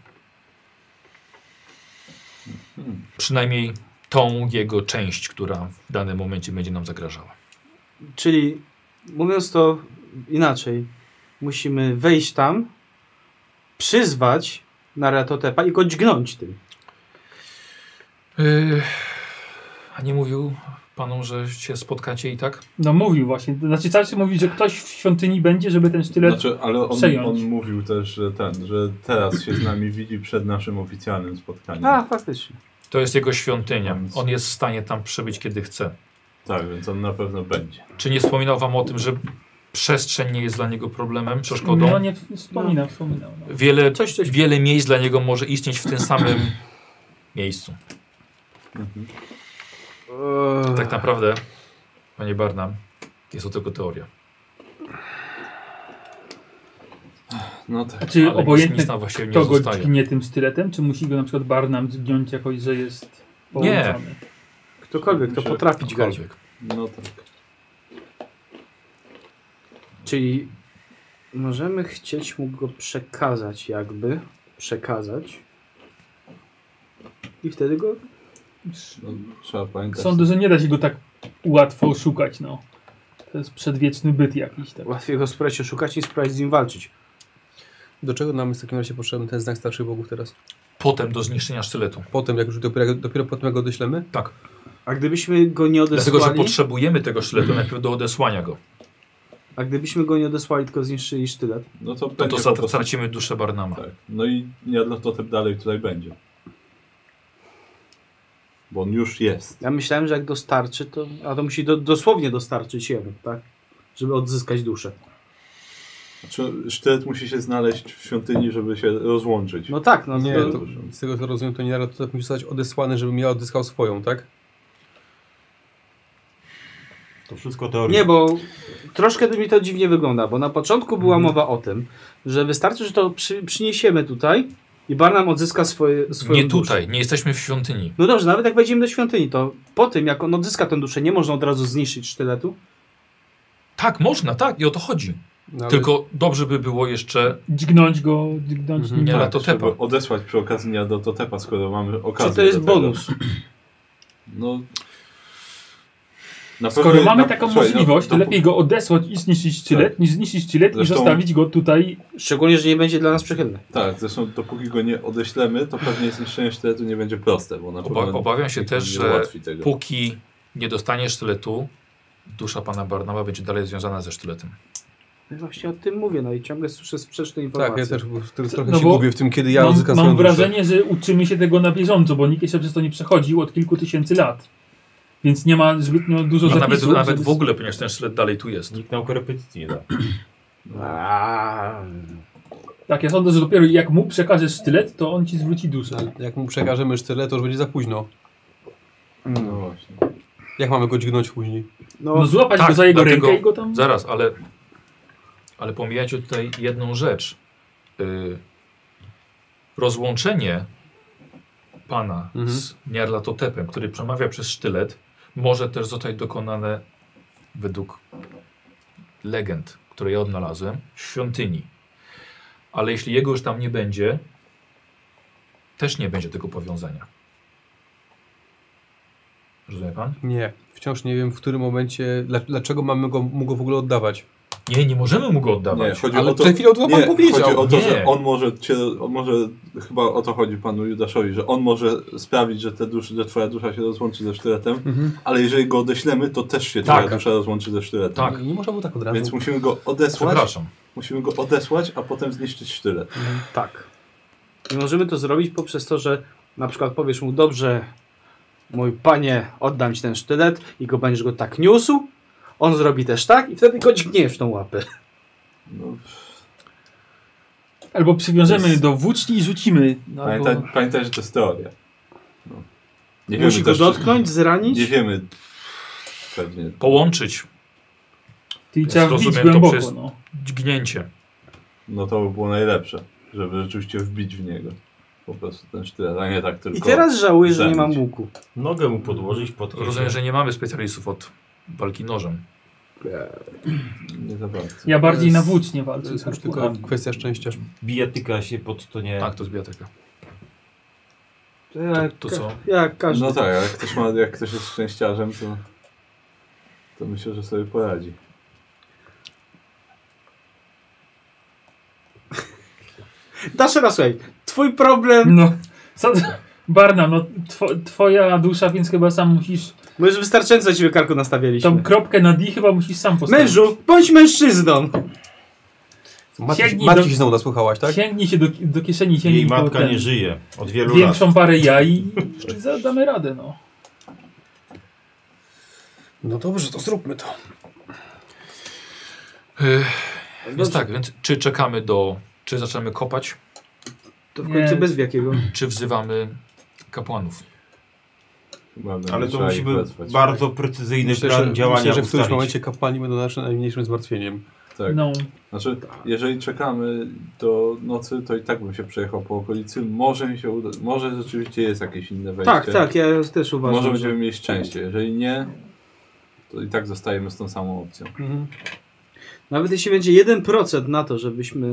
[SPEAKER 1] Przynajmniej tą jego część, która w danym momencie będzie nam zagrażała.
[SPEAKER 4] Czyli mówiąc to inaczej, musimy wejść tam, przyzwać Naratotepa i go dźgnąć tym.
[SPEAKER 1] Yy, a nie mówił panom, że się spotkacie i tak?
[SPEAKER 5] No mówił właśnie. Znaczy cały czas mówi, że ktoś w świątyni będzie, żeby ten sztylet...
[SPEAKER 3] Znaczy, ale on,
[SPEAKER 5] przejąć.
[SPEAKER 3] on mówił też, że ten, że teraz się z nami widzi przed naszym oficjalnym spotkaniem.
[SPEAKER 4] A, faktycznie.
[SPEAKER 1] To jest jego świątynia. On jest w stanie tam przybyć, kiedy chce.
[SPEAKER 3] Tak, więc on na pewno będzie.
[SPEAKER 1] Czy nie wspominał wam o tym, że przestrzeń nie jest dla niego problemem, przeszkodą?
[SPEAKER 5] No nie wspominał, wspominał. No.
[SPEAKER 1] Wiele,
[SPEAKER 4] Coś, coś.
[SPEAKER 1] wiele miejsc dla niego może istnieć w tym samym miejscu.
[SPEAKER 3] Mhm.
[SPEAKER 1] Tak naprawdę, panie Barnum, jest to tylko teoria.
[SPEAKER 3] No tak.
[SPEAKER 5] Czy
[SPEAKER 1] Ale
[SPEAKER 5] obojętne
[SPEAKER 1] nic na właściwie nie
[SPEAKER 5] kto go
[SPEAKER 1] zostaje.
[SPEAKER 5] dźgnie tym styletem, czy musi go na przykład Barnum zgiąć jakoś, że jest połączony? Nie.
[SPEAKER 4] Ktokolwiek to
[SPEAKER 3] Myślę,
[SPEAKER 4] potrafi dźgać.
[SPEAKER 1] Cokolwiek.
[SPEAKER 3] No tak.
[SPEAKER 4] Czyli możemy chcieć mu go przekazać jakby. Przekazać. I wtedy go...
[SPEAKER 3] No, trzeba pamiętać.
[SPEAKER 5] Sądzę, że nie da się go tak łatwo szukać, no. To jest przedwieczny byt jakiś tak.
[SPEAKER 4] Łatwiej go spróbować się szukać niż spróbować z nim walczyć.
[SPEAKER 6] Do czego nam jest w takim razie potrzebny ten znak starszych bogów teraz?
[SPEAKER 1] Potem do zniszczenia sztyletu.
[SPEAKER 6] Potem, jak już dopiero, jak dopiero potem jak go doślemy?
[SPEAKER 1] Tak.
[SPEAKER 4] A gdybyśmy go nie odesłali...
[SPEAKER 1] Dlatego, że potrzebujemy tego sztyletu najpierw do odesłania go. No
[SPEAKER 4] A gdybyśmy go nie odesłali, tylko zniszczyli sztylet.
[SPEAKER 3] No to,
[SPEAKER 1] To,
[SPEAKER 3] będzie
[SPEAKER 1] to
[SPEAKER 3] po
[SPEAKER 1] strat-
[SPEAKER 3] prostu-
[SPEAKER 1] stracimy duszę Barnama.
[SPEAKER 3] Tak. No i Niadlototep dalej tutaj będzie. Bo on już jest.
[SPEAKER 4] Ja myślałem, że jak dostarczy, to... A to musi do, dosłownie dostarczyć jemu, tak? Żeby odzyskać duszę.
[SPEAKER 3] Znaczy, sztylet musi się znaleźć w świątyni, żeby się rozłączyć.
[SPEAKER 4] No tak, no
[SPEAKER 6] Nie,
[SPEAKER 4] to-
[SPEAKER 6] to, z tego co rozumiem, to nie to tak musi zostać odesłany, żebym ja odzyskał swoją, tak?
[SPEAKER 8] To wszystko teoria.
[SPEAKER 4] Nie, bo troszkę to mi to dziwnie wygląda, bo na początku była mowa o tym, że wystarczy, że to przy, przyniesiemy tutaj i Barnum odzyska swoje, swoją
[SPEAKER 1] Nie
[SPEAKER 4] duszę.
[SPEAKER 1] tutaj, nie jesteśmy w świątyni.
[SPEAKER 4] No dobrze, nawet jak wejdziemy do świątyni, to po tym, jak on odzyska tę duszę, nie można od razu zniszczyć sztyletu.
[SPEAKER 1] Tak, można, tak, i o to chodzi.
[SPEAKER 6] No, ale-
[SPEAKER 1] Tylko dobrze by było jeszcze.
[SPEAKER 5] Dźgnąć go, dźgnąć
[SPEAKER 6] Mhm.
[SPEAKER 5] nim.
[SPEAKER 1] Nie, ale
[SPEAKER 3] Tak,
[SPEAKER 1] to tepa.
[SPEAKER 3] żeby odesłać przy okazji Niadlototepa, skoro mamy okazję
[SPEAKER 4] Czy to jest
[SPEAKER 3] do tego.
[SPEAKER 4] bonus?
[SPEAKER 3] No... Na
[SPEAKER 5] Skoro
[SPEAKER 3] pewno-
[SPEAKER 5] mamy
[SPEAKER 3] na-
[SPEAKER 5] taką
[SPEAKER 3] słuchaj, no,
[SPEAKER 5] możliwość, to
[SPEAKER 3] dopó-
[SPEAKER 5] lepiej go odesłać i zniszczyć sztylet, niż zniszczyć sztylet
[SPEAKER 3] Zresztą-
[SPEAKER 5] i zostawić go tutaj.
[SPEAKER 4] Szczególnie, że nie będzie dla nas przychylny.
[SPEAKER 3] Tak, zresztą dopóki go nie odeślemy, to pewnie zniszczenie sztyletu nie będzie proste, bo na pewno
[SPEAKER 1] Oba, obawiam się też,
[SPEAKER 3] nie
[SPEAKER 1] że
[SPEAKER 3] ułatwi tego.
[SPEAKER 1] póki nie dostaniesz sztyletu, dusza pana Barnaba będzie dalej związana ze sztyletem.
[SPEAKER 4] Ja właśnie o tym mówię, no i ciągle słyszę sprzeczne informacje.
[SPEAKER 6] Tak, ja też bo w tym trochę
[SPEAKER 5] No
[SPEAKER 6] się
[SPEAKER 5] bo
[SPEAKER 6] gubię w tym, kiedy ja
[SPEAKER 5] mam
[SPEAKER 6] odzyskam swoją
[SPEAKER 5] mam
[SPEAKER 6] duszę.
[SPEAKER 5] wrażenie, że uczymy się tego na bieżąco, bo nikt jeszcze przez to nie przechodził od kilku tysięcy lat. Więc nie ma zbytnio dużo
[SPEAKER 1] No nawet,
[SPEAKER 5] zapisów.
[SPEAKER 1] nawet
[SPEAKER 5] żeby-
[SPEAKER 1] w ogóle, ponieważ ten sztylet dalej tu jest.
[SPEAKER 8] Nikt nam korepetycji nie da.
[SPEAKER 9] A,
[SPEAKER 5] Tak, ja sądzę, że dopiero jak mu przekażesz sztylet, to on ci zwróci duszę.
[SPEAKER 6] Ale Jak mu przekażemy sztylet, to już będzie za późno.
[SPEAKER 3] No właśnie.
[SPEAKER 6] Jak mamy go dźgnąć później?
[SPEAKER 5] No złapać
[SPEAKER 1] tak,
[SPEAKER 5] go za jego
[SPEAKER 1] dlatego-
[SPEAKER 5] rękę i go tam...
[SPEAKER 1] Zaraz, ale, ale pomijacie tutaj jedną rzecz. Y, rozłączenie pana
[SPEAKER 6] Mhm.
[SPEAKER 1] z Niarlatotepem, który przemawia przez sztylet, może też zostać dokonane według legend, które ja odnalazłem, w świątyni. Ale jeśli jego już tam nie będzie, też nie będzie tego powiązania. Rozumie pan?
[SPEAKER 6] Nie. Wciąż nie wiem, w którym momencie, dla- dlaczego mamy go, mu go w ogóle oddawać.
[SPEAKER 1] Nie, nie możemy mu go oddawać.
[SPEAKER 3] Nie, chodzi
[SPEAKER 6] Ale
[SPEAKER 3] o to,
[SPEAKER 6] przed chwilą to pan
[SPEAKER 3] nie,
[SPEAKER 6] powiedział.
[SPEAKER 3] Chodzi o to,
[SPEAKER 1] Nie.
[SPEAKER 3] że on może, cię, on może, chyba o to chodzi panu Judaszowi, że on może sprawić, że, te duszy, że twoja dusza się rozłączy ze sztyletem, ale jeżeli go odeślemy, to też się
[SPEAKER 1] Tak.
[SPEAKER 3] twoja dusza rozłączy ze sztyletem.
[SPEAKER 1] Tak.
[SPEAKER 6] Nie, nie można było tak od razu.
[SPEAKER 3] Więc musimy go odesłać,
[SPEAKER 1] Przepraszam.
[SPEAKER 3] musimy go odesłać, a potem zniszczyć sztylet.
[SPEAKER 4] Tak. I możemy to zrobić poprzez to, że na przykład powiesz mu, dobrze, mój panie, oddam ci ten sztylet i go będziesz go tak niósł, on zrobi też tak i wtedy go dźgniesz w tą łapę.
[SPEAKER 3] No,
[SPEAKER 5] Albo przywiążemy do włóczni i rzucimy. No, Albo...
[SPEAKER 3] pamiętaj, pamiętaj, że to jest teoria. No. Nie
[SPEAKER 4] Musi
[SPEAKER 3] wiemy
[SPEAKER 4] go
[SPEAKER 3] też-
[SPEAKER 4] dotknąć, zranić.
[SPEAKER 3] Nie wiemy pewnie.
[SPEAKER 1] Połączyć
[SPEAKER 5] Czyli
[SPEAKER 1] Ja
[SPEAKER 5] trzeba wbić
[SPEAKER 1] zrozumiem to
[SPEAKER 5] głęboko.
[SPEAKER 1] przez-
[SPEAKER 5] No.
[SPEAKER 1] dźgnięcie.
[SPEAKER 3] No to by było najlepsze, żeby rzeczywiście wbić w niego. Po prostu ten sztylet, a nie tak tylko.
[SPEAKER 4] I teraz żałuję, że nie mam
[SPEAKER 3] zranić.
[SPEAKER 4] łuku.
[SPEAKER 8] Nogę mu podłożyć pod kieszeń.
[SPEAKER 1] Rozumiem, że nie mamy specjalistów od walki nożem.
[SPEAKER 3] Nie za bardzo.
[SPEAKER 5] Ja bardziej
[SPEAKER 6] To
[SPEAKER 5] na
[SPEAKER 6] jest-
[SPEAKER 5] włócznie
[SPEAKER 6] To
[SPEAKER 5] walczę.
[SPEAKER 6] jest
[SPEAKER 5] tak.
[SPEAKER 6] już tylko kwestia szczęścia.
[SPEAKER 8] Bijatyka się pod to nie...
[SPEAKER 1] Tak, to zbija taka.
[SPEAKER 4] To jak,
[SPEAKER 1] To co?
[SPEAKER 4] jak każdy.
[SPEAKER 3] No tak, ale jak ktoś, ma, jak ktoś jest szczęściarzem, to, to myślę, że sobie poradzi.
[SPEAKER 4] Dasz raz, słuchaj, twój problem,
[SPEAKER 5] No. Co... Barna, no two, twoja dusza, więc chyba sam musisz...
[SPEAKER 4] my już wystarczająco ciebie karku
[SPEAKER 5] Tą
[SPEAKER 4] nastawialiśmy.
[SPEAKER 5] kropkę na D chyba musisz sam postawić.
[SPEAKER 4] Mężu, bądź mężczyzną!
[SPEAKER 6] Matki,
[SPEAKER 5] Sięgnij
[SPEAKER 6] matki
[SPEAKER 5] do-
[SPEAKER 6] się znowu nasłuchałaś, tak?
[SPEAKER 5] Sięgnij się do, do kieszeni, sięgnij
[SPEAKER 8] Jej
[SPEAKER 5] po
[SPEAKER 8] matka
[SPEAKER 5] ten-
[SPEAKER 8] nie żyje od wielu lat.
[SPEAKER 5] Większą parę jaj i za- damy radę, no.
[SPEAKER 6] No dobrze, to zróbmy to.
[SPEAKER 1] Yy, więc tak, więc czy czekamy do. Czy zaczynamy kopać,
[SPEAKER 4] To w
[SPEAKER 5] Nie.
[SPEAKER 4] końcu bez jakiego.
[SPEAKER 1] czy wzywamy kapłanów?
[SPEAKER 3] Chyba
[SPEAKER 8] Ale
[SPEAKER 3] będzie
[SPEAKER 8] to
[SPEAKER 3] trzeba
[SPEAKER 8] musi
[SPEAKER 3] ich
[SPEAKER 8] być
[SPEAKER 3] wezwać.
[SPEAKER 8] bardzo precyzyjny
[SPEAKER 6] Myślę,
[SPEAKER 8] plan
[SPEAKER 6] że,
[SPEAKER 8] działania
[SPEAKER 6] myślę, że w którymś
[SPEAKER 8] ustalić.
[SPEAKER 6] momencie kapłani będą naszym najmniejszym zmartwieniem.
[SPEAKER 3] Tak.
[SPEAKER 5] No.
[SPEAKER 3] Znaczy, jeżeli czekamy do nocy, to i tak bym się przejechał po okolicy. Może mi się uda, może rzeczywiście jest jakieś inne wejście.
[SPEAKER 4] Tak, tak, ja też uważam.
[SPEAKER 3] Może
[SPEAKER 4] że-
[SPEAKER 3] będziemy mieli szczęście. Jeżeli nie, to i tak zostajemy z tą samą opcją.
[SPEAKER 4] Mhm. Nawet jeśli będzie 1% na to, żebyśmy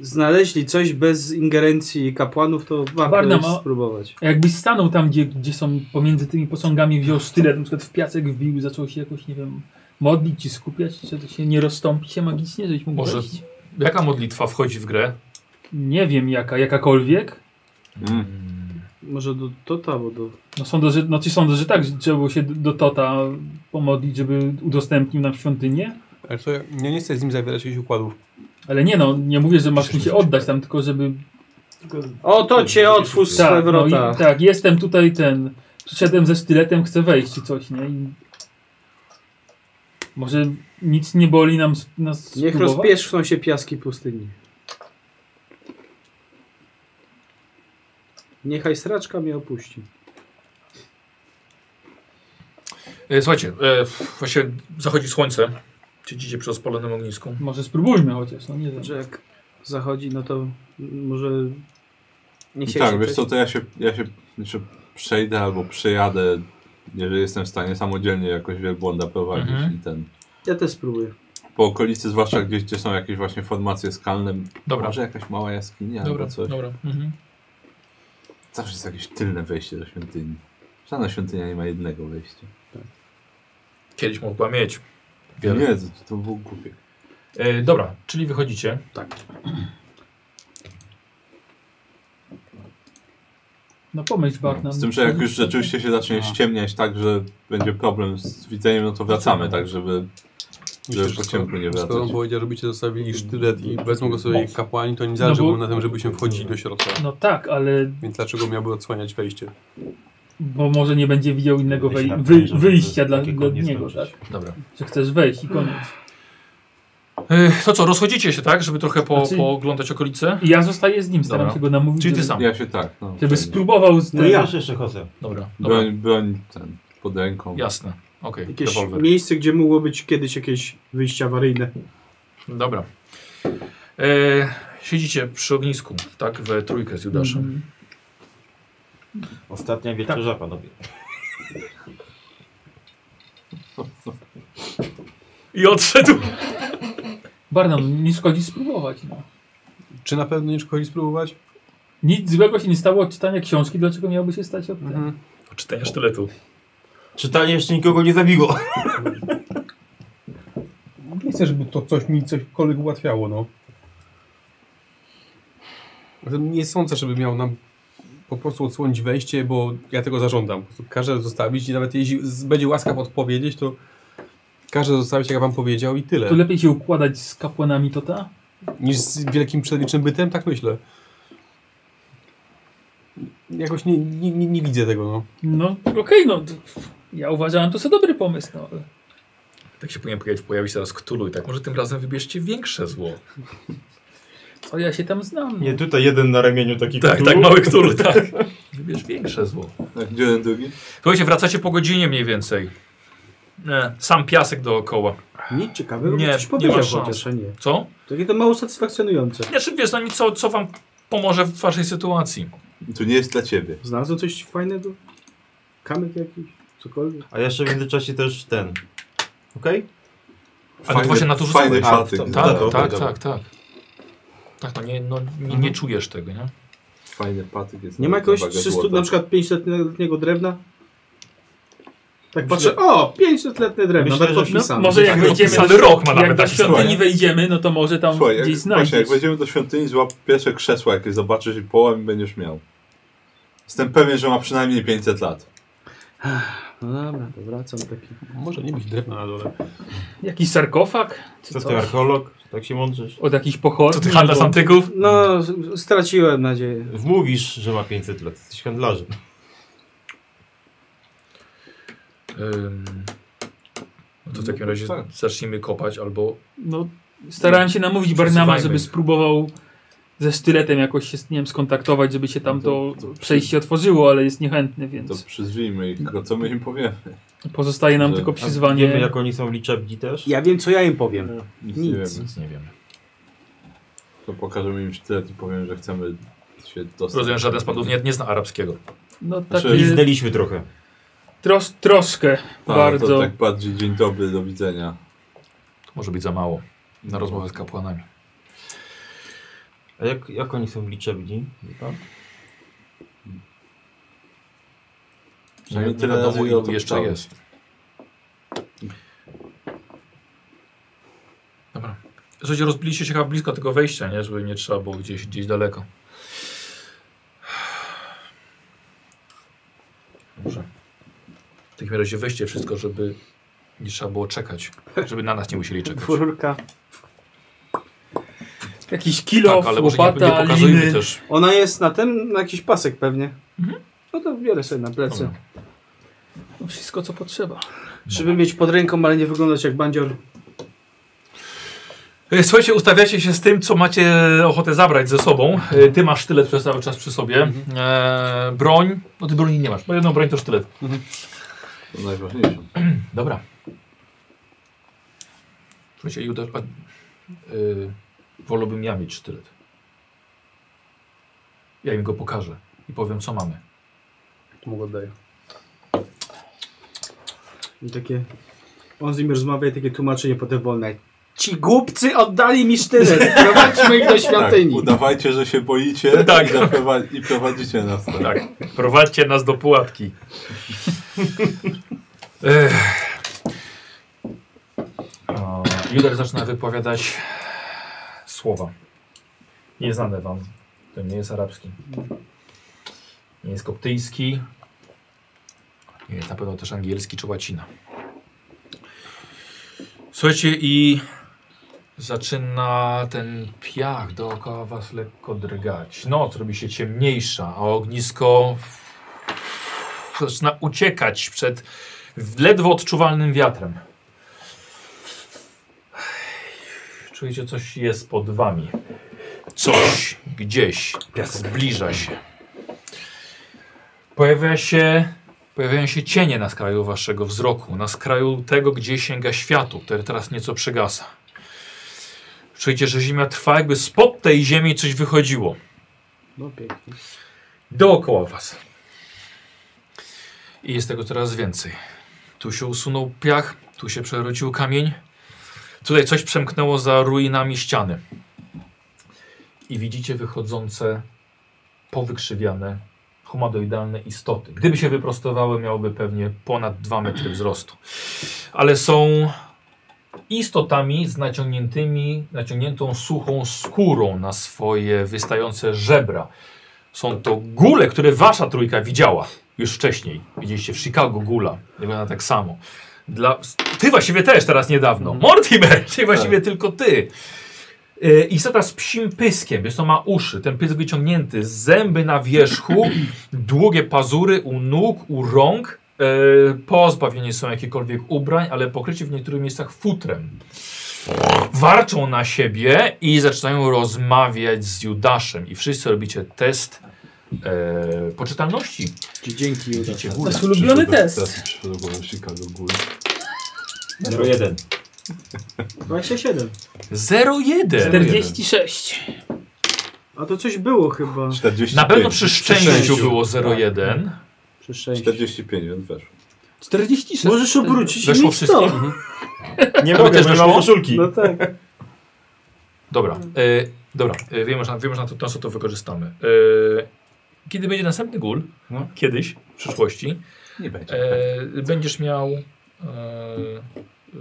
[SPEAKER 4] znaleźli coś bez ingerencji kapłanów, to warto
[SPEAKER 5] Barna
[SPEAKER 4] jest
[SPEAKER 5] ma-
[SPEAKER 4] spróbować.
[SPEAKER 5] A Jakbyś stanął tam, gdzie, gdzie są pomiędzy tymi posągami, wziął sztylet, na przykład w piasek wbił, zaczął się jakoś, nie wiem, modlić czy skupiać, czy to się nie rozstąpi się magicznie, żebyś mógł
[SPEAKER 1] Może-
[SPEAKER 5] wejść?
[SPEAKER 1] Jaka modlitwa wchodzi w grę?
[SPEAKER 5] Nie wiem jaka, jakakolwiek.
[SPEAKER 3] Mm.
[SPEAKER 4] Może do Tota, bo do...
[SPEAKER 5] No sądzę, że, no, czy sądzę, że tak, że trzeba było się do- do Tota pomodlić, żeby udostępnił nam świątynię.
[SPEAKER 6] Ale to ja, ja nie chcę z nim zawierać jakichś układów.
[SPEAKER 5] Ale nie no, nie mówię, że masz mi się oddać tam, tylko żeby...
[SPEAKER 4] O, Tocie, otwórz swoje
[SPEAKER 5] Tak, no i,
[SPEAKER 4] wrota.
[SPEAKER 5] tak, jestem tutaj ten... Przyszedłem ze sztyletem, chcę wejść czy coś, nie? I... Może nic nie boli nam sp- nas
[SPEAKER 4] Niech
[SPEAKER 5] spróbować?
[SPEAKER 4] rozpierzchną się piaski pustyni. Niechaj sraczka mnie opuści.
[SPEAKER 1] E, Słuchajcie, e, właśnie zachodzi słońce. Siedzicie przy rozpalonym ognisku.
[SPEAKER 5] Może spróbujmy chociaż, no nie wiem.
[SPEAKER 4] Że jak zachodzi, no to może nie chciałeś
[SPEAKER 3] tak, wiesz co, to ja się, ja się jeszcze przejdę albo przejadę, jeżeli jestem w stanie samodzielnie jakoś wielbłąda prowadzić
[SPEAKER 1] Mhm.
[SPEAKER 3] i ten.
[SPEAKER 4] Ja też spróbuję.
[SPEAKER 3] Po okolicy, zwłaszcza gdzieś, gdzie są jakieś właśnie formacje skalne,
[SPEAKER 1] Dobra.
[SPEAKER 3] może jakaś mała jaskinia
[SPEAKER 1] Dobra,
[SPEAKER 3] albo coś.
[SPEAKER 1] dobra. Mhm.
[SPEAKER 3] Zawsze jest jakieś tylne wejście do świątyni. Żadna świątynia nie ma jednego wejścia.
[SPEAKER 1] Kiedyś mogła mieć. Wiele.
[SPEAKER 3] Nie, to, to było głupie.
[SPEAKER 1] E, dobra, czyli wychodzicie.
[SPEAKER 5] No pomyśl Barna.
[SPEAKER 3] Z tym, że jak już rzeczywiście się zacznie ściemniać tak, że będzie problem z widzeniem, no to wracamy, tak, żeby, żeby po ciemku nie wracać.
[SPEAKER 6] Skoro on powiedział, żebyście zostawili sztylet i wezmą go sobie kapłani, to nie zależy
[SPEAKER 5] No bo-
[SPEAKER 6] mu na tym, żebyśmy wchodzili do środka.
[SPEAKER 5] No tak, ale
[SPEAKER 6] Więc dlaczego miałby odsłaniać wejście?
[SPEAKER 5] bo może nie będzie widział innego
[SPEAKER 8] Ja się
[SPEAKER 5] wej-
[SPEAKER 8] napiszę,
[SPEAKER 5] wy-
[SPEAKER 8] żeby
[SPEAKER 5] wyjścia dla,
[SPEAKER 8] takie
[SPEAKER 5] dla
[SPEAKER 8] konie
[SPEAKER 5] niego, tak?
[SPEAKER 8] skończyć.
[SPEAKER 1] Dobra.
[SPEAKER 5] Że chcesz wejść i koniec.
[SPEAKER 1] E, to co, rozchodzicie się, tak? Żeby trochę po,
[SPEAKER 5] Znaczy-
[SPEAKER 1] pooglądać okolice?
[SPEAKER 5] I ja zostaję z nim, staram
[SPEAKER 1] Dobra.
[SPEAKER 5] się go namówić,
[SPEAKER 1] Czyli ty
[SPEAKER 5] żeby,
[SPEAKER 1] sam.
[SPEAKER 3] Ja się tak, no.
[SPEAKER 5] żeby
[SPEAKER 3] fajnie.
[SPEAKER 5] spróbował z
[SPEAKER 8] No
[SPEAKER 5] tym-
[SPEAKER 8] ja też jeszcze chodzę.
[SPEAKER 1] Dobra, dobra.
[SPEAKER 3] Broń, broń ten, pod ręką.
[SPEAKER 1] Jasne. Okej,
[SPEAKER 4] Jakieś
[SPEAKER 1] rewolwer.
[SPEAKER 4] miejsce, gdzie mogło być kiedyś jakieś wyjście awaryjne.
[SPEAKER 1] Dobra. E, siedzicie przy ognisku, tak? We trójkę z Judaszem.
[SPEAKER 5] Mhm.
[SPEAKER 8] Ostatnia wieczerza, panowie.
[SPEAKER 1] I odszedł.
[SPEAKER 5] Barnum, nie szkodzi spróbować. No.
[SPEAKER 6] Czy na pewno nie szkodzi spróbować?
[SPEAKER 5] Nic złego się nie stało od czytania książki, dlaczego miałby się stać
[SPEAKER 6] No
[SPEAKER 5] od
[SPEAKER 6] Mhm.
[SPEAKER 5] tego?
[SPEAKER 1] Czytanie sztyletu.
[SPEAKER 8] Czytanie jeszcze nikogo nie zabiło.
[SPEAKER 6] Nie chcę, żeby to coś mi cośkolwiek ułatwiało, no. Zatem Nie sądzę, żeby miał nam po prostu odsłonić wejście, bo ja tego zażądam. Po prostu każę zostawić i nawet jeśli z- będzie łaskaw odpowiedzieć, to każę zostawić, jak ja wam powiedział i tyle.
[SPEAKER 5] To lepiej się układać z kapłanami Tota?
[SPEAKER 6] Niż z wielkim przedwiecznym bytem, tak myślę. Jakoś nie, nie, nie, nie widzę tego, no.
[SPEAKER 5] No okej, no to- ja uważałem to za dobry pomysł, no ale...
[SPEAKER 1] Tak się powinien pojawić, pojawić teraz Ktulu i tak. Może tym razem wybierzcie większe zło.
[SPEAKER 5] Co ja się tam znam? no.
[SPEAKER 8] Nie, tutaj jeden na ramieniu taki
[SPEAKER 1] Tak,
[SPEAKER 8] król.
[SPEAKER 1] tak,
[SPEAKER 6] no.
[SPEAKER 1] mały Ktulu, tak. Wybierz większe zło.
[SPEAKER 3] Tak, gdzie ten drugi?
[SPEAKER 1] Słuchajcie, wracacie po godzinie mniej więcej. Nie, sam piasek dookoła.
[SPEAKER 4] Nic ciekawego,
[SPEAKER 1] Nie,
[SPEAKER 4] nie, coś
[SPEAKER 1] nie
[SPEAKER 4] powiedział
[SPEAKER 1] ma szans.
[SPEAKER 4] chociaż, a nie.
[SPEAKER 1] Co?
[SPEAKER 4] Takie to mało satysfakcjonujące.
[SPEAKER 1] Nie, czy wiesz, no nic, co, co wam pomoże w waszej sytuacji.
[SPEAKER 3] Tu nie jest dla ciebie.
[SPEAKER 4] Znalazłem coś fajnego? Kamyk jakiś? Cokolwiek?
[SPEAKER 8] A jeszcze w międzyczasie też ten. Okej?
[SPEAKER 1] Ale to właśnie na to
[SPEAKER 3] Fajne
[SPEAKER 1] rzucałeś.
[SPEAKER 3] szaty.
[SPEAKER 8] A, to-
[SPEAKER 1] Tak,
[SPEAKER 8] dobra,
[SPEAKER 1] tak,
[SPEAKER 8] dobra.
[SPEAKER 1] tak, tak. Tak, no nie, no, nie, nie czujesz tego, nie?
[SPEAKER 3] Fajny patyk jest.
[SPEAKER 4] Nie ma
[SPEAKER 3] nawet na
[SPEAKER 4] jakiegoś
[SPEAKER 3] wagę
[SPEAKER 4] 300,
[SPEAKER 3] No, złota.
[SPEAKER 4] na przykład 500-letniego drewna? Tak patrzę, o, 500-letnie drewno,
[SPEAKER 8] Myślę,
[SPEAKER 4] tak
[SPEAKER 8] że-
[SPEAKER 4] podpisane.
[SPEAKER 5] No, Może jak
[SPEAKER 1] Tak,
[SPEAKER 5] wejdziemy
[SPEAKER 1] opisany rok ma nawet
[SPEAKER 5] jak do
[SPEAKER 1] taki
[SPEAKER 5] świątyni
[SPEAKER 3] słoń.
[SPEAKER 5] wejdziemy, no to może tam
[SPEAKER 3] Słuchaj, jak,
[SPEAKER 5] gdzieś
[SPEAKER 3] właśnie,
[SPEAKER 5] znajdziesz.
[SPEAKER 3] jak będziemy do świątyni, złap pierwsze krzesło, jakie zobaczysz i połam będziesz miał. Jestem pewien, że ma przynajmniej 500 lat.
[SPEAKER 4] No dobra, to wracam taki.
[SPEAKER 6] Może nie być
[SPEAKER 8] No,
[SPEAKER 6] drewna na dole.
[SPEAKER 5] Jakiś sarkofag? Czy
[SPEAKER 8] Co
[SPEAKER 5] coś?
[SPEAKER 8] ty, archeolog? Tak się mądrzysz?
[SPEAKER 5] Od jakichś pochodni?
[SPEAKER 1] Co ty handlarz
[SPEAKER 5] albo-
[SPEAKER 1] antyków?
[SPEAKER 4] No, s- straciłem nadzieję.
[SPEAKER 8] Wmówisz, że ma 500 lat. Jesteś handlarzem.
[SPEAKER 1] Ym, no to w takim
[SPEAKER 3] No,
[SPEAKER 1] razie
[SPEAKER 3] tak.
[SPEAKER 1] zacznijmy kopać albo...
[SPEAKER 5] No, starałem się namówić Barnama,
[SPEAKER 1] Przesuwajmy
[SPEAKER 5] żeby
[SPEAKER 1] ich.
[SPEAKER 5] spróbował ze sztyletem jakoś się, nie wiem, skontaktować, żeby się tam to, przejście otworzyło, ale jest niechętny,
[SPEAKER 3] To
[SPEAKER 5] więc
[SPEAKER 3] przyzwijmy ich, tylko co my im powiemy?
[SPEAKER 5] pozostaje nam
[SPEAKER 3] Że-
[SPEAKER 5] tylko
[SPEAKER 8] A wiemy
[SPEAKER 5] przyzwanie.
[SPEAKER 8] jak oni są liczebni też?
[SPEAKER 4] Ja wiem, co ja im powiem.
[SPEAKER 5] No,
[SPEAKER 3] Nic, nie
[SPEAKER 4] Nic.
[SPEAKER 3] wiemy.
[SPEAKER 1] Nic nie wiemy.
[SPEAKER 3] To pokażemy im sztylet i powiem, że chcemy się dostać.
[SPEAKER 1] Rozumiem, że żaden z panów nie, nie zna arabskiego.
[SPEAKER 5] No
[SPEAKER 3] Znaczy,
[SPEAKER 5] takie
[SPEAKER 8] Liznęliśmy trochę.
[SPEAKER 5] tros, troszkę
[SPEAKER 3] Tak,
[SPEAKER 5] bardzo.
[SPEAKER 3] To tak bardziej dzień dobry, do widzenia.
[SPEAKER 1] To może być za mało na rozmowę z kapłanami.
[SPEAKER 8] A jak, jak oni są liczebni? Wie pan?
[SPEAKER 1] nie
[SPEAKER 3] Przynajmniej No tyle
[SPEAKER 1] wiadomo
[SPEAKER 3] razy
[SPEAKER 1] ilu
[SPEAKER 3] go
[SPEAKER 1] jeszcze
[SPEAKER 3] pytałem.
[SPEAKER 1] jest. Dobra. Słuchajcie, rozbiliście się chyba blisko tego wejścia, nie? Żeby nie trzeba było gdzieś, gdzieś daleko. Dobrze. W takim razie weźcie wszystko, żeby nie trzeba było czekać. Żeby na nas nie musieli czekać.
[SPEAKER 4] Dwórka.
[SPEAKER 5] Jakiś kilo,
[SPEAKER 1] tak, ale może nie, nie
[SPEAKER 5] łopata,
[SPEAKER 1] pokazujmy
[SPEAKER 5] liny.
[SPEAKER 1] też.
[SPEAKER 4] Ona jest na tym, na jakiś pasek pewnie. No to biorę sobie na plecy.
[SPEAKER 1] Dobra.
[SPEAKER 5] No Wszystko co potrzeba.
[SPEAKER 4] Żeby mieć pod ręką, ale nie wyglądać jak bandzior.
[SPEAKER 1] E, Słuchajcie, ustawiacie się z tym, co macie ochotę zabrać ze sobą. E, Ty masz sztylet przez cały czas przy sobie. E, broń. No ty broni nie masz, bo jedną broń to sztylet.
[SPEAKER 3] To najważniejsze.
[SPEAKER 1] Dobra. Słuchajcie, Judasz, a, y, wolałbym ja mieć sztylet. Ja im go pokażę i powiem, co mamy.
[SPEAKER 6] To mu oddaję.
[SPEAKER 4] I takie... On z nim rozmawia i takie tłumaczenie potem wolne. Ci głupcy oddali mi sztylet. Prowadźmy ich do
[SPEAKER 3] Tak,
[SPEAKER 4] świątyni.
[SPEAKER 3] udawajcie, że się boicie
[SPEAKER 1] Tak.
[SPEAKER 3] i, zaprowadzi- i prowadzicie nas tam.
[SPEAKER 1] Tak, prowadźcie nas do pułapki. Ech. O, Juder zaczyna wypowiadać słowa. Nieznane wam. To nie jest arabski. Nie jest koptyjski. Nie jest na pewno też angielski czy łacina. Słuchajcie i Zaczyna ten piach dookoła was lekko drgać. Noc robi się ciemniejsza, a ognisko zaczyna uciekać przed ledwo odczuwalnym wiatrem. Czujecie, coś jest pod wami. Coś gdzieś zbliża się. Pojawia się Pojawiają się cienie na skraju waszego wzroku, na skraju tego, gdzie sięga światło, które teraz nieco przygasa. Czujecie, że ziemia trwa, jakby spod tej ziemi coś wychodziło.
[SPEAKER 4] No pięknie.
[SPEAKER 1] Dookoła was. I jest tego coraz więcej. Tu się usunął piach, tu się przewrócił kamień. Tutaj coś przemknęło za ruinami ściany. I widzicie wychodzące, powykrzywiane, humanoidalne istoty. Gdyby się wyprostowały, miałoby pewnie ponad 2 metry wzrostu. Ale są istotami z naciągniętymi, naciągniętą suchą skórą na swoje wystające żebra. Są to góle, które wasza trójka widziała już wcześniej. Widzieliście w Chicago gula. Wygląda tak samo. Dla... Ty właściwie też teraz niedawno. Mortimer, czyli właściwie tylko ty. Yy, Istota z psim pyskiem, więc to ma uszy, ten pysk wyciągnięty, zęby na wierzchu, długie pazury u nóg, u rąk. Yy, pozbawieni są jakichkolwiek ubrań, ale pokryci w niektórych miejscach futrem. Warczą na siebie i zaczynają rozmawiać z Judaszem. I wszyscy robicie test yy, poczytalności.
[SPEAKER 4] Dzięki,
[SPEAKER 1] Widzicie
[SPEAKER 4] Judas.
[SPEAKER 1] górę.
[SPEAKER 5] Nasz ulubiony test.
[SPEAKER 3] Teraz przyszedł do Chicago Bulls.
[SPEAKER 8] 01.
[SPEAKER 4] 27.
[SPEAKER 1] 0,1.
[SPEAKER 5] 46.
[SPEAKER 4] A to coś było chyba.
[SPEAKER 3] 45.
[SPEAKER 1] Na pewno przy szczęściu
[SPEAKER 3] szczęściu.
[SPEAKER 1] było 0,1.
[SPEAKER 3] Tak.
[SPEAKER 4] Przez sześć.
[SPEAKER 3] 45, więc weszło.
[SPEAKER 5] 46.
[SPEAKER 4] Możesz obrócić
[SPEAKER 1] Weszło
[SPEAKER 4] mi
[SPEAKER 1] wszystkim?
[SPEAKER 4] to.
[SPEAKER 3] Mhm.
[SPEAKER 8] Nie
[SPEAKER 1] To by
[SPEAKER 8] mogę,
[SPEAKER 1] też
[SPEAKER 8] bo nie
[SPEAKER 1] weszło?
[SPEAKER 8] mam koszulki.
[SPEAKER 4] No tak.
[SPEAKER 1] Dobra,
[SPEAKER 3] Mhm.
[SPEAKER 1] e, dobra, e, wiemy, że, wiemy, że na to, na co to wykorzystamy. E, kiedy będzie następny gól,
[SPEAKER 8] No.
[SPEAKER 1] kiedyś, w przyszłości,
[SPEAKER 3] Nie będzie.
[SPEAKER 1] e, będziesz miał e, e,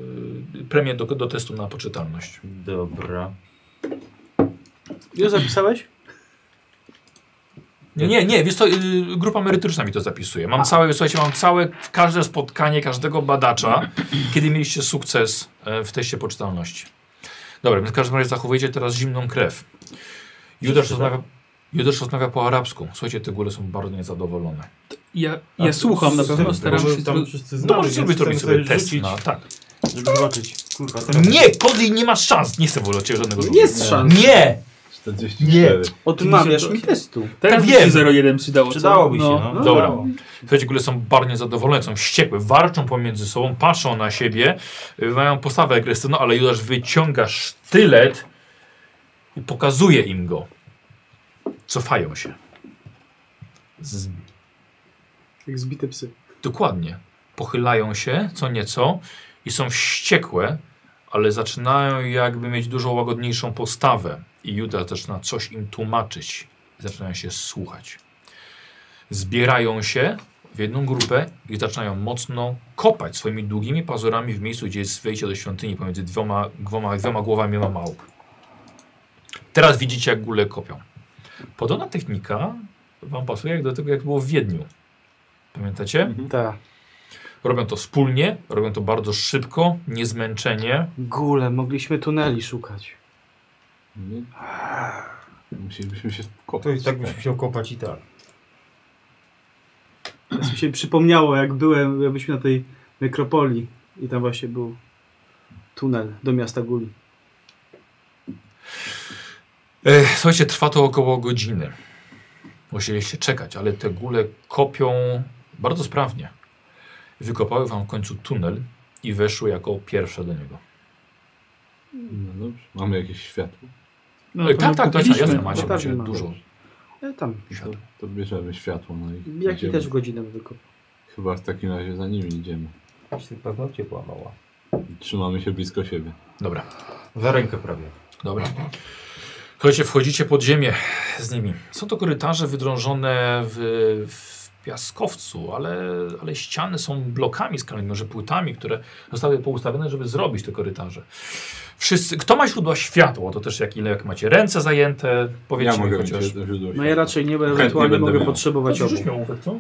[SPEAKER 1] premię do, do testu na poczytalność.
[SPEAKER 8] Dobra.
[SPEAKER 4] Już zapisałeś?
[SPEAKER 1] Nie, nie, nie wiesz co, y, grupa merytoryczna mi to zapisuje. Mam całe, słuchajcie, mam całe, każde spotkanie każdego badacza, kiedy mieliście sukces e, w teście poczytalności. Dobra, więc w każdym razie zachowujecie teraz zimną krew. Judasz rozmawia, Judasz rozmawia po arabsku. Słuchajcie, te góry są bardzo niezadowolone.
[SPEAKER 5] Ja, ja słucham na pewno, staram się...
[SPEAKER 8] tam
[SPEAKER 5] zro-
[SPEAKER 8] wszyscy znamy,
[SPEAKER 1] No możecie
[SPEAKER 8] więc
[SPEAKER 1] zrobić,
[SPEAKER 8] chcemy
[SPEAKER 1] zrobić sobie
[SPEAKER 8] rzucić,
[SPEAKER 1] test na, tak.
[SPEAKER 8] Żeby zobaczyć. Kurwa, teraz- No.
[SPEAKER 1] Nie, Kodli nie masz szans. Nie chcę wolać żadnego rzutu.
[SPEAKER 4] Jest szansa.
[SPEAKER 1] Nie!
[SPEAKER 3] 44.
[SPEAKER 4] Odmawiasz mi testu.
[SPEAKER 5] Teraz
[SPEAKER 1] wiem.
[SPEAKER 5] by się 01 przydało. co?
[SPEAKER 8] Przydałoby się, no.
[SPEAKER 1] Dobra. Słuchajcie, góle są bardzo zadowolone, są wściekłe, warczą pomiędzy sobą, patrzą na siebie, y, mają postawę agresywną, no, ale Judasz wyciąga sztylet i pokazuje im go. Cofają się. Z...
[SPEAKER 10] Jak zbite psy.
[SPEAKER 1] Dokładnie. Pochylają się co nieco i są wściekłe, ale zaczynają jakby mieć dużo łagodniejszą postawę. I Judasz zaczyna coś im tłumaczyć. Zaczynają się słuchać zbierają się w jedną grupę i zaczynają mocno kopać swoimi długimi pazurami w miejscu, gdzie jest wejście do świątyni pomiędzy dwoma, dwoma, dwoma głowami ma małp. Teraz widzicie, jak góle kopią. Podobna technika wam pasuje jak do tego, jak było w Wiedniu. Pamiętacie?
[SPEAKER 3] Mhm.
[SPEAKER 4] Tak.
[SPEAKER 1] Robią to wspólnie, robią to bardzo szybko, niezmęczenie.
[SPEAKER 4] Góle, mogliśmy tuneli szukać.
[SPEAKER 3] Musielibyśmy się
[SPEAKER 8] To i
[SPEAKER 3] kopać.
[SPEAKER 8] tak byśmy się kopać i tak.
[SPEAKER 4] Teraz mi się przypomniało, jak byłem, jak byliśmy na tej nekropolii i tam właśnie był tunel do miasta Guli.
[SPEAKER 1] Ech, E, Słuchajcie, trwa to około godziny. Musieliście czekać, ale te góle kopią bardzo sprawnie. Wykopały wam w końcu tunel i weszły jako pierwsze do niego.
[SPEAKER 3] No dobrze. Mamy jakieś światło.
[SPEAKER 5] No,
[SPEAKER 1] Oj,
[SPEAKER 5] to
[SPEAKER 1] tak,
[SPEAKER 5] my
[SPEAKER 1] tak,
[SPEAKER 5] kupiliśmy.
[SPEAKER 1] jasne, jasne, macie,
[SPEAKER 4] No tak,
[SPEAKER 1] macie
[SPEAKER 4] nie ma.
[SPEAKER 1] dużo
[SPEAKER 4] E, tam.
[SPEAKER 1] światła.
[SPEAKER 3] To bierzemy światło. No i
[SPEAKER 4] Jaki
[SPEAKER 3] idziemy.
[SPEAKER 4] też w godzinę wykop.
[SPEAKER 3] Chyba w takim razie za nimi idziemy.
[SPEAKER 8] Myślę, że paznokcie połamała.
[SPEAKER 3] Trzymamy się blisko siebie.
[SPEAKER 1] Dobra,
[SPEAKER 8] Za rękę prawie.
[SPEAKER 1] dobra. Słuchajcie, wchodzicie pod ziemię z nimi. Są to korytarze wydrążone w, w piaskowcu, ale, ale ściany są blokami skalnymi, może płytami, które zostały poustawione, żeby zrobić te korytarze. Wszyscy, kto ma źródła światła, to też jak ile jak macie ręce zajęte, powiedzcie
[SPEAKER 3] Ja mogę
[SPEAKER 1] mi
[SPEAKER 3] mieć
[SPEAKER 1] chociaż.
[SPEAKER 3] jedno źródło
[SPEAKER 4] No ja
[SPEAKER 3] światła.
[SPEAKER 4] raczej nie, bo
[SPEAKER 3] Chętnie
[SPEAKER 4] ewentualnie
[SPEAKER 3] będę
[SPEAKER 4] mogę
[SPEAKER 3] miał.
[SPEAKER 4] potrzebować
[SPEAKER 1] To
[SPEAKER 4] obu.
[SPEAKER 1] rzuć mi łówek, co?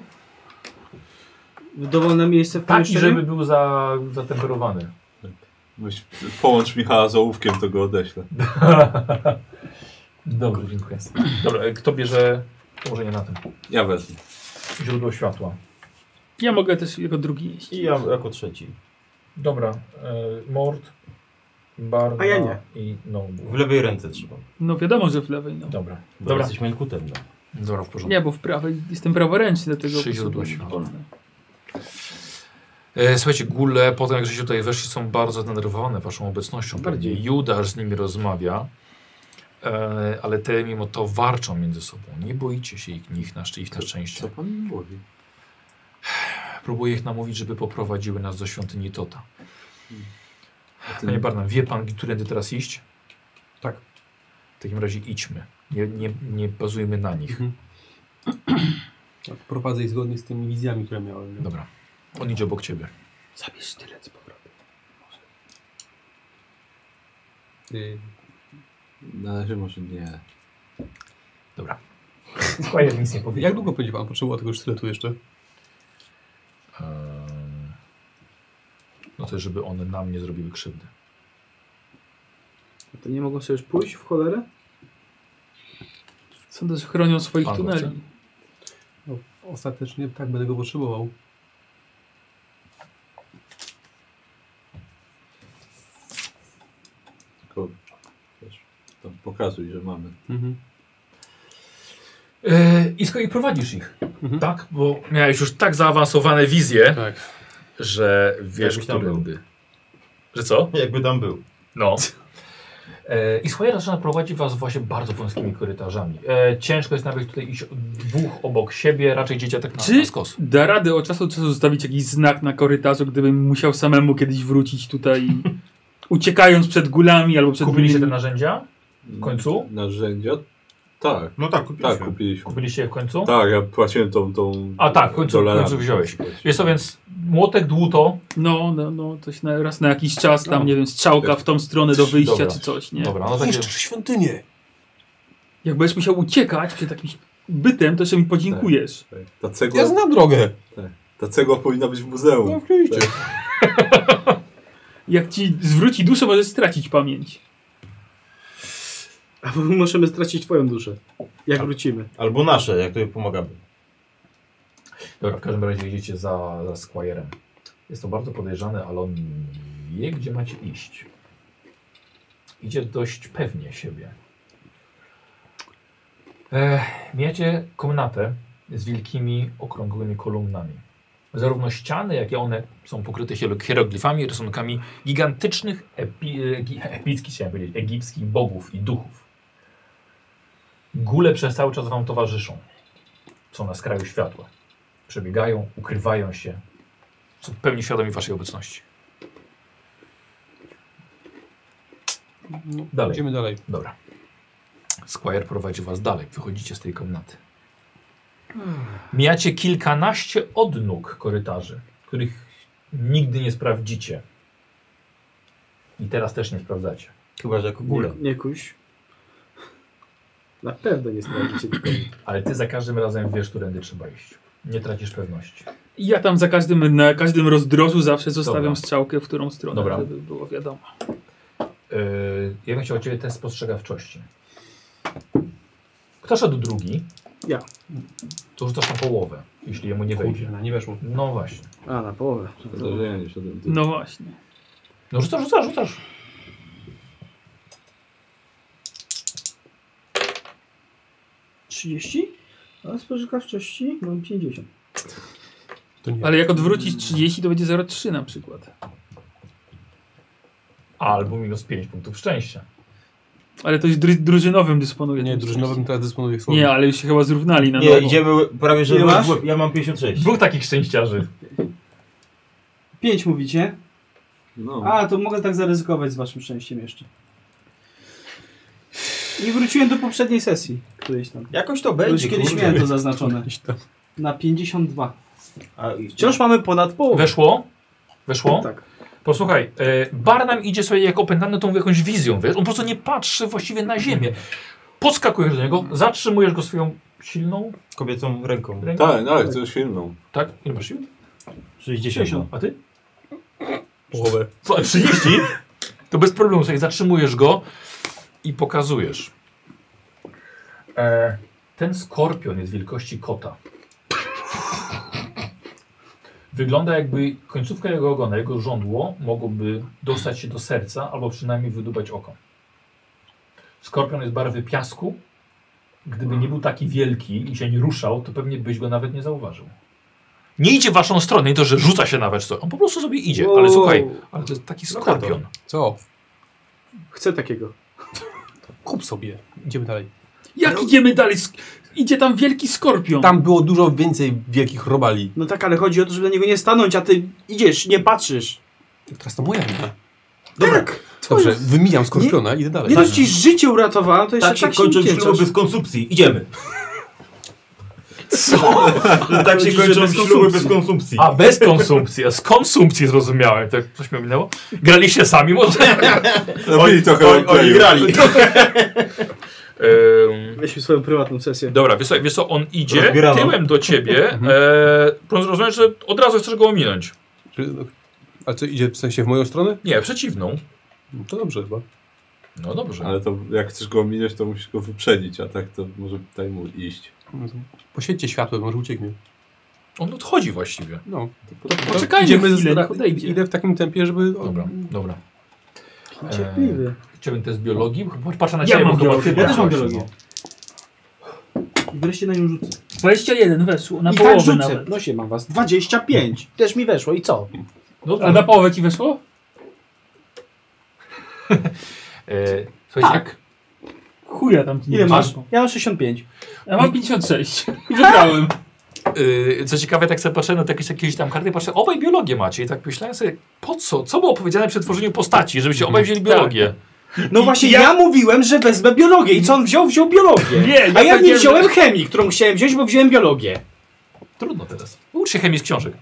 [SPEAKER 4] W dowolne miejsce w
[SPEAKER 1] Tak, i
[SPEAKER 4] pomieszczeniu?
[SPEAKER 1] żeby był za, zatemperowany.
[SPEAKER 3] Weź, połącz Michała z ołówkiem, to go odeślę.
[SPEAKER 1] Dobrze, dziękuję. Dobra, e, kto bierze położenie na tym?
[SPEAKER 3] Ja wezmę.
[SPEAKER 1] Źródło światła.
[SPEAKER 5] Ja mogę też jako drugi jeść.
[SPEAKER 8] I ja jako trzeci.
[SPEAKER 1] Dobra, e, Mord, Barna
[SPEAKER 4] A ja nie.
[SPEAKER 1] i
[SPEAKER 8] W
[SPEAKER 1] Nobu.
[SPEAKER 8] lewej ręce trzymam.
[SPEAKER 5] No wiadomo, że w lewej. No.
[SPEAKER 1] Dobra,
[SPEAKER 8] Bo
[SPEAKER 1] dobra.
[SPEAKER 8] Jesteś mękutem. No.
[SPEAKER 1] Dobra, w porządku.
[SPEAKER 5] Nie, bo w prawej jestem praworęczny, dlatego...
[SPEAKER 1] Trzy źródła
[SPEAKER 5] potrzebuję-
[SPEAKER 1] światła. E, słuchajcie, góle, potem jak żeście tutaj weszli, są bardzo zdenerwowane waszą obecnością. Bardziej. Judasz z nimi rozmawia, e, ale te mimo to warczą między sobą. Nie boicie się ich, nich na, szczę- ich na szczęście.
[SPEAKER 3] Co pan mówi?
[SPEAKER 1] Próbuję ich namówić, żeby poprowadziły nas do świątyni Tota. Panie Barnum, wie pan, którędy teraz iść?
[SPEAKER 6] Tak.
[SPEAKER 1] W takim razie idźmy. Nie, nie, nie bazujmy na nich.
[SPEAKER 6] Tak, prowadzę ich zgodnie z tymi wizjami, które miałem. nie?
[SPEAKER 1] Dobra. On idzie obok ciebie.
[SPEAKER 6] Zabierz tyle z powrotem. Może.
[SPEAKER 3] Na razie może nie.
[SPEAKER 1] Dobra. Squire nic nie
[SPEAKER 6] Y,
[SPEAKER 1] powie.
[SPEAKER 6] jak długo będzie pan potrzebował tego sztyletu jeszcze?
[SPEAKER 1] Ehm, No to, żeby one nam nie zrobiły krzywdy.
[SPEAKER 4] To nie mogą sobie już pójść w cholerę?
[SPEAKER 5] Są też chronią swoich
[SPEAKER 1] Pan
[SPEAKER 5] tuneli.
[SPEAKER 1] chce?
[SPEAKER 6] No, ostatecznie tak będę go potrzebował.
[SPEAKER 3] Tylko wiesz, to pokazuj, że mamy.
[SPEAKER 6] Mhm.
[SPEAKER 1] Yy, I, sko- I prowadzisz ich.
[SPEAKER 6] Mhm.
[SPEAKER 1] Tak, bo miałeś już tak zaawansowane wizje,
[SPEAKER 6] Tak.
[SPEAKER 1] że wiesz,
[SPEAKER 8] Jakbyś tam
[SPEAKER 1] którędy. Że co?
[SPEAKER 8] Jakby tam był.
[SPEAKER 1] No. E, I Squire zaczyna prowadzić was właśnie bardzo wąskimi korytarzami. E, ciężko jest nawet tutaj iść dwóch obok siebie, raczej idziecie tak na,
[SPEAKER 5] Czy-
[SPEAKER 1] na skos.
[SPEAKER 5] Da radę od czasu do czasu zostawić jakiś znak na korytarzu, gdybym musiał samemu kiedyś wrócić tutaj, uciekając przed gulami albo przed
[SPEAKER 1] Kupiliście te
[SPEAKER 5] innymi.
[SPEAKER 1] narzędzia? W końcu?
[SPEAKER 3] Narzędzia? Tak,
[SPEAKER 8] No tak,
[SPEAKER 3] tak,
[SPEAKER 8] kupiliśmy.
[SPEAKER 3] kupiliśmy.
[SPEAKER 1] Kupiliście je w końcu?
[SPEAKER 3] Tak, ja płaciłem tą. tą
[SPEAKER 1] A tak, w końcu- w końcu
[SPEAKER 3] dolarami. Tak.
[SPEAKER 1] wziąłeś. Jest to więc młotek, dłuto.
[SPEAKER 5] No, no, no, coś na, raz na jakiś czas tam, nie wiem, strzałka w tą stronę do wyjścia
[SPEAKER 1] Dobra.
[SPEAKER 5] czy coś, nie?
[SPEAKER 1] Dobra, no takie...
[SPEAKER 6] świątynię!
[SPEAKER 5] Jak będziesz musiał uciekać przed jakimś bytem, to jeszcze mi podziękujesz.
[SPEAKER 3] Tak. Ta cegła,
[SPEAKER 6] Ja znam drogę!
[SPEAKER 3] ta cegła powinna być w muzeum.
[SPEAKER 6] No oczywiście.
[SPEAKER 5] Jak ci zwróci duszę, możesz stracić pamięć.
[SPEAKER 4] A bo możemy stracić twoją duszę. Jak wrócimy.
[SPEAKER 8] Albo nasze, jak to pomagamy.
[SPEAKER 1] Dobra, w każdym razie idziecie za, za Squire'em. Jest to bardzo podejrzane, ale on wie, gdzie macie iść. Idzie dość pewnie siebie. E, mijacie komnatę z wielkimi, okrągłymi kolumnami. Zarówno ściany, jak i one są pokryte hiero- hieroglifami, rysunkami gigantycznych, epi, e, gi- epickich, chciałem powiedzieć, egipskich bogów i duchów. Góle przez cały czas wam towarzyszą. Są na skraju światła. Przebiegają, ukrywają się. Są w pełni świadomi waszej obecności. Dalej.
[SPEAKER 6] Mhm. Idziemy dalej.
[SPEAKER 1] Dobra. Squire prowadzi was dalej. Wychodzicie z tej komnaty. Mijacie kilkanaście odnóg korytarzy, których nigdy nie sprawdzicie. I teraz też nie sprawdzacie.
[SPEAKER 8] Chyba, że jako górę.
[SPEAKER 4] Nie kuś. Na pewno nie sprawdzicie tylko.
[SPEAKER 1] Ale ty za każdym razem wiesz, którędy trzeba iść. Nie tracisz pewności.
[SPEAKER 5] Ja tam za każdym, na każdym rozdrożu zawsze zostawiam
[SPEAKER 1] Dobra.
[SPEAKER 5] strzałkę, w którą stronę,
[SPEAKER 1] Dobra.
[SPEAKER 5] żeby było wiadomo.
[SPEAKER 1] Yy, ja bym chciał od ciebie test spostrzegawczości. Kto szedł drugi?
[SPEAKER 4] Ja.
[SPEAKER 1] To rzucasz na połowę, jeśli jemu nie wejdzie.
[SPEAKER 6] Kurna, nie weszło.
[SPEAKER 1] No właśnie.
[SPEAKER 4] A, na połowę.
[SPEAKER 3] Zdarzenie się tym.
[SPEAKER 5] No właśnie.
[SPEAKER 1] No rzucasz, rzucasz, rzucasz.
[SPEAKER 9] A spożywawczości mam 50.
[SPEAKER 6] To nie.
[SPEAKER 5] Ale jak odwrócić 30, to będzie 0,3 na przykład.
[SPEAKER 1] Albo minus 5 punktów szczęścia.
[SPEAKER 5] Ale to jest dru drużynowym dysponuje.
[SPEAKER 6] Nie,
[SPEAKER 5] tym
[SPEAKER 6] drużynowym teraz dysponuję słowem.
[SPEAKER 5] szczęściem. Nie, ale już się chyba zrównali na
[SPEAKER 8] Nie,
[SPEAKER 5] nowo.
[SPEAKER 8] idziemy prawie, że
[SPEAKER 4] Ile
[SPEAKER 8] łeb
[SPEAKER 4] masz?
[SPEAKER 8] w łeb. ja mam 56.
[SPEAKER 1] Dwóch takich szczęściarzy.
[SPEAKER 4] 5 mówicie?
[SPEAKER 3] No.
[SPEAKER 4] A, to mogę tak zaryzykować z waszym szczęściem jeszcze. Nie wróciłem do poprzedniej sesji, którejś tam.
[SPEAKER 8] Jakoś to
[SPEAKER 4] Bo Już
[SPEAKER 8] będzie,
[SPEAKER 4] kiedyś
[SPEAKER 8] kurde.
[SPEAKER 4] miałem to zaznaczone. Na 52.
[SPEAKER 8] A, i-
[SPEAKER 4] Wciąż mamy ponad połowę.
[SPEAKER 1] Weszło? Weszło?
[SPEAKER 4] Tak.
[SPEAKER 1] Posłuchaj, e, Barnum idzie sobie jak opętany tą jakąś wizją, wiesz? On po prostu nie patrzy właściwie na ziemię. Podskakujesz do niego, zatrzymujesz go swoją silną
[SPEAKER 8] Kobiecą ręką.
[SPEAKER 1] ręką.
[SPEAKER 3] Tak, tak, coś silną.
[SPEAKER 1] Tak? Ile masz sił?
[SPEAKER 8] 60. no.
[SPEAKER 1] A ty?
[SPEAKER 6] Połowę.
[SPEAKER 1] Co, 30? To bez problemu sobie zatrzymujesz go i pokazujesz. E, ten skorpion jest wielkości kota. Wygląda jakby końcówka jego ogona, jego żądło mogłoby dostać się do serca albo przynajmniej wydubać oko. Skorpion jest barwy piasku. Gdyby nie był taki wielki i się nie ruszał, to pewnie byś go nawet nie zauważył. Nie idzie w waszą stronę, nie to, że rzuca się nawet co. On po prostu sobie idzie, ale słuchaj, ale to jest taki skorpion.
[SPEAKER 6] Co?
[SPEAKER 10] Chcę takiego.
[SPEAKER 6] Kup sobie. Idziemy dalej.
[SPEAKER 5] Jak idziemy dalej? Sk idzie tam wielki skorpion.
[SPEAKER 6] Tam było dużo więcej wielkich robali.
[SPEAKER 4] No tak, ale chodzi o to, żeby na niego nie stanąć, a ty idziesz, nie patrzysz.
[SPEAKER 6] Teraz to moja wina.
[SPEAKER 4] Dobra,
[SPEAKER 5] Tak.
[SPEAKER 6] Dobrze, wymijam skorpiona i idę dalej.
[SPEAKER 4] nie dość ci życie uratowałem, to jeszcze
[SPEAKER 8] Tak
[SPEAKER 4] tak,
[SPEAKER 8] się
[SPEAKER 4] się
[SPEAKER 8] kończą
[SPEAKER 4] nie
[SPEAKER 8] śluby
[SPEAKER 4] śluby.
[SPEAKER 8] z konsumpcji. Idziemy.
[SPEAKER 1] Co?
[SPEAKER 8] Tak się
[SPEAKER 4] Chodzi, że
[SPEAKER 8] kończą
[SPEAKER 4] bez
[SPEAKER 8] śluby
[SPEAKER 4] konsumpcji.
[SPEAKER 8] bez konsumpcji.
[SPEAKER 1] A bez konsumpcji, a z konsumpcji zrozumiałem, tak coś mi minęło. Graliście sami może?
[SPEAKER 3] Robili trochę
[SPEAKER 8] Oni, oni
[SPEAKER 3] roleplayu.
[SPEAKER 8] grali.
[SPEAKER 1] Ym,
[SPEAKER 4] Weźmy swoją prywatną sesję.
[SPEAKER 1] dobra, wiesz co, wiesz co, on idzie
[SPEAKER 8] Rozbierano.
[SPEAKER 1] tyłem do ciebie,
[SPEAKER 4] Mhm.
[SPEAKER 1] e, rozumiem, że od razu chcesz go ominąć.
[SPEAKER 6] Czy- no, A co, idzie w sensie w moją stronę?
[SPEAKER 1] Nie, przeciwną.
[SPEAKER 6] No to dobrze chyba.
[SPEAKER 1] No dobrze.
[SPEAKER 3] Ale to jak chcesz go ominąć, to musisz go wyprzedzić, a tak to może daj mu iść.
[SPEAKER 6] No to Poświęćcie światłem, może ucieknie.
[SPEAKER 1] On odchodzi właściwie.
[SPEAKER 6] No.
[SPEAKER 3] To
[SPEAKER 6] To
[SPEAKER 5] poczekajmy
[SPEAKER 6] idziemy
[SPEAKER 5] chwilę,
[SPEAKER 6] z-
[SPEAKER 5] niech odejdzie.
[SPEAKER 6] Idę w takim tempie, żeby...
[SPEAKER 1] Dobra, dobra.
[SPEAKER 4] Cierpliwy.
[SPEAKER 1] Chciałbym test biologii, bo patrzę na
[SPEAKER 5] Ja
[SPEAKER 1] ciebie, bo
[SPEAKER 5] mam
[SPEAKER 1] chyba
[SPEAKER 5] biologię.
[SPEAKER 1] ty
[SPEAKER 4] Ja też mam
[SPEAKER 1] patrzysz,
[SPEAKER 4] biologię.
[SPEAKER 1] no.
[SPEAKER 4] I wreszcie na nią rzucę.
[SPEAKER 5] 21 weszło, na
[SPEAKER 4] I tak
[SPEAKER 5] połowę
[SPEAKER 4] rzucę.
[SPEAKER 5] nawet.
[SPEAKER 4] No się mam was. 25. Też mi weszło. I co?
[SPEAKER 1] no.
[SPEAKER 5] A na połowę ci weszło?
[SPEAKER 1] E, słuchajcie,
[SPEAKER 5] Chuja tam ci nie
[SPEAKER 4] Ile
[SPEAKER 5] weszło.
[SPEAKER 4] masz? Ja mam 65.
[SPEAKER 5] Ja mam 56. Wygrałem.
[SPEAKER 1] Yy, co ciekawe, tak sobie patrzę na te jakieś, jakieś tam karty, patrzę, obaj biologię macie i tak myślałem sobie, po co? Co było powiedziane przy tworzeniu postaci, żebyście obaj wzięli biologię?
[SPEAKER 4] No właśnie, ja... mówiłem, że wezmę biologię. I co on wziął? Wziął biologię.
[SPEAKER 5] Nie,
[SPEAKER 4] A
[SPEAKER 5] ja
[SPEAKER 4] ja nie
[SPEAKER 5] powiedziałem,
[SPEAKER 4] wziąłem chemii, którą chciałem wziąć, bo wziąłem biologię.
[SPEAKER 1] Trudno teraz. Ucz się chemii z książek.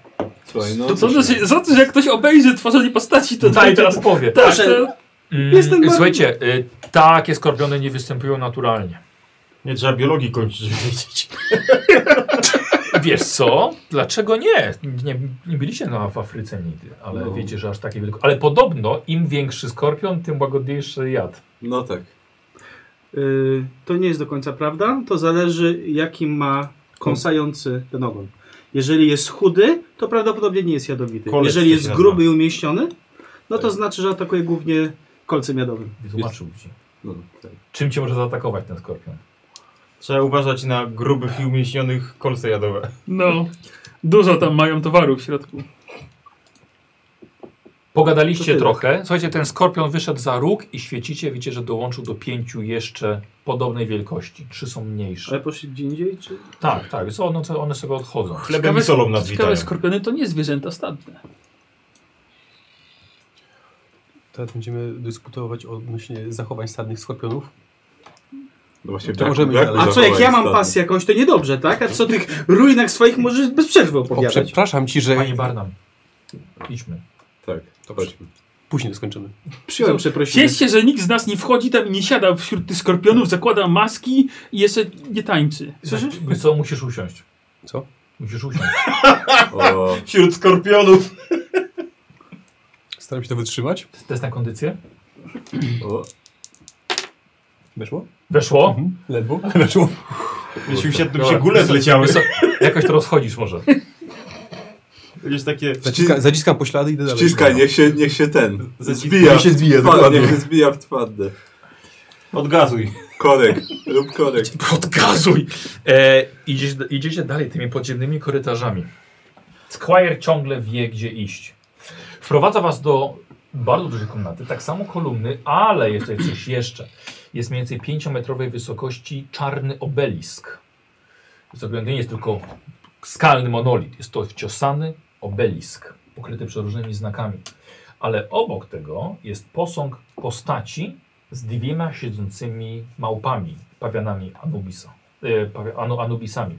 [SPEAKER 3] Słuchaj, no,
[SPEAKER 5] To co, to się, za to, że jak ktoś obejrzy tworzenie postaci, to daj teraz.
[SPEAKER 1] powie.
[SPEAKER 5] Tak,
[SPEAKER 4] Proszę.
[SPEAKER 5] to,
[SPEAKER 1] Mm,
[SPEAKER 4] Jestem bardzo-
[SPEAKER 1] słuchajcie, yy, takie skorpiony nie występują naturalnie.
[SPEAKER 8] Nie trzeba biologii kończyć, żeby wiedzieć.
[SPEAKER 1] Wiesz co? Dlaczego nie? Nie, nie byliście na, w Afryce nigdy, ale
[SPEAKER 3] No.
[SPEAKER 1] wiecie, że aż takie wielko... Ale podobno im większy skorpion, tym łagodniejszy jad.
[SPEAKER 3] no tak.
[SPEAKER 4] Y, to nie jest do końca prawda. To zależy, jaki ma kąsający ten ogon. Jeżeli jest chudy, to prawdopodobnie nie jest jadowity.
[SPEAKER 8] Kolec
[SPEAKER 4] Jeżeli
[SPEAKER 8] to
[SPEAKER 4] jest
[SPEAKER 8] się nazywa.
[SPEAKER 4] gruby i umieściony, no to znaczy, że atakuje głównie kolcem jadowym.
[SPEAKER 1] Wytłumaczył ci.
[SPEAKER 3] No, tak.
[SPEAKER 1] Czym cię może zaatakować ten skorpion?
[SPEAKER 8] Trzeba uważać na grubych i umięśnionych kolce jadowe.
[SPEAKER 5] No, dużo tam mają towaru w środku.
[SPEAKER 1] Pogadaliście trochę. Słuchajcie, ten skorpion wyszedł za róg i świecicie. Widzicie, że dołączył do pięciu jeszcze podobnej wielkości. Trzy są mniejsze.
[SPEAKER 4] Ale poszli gdzie indziej, czy?
[SPEAKER 1] Tak, tak. So, one, one sobie odchodzą.
[SPEAKER 8] Chlebem i solą nas witają.
[SPEAKER 5] Ciekawe, skorpiony to nie zwierzęta stadne.
[SPEAKER 6] Teraz będziemy dyskutować odnośnie zachowań stadnych skorpionów.
[SPEAKER 3] No właśnie,
[SPEAKER 6] To
[SPEAKER 3] brak-
[SPEAKER 6] możemy
[SPEAKER 3] brak
[SPEAKER 6] dalej.
[SPEAKER 4] A co, jak ja mam
[SPEAKER 3] zachowań
[SPEAKER 4] pasję jakąś, to niedobrze, tak? A co tych ruinach swoich możesz bez przerwy
[SPEAKER 6] O,
[SPEAKER 4] opowiadać?
[SPEAKER 6] przepraszam ci, że
[SPEAKER 1] Panie Barnam, idźmy.
[SPEAKER 3] stadnych. Tak, to chodźmy.
[SPEAKER 6] później skończymy.
[SPEAKER 4] Przyjąłem przeprosiny.
[SPEAKER 5] Cieszę się, że nikt z nas nie wchodzi tam i nie siada wśród tych skorpionów, zakłada maski i jeszcze nie tańczy.
[SPEAKER 1] Słyszysz? Co, musisz usiąść.
[SPEAKER 6] Co?
[SPEAKER 1] Musisz usiąść.
[SPEAKER 3] O,
[SPEAKER 8] Wśród skorpionów.
[SPEAKER 6] Staram się to wytrzymać.
[SPEAKER 1] Test na kondycję.
[SPEAKER 3] o,
[SPEAKER 6] Weszło?
[SPEAKER 1] Weszło.
[SPEAKER 6] Mhm. Ledwo, ale weszło.
[SPEAKER 8] Jeśli usiadłem
[SPEAKER 1] Dobra,
[SPEAKER 8] się gule zleciały.
[SPEAKER 1] Jakoś to rozchodzisz może.
[SPEAKER 8] Jakieś takie...
[SPEAKER 6] Zaciska, zaciskam poślady i idę dalej.
[SPEAKER 3] Ściskaj, niech się, niech się ten.
[SPEAKER 8] Zaciskaj.
[SPEAKER 3] Zbija.
[SPEAKER 6] Niech się zbije,
[SPEAKER 3] w twardę,
[SPEAKER 6] dokładnie.
[SPEAKER 3] Niech się zbija w twardę.
[SPEAKER 8] Odgazuj.
[SPEAKER 3] Korek, rób korek.
[SPEAKER 1] Podgazuj! E, idziecie, idziecie dalej tymi podziemnymi korytarzami. Squire ciągle wie, gdzie iść. Wprowadza was do bardzo dużej komnaty, tak samo kolumny, ale jest tutaj coś jeszcze. Jest mniej więcej 5-metrowej wysokości czarny obelisk. Zrobiony nie jest tylko skalny monolit, jest to wciosany obelisk, pokryty przeróżnymi znakami. Ale obok tego jest posąg postaci z dwiema siedzącymi małpami, pawianami Anubisa, e, pawi- anu, Anubisami,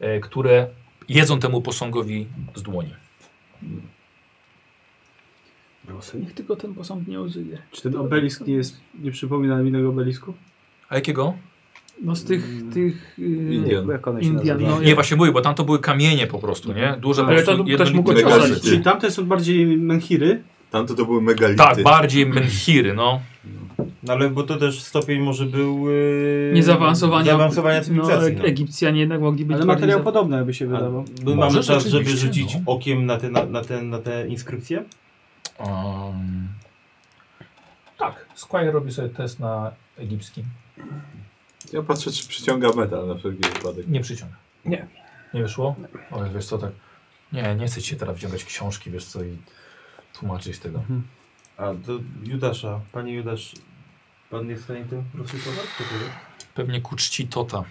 [SPEAKER 1] e, które jedzą temu posągowi z dłoni.
[SPEAKER 5] Niech tylko ten posąg nie użyje.
[SPEAKER 4] Czy ten obelisk nie jest, nie przypomina nam innego obelisku?
[SPEAKER 1] A jakiego?
[SPEAKER 5] No z tych, tych yy,
[SPEAKER 3] Indian.
[SPEAKER 4] Jak one się
[SPEAKER 5] Indian.
[SPEAKER 4] nazywa?
[SPEAKER 5] No,
[SPEAKER 1] Nie, właśnie mówię, bo tam to były kamienie po prostu, nie? Duże po
[SPEAKER 5] Mhm. Ale
[SPEAKER 1] prostu
[SPEAKER 5] to ktoś
[SPEAKER 1] jednolite-
[SPEAKER 5] mógł
[SPEAKER 3] Megazy.
[SPEAKER 5] ciosać.
[SPEAKER 4] Czyli tamte są bardziej menhiry.
[SPEAKER 3] Tamto to były megality.
[SPEAKER 1] Tak, bardziej menhiry, no.
[SPEAKER 8] No ale bo to też stopień może był... Yy...
[SPEAKER 5] Nie zaawansowania,
[SPEAKER 8] Zaawansowania cywilizacji.
[SPEAKER 5] No, Eg-
[SPEAKER 8] No,
[SPEAKER 5] Egipcjanie jednak mogli być
[SPEAKER 4] Ale
[SPEAKER 5] bardziej
[SPEAKER 4] materiał
[SPEAKER 5] za-
[SPEAKER 4] podobny, jakby się
[SPEAKER 8] Ale
[SPEAKER 4] wydawał.
[SPEAKER 8] my mamy
[SPEAKER 1] Może
[SPEAKER 8] czas, żeby
[SPEAKER 1] rzeczywiście,
[SPEAKER 8] rzucić
[SPEAKER 1] no.
[SPEAKER 8] okiem na te, na, na, te, na te inskrypcje?
[SPEAKER 1] Um, tak, Squire robi sobie test na egipski.
[SPEAKER 3] Ja patrzę, czy przyciąga metal na wszelki wypadek.
[SPEAKER 1] Nie przyciąga.
[SPEAKER 6] Nie.
[SPEAKER 1] Nie wyszło? O, wiesz co, tak. Nie, nie chcę ci teraz wciągać książki, wiesz co, i tłumaczyć tego.
[SPEAKER 8] A, do Judasza. Panie Judasz, pan jest w stanie to rozszyfrować? To tyle.
[SPEAKER 1] pewnie ku czci Tota.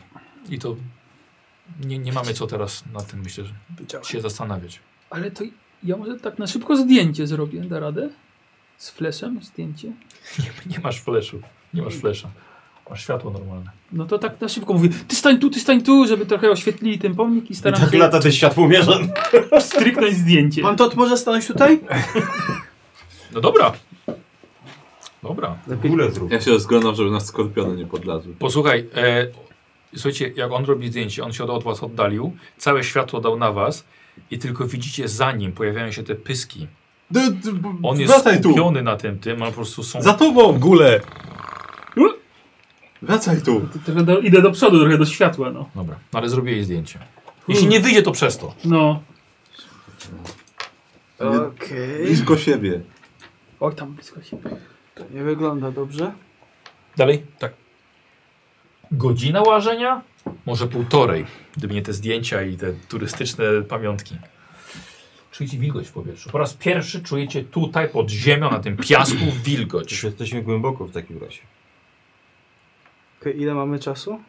[SPEAKER 1] I to nie, nie mamy co teraz na tym, myślę, że się zastanawiać.
[SPEAKER 5] Ale to ja może tak na szybko zdjęcie zrobię, da radę? Z fleszem zdjęcie?
[SPEAKER 1] Nie, nie masz fleszu, nie masz flesza. Masz światło normalne.
[SPEAKER 5] No to tak na szybko mówię, ty stań tu, ty stań tu, żeby trochę oświetlili ten pomnik i
[SPEAKER 8] I
[SPEAKER 5] staram
[SPEAKER 8] tak
[SPEAKER 5] się
[SPEAKER 8] lata te światłomierze.
[SPEAKER 5] stryknąć zdjęcie.
[SPEAKER 4] Pan Tot może stanąć tutaj?
[SPEAKER 1] No dobra. Dobra.
[SPEAKER 8] W ogóle zrób.
[SPEAKER 3] Ja się rozglądam, żeby nas skorpiony nie podlazły.
[SPEAKER 1] Posłuchaj, e, słuchajcie, jak on robi zdjęcie, on się od, od was oddalił, całe światło dał na was i tylko widzicie za nim pojawiają się te pyski.
[SPEAKER 3] D- d- b-
[SPEAKER 1] On jest
[SPEAKER 3] wracaj tu!
[SPEAKER 1] skupiony na tym tym, a po prostu są...
[SPEAKER 3] Za tobą!
[SPEAKER 6] Gule!
[SPEAKER 3] Wracaj tu!
[SPEAKER 5] To trochę do, idę do przodu, trochę do światła, no.
[SPEAKER 1] Dobra, no ale zrobię jej zdjęcie.
[SPEAKER 3] Hmm.
[SPEAKER 1] Jeśli nie wyjdzie, to przez to.
[SPEAKER 5] No.
[SPEAKER 4] Okej.
[SPEAKER 3] Blisko siebie.
[SPEAKER 5] Oj, tam blisko się.
[SPEAKER 4] To nie wygląda dobrze.
[SPEAKER 1] Dalej? Tak. Godzina łażenia? Może półtorej, gdyby nie te zdjęcia i te turystyczne pamiątki. Czujecie wilgoć w powietrzu. Po raz pierwszy czujecie tutaj pod ziemią, na tym piasku
[SPEAKER 8] Już
[SPEAKER 1] wilgoć.
[SPEAKER 8] jesteśmy głęboko w takim razie.
[SPEAKER 4] Okej, ile mamy czasu?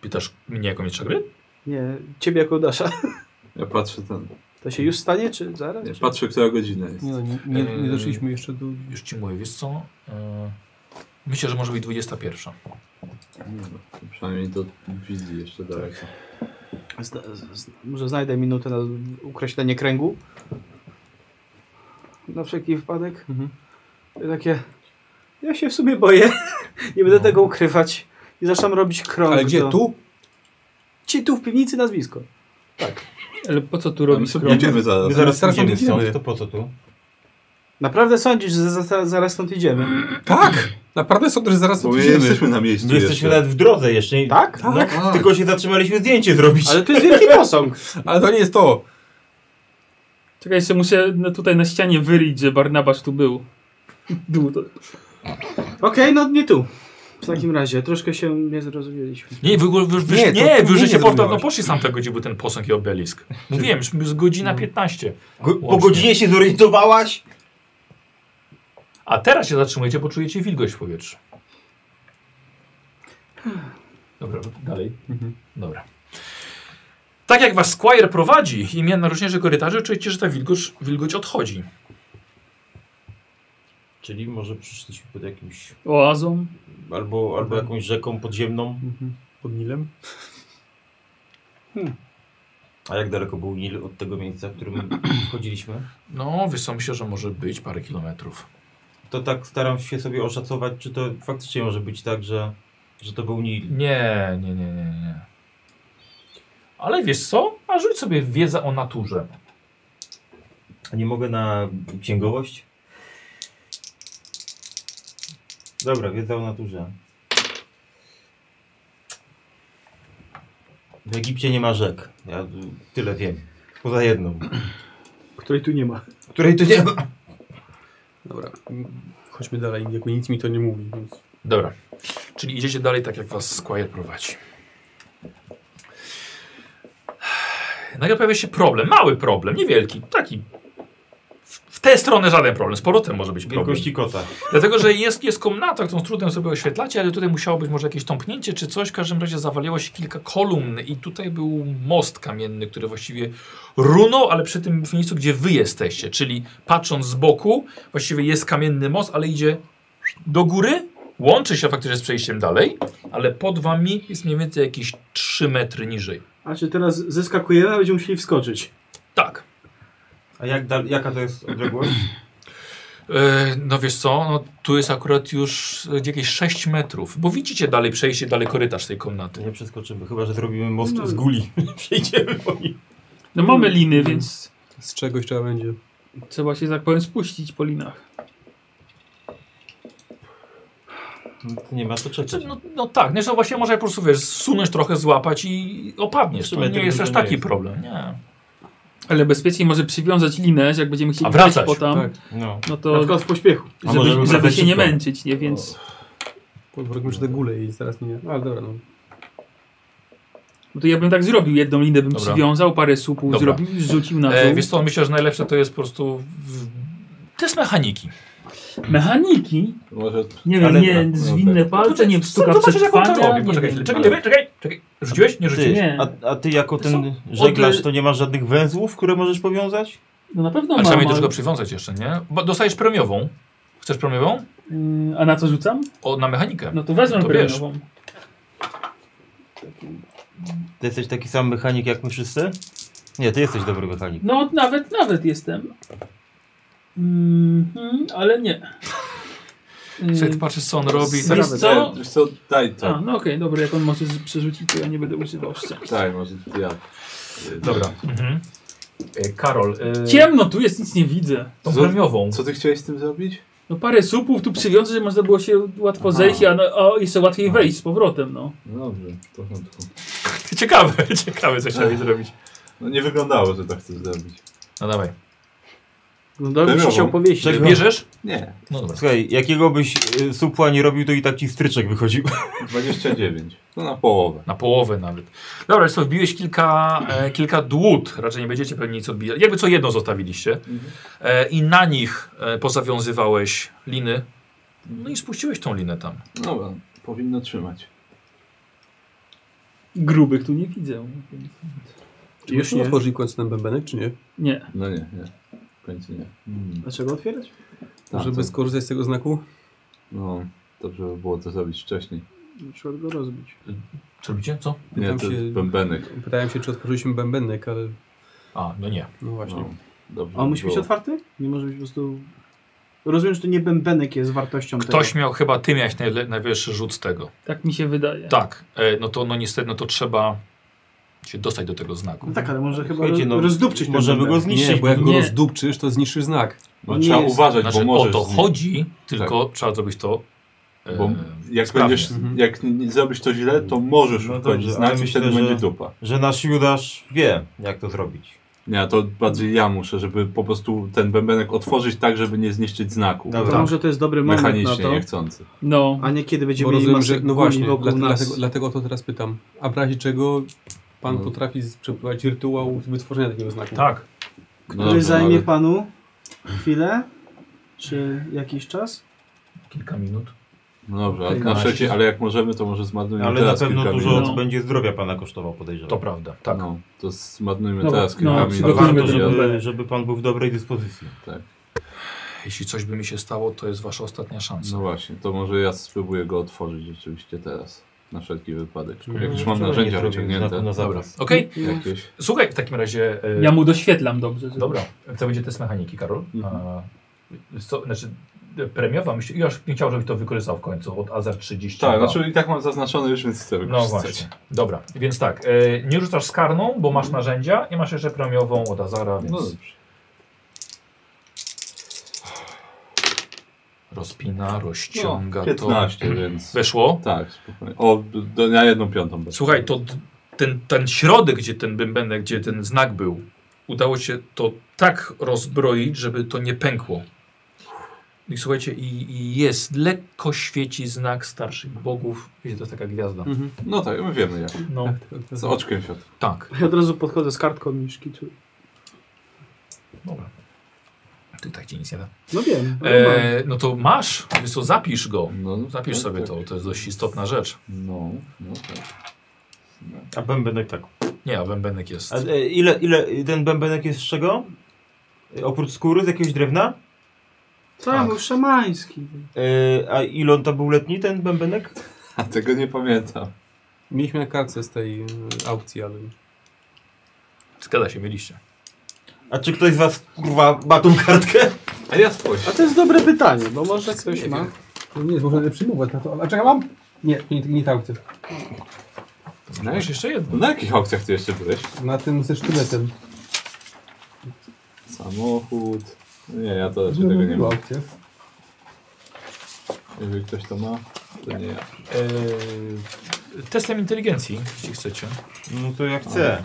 [SPEAKER 1] Pytasz mnie jako mistrza gry?
[SPEAKER 4] Nie, ciebie jako Dasza.
[SPEAKER 3] Ja patrzę ten.
[SPEAKER 4] To się już stanie, czy zaraz?
[SPEAKER 3] Ja
[SPEAKER 4] Czy-
[SPEAKER 3] patrzę, która godzina jest.
[SPEAKER 6] Nie, no, nie, nie,
[SPEAKER 1] Eee.
[SPEAKER 6] nie doszliśmy jeszcze do...
[SPEAKER 1] Już ci mówię, wiesz co? Yy, Myślę, że może być 21.
[SPEAKER 3] No, przynajmniej to widzi jeszcze daleko.
[SPEAKER 4] Zna, z, może znajdę minutę na ukreślenie kręgu. Na wszelki wypadek.
[SPEAKER 6] Mhm.
[SPEAKER 4] I Takie. Ja się w sumie boję. Nie będę
[SPEAKER 1] No.
[SPEAKER 4] tego ukrywać. I zaczynam robić krąg.
[SPEAKER 6] Ale gdzie?
[SPEAKER 4] do-
[SPEAKER 6] Tu?
[SPEAKER 4] Ci tu w piwnicy nazwisko.
[SPEAKER 5] Ale po co tu
[SPEAKER 3] My
[SPEAKER 5] robisz
[SPEAKER 3] sobie jedziemy zaraz.
[SPEAKER 8] My zaraz
[SPEAKER 6] zaraz
[SPEAKER 8] idziemy
[SPEAKER 6] idziemy.
[SPEAKER 8] stąd, to po co tu?
[SPEAKER 4] Naprawdę sądzisz, że za, za, zaraz stąd idziemy?
[SPEAKER 6] Tak! Naprawdę są, że zaraz
[SPEAKER 3] Bo my
[SPEAKER 6] odjedziemy.
[SPEAKER 3] jesteśmy na miejscu
[SPEAKER 8] My jesteśmy
[SPEAKER 3] jeszcze.
[SPEAKER 8] nawet w drodze jeszcze. i-
[SPEAKER 4] Tak?
[SPEAKER 8] No, tylko się zatrzymaliśmy zdjęcie zrobić.
[SPEAKER 4] Ale to jest wielki posąg.
[SPEAKER 6] Ale to nie jest to!
[SPEAKER 5] Czekaj, jeszcze muszę no, tutaj na ścianie wyryć, że Barnabasz tu był. Dół to.
[SPEAKER 4] Okej, no nie tu. W takim razie troszkę się nie zrozumieliśmy.
[SPEAKER 1] Nie, wy, wy, wy, nie,
[SPEAKER 4] Nie, to
[SPEAKER 1] nie
[SPEAKER 4] ty
[SPEAKER 1] wy
[SPEAKER 4] nie
[SPEAKER 1] żeście po, no,
[SPEAKER 4] zrozumiałeś.
[SPEAKER 1] poszli sam tego, gdzie był ten posąg i obelisk. Mówiłem, już jest godzina 15.
[SPEAKER 8] Po godzinie się zorientowałaś?
[SPEAKER 1] A teraz się zatrzymujecie, bo czujecie wilgoć w powietrzu. Dobra, dalej. Dobra. Tak jak was Squire prowadzi i mija na różniejsze korytarze, czujecie, że ta wilgoć, wilgoć odchodzi.
[SPEAKER 8] Czyli może przyszliśmy pod jakimś...
[SPEAKER 5] Oazą?
[SPEAKER 8] Albo, albo jakąś rzeką podziemną.
[SPEAKER 6] Pod Nilem?
[SPEAKER 8] A jak daleko był Nil od tego miejsca, w którym wchodziliśmy?
[SPEAKER 1] No, wysą myślę, że może być parę kilometrów.
[SPEAKER 8] To tak staram się sobie oszacować, czy to faktycznie może być tak, że, że to był Nil.
[SPEAKER 1] Nie, nie, nie, nie, nie. Ale wiesz co? A rzuć sobie wiedzę o naturze.
[SPEAKER 8] A nie mogę na księgowość? Dobra, wiedza o naturze. W Egipcie nie ma rzek. Ja y, tyle wiem. Poza jedną.
[SPEAKER 10] Której tu nie ma.
[SPEAKER 8] Której tu nie ma.
[SPEAKER 6] Dobra, mm, chodźmy dalej, jakby nic mi to nie mówi, więc...
[SPEAKER 1] Dobra. Czyli idziecie dalej tak, jak was Squire prowadzi. Nagle pojawia się problem, mały problem, niewielki, taki. W- W tę stronę żaden problem, z powrotem może być problem.
[SPEAKER 8] Wielkości kota.
[SPEAKER 1] Dlatego, że jest, jest komnata, którą z trudem sobie oświetlacie, ale tutaj musiało być może jakieś tąpnięcie czy coś. W każdym razie zawaliło się kilka kolumn i tutaj był most kamienny, który właściwie runął, ale przy tym w miejscu, gdzie wy jesteście. Czyli patrząc z boku, właściwie jest kamienny most, ale idzie do góry, łączy się faktycznie z przejściem dalej, ale pod wami jest mniej więcej jakieś 3 metry niżej.
[SPEAKER 10] A czy teraz zeskakujemy, a będziemy musieli wskoczyć?
[SPEAKER 1] Tak.
[SPEAKER 8] A jak dal, jaka to jest odległość?
[SPEAKER 1] E, No wiesz co, no, tu jest akurat już e, jakieś 6 metrów, bo widzicie dalej przejście, dalej korytarz tej komnaty.
[SPEAKER 8] Nie przeskoczymy, chyba że zrobimy most
[SPEAKER 1] No
[SPEAKER 8] z guli. Przejdziemy po nim.
[SPEAKER 5] No mamy liny, więc
[SPEAKER 6] Z czegoś trzeba będzie.
[SPEAKER 5] trzeba się, tak powiem, spuścić po linach.
[SPEAKER 8] No to nie ma co czekać.
[SPEAKER 1] Znaczy, no, no tak, no, no właśnie może po prostu wiesz, zsunąć trochę, złapać i opadniesz. To
[SPEAKER 8] Symetryk
[SPEAKER 1] nie jest
[SPEAKER 8] to
[SPEAKER 1] aż
[SPEAKER 8] nie
[SPEAKER 1] taki
[SPEAKER 8] jest.
[SPEAKER 1] problem. Nie.
[SPEAKER 5] Ale bezpiecznie może przywiązać linę, że jak będziemy chcieli
[SPEAKER 1] A wracać,
[SPEAKER 5] po tam,
[SPEAKER 6] Tak,
[SPEAKER 8] No.
[SPEAKER 10] Na
[SPEAKER 5] no to
[SPEAKER 10] przykład w pośpiechu.
[SPEAKER 8] A
[SPEAKER 5] żeby,
[SPEAKER 8] możemy
[SPEAKER 5] żeby
[SPEAKER 8] wracać
[SPEAKER 5] się nie
[SPEAKER 8] szybko.
[SPEAKER 5] męczyć, nie? Więc
[SPEAKER 6] Podwróćmy się te gule i zaraz nie... Ale dobra, no.
[SPEAKER 5] no to ja bym tak zrobił. Jedną linę bym
[SPEAKER 1] Dobra.
[SPEAKER 5] przywiązał, parę słupów
[SPEAKER 1] Dobra.
[SPEAKER 5] zrobił i rzucił na dół.
[SPEAKER 1] E, wiesz co, myślę, że najlepsze to jest po prostu w... test mechaniki.
[SPEAKER 5] Mechaniki?
[SPEAKER 3] Może
[SPEAKER 5] Nie wiem,
[SPEAKER 3] Ale-
[SPEAKER 5] nie zwinne palce, nie pstuka
[SPEAKER 1] Zobaczysz jak on to
[SPEAKER 5] przetrwania,
[SPEAKER 1] robi.
[SPEAKER 5] nie
[SPEAKER 1] Poczekaj,
[SPEAKER 5] wiem.
[SPEAKER 1] chwilę, No, tak. czekaj, czekaj, czekaj, czekaj. Rzuciłeś?
[SPEAKER 5] No
[SPEAKER 1] Nie
[SPEAKER 8] Ty,
[SPEAKER 1] rzuciłeś.
[SPEAKER 5] Nie.
[SPEAKER 8] a, a ty jako
[SPEAKER 1] są
[SPEAKER 8] ten
[SPEAKER 1] odle-
[SPEAKER 8] żeglarz, to nie masz żadnych węzłów, które możesz powiązać?
[SPEAKER 5] No na pewno
[SPEAKER 1] Ale
[SPEAKER 5] mam.
[SPEAKER 1] trzeba mieć
[SPEAKER 5] ale-
[SPEAKER 1] też go przywiązać jeszcze, nie? Bo dostajesz premiową. Chcesz premiową?
[SPEAKER 5] Yy, A na co rzucam?
[SPEAKER 1] O, na mechanikę.
[SPEAKER 5] No to wezmę
[SPEAKER 1] To wiesz.
[SPEAKER 5] premiową.
[SPEAKER 8] Ty jesteś taki sam mechanik jak my wszyscy? Nie, ty jesteś dobry mechanik.
[SPEAKER 5] No nawet, nawet jestem. Mhm, ale nie. Yy,
[SPEAKER 1] Wtedy patrzysz co on robi.
[SPEAKER 5] Wiesz co?
[SPEAKER 3] Wiesz co, daj to.
[SPEAKER 5] A, no okej, dobra, jak on może z- przerzucić, to ja nie będę używał szczęścia.
[SPEAKER 3] Daj, może ja.
[SPEAKER 1] Dobra. Mhm. E, Karol, e,
[SPEAKER 5] Ciemno tu jest, nic nie widzę.
[SPEAKER 1] tą premiową.
[SPEAKER 3] Co ty chciałeś z tym zrobić?
[SPEAKER 5] No parę słupów tu przywiązę, żeby można było się łatwo zejść, a, no, a jeszcze łatwiej wejść z powrotem, no.
[SPEAKER 3] No dobrze, w porządku.
[SPEAKER 1] Ciekawe, ciekawe co chciałeś zrobić.
[SPEAKER 3] No nie wyglądało, że tak chcesz zrobić.
[SPEAKER 1] No dawaj.
[SPEAKER 4] No dobrze,
[SPEAKER 3] Premiową.
[SPEAKER 4] się chciał powiedzieć.
[SPEAKER 8] Czego?
[SPEAKER 1] Bierzesz?
[SPEAKER 3] Nie,
[SPEAKER 1] No dobra.
[SPEAKER 8] Słuchaj, jakiego byś y, supła nie robił, to i tak ci stryczek wychodził.
[SPEAKER 3] 29. No na połowę.
[SPEAKER 1] Na połowę nawet. Dobra, co wbiłeś kilka, e, kilka dłut, raczej nie będziecie pewnie nic odbijać. Jakby co jedno zostawiliście. E, I na nich e, pozawiązywałeś liny. No i spuściłeś tą linę tam.
[SPEAKER 3] No bo powinno trzymać.
[SPEAKER 5] Grubych tu nie widzę. więc-
[SPEAKER 6] Czy
[SPEAKER 10] Już
[SPEAKER 6] byśmy
[SPEAKER 10] nie.
[SPEAKER 6] otworzyli końcu ten bębenek, czy nie?
[SPEAKER 5] Nie.
[SPEAKER 3] No nie, nie. W końcu nie. Mm.
[SPEAKER 10] Dlaczego otwierać?
[SPEAKER 3] Tak,
[SPEAKER 6] Żeby
[SPEAKER 3] to-
[SPEAKER 6] skorzystać z tego znaku?
[SPEAKER 3] No, dobrze by było to zrobić wcześniej.
[SPEAKER 10] Na przykład No, go rozbić.
[SPEAKER 1] Co robicie? Co?
[SPEAKER 3] Nie,
[SPEAKER 6] Pytam
[SPEAKER 3] to
[SPEAKER 6] się-
[SPEAKER 3] jest bębenek.
[SPEAKER 6] Pytałem się, czy otworzyliśmy bębenek, ale...
[SPEAKER 1] A, no nie.
[SPEAKER 6] No właśnie.
[SPEAKER 3] No, dobrze
[SPEAKER 10] A on
[SPEAKER 3] by
[SPEAKER 10] musi być
[SPEAKER 3] było.
[SPEAKER 10] otwarty? Nie może być po prostu... Rozumiem, że to nie bębenek jest wartością
[SPEAKER 1] Ktoś
[SPEAKER 10] tego.
[SPEAKER 1] miał chyba, ty miałeś najle- najwyższy rzut z tego.
[SPEAKER 5] Tak mi się wydaje.
[SPEAKER 1] Tak, e, no to no niestety, no to trzeba się dostać do tego znaku.
[SPEAKER 10] No tak, ale może chyba
[SPEAKER 8] Słuchajcie, no,
[SPEAKER 10] rozdupczyć ten
[SPEAKER 8] możemy go
[SPEAKER 10] bębenek.
[SPEAKER 8] zniszczyć.
[SPEAKER 6] Nie, bo jak go
[SPEAKER 5] Nie.
[SPEAKER 6] rozdupczysz, to zniszczysz znak.
[SPEAKER 3] No,
[SPEAKER 10] On
[SPEAKER 3] trzeba
[SPEAKER 10] nie jest-
[SPEAKER 3] uważać,
[SPEAKER 1] Znaczy
[SPEAKER 3] bo
[SPEAKER 1] o
[SPEAKER 3] możesz
[SPEAKER 1] to
[SPEAKER 3] z nim. Tak.
[SPEAKER 1] chodzi, tylko trzeba zrobić to. e,
[SPEAKER 3] Bo jak,
[SPEAKER 1] sprawnie.
[SPEAKER 3] będziesz, jak n- zrobisz to źle, to możesz
[SPEAKER 8] No
[SPEAKER 3] wchodzić
[SPEAKER 8] dobrze,
[SPEAKER 3] znak
[SPEAKER 8] ale
[SPEAKER 3] i
[SPEAKER 8] myślę,
[SPEAKER 3] wtedy
[SPEAKER 8] że-
[SPEAKER 3] będzie dupa.
[SPEAKER 8] Że nasz Judasz wie, jak to zrobić.
[SPEAKER 3] Nie, to bardziej ja muszę, żeby po prostu ten bębenek otworzyć tak, żeby nie zniszczyć znaku.
[SPEAKER 8] Dobra.
[SPEAKER 4] To może to jest dobry moment na
[SPEAKER 3] Mechanicznie,
[SPEAKER 4] to.
[SPEAKER 3] niechcący.
[SPEAKER 5] No,
[SPEAKER 4] A nie kiedy
[SPEAKER 6] Bo
[SPEAKER 4] będziemy mieli
[SPEAKER 6] rozumiem,
[SPEAKER 4] masę
[SPEAKER 6] że, no
[SPEAKER 4] guni
[SPEAKER 6] właśnie,
[SPEAKER 4] wokół
[SPEAKER 6] dla,
[SPEAKER 4] nas.
[SPEAKER 6] dlatego, dlatego to teraz pytam. A w razie czego pan
[SPEAKER 3] No.
[SPEAKER 6] potrafi z- przeprowadzić rytuał wytworzenia takiego znaku?
[SPEAKER 1] Tak.
[SPEAKER 3] No
[SPEAKER 4] Który
[SPEAKER 3] dobra,
[SPEAKER 4] zajmie
[SPEAKER 3] ale-
[SPEAKER 4] panu chwilę? Czy jakiś czas?
[SPEAKER 1] Kilka minut.
[SPEAKER 3] No dobrze, ale, na
[SPEAKER 1] Kilkanaście.
[SPEAKER 3] wszelki, ale jak możemy, to może zmarnujmy
[SPEAKER 8] Ale na
[SPEAKER 3] No teraz
[SPEAKER 8] pewno
[SPEAKER 3] kilka
[SPEAKER 8] dużo
[SPEAKER 3] minut.
[SPEAKER 8] będzie zdrowia pana kosztował, podejrzewam.
[SPEAKER 1] To prawda, tak.
[SPEAKER 3] No, to zmarnujmy
[SPEAKER 5] Dobra,
[SPEAKER 3] teraz
[SPEAKER 5] no,
[SPEAKER 3] kilka minut.
[SPEAKER 8] A
[SPEAKER 5] przygotujmy
[SPEAKER 8] warto,
[SPEAKER 5] ten
[SPEAKER 8] żeby,
[SPEAKER 5] problem.
[SPEAKER 8] żeby pan był w dobrej dyspozycji.
[SPEAKER 1] Jeśli coś by mi się stało, to jest wasza ostatnia szansa.
[SPEAKER 3] No właśnie, to może ja spróbuję go otworzyć rzeczywiście teraz. Na wszelki wypadek.
[SPEAKER 6] Mm.
[SPEAKER 3] Jak już mam
[SPEAKER 8] Wczoraj
[SPEAKER 3] narzędzia
[SPEAKER 8] No, nie zrobił
[SPEAKER 3] wyciągnięte.
[SPEAKER 8] znaku na
[SPEAKER 1] Dobra,
[SPEAKER 8] zapas.
[SPEAKER 1] okej.
[SPEAKER 3] Jakieś.
[SPEAKER 1] Słuchaj, w takim razie... e,
[SPEAKER 5] ja mu doświetlam dobrze. Żeby...
[SPEAKER 1] Dobra, to będzie test mechaniki, Karol.
[SPEAKER 3] Mhm.
[SPEAKER 1] A, co, znaczy, e, premiowa, myślę, ja już nie chciał, żebyś to wykorzystał w końcu, od Azar 30.
[SPEAKER 3] Tak, znaczy i tak mam zaznaczone już, więc chcę
[SPEAKER 1] No
[SPEAKER 3] wykorzystać.
[SPEAKER 1] właśnie, dobra, więc tak, e, nie rzucasz z karną, bo masz narzędzia i masz jeszcze premiową od Azara, więc
[SPEAKER 3] Mhm. No dobrze.
[SPEAKER 1] rozpina, rozciąga
[SPEAKER 3] No,
[SPEAKER 1] to.
[SPEAKER 3] 15, więc...
[SPEAKER 1] Weszło?
[SPEAKER 3] Tak, spokojnie. O, do, na jedną piątą. będę.
[SPEAKER 1] Słuchaj, to d- ten, ten środek, gdzie ten bębenek, gdzie ten znak był, udało się to tak rozbroić, żeby to nie pękło. No I słuchajcie, i, i jest, lekko świeci znak starszych bogów. Wiecie, to jest taka gwiazda.
[SPEAKER 6] Mhm.
[SPEAKER 3] No tak, my wiemy jak.
[SPEAKER 1] No,
[SPEAKER 3] Z oczkiem światła.
[SPEAKER 1] tak.
[SPEAKER 4] Ja od razu podchodzę z kartką i szkicuję.
[SPEAKER 1] Dobra. Ty tak ci nic nie da.
[SPEAKER 4] No wiem.
[SPEAKER 6] tak.
[SPEAKER 4] E...
[SPEAKER 1] E, no to masz, więc to zapisz go.
[SPEAKER 3] No, no,
[SPEAKER 1] Zapisz
[SPEAKER 3] tak,
[SPEAKER 1] sobie
[SPEAKER 3] tak.
[SPEAKER 1] to, to jest dość istotna rzecz.
[SPEAKER 3] No, no tak.
[SPEAKER 8] A bębenek tak.
[SPEAKER 1] Nie, a bębenek jest.
[SPEAKER 8] A, e, ile, ile, ten bębenek jest z czego? E, Oprócz skóry, z jakiegoś drewna?
[SPEAKER 4] To ja
[SPEAKER 1] tak.
[SPEAKER 4] był szamański.
[SPEAKER 8] E, a ile on to był letni, ten bębenek?
[SPEAKER 3] A tego nie pamiętam.
[SPEAKER 6] Mieliśmy na kartce z tej e, aukcji, ale...
[SPEAKER 1] Zgadza się, mieliście.
[SPEAKER 8] A czy ktoś z was, kurwa, ma tą kartkę?
[SPEAKER 3] A ja spójrz.
[SPEAKER 4] A to jest dobre pytanie, bo może ktoś ma.
[SPEAKER 6] No nie, można nie przyjmować na to. A czekaj, mam? Nie, nie, nie ta aukcja.
[SPEAKER 3] Na,
[SPEAKER 1] Masz jeszcze jedno.
[SPEAKER 3] na jakich aukcjach ty jeszcze byłeś?
[SPEAKER 6] Na tym ze sztyletem.
[SPEAKER 3] Samochód. No Nie, ja to
[SPEAKER 4] No,
[SPEAKER 3] raczej tego nie
[SPEAKER 6] Była
[SPEAKER 3] mam.
[SPEAKER 6] aukcja.
[SPEAKER 3] Jeżeli ktoś to ma, to nie ja.
[SPEAKER 1] E, testem inteligencji, jeśli chcecie.
[SPEAKER 8] No to ja chcę.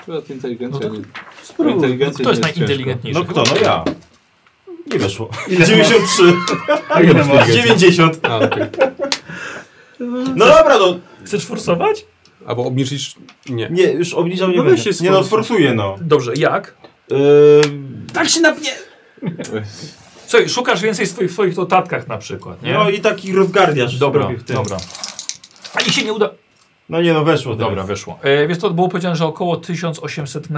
[SPEAKER 3] Akurat inteligencja
[SPEAKER 1] No to
[SPEAKER 3] nie... Spróbuj. Inteligencja
[SPEAKER 1] Kto jest
[SPEAKER 3] nie ciężka.
[SPEAKER 1] najinteligentniejszy?
[SPEAKER 8] No kto? No ja. Nie weszło.
[SPEAKER 5] Ile
[SPEAKER 8] 93.
[SPEAKER 5] A ile masz?
[SPEAKER 8] 90.
[SPEAKER 6] A, okej.
[SPEAKER 8] No dobra, no.
[SPEAKER 1] Chcesz forsować?
[SPEAKER 6] Albo obniżyć... Nie.
[SPEAKER 8] Nie, już obniżam nie
[SPEAKER 4] No
[SPEAKER 8] będę.
[SPEAKER 4] weź się
[SPEAKER 8] Nie no,
[SPEAKER 4] sforsuj.
[SPEAKER 8] forsuję no. Yy,
[SPEAKER 1] Dobrze, jak?
[SPEAKER 8] Ym,
[SPEAKER 5] Tak się napnie!
[SPEAKER 1] Słuchaj, szukasz więcej swoich, w swoich notatkach na przykład, nie?
[SPEAKER 8] No i taki rozgardiasz
[SPEAKER 1] dobra,
[SPEAKER 8] sobie w tym.
[SPEAKER 1] dobra. A i się nie uda...
[SPEAKER 8] No nie no, weszło teraz.
[SPEAKER 1] Dobra, wyszło. E, więc to było powiedziane, że około 1800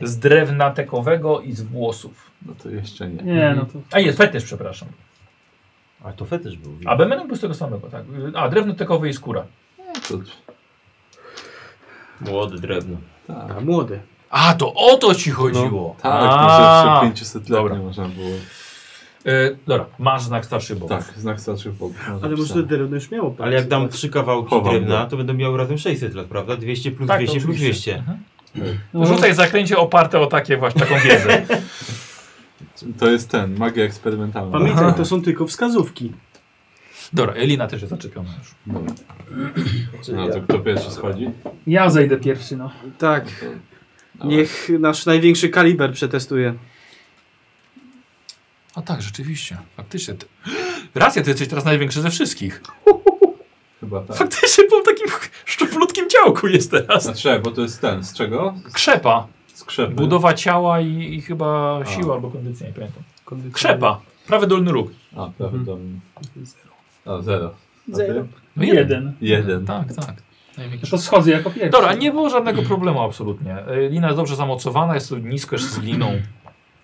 [SPEAKER 1] z drewna tekowego i z włosów.
[SPEAKER 3] No to jeszcze nie.
[SPEAKER 5] Nie, no to...
[SPEAKER 1] A nie, fetysz, przepraszam.
[SPEAKER 8] A to fetysz był.
[SPEAKER 1] A bębenek był z tego samego, tak. A, drewno tekowe i skóra.
[SPEAKER 3] To...
[SPEAKER 8] Młode drewno.
[SPEAKER 3] Tak.
[SPEAKER 4] A młody.
[SPEAKER 1] A, to o to ci chodziło.
[SPEAKER 3] Tak,
[SPEAKER 1] A.
[SPEAKER 3] może jeszcze 500 lat
[SPEAKER 1] Dobra.
[SPEAKER 3] nie można było.
[SPEAKER 1] E, dobra, masz znak starszy bogów.
[SPEAKER 3] Tak, znak starszych bogów. no
[SPEAKER 4] Ale może
[SPEAKER 3] napisane.
[SPEAKER 4] to drewno już miało
[SPEAKER 8] Ale jak dam trzy kawałki
[SPEAKER 3] Chowam
[SPEAKER 8] drewna, to będę miał razem 600 lat, prawda? 200 plus
[SPEAKER 1] Tak, to
[SPEAKER 8] 200 plus
[SPEAKER 1] oczywiście.
[SPEAKER 8] 200.
[SPEAKER 1] Rzucaj zaklęcie oparte o takie właśnie taką wiedzę.
[SPEAKER 3] To jest ten, magia eksperymentalna.
[SPEAKER 4] Pamiętaj,
[SPEAKER 3] Aha.
[SPEAKER 4] to są tylko wskazówki.
[SPEAKER 1] Dobra, Elina też jest zaczepiona już.
[SPEAKER 3] Dobra. No to kto pierwszy schodzi?
[SPEAKER 5] Ja zejdę pierwszy, no.
[SPEAKER 4] Tak.
[SPEAKER 3] Dobra.
[SPEAKER 4] Niech nasz największy kaliber przetestuje.
[SPEAKER 1] A tak, rzeczywiście. Faktycznie. Ty... Racja, ty jesteś teraz największy ze wszystkich.
[SPEAKER 3] Chyba tak.
[SPEAKER 1] Faktycznie po takim szczuplutkim działku jest teraz.
[SPEAKER 3] A trzeba, bo to jest ten, z czego?
[SPEAKER 1] Krzepa.
[SPEAKER 3] Z krzepy.
[SPEAKER 1] Budowa ciała i, i chyba
[SPEAKER 3] A.
[SPEAKER 1] siła albo kondycja, nie pamiętam.
[SPEAKER 6] Kondycja-
[SPEAKER 1] Krzepa. Prawy dolny róg.
[SPEAKER 3] A, prawda. Zero. A, zero. A
[SPEAKER 10] Zero.
[SPEAKER 3] ty?
[SPEAKER 1] No
[SPEAKER 5] Jeden.
[SPEAKER 3] Jeden.
[SPEAKER 1] Tak, tak.
[SPEAKER 5] No
[SPEAKER 1] Największy.
[SPEAKER 5] to schodzę jako pierwszy.
[SPEAKER 1] Dobra, nie było żadnego problemu absolutnie. E, Lina jest dobrze zamocowana, jest tu nisko jeszcze z liną.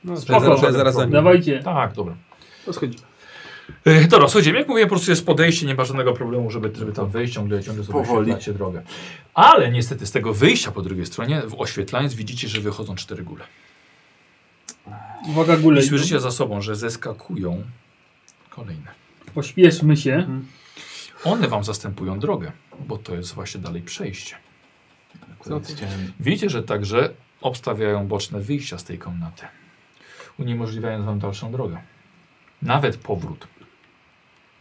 [SPEAKER 6] No,
[SPEAKER 5] Spoko.
[SPEAKER 6] zaraz, zaraz, zaraz za nim.
[SPEAKER 5] Dawajcie.
[SPEAKER 1] Tak, dobra.
[SPEAKER 4] To schodzi.
[SPEAKER 1] E, Dobra, słuchajcie, jak mówiłem, po prostu jest podejście, nie ma żadnego problemu, żeby, żeby tam wejść, ciągle, ciągle sobie
[SPEAKER 3] Powoli.
[SPEAKER 1] oświetlacie się drogę. Ale niestety z tego wyjścia po drugiej stronie, w oświetlając, widzicie, że wychodzą cztery góle.
[SPEAKER 5] Uwaga, gulej.
[SPEAKER 1] I słyszycie za sobą, że zeskakują kolejne.
[SPEAKER 5] Pośpieszmy się.
[SPEAKER 1] Mm. One wam zastępują drogę, bo to jest właśnie dalej przejście.
[SPEAKER 8] Tak,
[SPEAKER 3] Akurat chciałem-
[SPEAKER 1] Widzicie, że także obstawiają boczne wyjścia z tej komnaty, uniemożliwiając wam dalszą drogę. Nawet powrót.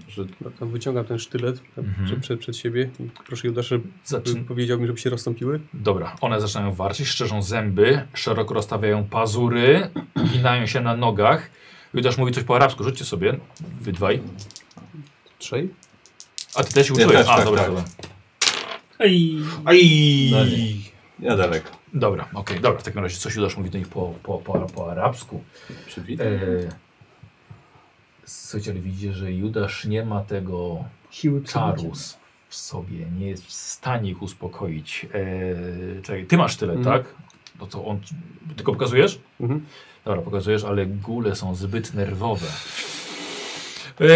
[SPEAKER 3] Że
[SPEAKER 6] Dobra, No Wyciągam ten sztylet tak,
[SPEAKER 1] Mhm.
[SPEAKER 6] przed, przed, przed siebie i proszę Judasza, żeby
[SPEAKER 1] Zaczyn-
[SPEAKER 6] powiedział mi, żeby się rozstąpiły.
[SPEAKER 1] Dobra, one zaczynają warczyć, szczerzą zęby, szeroko rozstawiają pazury, ginają się na nogach. Judasz mówi coś po arabsku, rzućcie sobie, wy dwaj.
[SPEAKER 6] Trzej?
[SPEAKER 1] A ty też się
[SPEAKER 3] Ja
[SPEAKER 1] uczyłeś?
[SPEAKER 3] też,
[SPEAKER 1] A,
[SPEAKER 3] tak,
[SPEAKER 1] dobra,
[SPEAKER 3] tak.
[SPEAKER 1] dobra.
[SPEAKER 5] Ej,
[SPEAKER 3] No nie. ja daleko.
[SPEAKER 1] Dobra, okej, dobra. W takim razie coś Judasz mówi do nich po, po, po, po arabsku.
[SPEAKER 3] Przywitaj.
[SPEAKER 1] E, słuchajcie, ale widzicie, że Judasz nie ma tego
[SPEAKER 9] Siły przebicia.
[SPEAKER 1] czarus w sobie, nie jest w stanie ich uspokoić. E, czekaj, ty masz tyle,
[SPEAKER 6] Mhm.
[SPEAKER 1] tak? No to on, ty go pokazujesz?
[SPEAKER 6] Mhm.
[SPEAKER 1] Dobra, pokazujesz, ale góle są zbyt nerwowe. Eee,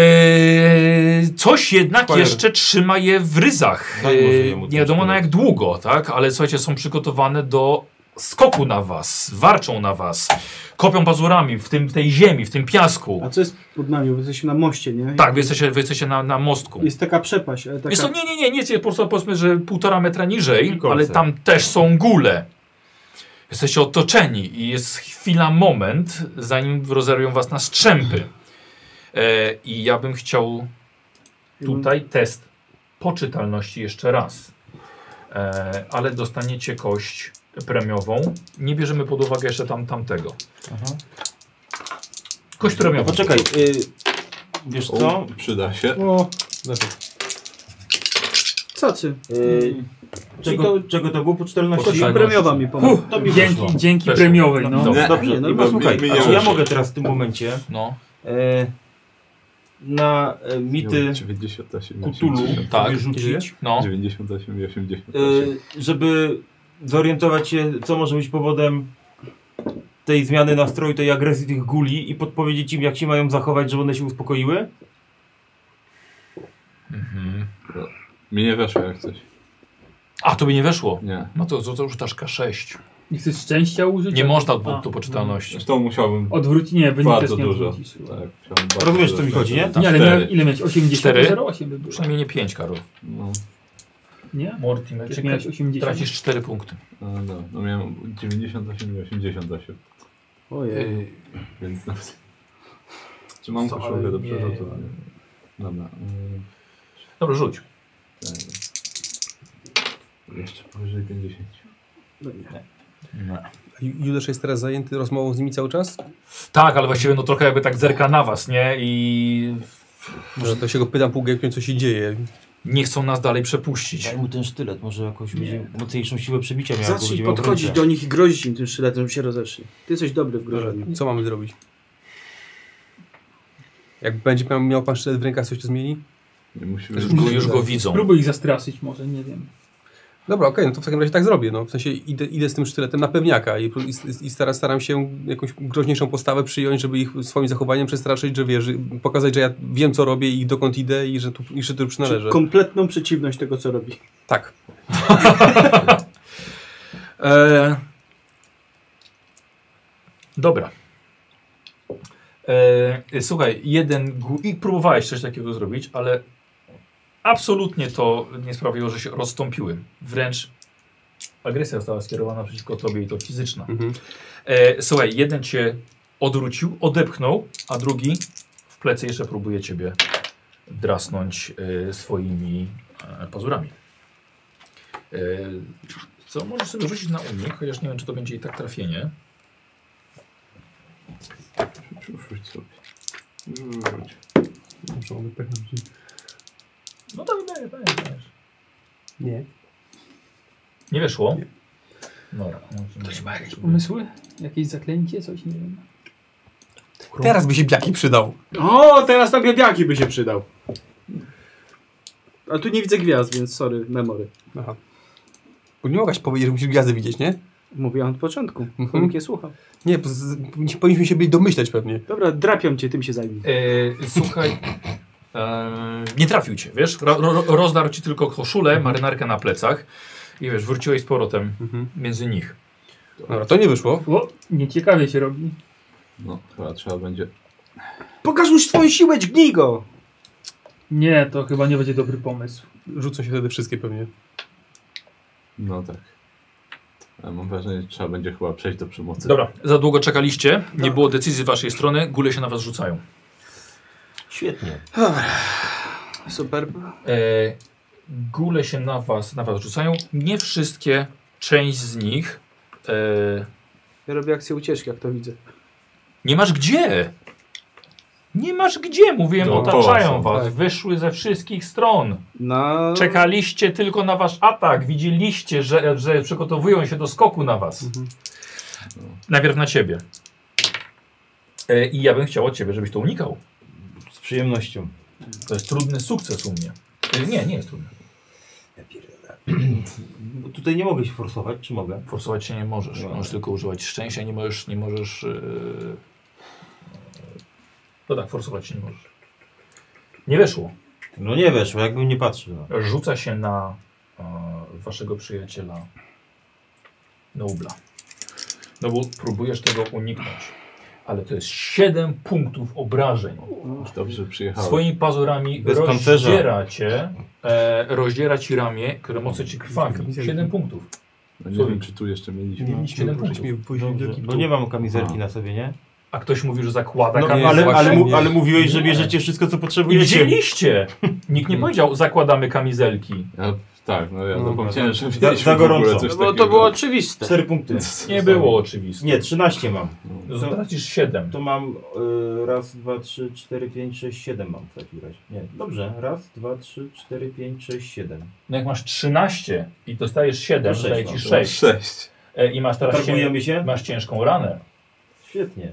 [SPEAKER 1] E, coś jednak
[SPEAKER 2] Spoiler.
[SPEAKER 1] jeszcze trzyma je w ryzach.
[SPEAKER 8] Daj może jemu
[SPEAKER 1] Eee,
[SPEAKER 8] ten
[SPEAKER 1] nie wiadomo na
[SPEAKER 8] sztylet.
[SPEAKER 1] jak długo, tak? Ale słuchajcie, są przygotowane do skoku na was, warczą na was, kopią pazurami w, tym, w tej ziemi, w tym piasku.
[SPEAKER 10] A co jest pod nami? Bo jesteśmy na moście, nie?
[SPEAKER 1] Tak, wy jesteście, wy jesteście na, na mostku.
[SPEAKER 10] Jest taka przepaść, ale taka...
[SPEAKER 1] Wiesz co, nie, nie, nie, nie, nie, po prostu powiedzmy, że półtora metra niżej,
[SPEAKER 8] Wilkowce.
[SPEAKER 1] ale tam też są góle. Jesteście otoczeni i jest chwila, moment, zanim rozerwią was na strzępy. E, I ja bym chciał
[SPEAKER 10] Mm.
[SPEAKER 1] tutaj test poczytalności jeszcze raz. E, ale dostaniecie kość premiową. Nie bierzemy pod uwagę jeszcze tam tamtego. Kość premiową.
[SPEAKER 8] Poczekaj, y, wiesz co?
[SPEAKER 3] O, przyda się.
[SPEAKER 6] O, lepiej.
[SPEAKER 10] Co ty?
[SPEAKER 8] Y, czego,
[SPEAKER 10] to-
[SPEAKER 8] czego to było po
[SPEAKER 10] Chodź,
[SPEAKER 8] 14?
[SPEAKER 1] Poczekaj.
[SPEAKER 10] premiowa mi pomogła.
[SPEAKER 5] Uff, dzięki, dzięki
[SPEAKER 1] Weszło.
[SPEAKER 5] premiowej, no.
[SPEAKER 1] No.
[SPEAKER 8] Dobrze,
[SPEAKER 10] Nie, no
[SPEAKER 8] i
[SPEAKER 10] bo
[SPEAKER 8] posłuchaj,
[SPEAKER 3] mi- mi
[SPEAKER 8] a
[SPEAKER 3] nie
[SPEAKER 8] czy ja
[SPEAKER 3] uszy.
[SPEAKER 8] mogę teraz w tym momencie
[SPEAKER 1] No,
[SPEAKER 8] e, na e, mity
[SPEAKER 3] 98,
[SPEAKER 8] Cthulhu
[SPEAKER 3] 80,
[SPEAKER 1] tak.
[SPEAKER 8] tak. rzucić,
[SPEAKER 1] no.
[SPEAKER 3] 98 i 80.
[SPEAKER 8] e, żeby zorientować się, co może być powodem tej zmiany nastroju, tej agresji tych guli i podpowiedzieć im, jak się mają zachować, żeby one się uspokoiły?
[SPEAKER 1] Mhm.
[SPEAKER 3] Mi nie weszło jak coś.
[SPEAKER 1] A, to by nie weszło.
[SPEAKER 3] Nie.
[SPEAKER 1] No to, to, to rzucasz K6.
[SPEAKER 5] Nie chcesz szczęścia użyć?
[SPEAKER 1] Nie można od
[SPEAKER 5] A,
[SPEAKER 1] punktu poczytalności.
[SPEAKER 3] Zresztą musiałbym
[SPEAKER 5] Odwróć, nie, wynik
[SPEAKER 3] bardzo
[SPEAKER 5] też nie
[SPEAKER 3] dużo.
[SPEAKER 5] odwrócisz.
[SPEAKER 3] Tak, musiałbym bardzo
[SPEAKER 8] Rozumiesz, co mi
[SPEAKER 3] dużo.
[SPEAKER 8] chodzi, nie?
[SPEAKER 5] Nie,
[SPEAKER 3] Cztery.
[SPEAKER 5] ale miał, ile miałeś? 80
[SPEAKER 1] Cztery?
[SPEAKER 5] 08 by było.
[SPEAKER 1] Przynajmniej nie 5, Karol.
[SPEAKER 3] No,
[SPEAKER 5] Nie?
[SPEAKER 1] Mortimer,
[SPEAKER 5] Jak miałeś 80.
[SPEAKER 1] tracisz 4 punkty.
[SPEAKER 3] no, no, no miałem 98 i 88,
[SPEAKER 10] Ojej.
[SPEAKER 3] więc nawet... Czy mam
[SPEAKER 1] Co, ale
[SPEAKER 3] koszulkę do
[SPEAKER 1] nie.
[SPEAKER 3] przerzutowania? Dobra. mm,
[SPEAKER 1] Dobra, rzuć.
[SPEAKER 3] tak. Jeszcze powyżej 50.
[SPEAKER 1] No.
[SPEAKER 6] Ju- Judasz jest teraz zajęty rozmową z nimi cały czas?
[SPEAKER 1] Tak, ale właściwie no trochę jakby tak zerka na was, nie? I
[SPEAKER 6] Może to się go pytam pół gębkiem, co się dzieje.
[SPEAKER 1] nie chcą nas dalej przepuścić.
[SPEAKER 8] Daj mu ten sztylet, może jakąś będzie mocniejszą siłę przebicia miał.
[SPEAKER 4] Zacznij podchodzić do nich i grozić im tym sztyletem, żeby się rozeszli. Ty jesteś dobry w grożeniu.
[SPEAKER 6] Co mamy zrobić? Jak będzie pan miał pan sztylet w rękach, coś to zmieni?
[SPEAKER 3] Nie musimy...
[SPEAKER 1] Już go, już go widzą.
[SPEAKER 5] Spróbuj ich zastraszyć może, nie wiem.
[SPEAKER 6] Dobra, okej, no to w takim razie tak zrobię. No. W sensie idę, idę z tym sztyletem na pewniaka i, i, i stara, staram się jakąś groźniejszą postawę przyjąć, żeby ich swoim zachowaniem przestraszyć, że wiesz, pokazać, że ja wiem, co robię i dokąd idę i że tu, i że tu już
[SPEAKER 10] Czy
[SPEAKER 6] należę.
[SPEAKER 10] kompletną przeciwność tego, co robi.
[SPEAKER 6] Tak.
[SPEAKER 1] E... Dobra. E, słuchaj, jeden gu... i próbowałeś coś takiego zrobić, ale absolutnie to nie sprawiło, że się rozstąpiły. Wręcz agresja została skierowana przeciwko tobie i to fizyczna.
[SPEAKER 6] Mhm.
[SPEAKER 1] E, słuchaj, jeden cię odwrócił, odepchnął, a drugi w plecy jeszcze próbuje ciebie drasnąć e, swoimi e, pazurami. E, co możesz sobie rzucić na unik, chociaż nie wiem, czy to będzie i tak trafienie.
[SPEAKER 3] Rzuć sobie. Rzuć.
[SPEAKER 6] Dobrze, mogę pechnąć.
[SPEAKER 1] No tak, dajesz, dajesz, dajesz.
[SPEAKER 6] Nie.
[SPEAKER 1] Nie wyszło? Dobra. Ktoś ma jakieś
[SPEAKER 5] Pomysły? Jakieś zaklęcie, coś, nie wiem.
[SPEAKER 6] Teraz by się biaki przydał.
[SPEAKER 10] O, teraz tam biabiaki by się przydał. Ale tu nie widzę gwiazd, więc sorry, memory.
[SPEAKER 6] Aha. Bo nie mogłaś powiedzieć, że musisz gwiazdy widzieć, nie?
[SPEAKER 10] Mówiłam od początku.
[SPEAKER 6] Mhm.
[SPEAKER 10] Mhm. nie słucha.
[SPEAKER 6] Nie, bo z- powinniśmy się byli domyślać pewnie.
[SPEAKER 10] Dobra, drapią cię, tym się zajmij.
[SPEAKER 1] E, słuchaj. E, nie trafił cię, wiesz? Ro, ro, rozdarł ci tylko koszulę, marynarkę na plecach. I wiesz, wróciłeś z powrotem
[SPEAKER 6] Mhm.
[SPEAKER 1] między nich.
[SPEAKER 6] Dobra, to nie wyszło.
[SPEAKER 5] O, nieciekawie się robi.
[SPEAKER 3] No, chyba trzeba będzie...
[SPEAKER 4] Pokaż mu swoją siłę, dźgnij go!
[SPEAKER 5] Nie, to chyba nie będzie dobry pomysł.
[SPEAKER 6] Rzucą się wtedy wszystkie pewnie.
[SPEAKER 3] No tak. Ale mam wrażenie, że trzeba będzie chyba przejść do przemocy.
[SPEAKER 1] Dobra, Tak. za długo czekaliście, nie było decyzji z waszej strony, góle się na was rzucają.
[SPEAKER 8] Świetnie.
[SPEAKER 4] Super.
[SPEAKER 1] E, gule się na was, na was rzucają. Nie wszystkie, część z nich. E,
[SPEAKER 4] Ja robię akcję ucieczki, jak to widzę.
[SPEAKER 1] nie masz gdzie! Nie masz gdzie, mówiłem,
[SPEAKER 3] Dookoła
[SPEAKER 1] otaczają
[SPEAKER 3] są,
[SPEAKER 1] was.
[SPEAKER 6] tak.
[SPEAKER 1] Wyszły ze wszystkich stron.
[SPEAKER 4] No.
[SPEAKER 1] Czekaliście tylko na wasz atak. Widzieliście, że, że przygotowują się do skoku na was. Najpierw na ciebie. E, I ja bym chciał od ciebie, żebyś to unikał.
[SPEAKER 8] Z przyjemnością.
[SPEAKER 1] To jest trudny sukces u mnie. E, nie, nie jest trudny.
[SPEAKER 8] Bo tutaj nie mogę się forsować, czy mogę?
[SPEAKER 1] Forsować się nie możesz.
[SPEAKER 8] No.
[SPEAKER 1] Możesz tylko używać szczęścia, nie możesz. Nie możesz yy... No tak, forsować się nie możesz. Nie weszło.
[SPEAKER 8] No nie weszło, jakbym nie patrzył. No.
[SPEAKER 1] Rzuca się na e, waszego przyjaciela Nobla. No bo próbujesz tego uniknąć. Ale to jest 7 punktów obrażeń.
[SPEAKER 3] Dobrze przyjechałem.
[SPEAKER 1] Swoimi pazurami
[SPEAKER 8] Bez
[SPEAKER 1] rozdziera
[SPEAKER 8] pancerza.
[SPEAKER 1] cię, e, rozdziera ci ramię, które mocno ci krwawi. 7 punktów.
[SPEAKER 3] No nie wiem, czy tu jeszcze mieliśmy.
[SPEAKER 1] Siedem punktów.
[SPEAKER 6] Żeśmy wwozili do
[SPEAKER 8] Bo
[SPEAKER 6] Egiptu.
[SPEAKER 8] nie mam kamizelki na sobie, nie?
[SPEAKER 1] A ktoś mówił, że zakłada
[SPEAKER 8] No,
[SPEAKER 1] kamizelkę.
[SPEAKER 8] ale, ale, mu, ale mówiłeś, że
[SPEAKER 1] Nie.
[SPEAKER 8] bierzecie wszystko, co
[SPEAKER 1] I
[SPEAKER 8] potrzebujecie.
[SPEAKER 1] widzieliście! Nikt nie powiedział, zakładamy kamizelki.
[SPEAKER 3] Ja, tak, no ja
[SPEAKER 6] No,
[SPEAKER 3] zapomniałem, że
[SPEAKER 8] za
[SPEAKER 3] mieliśmy w ogóle
[SPEAKER 8] gorąco.
[SPEAKER 3] coś
[SPEAKER 4] No bo
[SPEAKER 3] takiego.
[SPEAKER 4] to było oczywiste.
[SPEAKER 8] Cztery punkty.
[SPEAKER 1] Nie było oczywiste.
[SPEAKER 8] Nie, 13 mam.
[SPEAKER 1] Zobaczysz 7.
[SPEAKER 8] To mam y, raz, dwa, trzy, cztery, pięć, sześć, siedem mam w takim razie. Nie, dobrze. Raz, dwa, trzy, cztery, pięć, sześć, siedem.
[SPEAKER 1] No jak masz 13 i dostajesz 7,
[SPEAKER 8] To
[SPEAKER 1] to daje
[SPEAKER 8] sześć
[SPEAKER 1] ci
[SPEAKER 8] mam.
[SPEAKER 1] 6.
[SPEAKER 3] Sześć.
[SPEAKER 1] E, I masz teraz cię,
[SPEAKER 8] Targujemy się?
[SPEAKER 1] masz ciężką ranę.
[SPEAKER 8] Świetnie.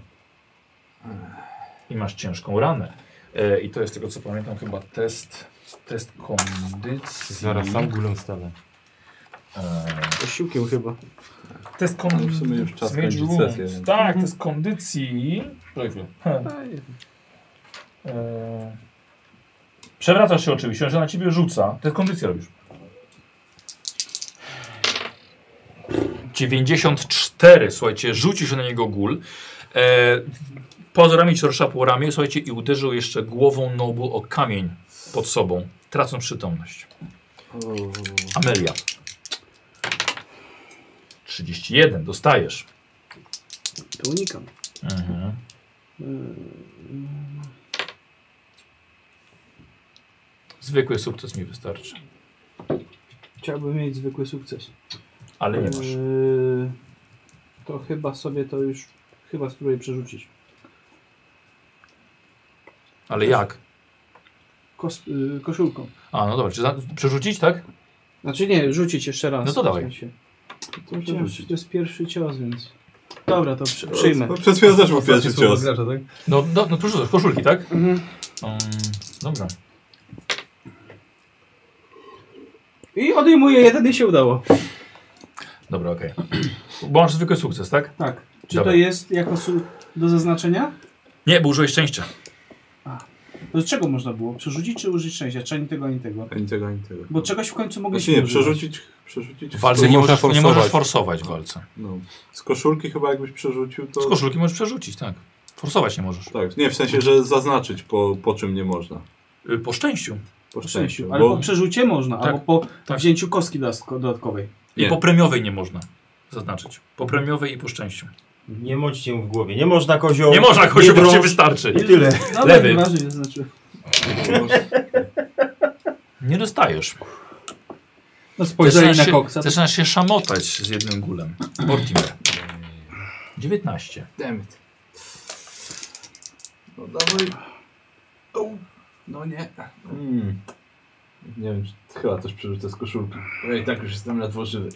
[SPEAKER 1] I masz ciężką ranę. E, I to jest tego co pamiętam chyba test. Test kondycji.
[SPEAKER 8] Zaraz sam gulą stanę.
[SPEAKER 1] E,
[SPEAKER 4] Posiłkiem chyba.
[SPEAKER 1] test
[SPEAKER 3] No, w sumie już
[SPEAKER 1] kondycji.
[SPEAKER 3] czas kończyć sesję, więc-
[SPEAKER 1] Tak, test kondycji. Czekaj. Heh. E, Przewracasz się oczywiście, on się na ciebie rzuca. Test kondycji robisz. 94, słuchajcie, rzucił się na niego gul. E, pozorami ci rusza po ramię, słuchajcie, i uderzył jeszcze głową nobu o kamień pod sobą, tracąc przytomność. Amelia. 31, dostajesz.
[SPEAKER 4] To unikam.
[SPEAKER 1] Mhm. Zwykły sukces mi wystarczy,
[SPEAKER 10] Chciałbym mieć zwykły sukces.
[SPEAKER 1] ale nie masz.
[SPEAKER 10] Yy, to chyba sobie to już... Chyba spróbuję przerzucić.
[SPEAKER 1] Ale jak?
[SPEAKER 10] Kos, yy, koszulką.
[SPEAKER 1] A, no dobra, czy za, przerzucić, tak?
[SPEAKER 10] Znaczy nie, rzucić jeszcze raz.
[SPEAKER 1] No to dawaj.
[SPEAKER 10] W sensie. To, ciężko, to jest pierwszy cios, więc... Dobra, to przy, przyjmę.
[SPEAKER 3] No, przed chwilą też był pierwszy
[SPEAKER 6] Ostatnie
[SPEAKER 3] cios.
[SPEAKER 6] słowo gracza, tak?
[SPEAKER 1] No, do, no proszę, koszulki, tak?
[SPEAKER 10] Mhm.
[SPEAKER 1] Um, dobra.
[SPEAKER 10] I odejmuję jeden i się udało.
[SPEAKER 1] Dobra, okej. Bo masz zwykły sukces, tak?
[SPEAKER 10] Tak. Czy
[SPEAKER 1] Dobra.
[SPEAKER 10] to jest jako su- do zaznaczenia?
[SPEAKER 1] Nie, bo użyłeś szczęścia.
[SPEAKER 10] To z czego można było? Przerzucić czy użyć szczęścia? Czy ani tego, ani tego?
[SPEAKER 3] Ani tego, ani tego.
[SPEAKER 10] Bo czegoś w końcu mogę
[SPEAKER 3] Znaczy
[SPEAKER 10] się
[SPEAKER 3] nie, przerzucić, przerzucić.
[SPEAKER 1] W walce nie
[SPEAKER 3] Można
[SPEAKER 1] możesz, nie
[SPEAKER 3] forsować.
[SPEAKER 1] możesz forsować w walce.
[SPEAKER 3] No. Z koszulki chyba jakbyś przerzucił to...
[SPEAKER 1] Z koszulki możesz przerzucić, tak. Forsować nie możesz.
[SPEAKER 3] Tak, nie, w sensie, że zaznaczyć po, po czym nie można.
[SPEAKER 1] Y, Po szczęściu.
[SPEAKER 3] Po
[SPEAKER 10] Szczęściu.
[SPEAKER 3] szczęściu.
[SPEAKER 10] Ale po
[SPEAKER 3] Bo
[SPEAKER 10] przerzucie można,
[SPEAKER 1] Tak,
[SPEAKER 10] albo po
[SPEAKER 1] tak.
[SPEAKER 10] wzięciu kostki dodatko- dodatkowej.
[SPEAKER 1] I
[SPEAKER 3] Nie.
[SPEAKER 1] po premiowej nie można zaznaczyć. Po premiowej i po szczęściu.
[SPEAKER 8] Nie moćcie mu w głowie. Nie można kozioł.
[SPEAKER 1] Mhm. Nie można, kościół, bo Mhm.
[SPEAKER 8] drąż.
[SPEAKER 1] ci wystarczy.
[SPEAKER 8] I tyle.
[SPEAKER 10] No
[SPEAKER 1] Lewy.
[SPEAKER 10] lewy. Ważnie, to znaczy.
[SPEAKER 1] Nie dostajesz.
[SPEAKER 5] No spojrzeli na
[SPEAKER 1] Zaczynasz się-
[SPEAKER 5] koksa.
[SPEAKER 1] Zaczynasz się szamotać z jednym gulem. Mortimer. 19.
[SPEAKER 3] Damn it. No dawaj. Au. No nie. Mm. Nie wiem, czy chyba też przerzucę z koszulki. Bo ja i tak już jestem ledwo żywy.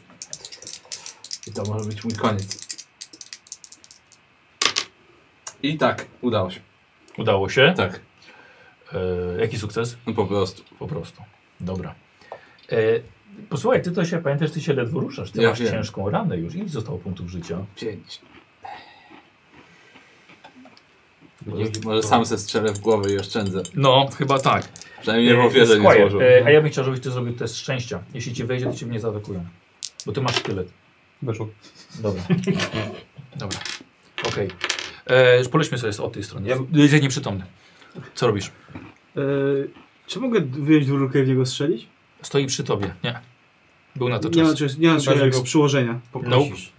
[SPEAKER 3] I to może być mój koniec. I tak, udało się.
[SPEAKER 1] Udało się.
[SPEAKER 3] Tak,
[SPEAKER 1] E, jaki sukces?
[SPEAKER 3] no po prostu.
[SPEAKER 1] Po prostu. Dobra. E, posłuchaj, ty to się pamiętasz, ty się ledwo ruszasz. Ty
[SPEAKER 3] Ja
[SPEAKER 1] masz
[SPEAKER 3] wiem.
[SPEAKER 1] ciężką ranę już. Ile zostało punktów życia?
[SPEAKER 3] Pięć. Może, może sam se strzelę w głowę i oszczędzę.
[SPEAKER 1] No, chyba tak.
[SPEAKER 3] Przynajmniej w
[SPEAKER 1] E,
[SPEAKER 3] ofierze nie
[SPEAKER 1] Squire,
[SPEAKER 3] złożył.
[SPEAKER 1] e, a ja bym chciał, żebyś ty zrobił test szczęścia. Jeśli ci wejdzie, to cię nie zaatakują. Bo ty masz sztylet.
[SPEAKER 6] Weszło.
[SPEAKER 1] Dobra. Dobra. Okej. Okay. Poleśmy sobie z- od tej strony. Jesteś nieprzytomny. Co robisz?
[SPEAKER 4] Yy, czy mogę wyjąć dwururkę i w niego strzelić?
[SPEAKER 1] Stoi przy tobie. Nie. Był na No to
[SPEAKER 4] Nie ma
[SPEAKER 1] czas. No.
[SPEAKER 4] czegoś, nie ma
[SPEAKER 8] Chyba, że
[SPEAKER 4] czegoś
[SPEAKER 8] go-
[SPEAKER 4] przyłożenia.
[SPEAKER 8] Poprosisz.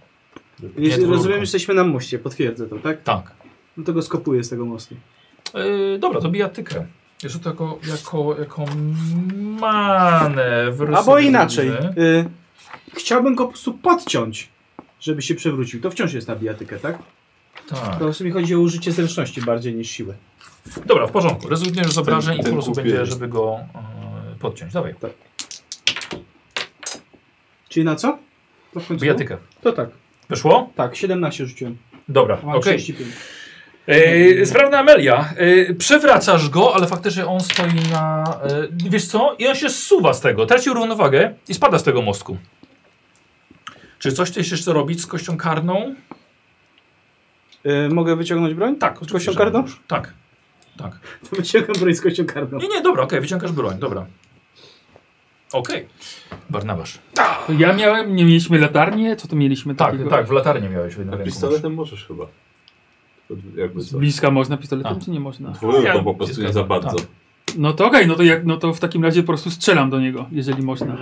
[SPEAKER 4] Jeśli
[SPEAKER 1] dwururką.
[SPEAKER 4] rozumiem, że jesteśmy na moście, potwierdzę to, tak?
[SPEAKER 1] Tak.
[SPEAKER 4] No to go skopuję z tego mostu.
[SPEAKER 1] Yy, dobra, to bijatykę. Rzut jako, jako, jako manewr.
[SPEAKER 4] Albo
[SPEAKER 1] sobie
[SPEAKER 4] inaczej.
[SPEAKER 1] widzę.
[SPEAKER 4] Y, chciałbym go po prostu podciąć, żeby się przewrócił. To wciąż jest na bijatykę, tak?
[SPEAKER 1] Tak.
[SPEAKER 4] To w sumie chodzi o użycie zręczności bardziej niż siły.
[SPEAKER 1] Dobra, w porządku. Rezygnujesz z obrażeń i
[SPEAKER 3] ten
[SPEAKER 1] po prostu
[SPEAKER 3] kupię.
[SPEAKER 1] będzie, żeby go e, podciąć. Dawaj,
[SPEAKER 4] Tak. Czyli na co? To w końcu?
[SPEAKER 1] bijatykę.
[SPEAKER 4] To tak.
[SPEAKER 1] Wyszło?
[SPEAKER 4] Tak, 17 rzuciłem.
[SPEAKER 1] Dobra,
[SPEAKER 4] Mam
[SPEAKER 1] okej.
[SPEAKER 4] 35.
[SPEAKER 1] E, sprawna Amelia. E, przewracasz go, ale faktycznie on stoi na... E, wiesz co? I on się zsuwa z tego, traci równowagę i spada z tego mostku. Czy coś chcesz jeszcze robić z kością karną?
[SPEAKER 4] Y, mogę wyciągnąć broń?
[SPEAKER 1] Tak. oczywiście,
[SPEAKER 4] kością
[SPEAKER 1] że
[SPEAKER 4] karną?
[SPEAKER 1] możesz. Tak. Tak.
[SPEAKER 4] To wyciągam broń z kością karną.
[SPEAKER 1] Nie, nie, dobra, okej, wyciągasz broń, dobra. Okej. Barnabasz.
[SPEAKER 5] To ja miałem, nie mieliśmy latarnie, co to mieliśmy
[SPEAKER 1] Tak,
[SPEAKER 5] takiego?
[SPEAKER 1] tak, w latarnię miałeś w jednym
[SPEAKER 3] A
[SPEAKER 1] ręku.
[SPEAKER 3] pistoletem możesz chyba. Tylko Jakby
[SPEAKER 5] Z
[SPEAKER 3] co.
[SPEAKER 5] bliska można pistoletem,
[SPEAKER 1] A.
[SPEAKER 5] czy nie można?
[SPEAKER 3] Dwójką
[SPEAKER 1] Ja-
[SPEAKER 3] to po prostu nie za bardzo.
[SPEAKER 5] No to okej, no, to jak, no to w takim razie po prostu strzelam do niego, jeżeli można.
[SPEAKER 1] masz.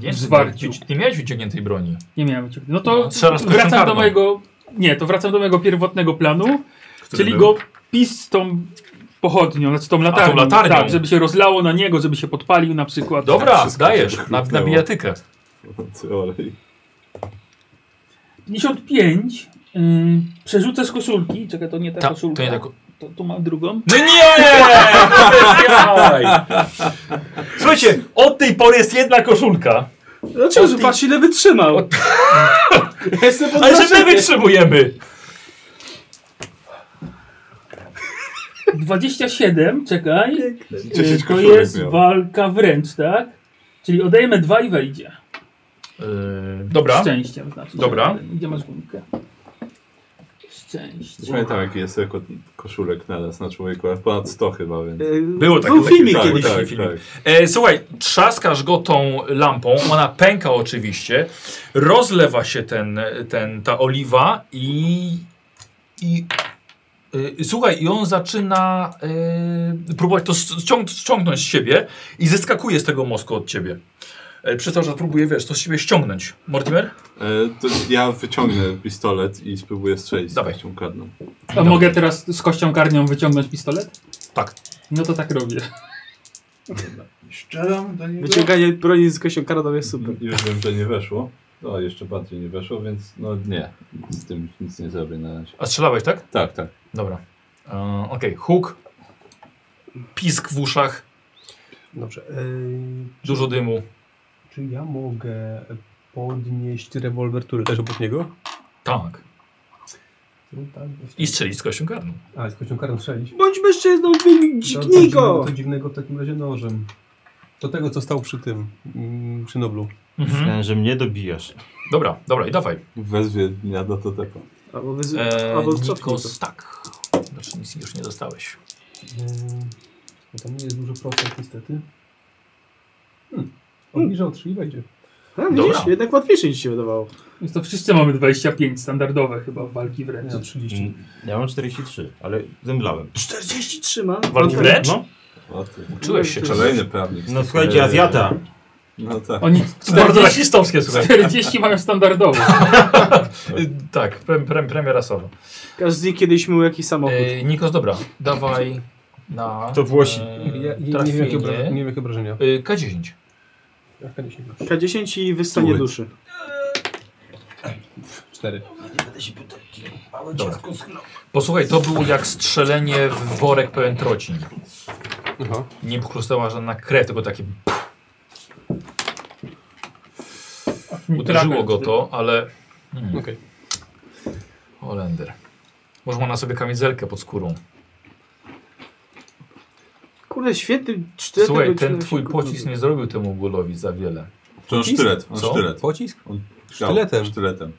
[SPEAKER 1] Nie,
[SPEAKER 5] Zwarciu.
[SPEAKER 1] nie- Nie miałeś wyciągniętej broni.
[SPEAKER 5] Nie miałem wyciągnięty. No to
[SPEAKER 1] No, strzelasz kością
[SPEAKER 5] wracam
[SPEAKER 1] karną.
[SPEAKER 5] do mojego... Nie, to wracam do mojego pierwotnego planu,
[SPEAKER 1] Który
[SPEAKER 5] czyli
[SPEAKER 1] był?
[SPEAKER 5] go pistą pochodnią, znaczy tą latarnią,
[SPEAKER 1] latarnią.
[SPEAKER 5] Tak, żeby się rozlało na niego, żeby się podpalił na przykład.
[SPEAKER 1] Dobra,
[SPEAKER 3] Wszystko
[SPEAKER 1] dajesz,
[SPEAKER 3] się
[SPEAKER 1] na, na
[SPEAKER 3] chlupnęło.
[SPEAKER 1] bijatykę.
[SPEAKER 3] Teorii.
[SPEAKER 5] 55. Ym, y, przerzucę z koszulki. Czekaj, to nie ta,
[SPEAKER 1] Ta, to
[SPEAKER 5] koszulka.
[SPEAKER 1] nie tak.
[SPEAKER 5] to, tu mam drugą.
[SPEAKER 1] No nie! Słuchajcie, od tej pory jest jedna koszulka.
[SPEAKER 4] Dlaczego? Ty... No Patrz ile wytrzymał. Ja Jestem pod
[SPEAKER 1] Ale że my
[SPEAKER 4] wrażeniem.
[SPEAKER 1] wytrzymujemy!
[SPEAKER 5] 27, czekaj.
[SPEAKER 3] Dziesięć
[SPEAKER 5] Y, to
[SPEAKER 3] koszulek
[SPEAKER 5] jest
[SPEAKER 3] miał.
[SPEAKER 5] walka wręcz, tak? Czyli odejmę dwa i wejdzie.
[SPEAKER 1] Yy, dobra,
[SPEAKER 5] Szczęściem znaczy.
[SPEAKER 1] Dobra.
[SPEAKER 5] Gdzie masz gumkę? Szczęście.
[SPEAKER 3] Nie pamiętam jaki jest jako koszulek na nas, na człowieka. Ponad 100 chyba, więc.
[SPEAKER 4] Y,
[SPEAKER 1] Było tak,
[SPEAKER 4] Był
[SPEAKER 1] takie-
[SPEAKER 4] filmik
[SPEAKER 1] tak,
[SPEAKER 4] kiedyś.
[SPEAKER 1] tak. E, słuchaj, trzaskasz go tą lampą, ona pęka oczywiście, rozlewa się ten, ten, ta oliwa i, i e, słuchaj, i on zaczyna e, próbować to ściąg, ściągnąć z siebie i zeskakuje z tego mosku od ciebie. E, przez to, że próbuje, wiesz, to z siebie ściągnąć. Mortimer?
[SPEAKER 3] E, to ja wyciągnę pistolet i spróbuję strzelić
[SPEAKER 1] Dawaj.
[SPEAKER 3] z tą karną.
[SPEAKER 5] A mogę teraz z kością karnią wyciągnąć pistolet?
[SPEAKER 1] Tak.
[SPEAKER 5] No to tak robię.
[SPEAKER 3] Szczeram do niego.
[SPEAKER 4] Wyciąganie broni z kością karną jest
[SPEAKER 1] Mhm.
[SPEAKER 4] super.
[SPEAKER 3] Już wiem, że nie weszło. No, jeszcze bardziej nie weszło, więc no nie. Z tym nic nie zrobię na razie.
[SPEAKER 1] A strzelałeś, tak?
[SPEAKER 3] Tak, tak.
[SPEAKER 1] Dobra. E, Okej, huk, pisk w uszach,
[SPEAKER 6] Dobrze. Yy,
[SPEAKER 1] dużo dymu.
[SPEAKER 6] czy ja mogę podnieść rewolwer, który leży pod niego?
[SPEAKER 1] Tak.
[SPEAKER 6] Tak,
[SPEAKER 1] I strzelić z kością karną.
[SPEAKER 6] A, z kością karną strzelić.
[SPEAKER 4] Bądź mężczyzną,
[SPEAKER 1] No,
[SPEAKER 4] wy- dźgnij
[SPEAKER 6] To,
[SPEAKER 4] go!
[SPEAKER 6] to, dziwnego, to dziwnego w takim razie nożem. Do tego, co stał przy tym, mm, przy Noblu.
[SPEAKER 1] Mhm.
[SPEAKER 8] Myślałem, że mnie dobijasz.
[SPEAKER 1] Dobra, dobra i dawaj.
[SPEAKER 3] Wezwie dnia do totepa.
[SPEAKER 4] Albo, wyzy...
[SPEAKER 1] Eee,
[SPEAKER 4] Albo cofnij to.
[SPEAKER 1] Nikos, tak. Znaczy nic już nie dostałeś.
[SPEAKER 6] Yy, bo tam nie jest dużo procent niestety. Hmm. Obniża o 3 i wejdzie.
[SPEAKER 4] A, widzisz,
[SPEAKER 1] Dobra.
[SPEAKER 4] jednak łatwiejsze niż się wydawało.
[SPEAKER 5] Więc to wszyscy mamy 25 standardowe chyba w walki wręcz.
[SPEAKER 6] Ja 30.
[SPEAKER 8] Mm, Ja mam 43, ale zemdlałem.
[SPEAKER 4] 43 ma.
[SPEAKER 1] Walki wręcz?
[SPEAKER 8] No,
[SPEAKER 3] O ty.
[SPEAKER 1] Uczyłeś się czegoś.
[SPEAKER 3] Kolejny prawnik.
[SPEAKER 8] no słuchajcie, Azjata.
[SPEAKER 3] No tak.
[SPEAKER 5] Oni
[SPEAKER 1] Bardzo
[SPEAKER 5] 40,
[SPEAKER 1] rasistowskie, słuchaj.
[SPEAKER 5] 40 mają standardowe.
[SPEAKER 1] Y, tak, prem, prem, premia rasowa.
[SPEAKER 4] Każdy z nich kiedyś mył jakiś samochód.
[SPEAKER 1] Eee, Nikos, dobra, dawaj na...
[SPEAKER 8] To Włosi.
[SPEAKER 1] eee,
[SPEAKER 6] Ja, nie, nie, wiem, jakie obra- nie
[SPEAKER 1] trafienie.
[SPEAKER 6] wiem jakie obrażenia. Tak,
[SPEAKER 1] Eee, K10.
[SPEAKER 6] Jaka 10
[SPEAKER 4] K10 i wystanie
[SPEAKER 3] Uy.
[SPEAKER 4] duszy.
[SPEAKER 6] 4.
[SPEAKER 1] Dobra. Posłuchaj, to było jak strzelenie w worek pełen trocin.
[SPEAKER 6] Aha.
[SPEAKER 1] Nie chrustała żadna krew, tylko takie... Uderzyło go to, ale... Hmm.
[SPEAKER 6] Okej.
[SPEAKER 1] Holender. Może ma na sobie kamizelkę pod skórą.
[SPEAKER 4] Kurde, świetny cztery.
[SPEAKER 1] Słuchaj, ten twój pocisk nie zrobił temu gólowi za wiele.
[SPEAKER 3] To on sztylet, on
[SPEAKER 1] Co?
[SPEAKER 3] sztylet.
[SPEAKER 6] Pocisk?
[SPEAKER 3] On
[SPEAKER 6] Sztyletem.
[SPEAKER 3] Sztyletem.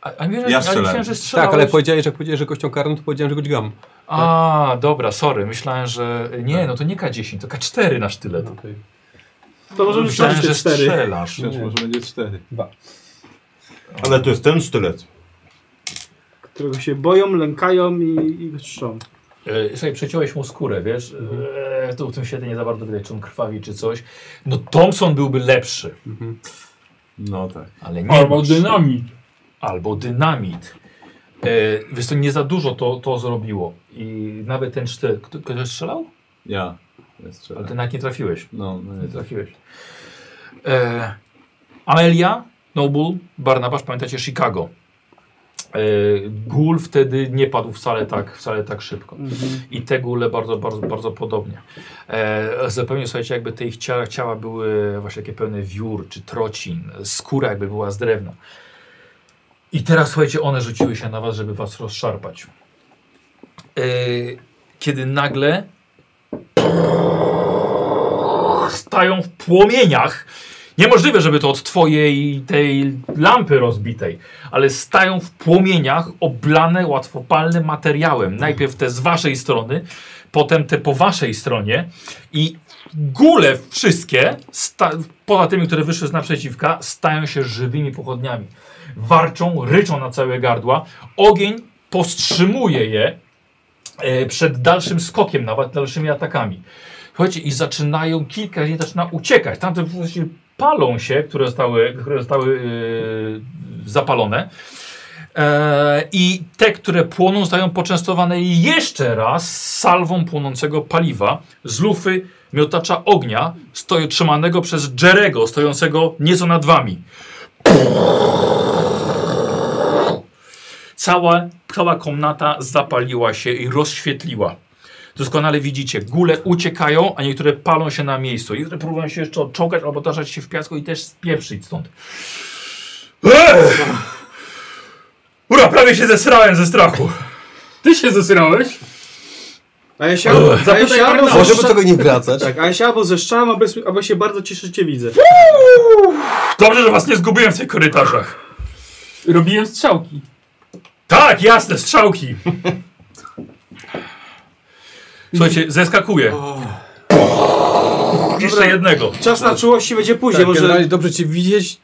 [SPEAKER 1] A, a nie,
[SPEAKER 3] Ja
[SPEAKER 1] ja
[SPEAKER 3] strzelałem.
[SPEAKER 1] myślałem, że strzelałeś.
[SPEAKER 6] Tak, ale powiedziałeś, jak powiedziałeś, że kością karną, to powiedziałem, że go dźgam.
[SPEAKER 1] A, dobra, sorry. Myślałem, że... Nie, no to nie K10, to K4 na sztylet.
[SPEAKER 6] No, Okej.
[SPEAKER 4] To możemy
[SPEAKER 1] Myślałem,
[SPEAKER 4] przejść
[SPEAKER 1] że
[SPEAKER 4] te no, cztery.
[SPEAKER 1] strzelasz.
[SPEAKER 3] Chociaż może będzie cztery.
[SPEAKER 8] Ale to jest ten sztylet.
[SPEAKER 4] Którego się boją, lękają i, i czczą.
[SPEAKER 1] E, Słuchaj, przeciąłeś mu skórę, wiesz? E, tu w tym świecie nie za bardzo widać, czy on krwawi, czy coś. No Thompson byłby lepszy,
[SPEAKER 3] No tak.
[SPEAKER 1] ale nie
[SPEAKER 5] Albo
[SPEAKER 1] masz.
[SPEAKER 5] dynamit.
[SPEAKER 1] Albo dynamit. E, wiesz co, nie za dużo to, to zrobiło. I nawet ten sztylet... Kto, ktoś strzelał?
[SPEAKER 3] Ja. ja strzelam.
[SPEAKER 1] Ale ty nawet nie trafiłeś.
[SPEAKER 3] No, no nie
[SPEAKER 1] Nie
[SPEAKER 3] tak.
[SPEAKER 1] trafiłeś. E, Amelia, Noble, Barnabasz, pamiętacie Chicago. E, gul wtedy nie padł wcale tak, wcale tak szybko. I te gule bardzo, bardzo, bardzo podobnie. E, zupełnie słuchajcie, jakby te ich ciała, ciała były właśnie takie pełne wiór czy trocin, skóra jakby była z drewna. I teraz słuchajcie, one rzuciły się na was, żeby was rozszarpać. E, kiedy nagle stają w płomieniach. Niemożliwe, żeby to od twojej tej lampy rozbitej, ale stają w płomieniach oblane łatwopalnym materiałem. Najpierw te z waszej strony, potem te po waszej stronie i góle wszystkie, sta- poza tymi, które wyszły z naprzeciwka, stają się żywymi pochodniami. Warczą, ryczą na całe gardła. Ogień powstrzymuje je e, przed dalszym skokiem, nawet dalszymi atakami. Słuchajcie, i zaczynają, kilka z nich zaczyna uciekać. Tamte właśnie palą się, które zostały, które zostały e, zapalone. E, I te, które płoną, zostają poczęstowane jeszcze raz salwą płonącego paliwa z lufy miotacza ognia, stoi, trzymanego przez Jerego, stojącego nieco nad wami. Cała, cała komnata zapaliła się i rozświetliła. Doskonale widzicie, gule uciekają, a niektóre palą się na miejscu. Niektóre próbują się jeszcze odczołgać albo tarzać się w piasku i też spieprzyć stąd. Eee! Ura, prawie się zesrałem ze strachu.
[SPEAKER 5] Ty się zesrałeś?
[SPEAKER 4] A ja się albo, a ja
[SPEAKER 5] Zapytaj
[SPEAKER 4] się albo
[SPEAKER 5] Arnolda.
[SPEAKER 4] zeszczam,
[SPEAKER 6] Może by No, tego nie wracać.
[SPEAKER 4] tak, a ja się albo zeszczam, albo, albo się bardzo cieszycie widzę.
[SPEAKER 1] Dobrze, że was nie zgubiłem w tych korytarzach.
[SPEAKER 5] Robiłem strzałki.
[SPEAKER 1] Tak, jasne, strzałki. Słuchajcie, zeskakuje. Jeszcze jednego.
[SPEAKER 4] Czas na czułości będzie później,
[SPEAKER 6] Tak,
[SPEAKER 4] może...
[SPEAKER 6] generalnie dobrze cię widzieć.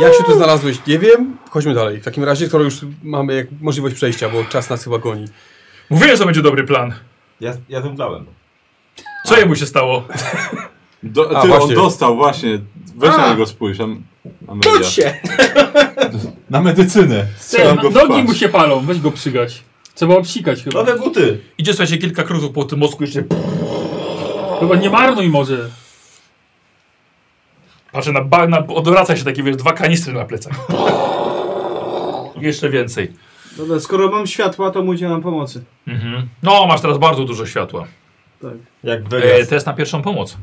[SPEAKER 6] Jak się tu znalazłeś? Nie wiem. Chodźmy dalej. W takim razie, skoro już mamy jak możliwość przejścia, bo czas nas chyba goni.
[SPEAKER 1] Mówiłem, że to będzie dobry plan.
[SPEAKER 8] Ja, ja zemdlałem.
[SPEAKER 1] Co jemu się stało?
[SPEAKER 3] Do, ty,
[SPEAKER 6] A,
[SPEAKER 3] on
[SPEAKER 6] właśnie.
[SPEAKER 3] dostał właśnie. Weź na niego spójrz. Am, Amelia.
[SPEAKER 4] Czuć się!
[SPEAKER 3] Na medycynę.
[SPEAKER 5] Te,
[SPEAKER 3] Strzelam go w
[SPEAKER 5] nogi
[SPEAKER 3] twarz.
[SPEAKER 5] mu się palą, weź go przygać. Trzeba obsikać chyba.
[SPEAKER 8] Nowe buty!
[SPEAKER 1] Idzie, słuchajcie, kilka kruzów po tym mostku jeszcze.
[SPEAKER 5] Chyba nie marnuj może.
[SPEAKER 1] Patrzę na, ba- na odwraca się takie, wiesz, dwa kanistry na plecach. Jeszcze więcej.
[SPEAKER 10] Dobra, skoro mam światła, to mu udzielam pomocy.
[SPEAKER 1] Mhm. No, masz teraz bardzo dużo światła.
[SPEAKER 8] Jak
[SPEAKER 1] E,
[SPEAKER 8] Vegas.
[SPEAKER 1] test na pierwszą pomoc.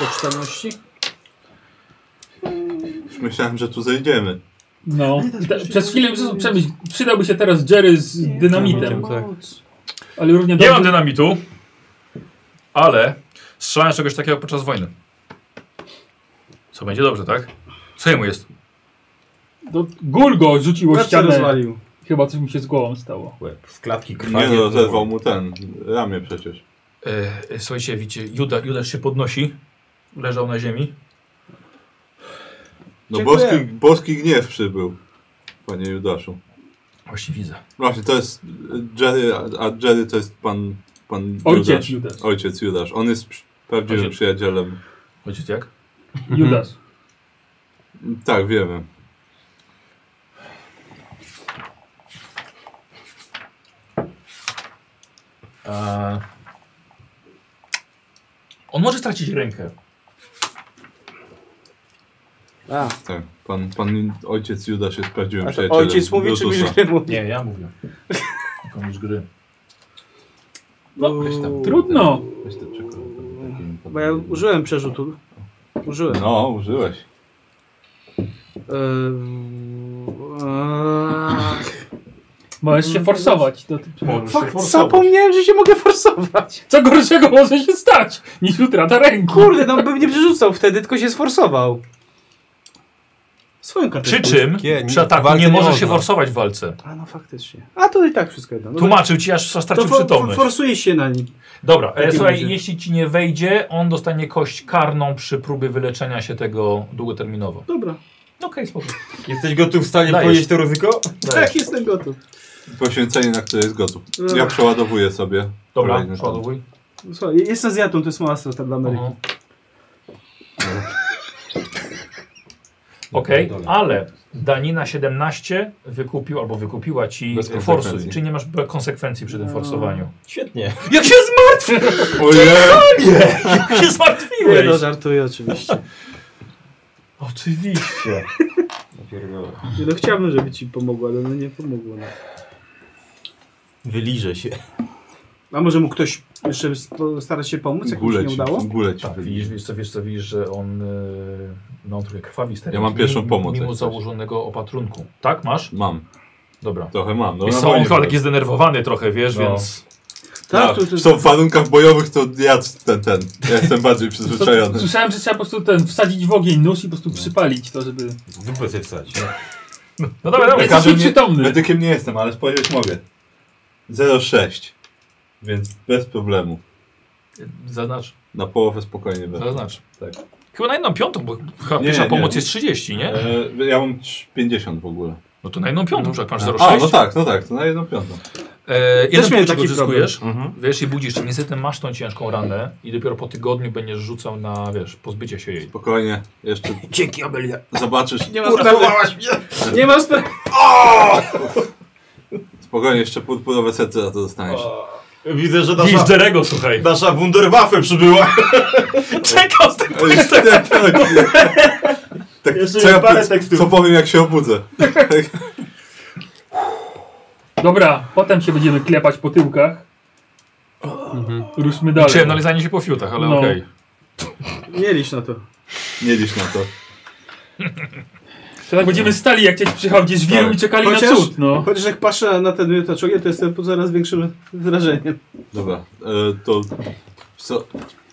[SPEAKER 10] Pocztalności.
[SPEAKER 3] Już myślałem, że tu zejdziemy.
[SPEAKER 5] No. Te- Przez chwilę przez- przemyśl, przydałby się teraz Jerry z dynamitem.
[SPEAKER 6] Tak.
[SPEAKER 5] Ale równie
[SPEAKER 1] Nie mam
[SPEAKER 5] dobrze.
[SPEAKER 1] dynamitu, ale strzelałem z czegoś takiego podczas wojny. Co będzie dobrze, tak? Co jemu jest?
[SPEAKER 5] Do, Gulgo rzuciło
[SPEAKER 10] Łeb się
[SPEAKER 5] ścianę.
[SPEAKER 10] rozwalił.
[SPEAKER 5] Chyba coś mi się z głową stało.
[SPEAKER 8] Łeb. Z klatki
[SPEAKER 3] Nie
[SPEAKER 8] krwawie.
[SPEAKER 3] no, zerwał mu ten. Ramię przecież.
[SPEAKER 1] E, e, słuchajcie, widzicie, Juda, Judasz się podnosi. Leżał na ziemi.
[SPEAKER 3] No
[SPEAKER 10] Dziękuję.
[SPEAKER 3] boski, boski gniew przybył. Panie Judaszu. No
[SPEAKER 1] Właśnie widzę.
[SPEAKER 3] Właśnie, to jest Jerry, a- a Jerry to jest pan, pan
[SPEAKER 5] Ojciec
[SPEAKER 3] Judasz.
[SPEAKER 5] Judasz.
[SPEAKER 3] Ojciec Judasz. On jest przy- prawdziwym
[SPEAKER 1] Ojciec.
[SPEAKER 3] przyjacielem.
[SPEAKER 1] Ojciec jak?
[SPEAKER 3] Mhm.
[SPEAKER 5] Judasz.
[SPEAKER 3] Tak, wiemy.
[SPEAKER 1] E, on może stracić rękę.
[SPEAKER 4] A,
[SPEAKER 3] Tak, pan, pan ojciec Judasz jest prawdziwym
[SPEAKER 4] a to
[SPEAKER 3] przyjacielem
[SPEAKER 4] ojciec mówi, czy
[SPEAKER 3] Jezusa.
[SPEAKER 4] mi nie mówi?
[SPEAKER 1] Nie, ja mówię. Komuś gry.
[SPEAKER 5] No,
[SPEAKER 1] Weź tam.
[SPEAKER 5] trudno.
[SPEAKER 3] Weź tę czekoladę, takim
[SPEAKER 4] Bo ja
[SPEAKER 3] podobnym.
[SPEAKER 4] użyłem przerzutu. Użyłem.
[SPEAKER 3] No, użyłeś.
[SPEAKER 4] Eee,
[SPEAKER 5] Możesz
[SPEAKER 8] Mhm.
[SPEAKER 5] się forsować. Do,
[SPEAKER 4] Fakt, zapomniałem, że się mogę forsować.
[SPEAKER 5] co gorszego może się stać niż utrata ręki.
[SPEAKER 4] Kurde, no bym nie przerzucał wtedy, tylko się sforsował.
[SPEAKER 10] Swoją kartę.
[SPEAKER 1] Przy czym
[SPEAKER 6] Nie, nie,
[SPEAKER 1] przy ataku
[SPEAKER 6] walce
[SPEAKER 1] nie
[SPEAKER 6] nie
[SPEAKER 1] może
[SPEAKER 6] można.
[SPEAKER 1] się forsować w walce.
[SPEAKER 4] A no faktycznie.
[SPEAKER 10] A to i tak wszystko jedno. No
[SPEAKER 1] Tłumaczył ci, aż
[SPEAKER 10] to
[SPEAKER 1] stracił
[SPEAKER 10] for, for,
[SPEAKER 1] przytomność.
[SPEAKER 10] forsuje się na nim.
[SPEAKER 1] Dobra, e,
[SPEAKER 10] takim
[SPEAKER 1] słuchaj,
[SPEAKER 10] razie.
[SPEAKER 1] jeśli ci nie wejdzie, on dostanie kość karną przy próbie wyleczenia się tego długoterminowo.
[SPEAKER 10] Dobra,
[SPEAKER 1] Okej, spoko.
[SPEAKER 8] Jesteś gotów w stanie
[SPEAKER 1] Dajesz.
[SPEAKER 8] ponieść to ryzyko?
[SPEAKER 10] tak jestem gotów.
[SPEAKER 3] Poświęcenie, na które jest gotów. Ja przeładowuję sobie.
[SPEAKER 1] Dobra,
[SPEAKER 3] kolejny tom.
[SPEAKER 1] przeładowuj.
[SPEAKER 10] Słuchaj, jestem
[SPEAKER 1] Mhm.
[SPEAKER 10] zjatą, to jest mała strata dla Ameryki.
[SPEAKER 1] Aha. Okej,
[SPEAKER 8] pierdolę.
[SPEAKER 1] ale danina 17 wykupił albo wykupiła ci
[SPEAKER 3] Bez
[SPEAKER 1] forsuj,
[SPEAKER 3] konsekwencji.
[SPEAKER 1] czyli nie masz konsekwencji przy tym forsowaniu.
[SPEAKER 8] Świetnie.
[SPEAKER 1] Jak się zmartwiłeś!
[SPEAKER 3] Ojej!
[SPEAKER 1] Jak się
[SPEAKER 4] Nie, no
[SPEAKER 1] zmartwiłeś!
[SPEAKER 4] żartuję oczywiście.
[SPEAKER 1] Oczywiście.
[SPEAKER 8] Ja pierdolę.
[SPEAKER 4] Nie, No chciałbym, żeby ci pomogło, ale no nie pomogło. No.
[SPEAKER 8] Wyliżę się.
[SPEAKER 4] A może mu ktoś jeszcze starać się pomóc, jak mu się
[SPEAKER 3] Gule
[SPEAKER 4] nie
[SPEAKER 3] ci,
[SPEAKER 4] udało?
[SPEAKER 3] gule ci.
[SPEAKER 1] Tak, widzisz, wiesz co, wiesz co, widzisz, że on, e, no, on trochę krwawi z tego.
[SPEAKER 3] Ja mam pierwszą
[SPEAKER 1] mi-
[SPEAKER 3] pomoc, jak
[SPEAKER 1] Mimo
[SPEAKER 3] coś.
[SPEAKER 1] założonego opatrunku. Tak, masz?
[SPEAKER 3] Mam,
[SPEAKER 1] Dobra.
[SPEAKER 3] trochę mam. No,
[SPEAKER 1] Wiesz
[SPEAKER 3] na
[SPEAKER 1] co, on
[SPEAKER 3] wojnie
[SPEAKER 1] chyba
[SPEAKER 3] byłem.
[SPEAKER 1] taki zdenerwowany trochę, wiesz,
[SPEAKER 3] No.
[SPEAKER 1] więc...
[SPEAKER 3] Tak,
[SPEAKER 4] tu- tu-
[SPEAKER 3] w tą warunkach bojowych to ja ten, ten. Ja jestem bardziej przyzwyczajony.
[SPEAKER 5] Słyszałem, że trzeba po prostu ten wsadzić w ogień nóż i po prostu przypalić to, żeby...
[SPEAKER 8] W dupę sobie wsadź.
[SPEAKER 1] No dobra, dobra.
[SPEAKER 5] Jesteś
[SPEAKER 3] każdy mnie-
[SPEAKER 5] przytomny.
[SPEAKER 3] Medykiem nie jestem, ale spojrzeć mogę. 0,6. Więc bez problemu.
[SPEAKER 1] Zaznacz,
[SPEAKER 3] Na połowę spokojnie będę.
[SPEAKER 1] zaznacz.
[SPEAKER 3] Tak.
[SPEAKER 1] Chyba na jedną piątą, bo chyba
[SPEAKER 3] Nie,
[SPEAKER 1] pierwsza
[SPEAKER 3] nie.
[SPEAKER 1] pomoc jest 30, nie?
[SPEAKER 3] E, ja mam trz- 50 w ogóle.
[SPEAKER 1] No to na jedną piątą, jak masz 0,6.
[SPEAKER 3] A, no tak, no tak, to na jedną piątą.
[SPEAKER 1] E, jeden
[SPEAKER 4] Też miałem
[SPEAKER 1] punkt
[SPEAKER 4] taki
[SPEAKER 1] odzyskujesz,
[SPEAKER 8] Mhm.
[SPEAKER 1] wiesz, i budzisz, czy niestety masz tą ciężką ranę i dopiero po tygodniu będziesz rzucał na, wiesz, pozbycie się jej.
[SPEAKER 3] Spokojnie, jeszcze
[SPEAKER 8] Dzięki, Amelia.
[SPEAKER 3] zobaczysz.
[SPEAKER 4] Nie ma sprawy. Nie ma sprawy.
[SPEAKER 3] Spokojnie, jeszcze purpurowe serce za to dostaniesz.
[SPEAKER 8] Widzę, że
[SPEAKER 1] Widzisz
[SPEAKER 8] nasza,
[SPEAKER 1] Jerego, słuchaj.
[SPEAKER 8] nasza Wunderwaffe przybyła.
[SPEAKER 1] Czekał z tym
[SPEAKER 3] Ej, nie, tak, tak,
[SPEAKER 8] Jeszcze
[SPEAKER 3] co, ja,
[SPEAKER 8] parę
[SPEAKER 3] po-
[SPEAKER 8] tekstów.
[SPEAKER 3] co powiem jak się obudzę?
[SPEAKER 5] Dobra, potem się będziemy klepać po tyłkach. Mhm. Ruszmy dalej.
[SPEAKER 1] Czułem nalizanie się po fiutach, ale
[SPEAKER 5] No.
[SPEAKER 1] okej.
[SPEAKER 4] Nie licz na to.
[SPEAKER 3] Nie licz na to.
[SPEAKER 5] To tak będziemy stali, jak ktoś przyjechał gdzieś wielu i czekali na
[SPEAKER 4] Chociaż-
[SPEAKER 5] cud, no.
[SPEAKER 4] Chociaż jak patrzę na ten miotaczogier, to jestem pod coraz większym wrażeniem.
[SPEAKER 3] Dobra, e, to... Co?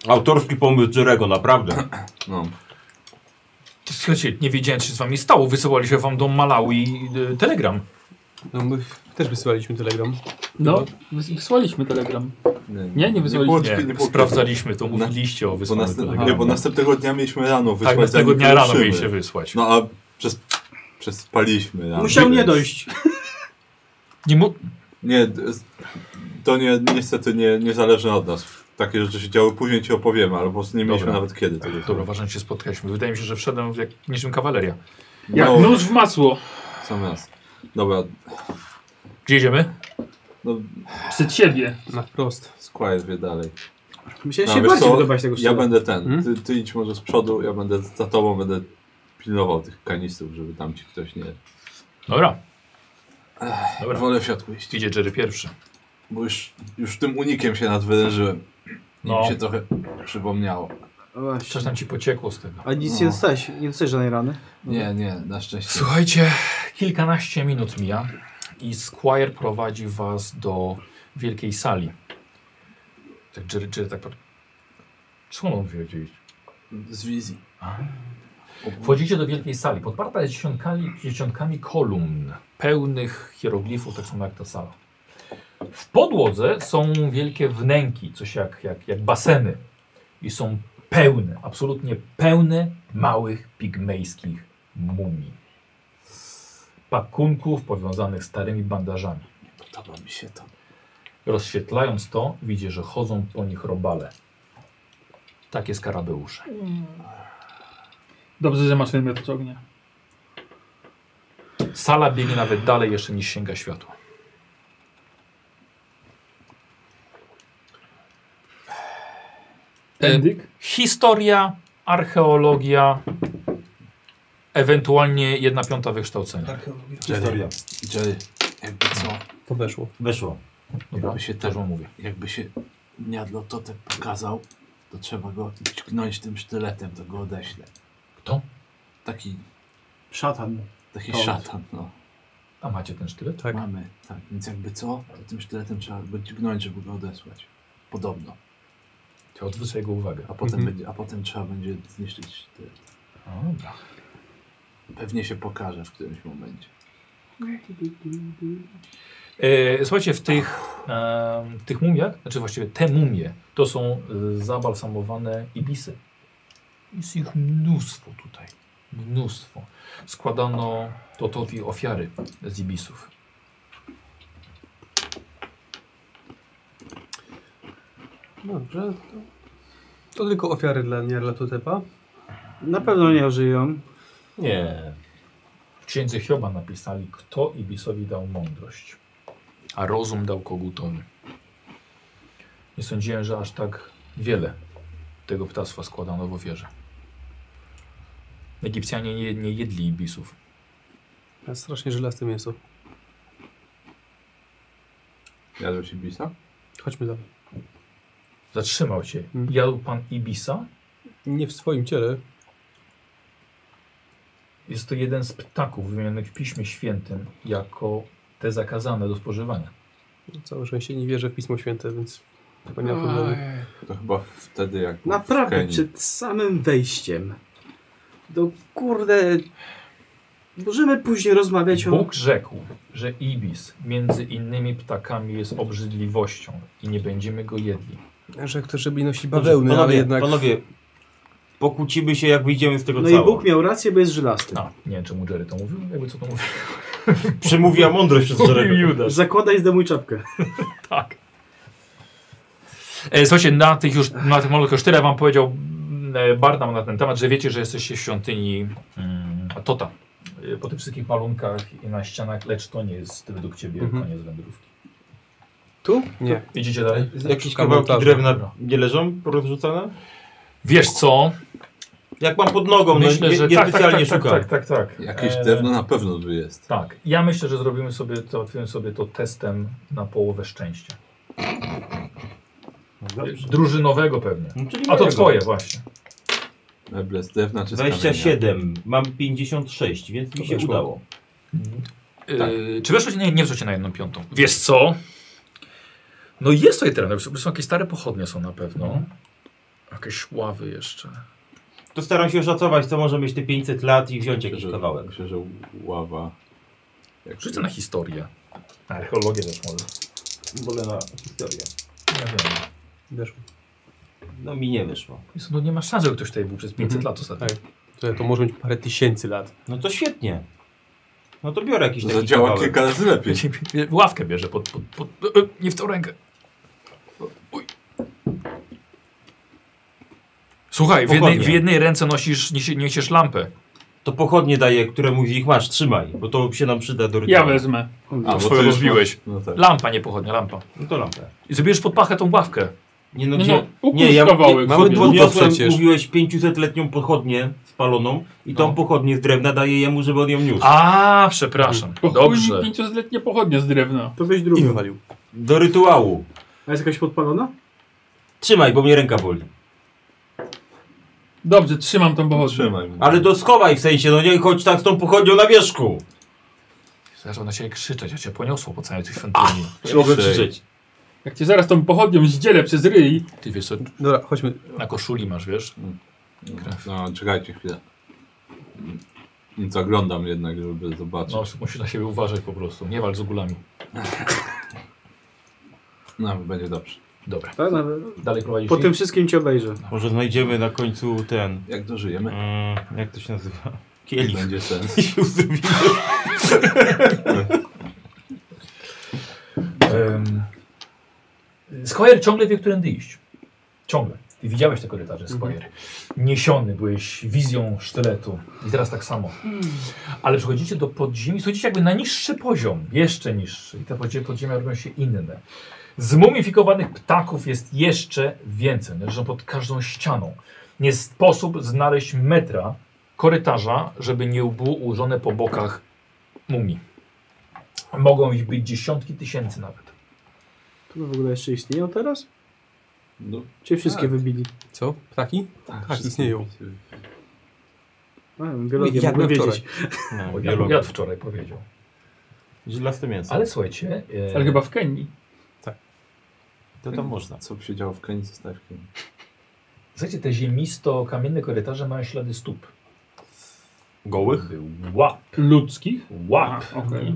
[SPEAKER 8] Autorski pomysł Jerego, naprawdę.
[SPEAKER 3] No.
[SPEAKER 1] Słuchajcie, nie wiedziałem, co się z wami stało. Wysyłaliśmy wam do Malawi y, telegram.
[SPEAKER 6] No, my też wysyłaliśmy telegram.
[SPEAKER 5] No, wys- wysłaliśmy telegram. Nie, nie wysłaliśmy.
[SPEAKER 3] było-
[SPEAKER 1] Nie,
[SPEAKER 3] było-
[SPEAKER 1] sprawdzaliśmy to,
[SPEAKER 3] Na-
[SPEAKER 1] mówiliście o
[SPEAKER 3] Bo,
[SPEAKER 1] wysłaniu
[SPEAKER 3] następ,
[SPEAKER 1] telegramu.
[SPEAKER 3] nie, bo następnego dnia mieliśmy rano wysłać.
[SPEAKER 1] Tak, następnego
[SPEAKER 3] zanim
[SPEAKER 1] dnia rano
[SPEAKER 3] wyruszymy.
[SPEAKER 1] mieliście wysłać.
[SPEAKER 3] No a przez, przespaliśmy rano.
[SPEAKER 4] Musiał nie
[SPEAKER 3] więc-
[SPEAKER 4] dojść.
[SPEAKER 1] Nie mu...
[SPEAKER 3] Nie, d- to nie, niestety nie, nie zależy od nas. Takie rzeczy się działy, później ci opowiemy, albo nie mieliśmy
[SPEAKER 1] Dobra.
[SPEAKER 3] nawet kiedy tego.
[SPEAKER 1] Dobra, ważne, że się spotkaliśmy. Wydaje mi się, że wszedłem w jak niczym kawaleria.
[SPEAKER 5] Jak
[SPEAKER 3] no,
[SPEAKER 5] nóż w masło.
[SPEAKER 3] sam raz. Dobra,
[SPEAKER 1] Gdzie idziemy?
[SPEAKER 3] no
[SPEAKER 5] Przed siebie.
[SPEAKER 6] Na wprost.
[SPEAKER 3] Squire wie dalej.
[SPEAKER 4] Musiałem
[SPEAKER 3] No,
[SPEAKER 4] się
[SPEAKER 3] wiesz
[SPEAKER 4] bardziej
[SPEAKER 3] co?
[SPEAKER 4] podobać tego
[SPEAKER 3] Ja
[SPEAKER 4] szczura.
[SPEAKER 3] będę ten,
[SPEAKER 6] Hmm?
[SPEAKER 3] ty, ty idź może z przodu, ja będę za tobą, będę pilnował tych kanistrów, żeby tam ci ktoś nie...
[SPEAKER 1] Dobra. Dobra.
[SPEAKER 3] Wolę w siatku iść,
[SPEAKER 1] Idzie Jerry pierwszy.
[SPEAKER 3] bo już, już tym unikiem się nadwyrężyłem. No.
[SPEAKER 1] No.
[SPEAKER 3] Mi się trochę przypomniało.
[SPEAKER 4] A właśnie.
[SPEAKER 1] Coś nam ci pociekło z tego.
[SPEAKER 4] A nic nie dostałeś, nie dostałeś żadnej rany.
[SPEAKER 3] Nie, nie, na szczęście.
[SPEAKER 1] Słuchajcie, kilkanaście minut mija i Squire prowadzi was do wielkiej sali. Tak, Jerry, Jerry tak patrzy. Co on wie gdzieś?
[SPEAKER 3] Z wizji.
[SPEAKER 1] Wchodzicie do wielkiej sali, podparta jest dziesiątkami, dziesiątkami kolumn, pełnych hieroglifów, tak samo jak ta sala. W podłodze są wielkie wnęki, coś jak, jak, jak baseny. I są pełne, absolutnie pełne małych pigmejskich mumii. Pakunków powiązanych starymi bandażami.
[SPEAKER 3] Podoba mi się to.
[SPEAKER 1] Rozświetlając to, widzi, że chodzą po nich robale. Takie skarabeusze.
[SPEAKER 5] Dobrze, że masz ten miotacz ognia.
[SPEAKER 1] Sala biegnie nawet dalej jeszcze niż sięga światła.
[SPEAKER 5] E, Endyk?
[SPEAKER 1] Historia, archeologia, ewentualnie jedna piąta wykształcenia.
[SPEAKER 8] Historia.
[SPEAKER 3] Jerry, jakby co,
[SPEAKER 6] To weszło.
[SPEAKER 8] Weszło.
[SPEAKER 1] Dobra,
[SPEAKER 3] Jakby się
[SPEAKER 1] też wam mówię.
[SPEAKER 3] jakby się Niadlototep pokazał, to trzeba go tknąć tym sztyletem, to go odeślę.
[SPEAKER 1] Kto?
[SPEAKER 3] Taki,
[SPEAKER 10] Szatan.
[SPEAKER 3] taki
[SPEAKER 10] Kołd.
[SPEAKER 3] szatan, no.
[SPEAKER 1] A macie ten sztylet?
[SPEAKER 6] Tak.
[SPEAKER 3] Mamy, tak. Więc jakby co, to tym sztyletem trzeba go dźgnąć, żeby go odesłać. Podobno.
[SPEAKER 1] To odwrócę jego uwagę.
[SPEAKER 3] A potem,
[SPEAKER 6] Mhm.
[SPEAKER 3] będzie, a potem trzeba będzie zniszczyć sztylet.
[SPEAKER 1] A, dobra.
[SPEAKER 3] Pewnie się pokaże w którymś momencie.
[SPEAKER 1] E, słuchajcie, w tych, e, tych mumiach, znaczy właściwie te mumie, to są e, zabalsamowane ibisy. Jest ich mnóstwo tutaj. Mnóstwo. Składano Totowi ofiary z ibisów.
[SPEAKER 6] Dobrze. To, to tylko ofiary dla Nierla Totepa.
[SPEAKER 4] No Na pewno nie ożyją.
[SPEAKER 11] Nie.
[SPEAKER 1] W księdze Hioba napisali, kto Ibisowi dał mądrość, a rozum dał kogutowi. Nie sądziłem, że aż tak wiele tego ptactwa składano w ofierze. Egipcjanie nie, nie jedli ibisów.
[SPEAKER 6] A strasznie żelaste mięso.
[SPEAKER 3] Jadłeś ibisa?
[SPEAKER 6] Chodźmy dalej.
[SPEAKER 1] Zatrzymał się. Jadł pan ibisa?
[SPEAKER 6] Nie w swoim ciele.
[SPEAKER 1] Jest to jeden z ptaków wymienionych w Piśmie Świętym jako te zakazane do spożywania.
[SPEAKER 6] Całe szczęście nie wierzę w Pismo Święte, więc chyba nie ma problemu.
[SPEAKER 3] To chyba wtedy jak był w
[SPEAKER 4] Naprawdę,
[SPEAKER 3] Kenii.
[SPEAKER 4] przed samym wejściem. Do kurde. Możemy później rozmawiać o.
[SPEAKER 1] Bóg rzekł, że ibis między innymi ptakami jest obrzydliwością i nie będziemy go jedli.
[SPEAKER 6] Że ktoś, żeby nosi bawełny,
[SPEAKER 8] panowie,
[SPEAKER 6] ale jednak...
[SPEAKER 8] Panowie, pokłócimy się jak wyjdziemy z tego
[SPEAKER 4] No i
[SPEAKER 8] cało.
[SPEAKER 4] Bóg miał rację, bo jest żelasty.
[SPEAKER 1] A, nie wiem, czemu Jerry to mówił, jakby co to mówił.
[SPEAKER 8] Przemówiła mądrość przez Jerego.
[SPEAKER 1] Mówił Judasz.
[SPEAKER 4] Zakładaj zdejmuj czapkę.
[SPEAKER 1] tak. E, słuchajcie, na tych już, na tych molekach tyle wam powiedział e, Barnum na ten temat, że wiecie, że jesteście w świątyni mm, Tota. E, po tych wszystkich malunkach i na ścianach, lecz to nie jest według ciebie
[SPEAKER 6] Mhm.
[SPEAKER 1] koniec wędrówki.
[SPEAKER 6] Tu? Nie.
[SPEAKER 1] Idziecie dalej?
[SPEAKER 8] Jakieś
[SPEAKER 6] Szukam
[SPEAKER 8] kawałki
[SPEAKER 6] ołtarza.
[SPEAKER 8] drewna nie leżą porozrzucane?
[SPEAKER 1] Wiesz co?
[SPEAKER 8] Jak mam pod nogą,
[SPEAKER 1] Myślę,
[SPEAKER 8] no, nie,
[SPEAKER 1] że
[SPEAKER 8] nie
[SPEAKER 1] tak,
[SPEAKER 8] specjalnie
[SPEAKER 1] tak, tak,
[SPEAKER 8] szukam.
[SPEAKER 1] tak, tak, tak, tak.
[SPEAKER 3] Jakieś
[SPEAKER 8] Eee,
[SPEAKER 1] E,
[SPEAKER 3] drewno na pewno tu jest.
[SPEAKER 1] Tak. Ja myślę, że zrobimy sobie, załatwimy sobie to testem na połowę szczęścia. Drużynowego pewnie.
[SPEAKER 8] No, czyli
[SPEAKER 1] A to
[SPEAKER 8] mojego.
[SPEAKER 1] twoje właśnie.
[SPEAKER 3] Meble z drewna czy z kamienia?
[SPEAKER 8] 27, mam 56, więc mi się
[SPEAKER 3] weszło.
[SPEAKER 8] udało.
[SPEAKER 1] Yy, czy weszło ci? Nie, nie weszło ci na jedną piątą. Wiesz co? No jest tutaj teren. Są są jakieś stare pochodnie są na pewno. Jakieś ławy jeszcze.
[SPEAKER 8] To staram się oszacować, co może mieć te 500 lat i wziąć jakiś
[SPEAKER 3] Że-
[SPEAKER 8] kawałek.
[SPEAKER 3] Myślę, że ława. Jak
[SPEAKER 1] Rzucę na historię. Na archeologię też może.
[SPEAKER 8] Wolę na historię.
[SPEAKER 1] Nie wiem.
[SPEAKER 6] Weszło.
[SPEAKER 8] No mi nie wyszło.
[SPEAKER 1] Jest, no nie ma szans, żeby ktoś tutaj był przez 500 lat ostatnio.
[SPEAKER 6] Tak. To, to może być parę tysięcy lat.
[SPEAKER 8] No to świetnie. No to biorę jakiś taki
[SPEAKER 3] Zadziała
[SPEAKER 8] kawałek.
[SPEAKER 3] kilka razy lepiej.
[SPEAKER 1] Ławkę bierze pod... pod, pod e, nie w tą rękę. Uj. Słuchaj, w jednej, w
[SPEAKER 8] Pochodnie.
[SPEAKER 1] jednej ręce nosisz, niesie- niesiesz lampę.
[SPEAKER 8] To pochodnie daję, któremuś z nich masz, trzymaj, bo to się nam przyda do rytuału.
[SPEAKER 5] Ja wezmę.
[SPEAKER 3] A, bo
[SPEAKER 1] swoją
[SPEAKER 3] ty już
[SPEAKER 1] rozbiłeś.
[SPEAKER 3] masz- No tak.
[SPEAKER 1] Lampa, nie pochodnia, lampa.
[SPEAKER 8] No to lampę.
[SPEAKER 1] I zabierzesz pod pachę tą ławkę.
[SPEAKER 8] Nie no,
[SPEAKER 5] No,
[SPEAKER 8] gdzie...
[SPEAKER 5] no,
[SPEAKER 8] nie, ja
[SPEAKER 5] ukrój kawałek
[SPEAKER 8] nie-
[SPEAKER 6] Mamy długo
[SPEAKER 8] podniosłem,
[SPEAKER 6] przecież.
[SPEAKER 8] mówiłeś 500-letnią pochodnię spaloną i tą pochodnię z drewna daję jemu, żeby on ją niósł.
[SPEAKER 1] A, przepraszam.
[SPEAKER 5] Bo Dobrze.
[SPEAKER 1] Dobrze.
[SPEAKER 5] chuj mi 500-letnie pochodnie z drewna.
[SPEAKER 10] To weź
[SPEAKER 6] I
[SPEAKER 10] drugą.
[SPEAKER 6] wywalił.
[SPEAKER 8] Do rytuału.
[SPEAKER 10] A jest jakaś podpalona?
[SPEAKER 8] Trzymaj, bo mnie ręka boli.
[SPEAKER 5] Dobrze, trzymam tą pochodnię.
[SPEAKER 3] Trzymaj. mu.
[SPEAKER 8] Ale to schowaj w sensie, no nie chodź tak z tą pochodnią na wierzchu.
[SPEAKER 1] Zaczął na ciebie krzyczeć, a cię poniosło po całej tej świątyni.
[SPEAKER 8] Nie mogę
[SPEAKER 3] Ciszej.
[SPEAKER 8] krzyczeć.
[SPEAKER 5] Jak cię zaraz tą pochodnią zdzielę przez ryj,
[SPEAKER 1] Ty wiesz co,
[SPEAKER 6] Dobra, chodźmy.
[SPEAKER 1] na koszuli masz, wiesz?
[SPEAKER 3] No, czekajcie chwilę. Mm, Zaglądam jednak, żeby zobaczyć.
[SPEAKER 1] No, musisz na siebie uważać po prostu. Nie walcz z ogólami.
[SPEAKER 3] No, będzie dobrze.
[SPEAKER 1] Dobra.
[SPEAKER 4] Tak, no,
[SPEAKER 1] Dalej prowadzisz
[SPEAKER 4] po
[SPEAKER 1] ich?
[SPEAKER 4] tym wszystkim cię obejrzę.
[SPEAKER 8] Może znajdziemy na końcu ten...
[SPEAKER 3] Jak dożyjemy,
[SPEAKER 8] Mm, jak to się nazywa? Kielich.
[SPEAKER 3] będzie sens.
[SPEAKER 8] I się uzdrowimy.
[SPEAKER 1] Em, Squire ciągle wie, którędy iść. Ciągle. Ty widziałeś te korytarze, Squire. Niesiony byłeś wizją sztyletu. I teraz tak samo. Ale przechodzicie do podziemi, schodzicie jakby na niższy poziom, jeszcze niższy. I te podzie- podziemia robią się inne. Zmumifikowanych ptaków jest jeszcze więcej. Leżą pod każdą ścianą. Nie sposób znaleźć metra korytarza, żeby nie było ułożone po bokach mumii. Mogą ich być dziesiątki tysięcy nawet.
[SPEAKER 4] To w ogóle jeszcze istnieją teraz?
[SPEAKER 3] No,
[SPEAKER 4] Czy wszystkie
[SPEAKER 3] Tak.
[SPEAKER 4] wybili?
[SPEAKER 6] Co? Ptaki? Tak,
[SPEAKER 3] wszystko-
[SPEAKER 6] istnieją.
[SPEAKER 4] A, biologię
[SPEAKER 6] Jak
[SPEAKER 4] mogłem
[SPEAKER 6] na wczoraj.
[SPEAKER 4] wiedzieć.
[SPEAKER 8] No,
[SPEAKER 1] Ja,
[SPEAKER 8] biolog.
[SPEAKER 1] ja wczoraj powiedział.
[SPEAKER 8] Żylaste mięso.
[SPEAKER 1] Ale słuchajcie, e,
[SPEAKER 5] ale chyba w Kenii.
[SPEAKER 8] To tam można.
[SPEAKER 3] Co by się działo w Kenii, zostaje w Kenii.
[SPEAKER 1] słuchajcie, te ziemisto-kamienne korytarze mają ślady stóp.
[SPEAKER 8] Gołych?
[SPEAKER 1] Był łap,
[SPEAKER 5] Ludzkich?
[SPEAKER 1] łap.
[SPEAKER 5] A, okej.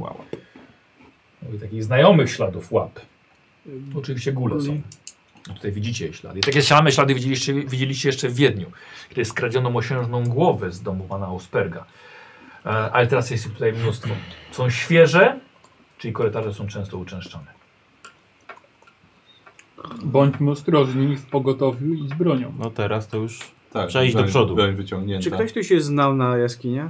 [SPEAKER 1] Mówię, takich znajomych śladów łap. Tu Oczywiście góle są. No Tutaj widzicie jej ślady. I takie same ślady widzieliście, widzieliście jeszcze w Wiedniu, kiedy skradziono mosiężną głowę z domu pana Ausperga. E, ale teraz jest ich tutaj mnóstwo. Są świeże, czyli korytarze są często uczęszczane.
[SPEAKER 5] Bądźmy ostrożni w pogotowiu i z bronią.
[SPEAKER 8] No teraz to już...
[SPEAKER 3] Tak,
[SPEAKER 8] Trzeba iść do
[SPEAKER 3] broń-
[SPEAKER 8] przodu.
[SPEAKER 3] Broń wyciągnięta.
[SPEAKER 4] Czy ktoś tu się znał na jaskiniach?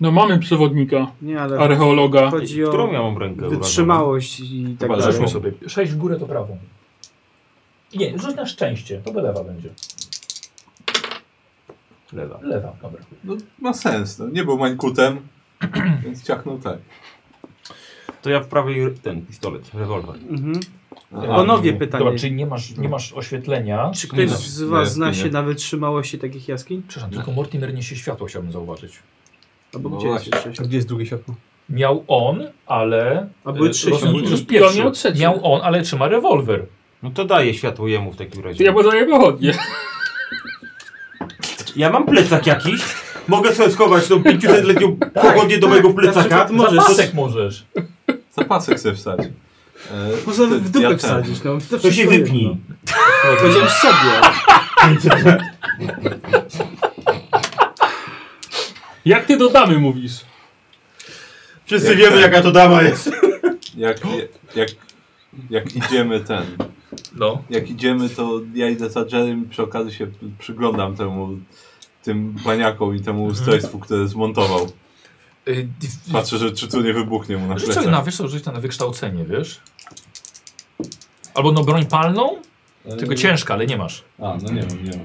[SPEAKER 5] No mamy przewodnika,
[SPEAKER 4] Nie, ale
[SPEAKER 5] archeologa.
[SPEAKER 4] chodzi o
[SPEAKER 8] Którą ja mam rękę
[SPEAKER 4] wytrzymałość i tak
[SPEAKER 3] Chyba
[SPEAKER 4] dalej.
[SPEAKER 1] Rzućmy sobie. 6 w górę to prawą. Nie, rzuć na szczęście. To by lewa będzie.
[SPEAKER 8] Lewa.
[SPEAKER 1] Lewa, dobra.
[SPEAKER 3] No, ma sens, no. nie był mańkutem, więc ciachnął tak.
[SPEAKER 8] To ja w prawej ten pistolet, rewolwer.
[SPEAKER 4] Mhm.
[SPEAKER 3] A, no,
[SPEAKER 4] Panowie,
[SPEAKER 1] nie.
[SPEAKER 4] pytanie.
[SPEAKER 1] Dobra, czyli nie masz, nie masz oświetlenia.
[SPEAKER 4] Czy ktoś
[SPEAKER 3] Nie,
[SPEAKER 4] z
[SPEAKER 3] nie,
[SPEAKER 4] was
[SPEAKER 3] nie,
[SPEAKER 4] zna
[SPEAKER 3] nie.
[SPEAKER 4] się na wytrzymałości takich jaskiń?
[SPEAKER 1] Przepraszam, tylko Mortimer niesie światło, chciałbym zauważyć.
[SPEAKER 4] Albo
[SPEAKER 3] No
[SPEAKER 4] gdzie jest
[SPEAKER 3] właśnie.
[SPEAKER 4] jeszcze?
[SPEAKER 6] A gdzie jest drugie światło?
[SPEAKER 1] Miał on, ale...
[SPEAKER 4] A były
[SPEAKER 1] e,
[SPEAKER 4] trzy
[SPEAKER 1] rozumiem,
[SPEAKER 5] światła.
[SPEAKER 1] że jest
[SPEAKER 5] I
[SPEAKER 1] pierwszy.
[SPEAKER 5] on miał trzecie.
[SPEAKER 1] Miał on, ale trzyma rewolwer.
[SPEAKER 8] No to daję światło jemu w takim razie.
[SPEAKER 5] Ja podaję pochodnie.
[SPEAKER 8] Ja mam plecak jakiś. Mogę sobie schować tą 500-letnią pochodnię do mojego plecaka.
[SPEAKER 1] Zapasek możesz.
[SPEAKER 3] Zapasek sobie wsadź. E,
[SPEAKER 4] Poza
[SPEAKER 3] ty-
[SPEAKER 4] w dupę
[SPEAKER 3] ja ten-
[SPEAKER 4] wsadzić, no. To,
[SPEAKER 8] To się
[SPEAKER 4] wszystko
[SPEAKER 8] wypnij.
[SPEAKER 4] jedno. Powiedziałem sobie.
[SPEAKER 5] Jak ty do damy mówisz?
[SPEAKER 8] Wszyscy wiemy jaka to dama jest.
[SPEAKER 3] Jak, jak, jak idziemy ten,
[SPEAKER 1] No.
[SPEAKER 3] jak idziemy to ja idę za Jerem przy okazji się przyglądam temu, tym baniakom i temu
[SPEAKER 1] Mhm.
[SPEAKER 3] ustrojstwu, które zmontował. Patrzę, że czy tu nie wybuchnie mu na
[SPEAKER 1] Y, Rzuć sobie na,
[SPEAKER 3] plecach.
[SPEAKER 1] wiesz, co, rzuć na wykształcenie, wiesz? Albo no broń palną,
[SPEAKER 3] Y.
[SPEAKER 1] tylko ciężka, ale nie masz.
[SPEAKER 3] A, no nie wiem, nie wiem.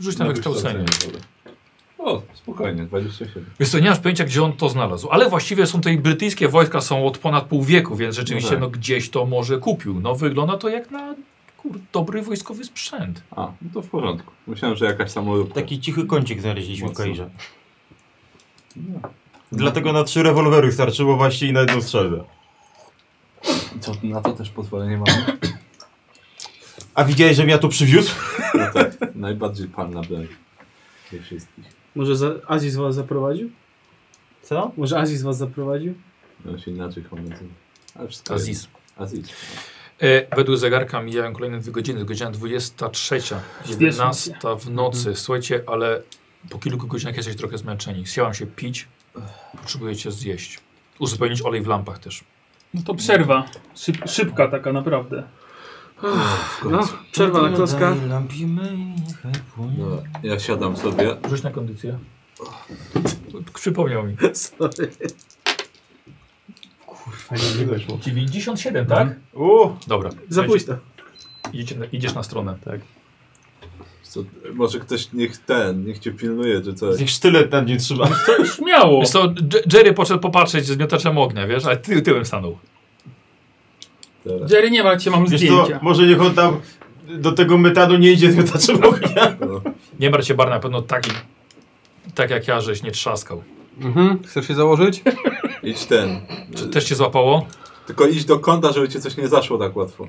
[SPEAKER 1] Rzuć na wykształcenie.
[SPEAKER 3] O, spokojnie, 27.
[SPEAKER 1] Wiesz co, nie masz pojęcia, gdzie on to znalazł. Ale właściwie są tutaj brytyjskie wojska, są od ponad pół wieku, więc rzeczywiście
[SPEAKER 3] No tak.
[SPEAKER 1] no, gdzieś to może kupił. No wygląda to jak na kur, dobry wojskowy sprzęt.
[SPEAKER 3] A, no to w porządku. Myślałem, że jakaś samolubka.
[SPEAKER 8] Taki cichy kącik znaleźliśmy w Kairze.
[SPEAKER 3] No.
[SPEAKER 8] Dlatego na trzy rewolwery starczyło właśnie i na jedną strzelbę.
[SPEAKER 3] Co, na to też pozwolenie mamy?
[SPEAKER 8] A widziałeś, że ja to przywiózł?
[SPEAKER 3] No tak, najbardziej palna broń. ze wszystkich.
[SPEAKER 4] Może za, Aziz was zaprowadził?
[SPEAKER 8] Co?
[SPEAKER 4] Może Aziz was zaprowadził?
[SPEAKER 3] No się inaczej chyba nazywa. Ale wszystko
[SPEAKER 1] Aziz.
[SPEAKER 3] jedno. Aziz.
[SPEAKER 1] E, według zegarka mijają kolejne dwie godziny, godzina 23, 11 w nocy. Słuchajcie, ale po kilku godzinach jesteście trochę zmęczeni. Chciałam się pić, potrzebujecie zjeść. Uzupełnić olej w lampach też.
[SPEAKER 5] No to przerwa. Szyb, szybka taka naprawdę.
[SPEAKER 4] No, przerwa na klocka.
[SPEAKER 3] No, ja siadam sobie.
[SPEAKER 1] Rzuć na kondycję. Przypomniał mi.
[SPEAKER 4] Sorry.
[SPEAKER 1] 97, tak?
[SPEAKER 8] U,
[SPEAKER 1] Dobra.
[SPEAKER 4] Za późno.
[SPEAKER 1] Idziecie na, idziesz na stronę. Tak.
[SPEAKER 3] Co, może ktoś niech ten, niech cię pilnuje, czy coś.
[SPEAKER 8] niech sztylet na mnie trzyma.
[SPEAKER 5] To śmiało.
[SPEAKER 1] Wiesz co, Dż- Jerry poszedł popatrzeć z miotaczem ognia, wiesz, ale ty tyłem stanął.
[SPEAKER 3] Teraz.
[SPEAKER 5] Jerry nie ma cię, mam
[SPEAKER 8] Wiesz co,
[SPEAKER 5] zdjęcia.
[SPEAKER 8] może niech on tam do tego metanu nie idzie znaczy z miotaczem ognia.
[SPEAKER 3] No,
[SPEAKER 1] Nie martw się, Bar, na pewno taki, tak jak ja, żeś nie trzaskał.
[SPEAKER 6] Mhm. Chcesz się założyć?
[SPEAKER 3] idź ten.
[SPEAKER 1] Czy też cię złapało?
[SPEAKER 3] Tylko idź do kąta, żeby cię coś nie zaszło tak łatwo.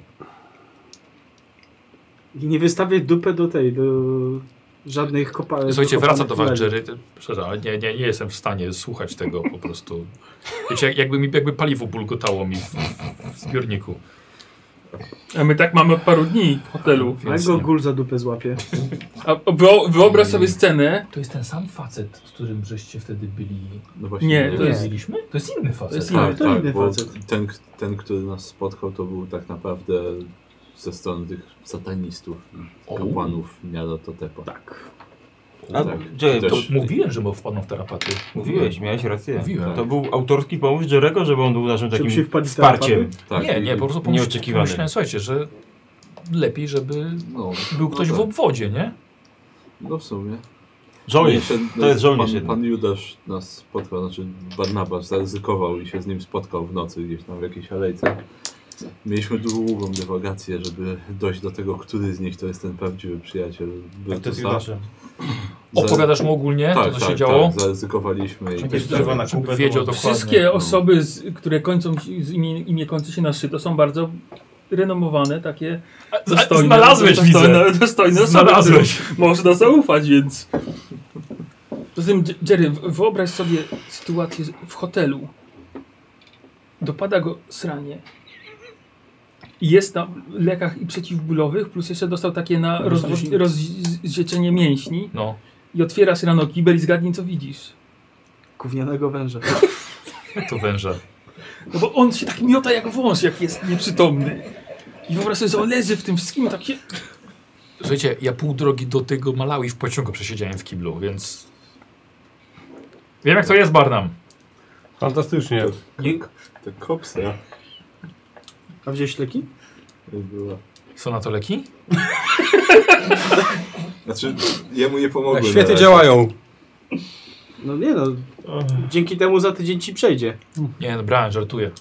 [SPEAKER 4] I nie wystawię dupę do tej, do żadnych kopalni.
[SPEAKER 1] Słuchajcie, wraca do was Jerry. Szczerze, ale nie, nie, nie jestem w stanie słuchać tego po prostu. Wiecie, jak- jakby, mi, jakby paliwo bulgotało mi w, w zbiorniku.
[SPEAKER 5] A my tak mamy od paru dni w hotelu.
[SPEAKER 1] Więc
[SPEAKER 4] Jak go
[SPEAKER 1] nie.
[SPEAKER 4] gul za dupę złapie.
[SPEAKER 5] A wyo- wyobraź sobie scenę.
[SPEAKER 1] To jest ten sam facet, z którym żeście wtedy byli.
[SPEAKER 3] No właśnie.
[SPEAKER 5] Nie, to
[SPEAKER 4] Nie.
[SPEAKER 5] jest...
[SPEAKER 1] To jest inny facet.
[SPEAKER 5] jest
[SPEAKER 3] tak,
[SPEAKER 4] inny, to
[SPEAKER 3] tak,
[SPEAKER 4] inny
[SPEAKER 3] bo
[SPEAKER 4] facet.
[SPEAKER 3] ten, ten, który nas spotkał, to był tak naprawdę ze strony tych satanistów i
[SPEAKER 1] O.
[SPEAKER 3] kapłanów Miarototepa. Tak.
[SPEAKER 8] A,
[SPEAKER 3] tak.
[SPEAKER 8] gdzie-
[SPEAKER 1] To
[SPEAKER 3] Też,
[SPEAKER 1] mówiłem, że mu wpadną w tarapaty.
[SPEAKER 8] Mówiłeś, miałeś rację.
[SPEAKER 1] Mówiłem.
[SPEAKER 8] To był autorski pomysł Jerego, żeby on był naszym
[SPEAKER 4] Żeby
[SPEAKER 8] takim
[SPEAKER 4] się wpadli w tarapaty?
[SPEAKER 8] wsparciem.
[SPEAKER 3] tak.
[SPEAKER 1] nie,
[SPEAKER 3] i-
[SPEAKER 1] nie, po prostu pomyśl,
[SPEAKER 8] nieoczekiwany.
[SPEAKER 1] pomyślałem, słuchajcie, że lepiej, żeby
[SPEAKER 3] No,
[SPEAKER 1] był ktoś
[SPEAKER 3] no
[SPEAKER 1] w
[SPEAKER 3] tak.
[SPEAKER 1] obwodzie, nie?
[SPEAKER 3] No w sumie.
[SPEAKER 8] Żołnierz.
[SPEAKER 3] Ten-
[SPEAKER 8] To jest żołnierz
[SPEAKER 3] Pan,
[SPEAKER 8] jednak.
[SPEAKER 3] pan Judasz nas spotkał, znaczy Barnabasz zaryzykował i się z nim spotkał w nocy gdzieś tam w jakiejś alejce. Mieliśmy długą dywagację, żeby dojść do tego, który z nich to jest ten prawdziwy przyjaciel. Był
[SPEAKER 8] To jest
[SPEAKER 3] za-
[SPEAKER 8] Judaszem.
[SPEAKER 3] za-
[SPEAKER 1] Opowiadasz mu ogólnie
[SPEAKER 3] tak,
[SPEAKER 1] to, co
[SPEAKER 3] tak,
[SPEAKER 1] się działo?
[SPEAKER 3] Tak, zaryzykowaliśmy i
[SPEAKER 8] Jakieś
[SPEAKER 3] tak
[SPEAKER 8] drzewa na
[SPEAKER 3] dalej.
[SPEAKER 1] Żeby
[SPEAKER 8] kupę.
[SPEAKER 1] wiedział
[SPEAKER 8] to-
[SPEAKER 1] dokładnie. no.
[SPEAKER 5] Wszystkie osoby, z, które kończą się- z imię, imię kończy się na szy, to są bardzo renomowane, takie
[SPEAKER 1] A, Znalazłeś, widzę.
[SPEAKER 5] dostojne, dostojne osoby,
[SPEAKER 1] Znalazłeś.
[SPEAKER 5] którym można zaufać, więc... Poza tym, Dż- Jerry, w- wyobraź sobie sytuację w hotelu. Dopada go sranie. I Jest na lekach i przeciwbólowych, plus jeszcze dostał takie na rozwo- rozzieczenie mięśni.
[SPEAKER 1] No.
[SPEAKER 5] I otwierasz rano kibel i zgadnij, co widzisz.
[SPEAKER 4] Gównianego węża.
[SPEAKER 1] To węże.
[SPEAKER 5] No bo on się tak miota jak wąż, jak jest nieprzytomny. I wyobraź sobie, że on leży w tym wszystkim, tak się...
[SPEAKER 1] Słuchajcie, ja pół drogi do tego Malawi w pociągu przesiedziałem w kiblu, więc Wiem jak to jest, Barnum.
[SPEAKER 6] Fantastycznie.
[SPEAKER 3] To kopsa
[SPEAKER 10] A wziąłeś leki?
[SPEAKER 3] była.
[SPEAKER 1] Są na to leki?
[SPEAKER 3] Znaczy, jemu nie pomogło.
[SPEAKER 6] Tak, świetnie
[SPEAKER 3] na
[SPEAKER 6] działają.
[SPEAKER 10] No nie no. Dzięki temu za tydzień ci przejdzie.
[SPEAKER 1] Nie, no brałem, żartuję.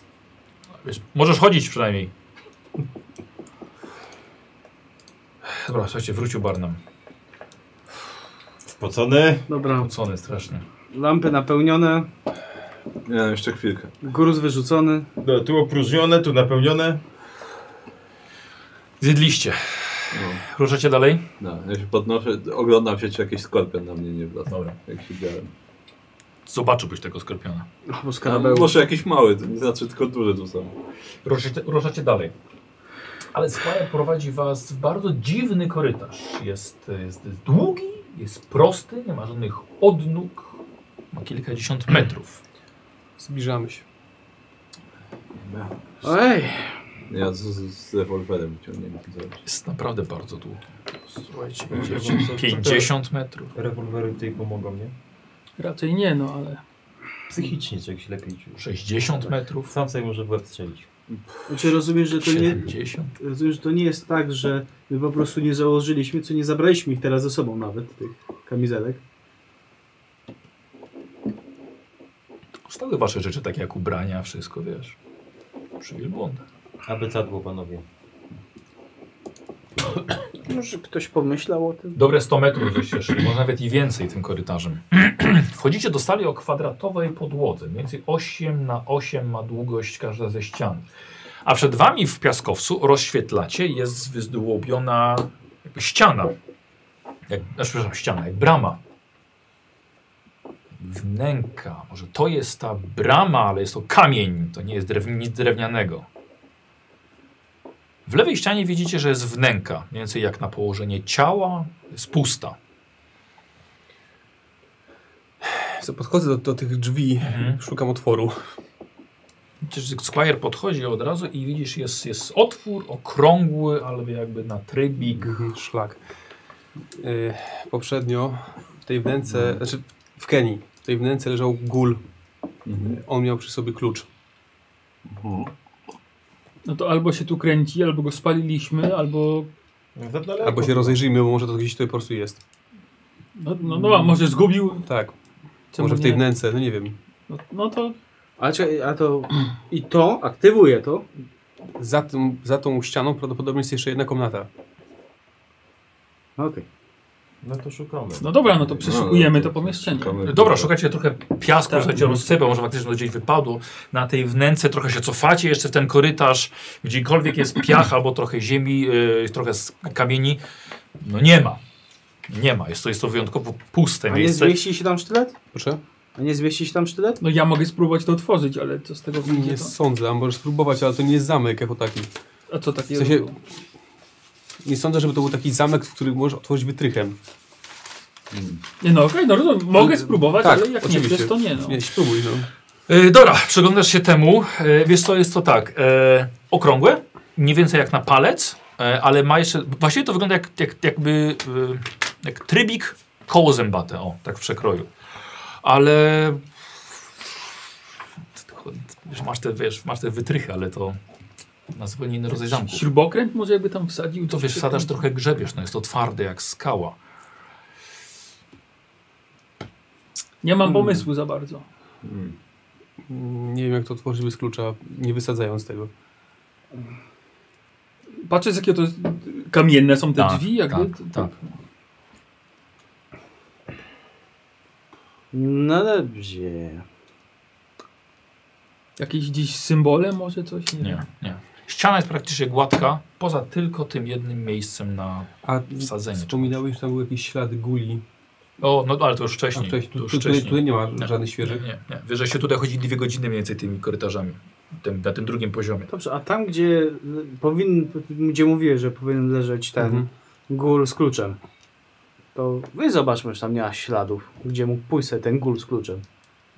[SPEAKER 1] Wiesz, możesz chodzić przynajmniej. Dobra, słuchajcie, wrócił Barnum.
[SPEAKER 8] Spocony.
[SPEAKER 10] Dobra.
[SPEAKER 1] Mocony strasznie.
[SPEAKER 10] Lampy napełnione,
[SPEAKER 3] Nie, no, jeszcze chwilkę.
[SPEAKER 10] gruz wyrzucony.
[SPEAKER 8] No, tu opróżnione, tu napełnione.
[SPEAKER 1] Zjedliście.
[SPEAKER 3] No.
[SPEAKER 1] Ruszacie dalej?
[SPEAKER 3] No, ja się podnoszę, oglądam się, czy jakiś skorpion na mnie nie wlazł. Dobra. Jak siedziałem.
[SPEAKER 1] Zobaczyłbyś tego skorpiona.
[SPEAKER 10] Albo
[SPEAKER 3] A,
[SPEAKER 10] skarabeusz.
[SPEAKER 3] może jakiś mały, to nie znaczy tylko duże tu są.
[SPEAKER 1] Ruszacie, ruszacie dalej. Ale Squire prowadzi was w bardzo dziwny korytarz. Jest, jest, jest długi, jest prosty, nie ma żadnych odnóg. Ma kilkadziesiąt metrów.
[SPEAKER 6] Zbliżamy się.
[SPEAKER 10] Ej,
[SPEAKER 3] Ja z, z, z rewolwerem wyciągnięty. zobacz.
[SPEAKER 1] Jest naprawdę bardzo długi. Słuchajcie,
[SPEAKER 8] Ja
[SPEAKER 1] idziecie.
[SPEAKER 8] mam co-
[SPEAKER 1] 50 metrów.
[SPEAKER 8] Rewolwery tutaj pomogą, nie?
[SPEAKER 5] Raczej nie, no ale
[SPEAKER 8] Psychicznie czegoś lepiej czujesz.
[SPEAKER 1] 60 metrów.
[SPEAKER 8] Sam sobie może w łeb strzelić.
[SPEAKER 10] znaczy rozumiesz, że to nie,
[SPEAKER 1] 70.
[SPEAKER 10] rozumiesz, że to nie jest tak, że my po prostu nie założyliśmy, co nie zabraliśmy ich teraz ze sobą nawet, tych kamizelek.
[SPEAKER 1] Stały wasze rzeczy, takie jak ubrania, wszystko, wiesz. Przy wielbłądach.
[SPEAKER 8] Aby cadło, panowie.
[SPEAKER 4] Może ktoś pomyślał o tym?
[SPEAKER 1] Dobre 100 metrów żeście szli, może nawet i więcej tym korytarzem. Wchodzicie do sali o kwadratowej podłodze, mniej więcej 8 na 8 ma długość każda ze ścian. A przed wami w piaskowcu rozświetlacie jest wyzdłobiona jakby ściana. Jak, znaczy, przepraszam, ściana, jak brama. Wnęka, może to jest ta brama, ale jest to kamień, to nie jest drewni, nic drewnianego. W lewej ścianie widzicie, że jest wnęka, mniej więcej jak na położenie ciała, jest pusta.
[SPEAKER 6] Co, Podchodzę do, do tych drzwi,
[SPEAKER 1] Mhm.
[SPEAKER 6] szukam otworu.
[SPEAKER 1] Przecież Squire podchodzi od razu i widzisz, jest, jest otwór okrągły, albo jakby na trybik.
[SPEAKER 6] Mhm, Szlak. Y, poprzednio w tej wnęce, znaczy w Kenii, w tej wnęce leżał gul. Y, On miał przy sobie klucz.
[SPEAKER 5] no to albo się tu kręci, albo go spaliliśmy, albo
[SPEAKER 8] No, za daleko.
[SPEAKER 6] Albo się rozejrzyjmy, bo może to gdzieś tutaj po prostu jest.
[SPEAKER 5] no, no, no a może zgubił.
[SPEAKER 6] Tak,
[SPEAKER 5] Czemu
[SPEAKER 6] może w tej
[SPEAKER 5] nie?
[SPEAKER 6] wnęce, no nie wiem.
[SPEAKER 5] No, no to
[SPEAKER 10] A, czekaj, a to... I to aktywuje to.
[SPEAKER 6] Za, tym, za tą ścianą prawdopodobnie jest jeszcze jedna komnata.
[SPEAKER 10] Okej.
[SPEAKER 8] No to szukamy.
[SPEAKER 5] no dobra, no to przeszukujemy to pomieszczenie.
[SPEAKER 3] Szukamy-
[SPEAKER 1] Dobra, szukacie trochę piasku,
[SPEAKER 5] Tak.
[SPEAKER 1] słuchajcie, rozsypał, może faktycznie to gdzieś wypadło. Na tej wnęce trochę się cofacie jeszcze w ten korytarz, gdziekolwiek jest piach albo trochę ziemi, yy, trochę z kamieni. No nie ma. Nie ma, jest to, jest to wyjątkowo puste
[SPEAKER 10] A nie
[SPEAKER 1] miejsce.
[SPEAKER 10] zmieści się tam sztylet?
[SPEAKER 6] Proszę?
[SPEAKER 10] A nie zmieści się tam sztylet?
[SPEAKER 5] No ja mogę spróbować to otworzyć, ale co z tego
[SPEAKER 6] Nie
[SPEAKER 5] wyjdzie to?
[SPEAKER 6] sądzę, a możesz spróbować, ale to nie jest zamek jako taki.
[SPEAKER 5] A co takie?
[SPEAKER 6] W sensie- Nie sądzę, żeby to był taki zamek, który możesz otworzyć wytrychem.
[SPEAKER 5] Nie no okej, no rozumiem. Mogę spróbować,
[SPEAKER 6] tak,
[SPEAKER 5] ale jak nie
[SPEAKER 6] oczywiście.
[SPEAKER 5] chcesz, to nie no.
[SPEAKER 6] Nie, spróbuj no.
[SPEAKER 1] Yy, dobra, przyglądasz się temu. Yy, wiesz co, jest to tak. Yy, okrągłe, mniej więcej jak na palec, yy, ale ma jeszcze... Właściwie to wygląda jak, jak, jakby... Yy, jak trybik koło zębate, o, tak w przekroju. Ale... Wiesz, masz te, wiesz, masz te wytrychy, ale to na zupełnie inny rodzaj zamku.
[SPEAKER 5] Śrubokręt może jakby tam wsadził.
[SPEAKER 1] To wiesz, wsadasz trochę grzebiesz, no jest to twarde jak skała.
[SPEAKER 5] Nie mam pomysłu za bardzo.
[SPEAKER 6] Mm, Nie wiem jak to otworzyć bez klucza, nie wysadzając tego.
[SPEAKER 5] Patrzę z jakiego to jest... Kamienne są te
[SPEAKER 1] Tak,
[SPEAKER 5] drzwi jakby.
[SPEAKER 1] tak, tak.
[SPEAKER 4] No dobrze.
[SPEAKER 5] Jakieś gdzieś symbole może coś? Nie.
[SPEAKER 1] Nie, nie. Ściana jest praktycznie gładka, poza tylko tym jednym miejscem na
[SPEAKER 6] A
[SPEAKER 1] wsadzenie.
[SPEAKER 6] wspominałeś, że tam był jakiś ślad guli.
[SPEAKER 1] O, no ale to już
[SPEAKER 6] A
[SPEAKER 1] wcześniej.
[SPEAKER 6] wcześniej,
[SPEAKER 1] to
[SPEAKER 6] tu,
[SPEAKER 1] już
[SPEAKER 6] tu, tutaj,
[SPEAKER 1] wcześniej.
[SPEAKER 6] tutaj nie ma
[SPEAKER 1] Nie,
[SPEAKER 6] żadnych świeżych.
[SPEAKER 1] Nie, nie, nie. Wiesz, że się tutaj chodzi dwie godziny mniej więcej tymi korytarzami. Tym, na tym drugim poziomie.
[SPEAKER 10] Dobrze, a tam gdzie y, powinien, gdzie mówiłeś, że powinien leżeć ten
[SPEAKER 6] Mhm.
[SPEAKER 10] gól z kluczem, to wy zobaczmy, czy tam nie ma śladów, gdzie mógł pójść sobie ten gól z kluczem.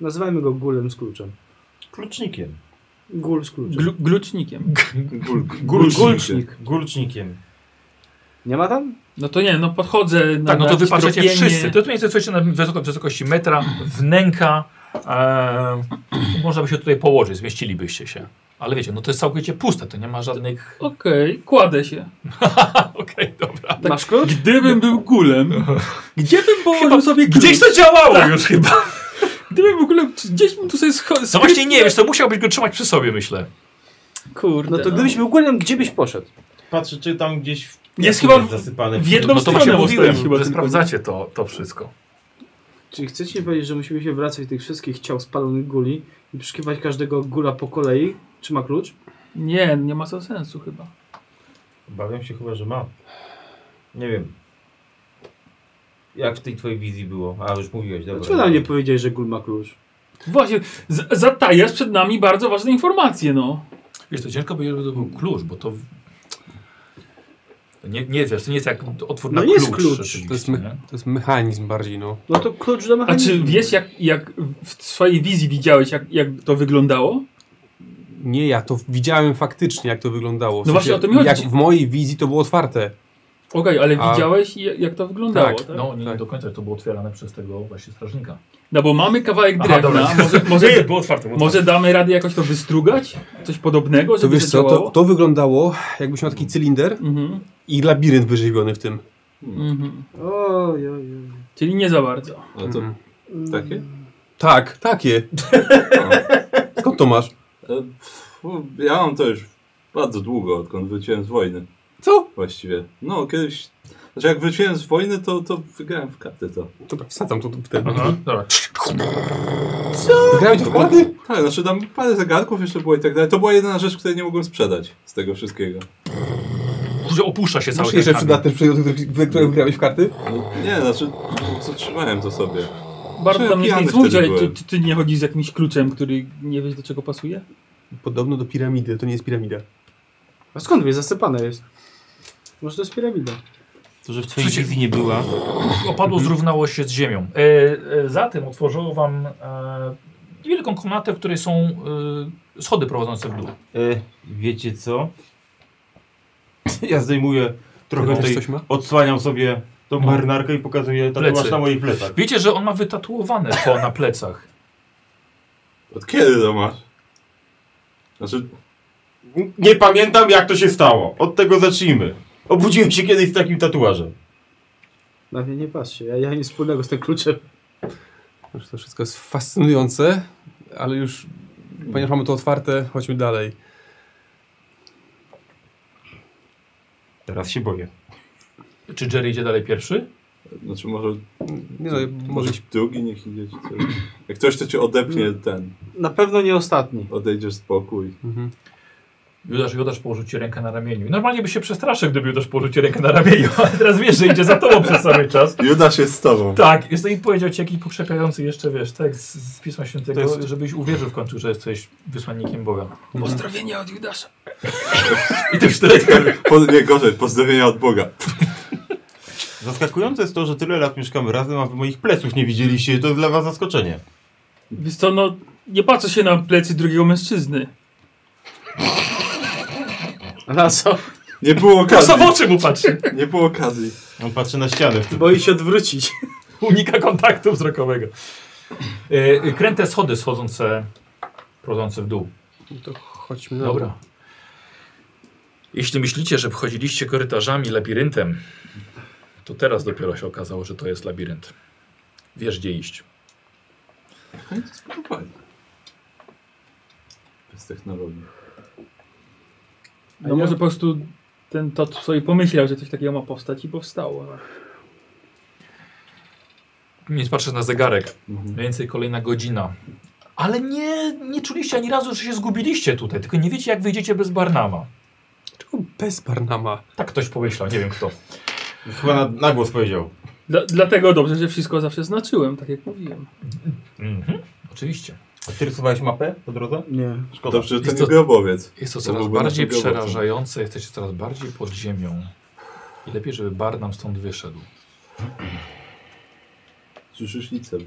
[SPEAKER 10] Nazywajmy go gólem z kluczem.
[SPEAKER 8] Klucznikiem.
[SPEAKER 10] Gól z kluczem.
[SPEAKER 5] Glu glucznikiem.
[SPEAKER 10] Gulcznik.
[SPEAKER 8] Gulcznikiem.
[SPEAKER 10] Nie ma tam?
[SPEAKER 5] No to nie, no podchodzę na
[SPEAKER 1] Tak, no to
[SPEAKER 5] jakieś
[SPEAKER 1] wypatrzycie
[SPEAKER 5] tropienie.
[SPEAKER 1] wszyscy. To jest mniej więcej coś na wysoko, wysokości metra, wnęka, Eee, można by się tutaj położyć, zmieścilibyście się. Ale wiecie, no to jest całkowicie puste, to nie ma żadnych...
[SPEAKER 5] Okej, kładę się.
[SPEAKER 1] Okej, dobra.
[SPEAKER 5] Masz klucz? Gdybym był kulem, gdzie bym położył
[SPEAKER 1] Chyba
[SPEAKER 5] sobie klucz?
[SPEAKER 1] Gdzieś to działało
[SPEAKER 6] Tak.
[SPEAKER 1] już chyba.
[SPEAKER 5] Gdybym był kulem, czy gdzieś bym tu sobie schował.
[SPEAKER 1] No właśnie nie, wiesz, to musiałbyś go trzymać przy sobie, myślę.
[SPEAKER 5] Kurde.
[SPEAKER 4] No to gdybyś był golem, gdzie byś poszedł?
[SPEAKER 8] Patrzę, czy tam gdzieś w
[SPEAKER 5] Jest
[SPEAKER 8] piasku
[SPEAKER 5] chyba
[SPEAKER 8] jest zasypane.
[SPEAKER 5] w jedną
[SPEAKER 1] no to
[SPEAKER 5] stronę
[SPEAKER 1] właśnie mówiłem,
[SPEAKER 5] ustawić chyba
[SPEAKER 1] że
[SPEAKER 5] tylko.
[SPEAKER 1] sprawdzacie to, to wszystko.
[SPEAKER 10] Czyli chcecie mi powiedzieć, że musimy się wracać tych wszystkich ciał spalonych guli i przyszukiwać każdego gula po kolei? Czy ma klucz?
[SPEAKER 5] Nie, nie ma to sensu chyba.
[SPEAKER 8] Obawiam się chyba, że ma. Nie wiem. Jak w tej twojej wizji było? A, już mówiłeś, dobra.
[SPEAKER 10] Dlaczego nam nie powiedziałeś, że gul ma klucz?
[SPEAKER 5] Właśnie, z- zatajasz przed nami bardzo ważne informacje, no.
[SPEAKER 1] Wiesz, to ciężko powiedzieć, żeby to był klucz, bo to... to Nie, nie wiesz, to nie jest jak otwór na
[SPEAKER 4] No
[SPEAKER 1] klucz.
[SPEAKER 4] jest klucz.
[SPEAKER 1] rzeczywiście,
[SPEAKER 6] To jest,
[SPEAKER 1] nie?
[SPEAKER 6] me- to jest mechanizm bardziej, no.
[SPEAKER 4] No to klucz do
[SPEAKER 5] A
[SPEAKER 4] mechanizmu.
[SPEAKER 5] czy wiesz, jak, jak w swojej wizji widziałeś, jak, jak to wyglądało?
[SPEAKER 6] Nie ja, to widziałem faktycznie, jak to wyglądało. W
[SPEAKER 5] No właśnie o to mi chodzi.
[SPEAKER 6] Jak w mojej wizji to było otwarte.
[SPEAKER 5] Okej, ale
[SPEAKER 6] A-
[SPEAKER 5] widziałeś, jak, jak to wyglądało, tak?
[SPEAKER 6] Tak,
[SPEAKER 1] No, nie
[SPEAKER 6] Tak.
[SPEAKER 1] do końca, to było otwierane przez tego właśnie strażnika.
[SPEAKER 5] No bo mamy kawałek
[SPEAKER 1] Aha,
[SPEAKER 5] drewna,
[SPEAKER 1] dobra.
[SPEAKER 5] może, może,
[SPEAKER 1] było otwarte.
[SPEAKER 5] może damy radę jakoś to wystrugać? Coś podobnego,
[SPEAKER 6] To
[SPEAKER 5] żeby
[SPEAKER 6] wiesz co,
[SPEAKER 5] działało?
[SPEAKER 6] to, to wyglądało jakbyś miał taki cylinder
[SPEAKER 5] Mhm,
[SPEAKER 6] i labirynt wyrzeźbiony w tym.
[SPEAKER 5] mhm.
[SPEAKER 10] Oj, oj, oj.
[SPEAKER 5] Czyli nie za bardzo.
[SPEAKER 3] Ale to
[SPEAKER 6] Mhm.
[SPEAKER 3] takie?
[SPEAKER 6] Tak, takie. Skąd to masz?
[SPEAKER 3] E, pff, Ja mam to już bardzo długo, odkąd wróciłem z wojny.
[SPEAKER 6] Co?
[SPEAKER 3] Właściwie. No, kiedyś... Znaczy, jak wróciłem z wojny, to, to wygrałem w karty to.
[SPEAKER 6] Dobra, wsadzam to w ten.
[SPEAKER 1] Aha, Mhm, dobra.
[SPEAKER 6] Grałem to w karty?
[SPEAKER 3] Tak, znaczy tam parę zegarków jeszcze było i tak dalej. To była jedyna rzecz, której nie mogłem sprzedać z tego wszystkiego.
[SPEAKER 1] Że opuszcza się cały
[SPEAKER 6] Masz
[SPEAKER 1] ten
[SPEAKER 6] jeszcze
[SPEAKER 1] kamień.
[SPEAKER 6] przydatne przedmioty, które grałeś w karty?
[SPEAKER 3] No, nie, znaczy, co trzymałem to sobie.
[SPEAKER 5] Bardzo
[SPEAKER 3] Czy
[SPEAKER 5] tam nic
[SPEAKER 3] pijany
[SPEAKER 5] nie mówić,
[SPEAKER 3] wtedy
[SPEAKER 5] ale czy,
[SPEAKER 3] byłem?
[SPEAKER 5] czy ty nie chodzisz z jakimś kluczem, który nie wiesz do czego pasuje?
[SPEAKER 6] Mhm. Podobno do piramidy, to nie jest piramida.
[SPEAKER 10] A skąd wiesz, zasypane jest? Może to jest piramida.
[SPEAKER 8] To, że w twojej
[SPEAKER 1] Przecież-
[SPEAKER 8] wizji nie była.
[SPEAKER 1] Opadło, zrównało się z ziemią. E, e, zatem otworzyło wam e, niewielką komnatę, w której są e, schody prowadzące w dół.
[SPEAKER 8] E, wiecie co? Ja zdejmuję trochę
[SPEAKER 6] Też
[SPEAKER 8] tej...
[SPEAKER 6] coś ma?
[SPEAKER 8] Odsłaniam sobie tą
[SPEAKER 1] No.
[SPEAKER 8] marynarkę i pokazuję tatuaż
[SPEAKER 1] Plecy.
[SPEAKER 8] na moich plecach.
[SPEAKER 1] Wiecie, że on ma wytatuowane to na plecach.
[SPEAKER 3] Od kiedy to masz? Znaczy,
[SPEAKER 8] Nie pamiętam jak to się stało. Od tego zacznijmy. Obudziłem się kiedyś z takim tatuażem.
[SPEAKER 10] Na mnie nie patrzcie, ja, ja nic wspólnego z tym kluczem.
[SPEAKER 6] Znaczy, To wszystko jest fascynujące, ale już ponieważ mamy to otwarte, chodźmy dalej.
[SPEAKER 8] Teraz się boję.
[SPEAKER 1] Czy Jerry idzie dalej pierwszy?
[SPEAKER 3] znaczy może,
[SPEAKER 6] Nie no, może
[SPEAKER 3] może
[SPEAKER 6] iść
[SPEAKER 3] drugi niech idzie. Czy coś. Jak ktoś to cię odepnie, ten,
[SPEAKER 10] Na pewno nie ostatni.
[SPEAKER 3] odejdziesz z pokój.
[SPEAKER 1] Judasz, Judasz położył ci rękę na ramieniu. Normalnie by się przestraszył, gdyby Judasz położył ci rękę na ramieniu, ale teraz wiesz, że idzie za tobą przez cały czas.
[SPEAKER 3] Judasz jest z tobą.
[SPEAKER 1] Tak, jest to i powiedział ci jakiś pokrzepiający jeszcze, wiesz, tak, z, z Pisma Świętego,
[SPEAKER 8] To jest-
[SPEAKER 1] żebyś uwierzył w końcu, że jesteś wysłannikiem Boga.
[SPEAKER 5] Pozdrowienia od Judasza.
[SPEAKER 1] I ty wtedy
[SPEAKER 3] Po, nie, gorzej, pozdrowienia od Boga.
[SPEAKER 8] Zaskakujące jest to, że tyle lat mieszkamy razem, a wy moich pleców nie widzieliście. To dla was zaskoczenie.
[SPEAKER 5] Wiesz co, no nie patrzę się na plecy drugiego mężczyzny.
[SPEAKER 10] Na co?
[SPEAKER 3] Nie było okazji.
[SPEAKER 1] prosto w oczy mu patrzy.
[SPEAKER 3] Nie było okazji.
[SPEAKER 8] On patrzy na ścianę w tym.
[SPEAKER 10] Boi się odwrócić.
[SPEAKER 1] Unika kontaktu wzrokowego. E, Kręte schody schodzące, prowadzące w dół.
[SPEAKER 6] to chodźmy na
[SPEAKER 1] Dobra. Jeśli myślicie, że wchodziliście korytarzami, labiryntem, to teraz dopiero się okazało, że to jest labirynt. Wiesz, gdzie iść.
[SPEAKER 3] No i to spróbowali. Bez technologii.
[SPEAKER 5] No może po prostu ten to sobie pomyślał, że coś takiego ma powstać i powstało. No.
[SPEAKER 1] Nie patrzysz na zegarek.
[SPEAKER 3] Mhm.
[SPEAKER 1] Mniej więcej kolejna godzina. Ale nie, nie czuliście ani razu, że się zgubiliście tutaj, tylko nie wiecie, jak wyjdziecie bez Barnama.
[SPEAKER 6] Dlaczego bez Barnama?
[SPEAKER 1] Tak ktoś pomyślał, nie wiem kto.
[SPEAKER 8] Chyba na, na głos powiedział.
[SPEAKER 5] Dla, dlatego dobrze, że wszystko zawsze znaczyłem, tak jak mówiłem.
[SPEAKER 1] Mhm. Oczywiście.
[SPEAKER 8] A ty rysowałeś mapę po drodze?
[SPEAKER 10] Nie.
[SPEAKER 8] Szkoda.
[SPEAKER 3] Dobrze, że to
[SPEAKER 1] Jest
[SPEAKER 3] nie
[SPEAKER 1] to-
[SPEAKER 3] grobowiec.
[SPEAKER 1] Jest to
[SPEAKER 3] To
[SPEAKER 1] coraz
[SPEAKER 3] byłby
[SPEAKER 1] bardziej
[SPEAKER 3] naszym biurowcem.
[SPEAKER 1] przerażające, jesteście coraz bardziej pod ziemią. I lepiej, żeby Barnam stąd wyszedł.
[SPEAKER 3] Słyszysz nic sobie.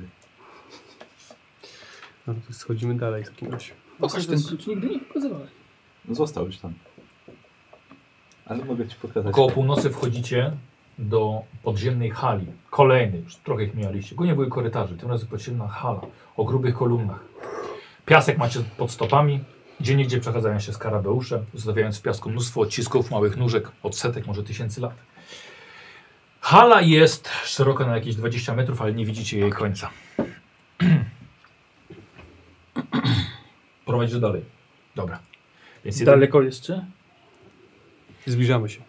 [SPEAKER 6] No to schodzimy dalej w takim razie.
[SPEAKER 5] Pokaż ten klucz, nigdy nie pokazywałeś.
[SPEAKER 3] No, zostałeś tam. Ale mogę ci pokazać.
[SPEAKER 1] Koło północy wchodzicie do podziemnej hali, kolejnej, już trochę ich mieliście. Głównie były korytarze, tym razem podziemna hala o grubych kolumnach. Piasek macie pod stopami, gdzie niegdzie przechadzają się skarabeusze, zostawiając w piasku mnóstwo odcisków małych nóżek od setek, może tysięcy lat. Hala jest szeroka na jakieś 20 metrów, ale nie widzicie jej końca. Prowadzisz dalej. Dobra. Więc jeden-
[SPEAKER 5] Daleko jeszcze?
[SPEAKER 6] Zbliżamy się.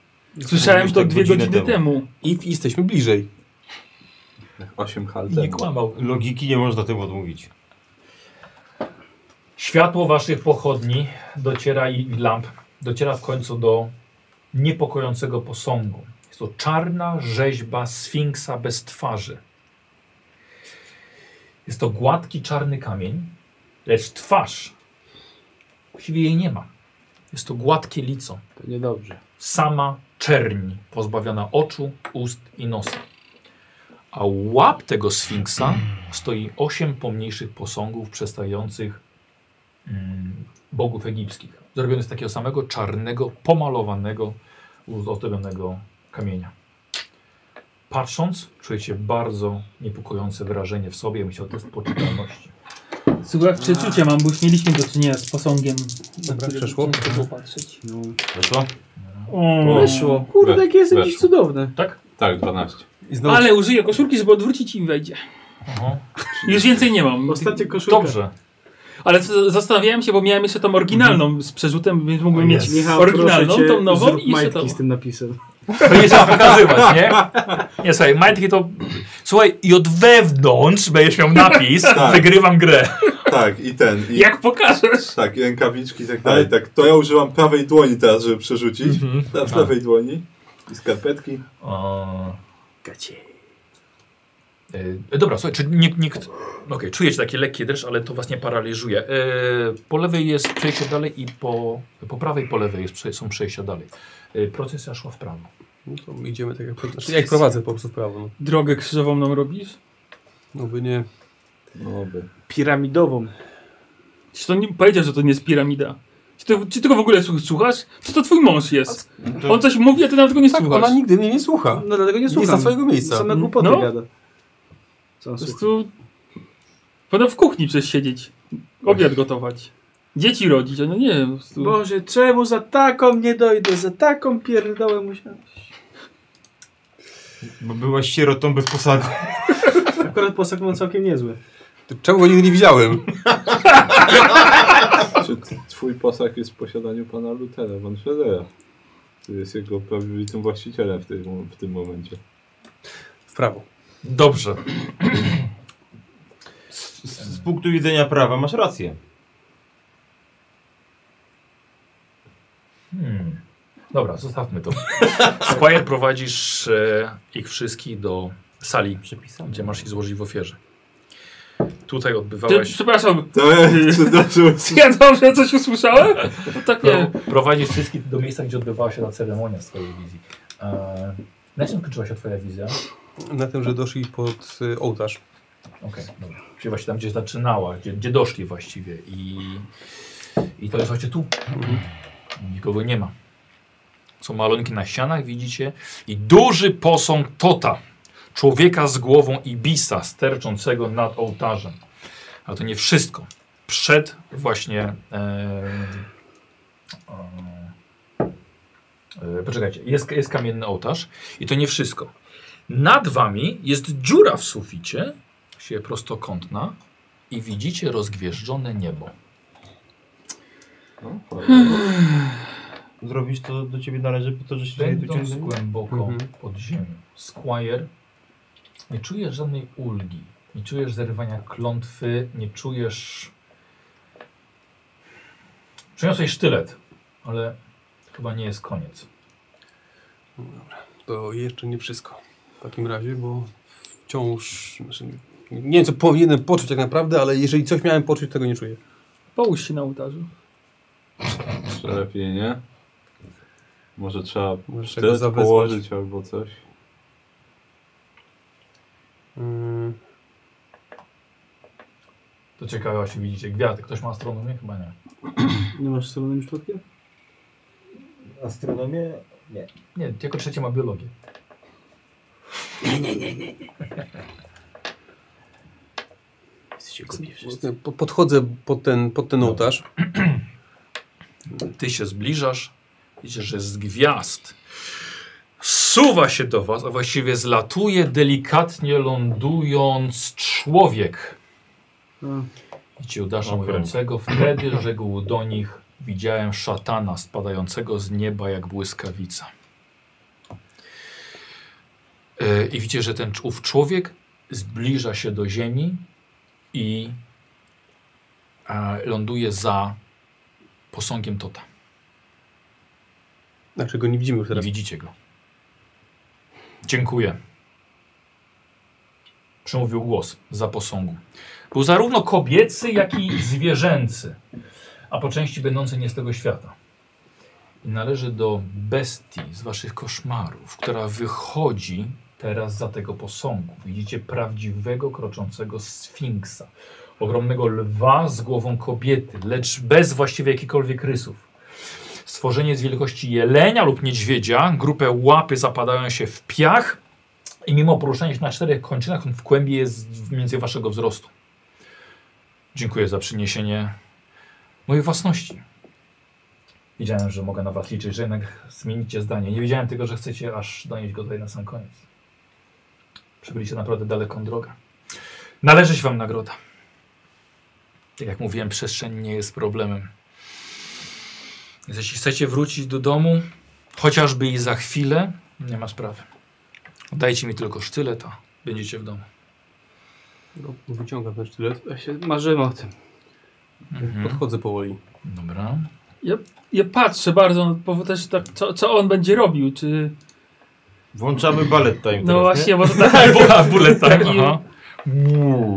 [SPEAKER 5] Słyszałem to
[SPEAKER 8] tak
[SPEAKER 5] dwie
[SPEAKER 8] godzinę
[SPEAKER 5] godziny temu.
[SPEAKER 6] I jesteśmy bliżej.
[SPEAKER 3] 8 hal
[SPEAKER 1] Nie
[SPEAKER 3] temu.
[SPEAKER 1] kłamał.
[SPEAKER 8] Logiki nie można temu odmówić.
[SPEAKER 1] Światło waszych pochodni dociera i i lamp dociera w końcu do niepokojącego posągu. Jest to czarna rzeźba sfinksa bez twarzy. Jest to gładki czarny kamień, lecz twarz właściwie jej nie ma. Jest to gładkie lico.
[SPEAKER 10] To niedobrze.
[SPEAKER 1] sama czerń, pozbawiona oczu, ust i nosa. A u łap tego sfinksa stoi osiem pomniejszych posągów przedstawiających mm, bogów egipskich. Zrobionych z takiego samego czarnego, pomalowanego, uzdobionego kamienia. Patrząc, czujecie bardzo niepokojące wrażenie w sobie, myślę o test poczytalności.
[SPEAKER 5] Słuchaj, przeczucia mam, bo już mieliśmy do czynienia z posągiem.
[SPEAKER 6] Dobra, przeszło.
[SPEAKER 5] Muszę popatrzeć.
[SPEAKER 8] Weszło?
[SPEAKER 5] O,
[SPEAKER 4] Weszło. Kurde, jakie jest
[SPEAKER 3] Weszło.
[SPEAKER 4] jakieś cudowne.
[SPEAKER 1] Tak?
[SPEAKER 3] Tak, 12.
[SPEAKER 6] I znowu
[SPEAKER 5] Ale użyję koszulki, żeby odwrócić i wejdzie.
[SPEAKER 1] Aha.
[SPEAKER 5] Już więcej nie mam.
[SPEAKER 4] Ostatnia koszulka.
[SPEAKER 1] Dobrze.
[SPEAKER 5] Ale z- zastanawiałem się, bo miałem jeszcze tą oryginalną z przerzutem, więc mógłbym mieć
[SPEAKER 1] Jest.
[SPEAKER 4] Mhm. Michał,
[SPEAKER 5] oryginalną,
[SPEAKER 4] proszę cię,
[SPEAKER 5] tą nową
[SPEAKER 4] zrób
[SPEAKER 5] i jeszcze tą.
[SPEAKER 4] majtki z tym napisem.
[SPEAKER 1] To nie trzeba pokazywać, nie? Nie, słuchaj, majtki to... Słuchaj, i od wewnątrz będziesz miał napis
[SPEAKER 3] Tak.
[SPEAKER 1] wygrywam grę.
[SPEAKER 3] Tak, i ten. I,
[SPEAKER 5] Jak pokażesz?
[SPEAKER 3] Tak, i rękawiczki i tak dalej. Tak, to ja używam prawej dłoni teraz, żeby przerzucić. Na prawej dłoni. I skarpetki.
[SPEAKER 1] O. E, dobra, słuchaj, czy nikt... nikt no Okej, czujecie taki lekki dreszcz, ale to was nie paraliżuje. E, po lewej jest przejście dalej i po, po prawej po lewej jest, prze- są przejścia dalej. E, procesja szła w prawo.
[SPEAKER 6] No to my idziemy tak jak, znaczy, jak prowadzę po prostu w prawo. No,
[SPEAKER 5] Drogę krzyżową nam robisz?
[SPEAKER 6] no by nie.
[SPEAKER 3] No by.
[SPEAKER 4] Piramidową.
[SPEAKER 5] Czy to nie, powiedział, że to nie jest piramida? Czy ty, czy ty go w ogóle słuch- słuchasz? Czy to twój mąż jest?
[SPEAKER 8] To-
[SPEAKER 5] On coś mówi, a ty nawet go nie
[SPEAKER 6] Tak,
[SPEAKER 5] słuchasz.
[SPEAKER 6] ona nigdy mnie nie słucha.
[SPEAKER 4] No dlatego nie
[SPEAKER 6] Nie
[SPEAKER 4] słucham.
[SPEAKER 6] zna swojego miejsca.
[SPEAKER 4] Same głupoty
[SPEAKER 5] No.
[SPEAKER 4] gada. Co on
[SPEAKER 5] Po
[SPEAKER 4] słucha?
[SPEAKER 5] prostu... Powinna w kuchni przecież siedzieć. Obiad gotować. Dzieci rodzić, a no nie wiem. po prostu-
[SPEAKER 4] Boże, czemu za taką nie dojdę? Za taką pierdołę musiałeś.
[SPEAKER 8] Bo byłaś sierotą bez posadu.
[SPEAKER 4] Akurat posag mam całkiem niezły.
[SPEAKER 6] Ty, Czemu go nigdy nie widziałem?
[SPEAKER 3] Czy t- twój posag jest w posiadaniu pana Lutera von Schroedera? Który jest jego prawowitym właścicielem w tym, w tym momencie.
[SPEAKER 6] W prawo.
[SPEAKER 1] Dobrze.
[SPEAKER 8] Z, z punktu widzenia prawa masz rację.
[SPEAKER 1] Hmm. Dobra, zostawmy to. Squire prowadzisz e, ich wszystkich do sali, gdzie masz ich złożyć w ofierze. Tutaj
[SPEAKER 5] Ty,
[SPEAKER 1] odbywałeś...
[SPEAKER 5] przepraszam,
[SPEAKER 3] To jest, zdarzyło
[SPEAKER 5] czy ja dobrze coś usłyszałem? No tak nie.
[SPEAKER 1] Pro, prowadzisz wszystkich do miejsca, gdzie odbywała się ta ceremonia z twojej wizji. E, na czym kończyła się twoja wizja?
[SPEAKER 6] Na tym, że doszli pod y, ołtarz.
[SPEAKER 1] Okej, dobra. Czyli właśnie tam, gdzie zaczynała, gdzie, gdzie doszli właściwie i, i to jest właśnie tu. Nikogo nie ma. Są malunki na ścianach, widzicie, i duży posąg Tota, człowieka z głową ibisa sterczącego nad ołtarzem. Ale to nie wszystko. Przed właśnie... E, e, e, Poczekajcie, jest, jest kamienny ołtarz i to nie wszystko. Nad wami jest dziura w suficie, się prostokątna i widzicie rozgwieżdżone niebo.
[SPEAKER 3] No, fajnie.
[SPEAKER 8] Zrobisz to do ciebie należy po to, że się tutaj
[SPEAKER 1] Będąc
[SPEAKER 8] dociągnę.
[SPEAKER 1] głęboko
[SPEAKER 6] Mhm.
[SPEAKER 1] pod ziemią, Squire, nie czujesz żadnej ulgi, nie czujesz zerwania klątwy, nie czujesz... Przyniosłeś sztylet, ale chyba nie jest koniec.
[SPEAKER 6] To jeszcze nie wszystko. W takim razie, bo wciąż... Znaczy, nie wiem, co powinienem poczuć tak naprawdę, ale jeżeli coś miałem poczuć, tego nie czuję.
[SPEAKER 5] Połóż się na ołtarzu.
[SPEAKER 3] Jeszcze lepiej, nie? Może trzeba
[SPEAKER 6] Możesz tego
[SPEAKER 3] sztylet
[SPEAKER 6] zawezwać.
[SPEAKER 3] położyć albo coś.
[SPEAKER 6] Mm,
[SPEAKER 1] To ciekawe się widzicie gwiazdy. Ktoś ma astronomię? Chyba nie.
[SPEAKER 4] Nie masz stronym przypadkiem?
[SPEAKER 8] Astronomię?
[SPEAKER 1] Nie, jako trzecie ma biologię.
[SPEAKER 10] Nie, nie, nie, nie. nie. Jesteście głupi wszyscy.
[SPEAKER 6] Po- Podchodzę pod ten, pod
[SPEAKER 1] No.
[SPEAKER 6] ten ołtarz.
[SPEAKER 1] Ty się zbliżasz, widzisz, że z gwiazd suwa się do was, a właściwie zlatuje delikatnie lądując człowiek. I ci udarza
[SPEAKER 3] Okej.
[SPEAKER 1] mówiącego, wtedy rzekł do nich, widziałem szatana spadającego z nieba jak błyskawica. E, I widzicie, że ten cz- ów człowiek zbliża się do ziemi i e, ląduje za posągiem Tota.
[SPEAKER 6] Znaczy go nie widzimy już
[SPEAKER 1] Nie
[SPEAKER 6] teraz.
[SPEAKER 1] widzicie go. Dziękuję. Przemówił głos za posągu. Był zarówno kobiecy, jak i zwierzęcy, a po części będący nie z tego świata. I należy do bestii z waszych koszmarów, która wychodzi teraz za tego posągu. Widzicie prawdziwego, kroczącego sfinksa. Ogromnego lwa z głową kobiety, lecz bez właściwie jakichkolwiek rysów. Stworzenie z wielkości jelenia lub niedźwiedzia, grupę łapy zapadają się w piach i mimo poruszania się na czterech kończynach, on w głębi jest między waszego wzrostu. Dziękuję za przyniesienie mojej własności. Wiedziałem, że mogę na was liczyć, że jednak zmienicie zdanie. Nie wiedziałem tylko, że chcecie aż donieść go tutaj na sam koniec. Przybyliście naprawdę daleką drogę. Należy się wam nagroda. Tak jak mówiłem, przestrzeń nie jest problemem. Więc jeśli chcecie wrócić do domu, chociażby i za chwilę, nie ma sprawy. Dajcie mi tylko sztylet, a będziecie w domu.
[SPEAKER 6] No, Wyciągam ten sztylet.
[SPEAKER 4] Ja się marzymy o tym.
[SPEAKER 1] Mhm.
[SPEAKER 6] Podchodzę powoli.
[SPEAKER 1] Dobra.
[SPEAKER 5] Ja patrzę bardzo, no, bo też tak, co, co on będzie robił, czy...
[SPEAKER 8] Włączamy balet time
[SPEAKER 5] No
[SPEAKER 8] teraz,
[SPEAKER 5] właśnie, bo to tak,
[SPEAKER 1] Bula, bullet time,
[SPEAKER 5] Taki-
[SPEAKER 1] aha.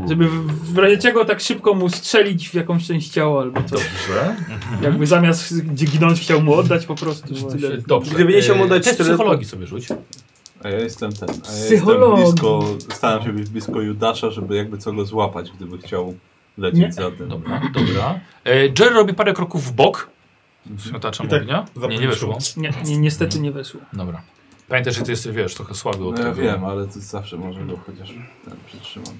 [SPEAKER 5] żeby w, w razie czego tak szybko mu strzelić w jakąś część ciała albo coś.
[SPEAKER 1] Dobrze.
[SPEAKER 5] Jakby zamiast gdzie ginąć chciał mu oddać po prostu sztylet.
[SPEAKER 1] Dobrze.
[SPEAKER 4] Gdyby nie chciał mu
[SPEAKER 1] Eee,
[SPEAKER 4] dać
[SPEAKER 1] test
[SPEAKER 4] sztyletu-
[SPEAKER 1] psychologii sobie rzuć.
[SPEAKER 3] A ja jestem ten. A ja jestem
[SPEAKER 5] Psycholog.
[SPEAKER 3] blisko, staram się być blisko Judasza, żeby jakby co go złapać, gdyby chciał lecieć
[SPEAKER 5] Nie.
[SPEAKER 3] za tym.
[SPEAKER 1] Dobra, dobra. E, Jerry robi parę kroków w bok. Z miotaczem
[SPEAKER 8] I tak
[SPEAKER 1] ognia. Nie, nie
[SPEAKER 8] zapomniał.
[SPEAKER 1] weszło.
[SPEAKER 5] Nie, nie, niestety nie weszło.
[SPEAKER 1] Dobra. Pamiętaj, że ty jesteś, wiesz, trochę słaby od
[SPEAKER 3] No ja
[SPEAKER 1] tego.
[SPEAKER 3] wiem, ale to zawsze może go chociaż ten przytrzymam.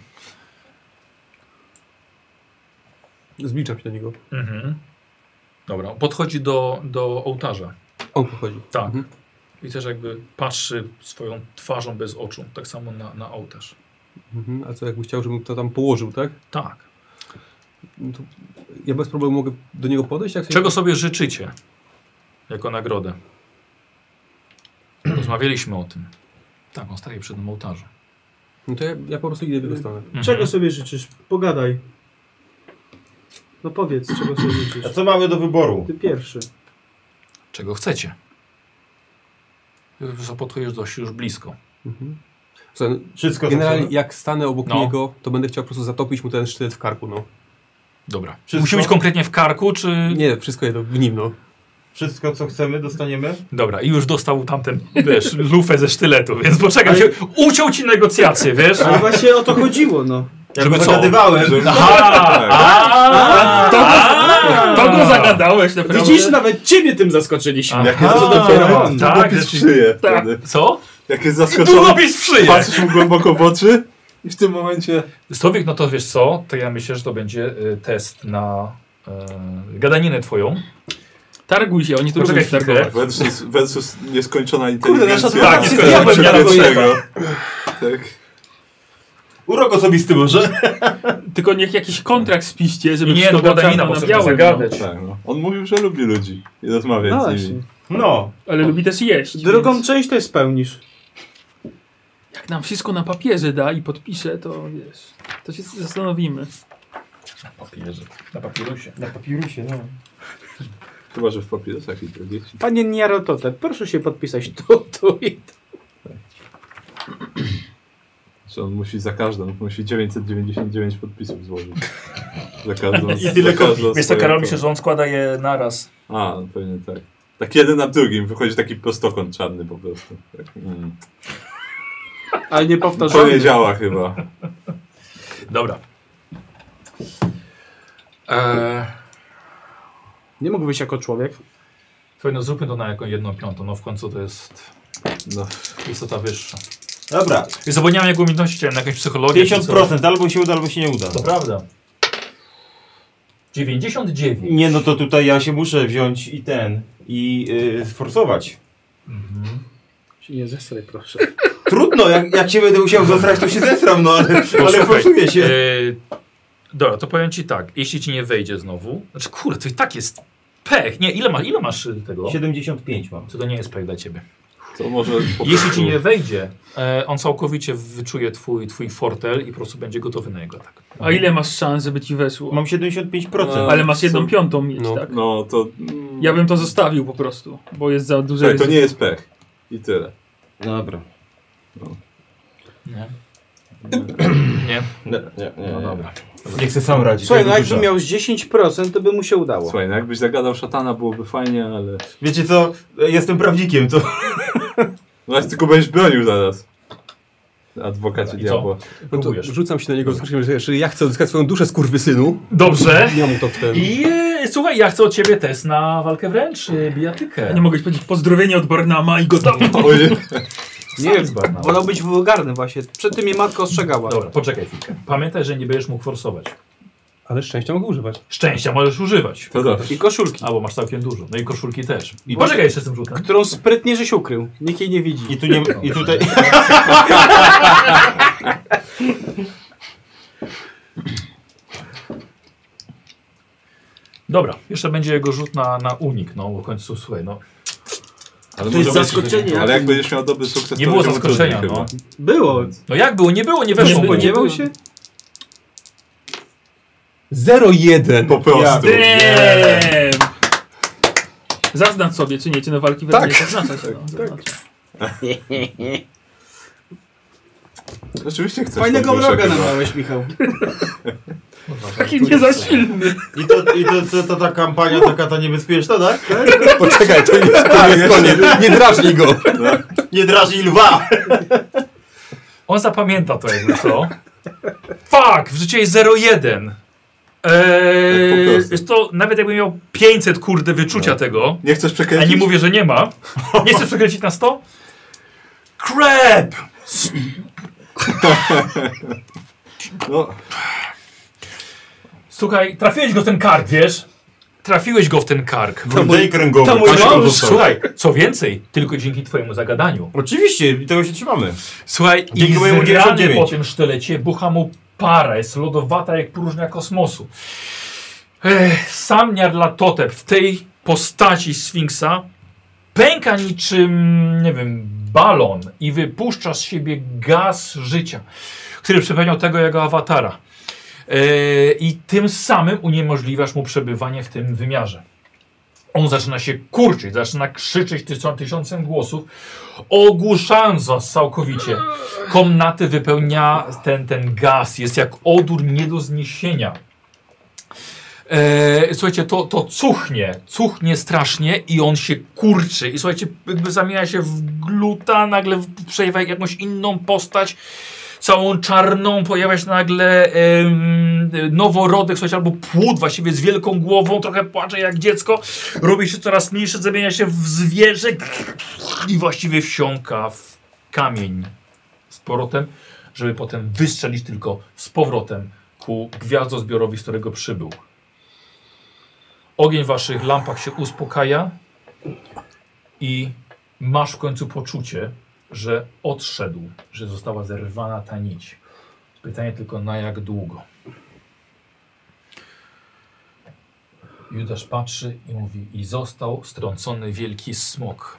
[SPEAKER 6] Zbliżam się do niego.
[SPEAKER 1] Mhm. Dobra, podchodzi do, do ołtarza.
[SPEAKER 6] On podchodzi.
[SPEAKER 1] Tak.
[SPEAKER 6] Mhm.
[SPEAKER 1] I też jakby patrzy swoją twarzą bez oczu, tak samo na, na ołtarz.
[SPEAKER 6] Mhm. A co, jakby chciał, żebym to tam położył, tak?
[SPEAKER 1] Tak.
[SPEAKER 6] No To ja bez problemu mogę do niego podejść? Jak
[SPEAKER 1] Czego sobie życzycie jako nagrodę? Rozmawialiśmy o tym. Tak, on staje przed tym ołtarzem.
[SPEAKER 6] No to ja, ja po prostu idę
[SPEAKER 1] Mhm.
[SPEAKER 6] w jego stronę.
[SPEAKER 9] Czego sobie życzysz? Pogadaj. No powiedz, czego sobie
[SPEAKER 8] A
[SPEAKER 9] życzysz.
[SPEAKER 8] co mamy do wyboru?
[SPEAKER 9] Ty pierwszy.
[SPEAKER 1] Czego chcecie? Wiesz, że Podchodzisz dość już blisko.
[SPEAKER 6] Mhm. Słuchaj,
[SPEAKER 8] Wszystko
[SPEAKER 6] generalnie
[SPEAKER 8] zaczynamy?
[SPEAKER 6] jak stanę obok
[SPEAKER 1] No.
[SPEAKER 6] niego, to będę chciał po prostu zatopić mu ten sztylet w karku, no.
[SPEAKER 1] Dobra.
[SPEAKER 8] Wszystko?
[SPEAKER 1] Musi być konkretnie w karku, czy...
[SPEAKER 6] Nie, wszystko jedno, w nim, no.
[SPEAKER 8] Wszystko co chcemy dostaniemy?
[SPEAKER 1] Dobra, i już dostał tamten, wiesz, lufę ze sztyletu, więc poczekaj, się, uciął ci negocjacje, wiesz?
[SPEAKER 9] Ale właśnie o to chodziło, no.
[SPEAKER 8] Jak
[SPEAKER 1] Żeby co?
[SPEAKER 8] zagadywałem.
[SPEAKER 1] Aha! Tak. A,
[SPEAKER 3] Tak.
[SPEAKER 5] To go,
[SPEAKER 1] a,
[SPEAKER 5] to go No zagadałeś naprawdę.
[SPEAKER 9] Widzisz, nawet ciebie tym zaskoczyliśmy.
[SPEAKER 1] Aha,
[SPEAKER 3] Jak jest to dopiero on.
[SPEAKER 1] tak,
[SPEAKER 3] Tak,
[SPEAKER 1] rzeczywiście.
[SPEAKER 3] szyję
[SPEAKER 5] tak.
[SPEAKER 3] wtedy.
[SPEAKER 1] Co?
[SPEAKER 3] Jak jest
[SPEAKER 1] I tu
[SPEAKER 3] zaskoczony,
[SPEAKER 1] robisz szyję!
[SPEAKER 3] patrzysz mu głęboko w oczy i w tym momencie...
[SPEAKER 1] Słowik, no to wiesz co, to ja myślę, że to będzie y, test na y, gadaninę twoją.
[SPEAKER 5] Targuj się, oni tu lubią
[SPEAKER 1] Poczekaj
[SPEAKER 5] się targować.
[SPEAKER 1] chwilkę.
[SPEAKER 3] Versus, versus nieskończona inteligencja.
[SPEAKER 9] nasza tak,
[SPEAKER 3] Coś
[SPEAKER 1] jest diabeł,
[SPEAKER 3] przepięknego. Tak.
[SPEAKER 8] Urok osobisty może?
[SPEAKER 5] Tylko niech jakiś kontrakt spiście, żeby
[SPEAKER 1] Nie,
[SPEAKER 5] wszystko
[SPEAKER 1] no
[SPEAKER 5] było
[SPEAKER 1] gadanina,
[SPEAKER 5] czarno
[SPEAKER 1] bo
[SPEAKER 5] na
[SPEAKER 1] sobie
[SPEAKER 5] białym.
[SPEAKER 1] zagadać.
[SPEAKER 5] no.
[SPEAKER 3] Tak, no. On mówił, że lubi ludzi i rozmawia
[SPEAKER 4] No
[SPEAKER 3] z nimi.
[SPEAKER 4] właśnie.
[SPEAKER 8] No.
[SPEAKER 5] Ale lubi też jeść.
[SPEAKER 9] Drugą
[SPEAKER 5] więc
[SPEAKER 9] część też spełnisz.
[SPEAKER 5] Jak nam wszystko na papierze da i podpisze, to wiesz, to się zastanowimy.
[SPEAKER 1] Na papierze. Na papierusie.
[SPEAKER 8] Na papirusie, no.
[SPEAKER 3] Chyba, że w papierosach i to dzieci.
[SPEAKER 4] Panie Niarotote, proszę się podpisać tu, tu i tu.
[SPEAKER 3] Że on musi za każdą, musi 999 podpisów złożyć. Za każdą.
[SPEAKER 8] I tyle
[SPEAKER 3] za każdą
[SPEAKER 8] kopii.
[SPEAKER 1] Wiesz co,
[SPEAKER 3] swoją
[SPEAKER 1] Karol
[SPEAKER 3] tą-
[SPEAKER 1] myślę, że on składa je naraz.
[SPEAKER 3] A, no pewnie tak. Tak jeden na drugim, wychodzi taki prostokąt czarny po prostu. Tak. Mm.
[SPEAKER 4] Ale nie
[SPEAKER 3] To
[SPEAKER 4] powtarzamy.
[SPEAKER 3] nie działa chyba.
[SPEAKER 1] Dobra. Eee,
[SPEAKER 4] Nie mógł wyjść jako człowiek.
[SPEAKER 1] słuchaj, no zróbmy to na jaką jedną piątą, no w końcu to jest
[SPEAKER 3] No,
[SPEAKER 1] istota wyższa.
[SPEAKER 8] Dobra,
[SPEAKER 1] Zapomniałem jak umiejętności, chciałem na jakąś psychologię. czy coś.
[SPEAKER 8] 50% albo się uda, albo się nie uda.
[SPEAKER 1] To prawda. 99.
[SPEAKER 8] Nie, no to tutaj ja się muszę wziąć i ten, i yy, sforsować.
[SPEAKER 4] Się Mhm. nie zesraj, proszę.
[SPEAKER 8] Trudno, jak, jak się będę musiał zesrać, to się zesram, no ale, ale
[SPEAKER 1] Posłuchaj,
[SPEAKER 8] forsuję się.
[SPEAKER 1] Yy, dobra, to powiem ci tak. Jeśli ci nie wejdzie znowu. Znaczy, kurde, to i tak jest pech. Nie, ile, ma, ile masz y, tego?
[SPEAKER 8] 75 mam.
[SPEAKER 1] Co to nie jest pech dla ciebie.
[SPEAKER 3] To może po
[SPEAKER 1] Jeśli
[SPEAKER 3] prostu
[SPEAKER 1] ci nie wejdzie, e, on całkowicie wyczuje twój, twój fortel i po prostu będzie gotowy na jego atak.
[SPEAKER 5] A ile masz szans, żeby ci weszło?
[SPEAKER 8] Mam 75%.
[SPEAKER 6] No.
[SPEAKER 5] Ale masz jedną
[SPEAKER 6] Co?
[SPEAKER 5] piątą mieć,
[SPEAKER 6] No.
[SPEAKER 5] tak?
[SPEAKER 3] No to... mm,
[SPEAKER 5] Ja bym to zostawił po prostu, bo jest za duże
[SPEAKER 3] Tak, to
[SPEAKER 5] ryzyko.
[SPEAKER 3] nie jest pech. I tyle.
[SPEAKER 8] Dobra.
[SPEAKER 1] Nie. Nie.
[SPEAKER 8] Nie, nie, nie.
[SPEAKER 1] No dobra.
[SPEAKER 8] Nie chcę sam radzić.
[SPEAKER 4] Słuchaj,
[SPEAKER 8] tego
[SPEAKER 4] no
[SPEAKER 8] duża.
[SPEAKER 4] jakby miał z 10%, to by mu się udało.
[SPEAKER 3] Słuchaj, no jakbyś zagadał szatana, byłoby fajnie, ale...
[SPEAKER 8] Wiecie co, jestem prawnikiem, to...
[SPEAKER 3] No ale tylko będziesz bronił zaraz. Adwokacie
[SPEAKER 1] I co?
[SPEAKER 3] diabła.
[SPEAKER 6] No to
[SPEAKER 1] Próbujesz.
[SPEAKER 6] rzucam się na niego z krzykiem, że jeżeli ja chcę odzyskać swoją duszę z kurwy synu,
[SPEAKER 1] Dobrze.
[SPEAKER 6] ja mu to w ten...
[SPEAKER 1] I e, słuchaj, ja chcę od ciebie test na walkę wręcz, e,
[SPEAKER 5] Ja
[SPEAKER 1] bijatykę. No
[SPEAKER 5] nie mogę ci powiedzieć pozdrowienia od Barnama i go tam.
[SPEAKER 3] Ojej.
[SPEAKER 4] Nie, wolał być wulgarny właśnie. Przed tym mnie matka ostrzegała.
[SPEAKER 1] Dobra, poczekaj chwilkę. Pamiętaj, że nie będziesz mógł forsować.
[SPEAKER 6] Ale szczęścia mogę używać.
[SPEAKER 1] Szczęścia możesz używać.
[SPEAKER 3] To dobrze.
[SPEAKER 4] I koszulki,
[SPEAKER 1] Albo masz całkiem dużo. No i koszulki też.
[SPEAKER 8] I
[SPEAKER 1] Poczekaj jeszcze z tym rzutem.
[SPEAKER 4] którą sprytnie żeś ukrył. Nikt jej nie widzi.
[SPEAKER 8] I tu nie... I tutaj...
[SPEAKER 1] Dobra, jeszcze będzie jego rzut na, na unik, no bo w końcu słuchaj, no.
[SPEAKER 3] Ale
[SPEAKER 4] To jest
[SPEAKER 3] może być-
[SPEAKER 4] zaskoczenie.
[SPEAKER 3] Ale jak będziesz miał dobry sukces,
[SPEAKER 1] Nie
[SPEAKER 3] to
[SPEAKER 1] było
[SPEAKER 3] będzie
[SPEAKER 1] zaskoczenia,
[SPEAKER 3] trudniej
[SPEAKER 1] no.
[SPEAKER 4] Było.
[SPEAKER 1] No jak było? Nie było, nie weszło.
[SPEAKER 5] Nie było,
[SPEAKER 1] nie.
[SPEAKER 5] nie-
[SPEAKER 4] Spodziewał się?
[SPEAKER 6] 0-1!
[SPEAKER 3] Po prostu.
[SPEAKER 5] Damn! Zaznacz sobie, czy nie, czy na walki
[SPEAKER 6] Tak.
[SPEAKER 5] wręcz nie zaznacza się. No, zaznacza.
[SPEAKER 3] Oczywiście chcesz.
[SPEAKER 4] Fajnego
[SPEAKER 3] tą duszę,
[SPEAKER 4] wroga
[SPEAKER 3] chyba.
[SPEAKER 4] nabrałeś, Michał.
[SPEAKER 6] Tak.
[SPEAKER 5] Taki nie za silny.
[SPEAKER 8] I to, i to, to, to ta kampania taka ta niebezpieczna, tak?
[SPEAKER 6] Poczekaj, to nie jest koniec, koniec. Nie drażnij go!
[SPEAKER 8] Nie drażni lwa!
[SPEAKER 1] On zapamięta to jakby co. Fuck! W życiu jest 0,1. Eee,
[SPEAKER 3] Tak po prostu.
[SPEAKER 1] jest to nawet jakbym miał 500 kurde wyczucia tego,
[SPEAKER 3] Nie chcesz
[SPEAKER 1] a
[SPEAKER 3] przekręcić?
[SPEAKER 1] nie mówię, że nie ma. Nie chcesz przekręcić na 100? Crap!
[SPEAKER 3] No,
[SPEAKER 1] Słuchaj, trafiłeś go w ten kark, wiesz? Trafiłeś go w ten kark.
[SPEAKER 8] Wodej kręgowy.
[SPEAKER 4] to mój
[SPEAKER 8] Kasia
[SPEAKER 4] mąż.
[SPEAKER 8] dostała.
[SPEAKER 1] Słuchaj, co więcej, tylko dzięki twojemu zagadaniu.
[SPEAKER 8] Oczywiście, i tego się trzymamy.
[SPEAKER 1] Słuchaj,
[SPEAKER 8] Dzięki
[SPEAKER 1] i
[SPEAKER 8] mojemu
[SPEAKER 1] z rany
[SPEAKER 8] 99.
[SPEAKER 1] po tym sztylecie bucha mu para, jest lodowata jak próżnia kosmosu. Ech, sam Nyarlathotep w tej postaci Sfinksa pęka niczym, nie wiem, balon i wypuszcza z siebie gaz życia, który przypomniał tego jego awatara. E, I tym samym uniemożliwiasz mu przebywanie w tym wymiarze. On zaczyna się kurczyć, zaczyna krzyczeć tysią- tysiącem głosów, ogłuszając was całkowicie. Komnaty wypełnia ten, ten gaz, jest jak odór nie do zniesienia. E, słuchajcie, to, to cuchnie, cuchnie strasznie i on się kurczy. I słuchajcie, jakby zamienia się w gluta, nagle w- przejawia jakąś inną postać, całą czarną, pojawia się nagle em, noworodek, słuchajcie, albo płód właściwie z wielką głową, trochę płacze jak dziecko, robi się coraz mniejszy, zamienia się w zwierzę i właściwie wsiąka w kamień z powrotem, żeby potem wystrzelić tylko z powrotem ku gwiazdozbiorowi, z którego przybył. Ogień w waszych lampach się uspokaja i masz w końcu poczucie, że odszedł, że została zerwana ta nić. Pytanie tylko na jak długo. Judasz patrzy i mówi i został strącony wielki smok.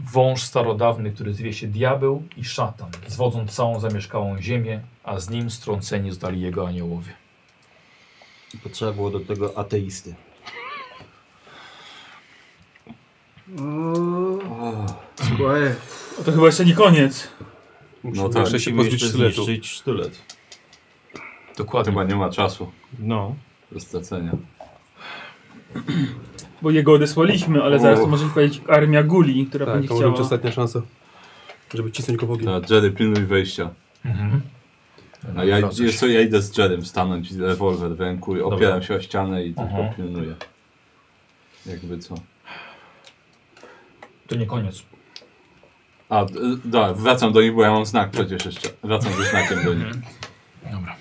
[SPEAKER 1] Wąż starodawny, który zwie się diabeł i szatan, zwodząc całą zamieszkałą ziemię, a z nim strąceni zostali jego aniołowie.
[SPEAKER 8] Potrzeba było do tego
[SPEAKER 3] No
[SPEAKER 8] ateisty.
[SPEAKER 9] Słuchaj,
[SPEAKER 5] O, To chyba jeszcze nie koniec.
[SPEAKER 3] no tak,
[SPEAKER 6] Muszę się pozbyć sztyletu.
[SPEAKER 8] sztylet.
[SPEAKER 1] Dokładnie.
[SPEAKER 3] chyba nie ma czasu
[SPEAKER 8] No.
[SPEAKER 3] do stracenia.
[SPEAKER 5] Bo jego odesłaliśmy, ale zaraz to może ci powiedzieć armia guli, która
[SPEAKER 6] Tak,
[SPEAKER 5] będzie
[SPEAKER 6] to może być
[SPEAKER 5] chciała.
[SPEAKER 6] ostatnia szansa, żeby cisnąć go w ogień.
[SPEAKER 3] No, Jerry, pilnuj wejścia.
[SPEAKER 1] Mhm.
[SPEAKER 3] A No ja,
[SPEAKER 1] Wracasz.
[SPEAKER 3] wiesz co, ja idę z Jerrym stanąć, rewolwer w ręku, i
[SPEAKER 1] Dobra.
[SPEAKER 3] opieram się o ścianę i tylko
[SPEAKER 1] Mhm.
[SPEAKER 3] pilnuję. Jakby co.
[SPEAKER 1] To nie koniec.
[SPEAKER 3] A, d- dobra, wracam do nich, bo ja mam znak przecież jeszcze. Wracam ze znakiem do
[SPEAKER 1] Mhm.
[SPEAKER 3] nich.
[SPEAKER 1] Dobra.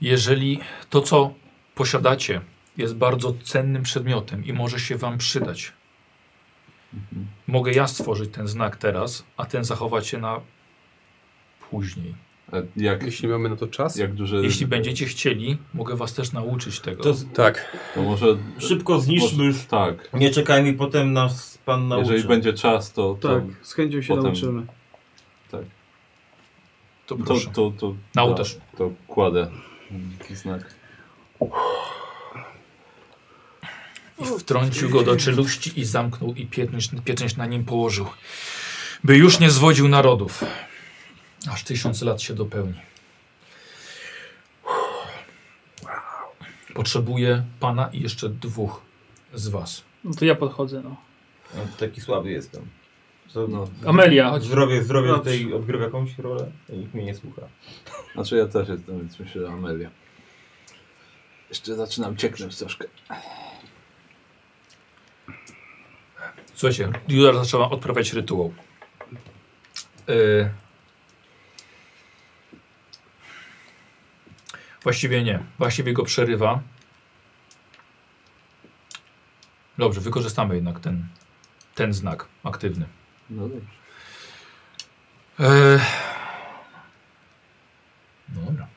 [SPEAKER 1] Jeżeli to, co posiadacie, jest bardzo cennym przedmiotem i może się Wam przydać, mogę ja stworzyć ten znak teraz, a ten zachować się na później.
[SPEAKER 3] A E, Jak,
[SPEAKER 6] Jeśli mamy na to czas.
[SPEAKER 3] jak duże...
[SPEAKER 1] Jeśli będziecie chcieli, mogę Was też nauczyć tego.
[SPEAKER 8] To
[SPEAKER 6] Tak.
[SPEAKER 3] To może...
[SPEAKER 8] szybko zniszczmy już.
[SPEAKER 3] Tak.
[SPEAKER 8] Nie czekajmy, potem nas pan nauczy.
[SPEAKER 3] Jeżeli będzie czas, to... to
[SPEAKER 9] Tak, z chęcią się
[SPEAKER 3] potem-
[SPEAKER 9] nauczymy.
[SPEAKER 1] To
[SPEAKER 3] To,
[SPEAKER 1] proszę.
[SPEAKER 3] to, to,
[SPEAKER 1] Nauczysz.
[SPEAKER 3] To, to kładę znak.
[SPEAKER 1] I wtrącił go do czeluści i zamknął i pieczęć, pieczęć na nim położył, by już nie zwodził narodów. Aż tysiąc lat się dopełni. Potrzebuję pana i jeszcze dwóch z was.
[SPEAKER 5] No to ja podchodzę, no.
[SPEAKER 8] No, taki słaby jestem. Co,
[SPEAKER 3] No.
[SPEAKER 5] Amelia, chodź.
[SPEAKER 8] Zdrowie, zdrowie
[SPEAKER 9] Dobrze.
[SPEAKER 8] tutaj odgrywa jakąś rolę? Nikt mnie nie słucha.
[SPEAKER 3] Znaczy ja też jestem, więc myślę, że Amelia. Jeszcze zaczynam cieknąć troszkę.
[SPEAKER 1] Słuchajcie, Judas zaczęła odprawiać rytuał. Y... Właściwie nie. Właściwie go przerywa. Dobrze, wykorzystamy jednak ten, ten znak aktywny.
[SPEAKER 3] No dobrze.
[SPEAKER 1] E... No dobra.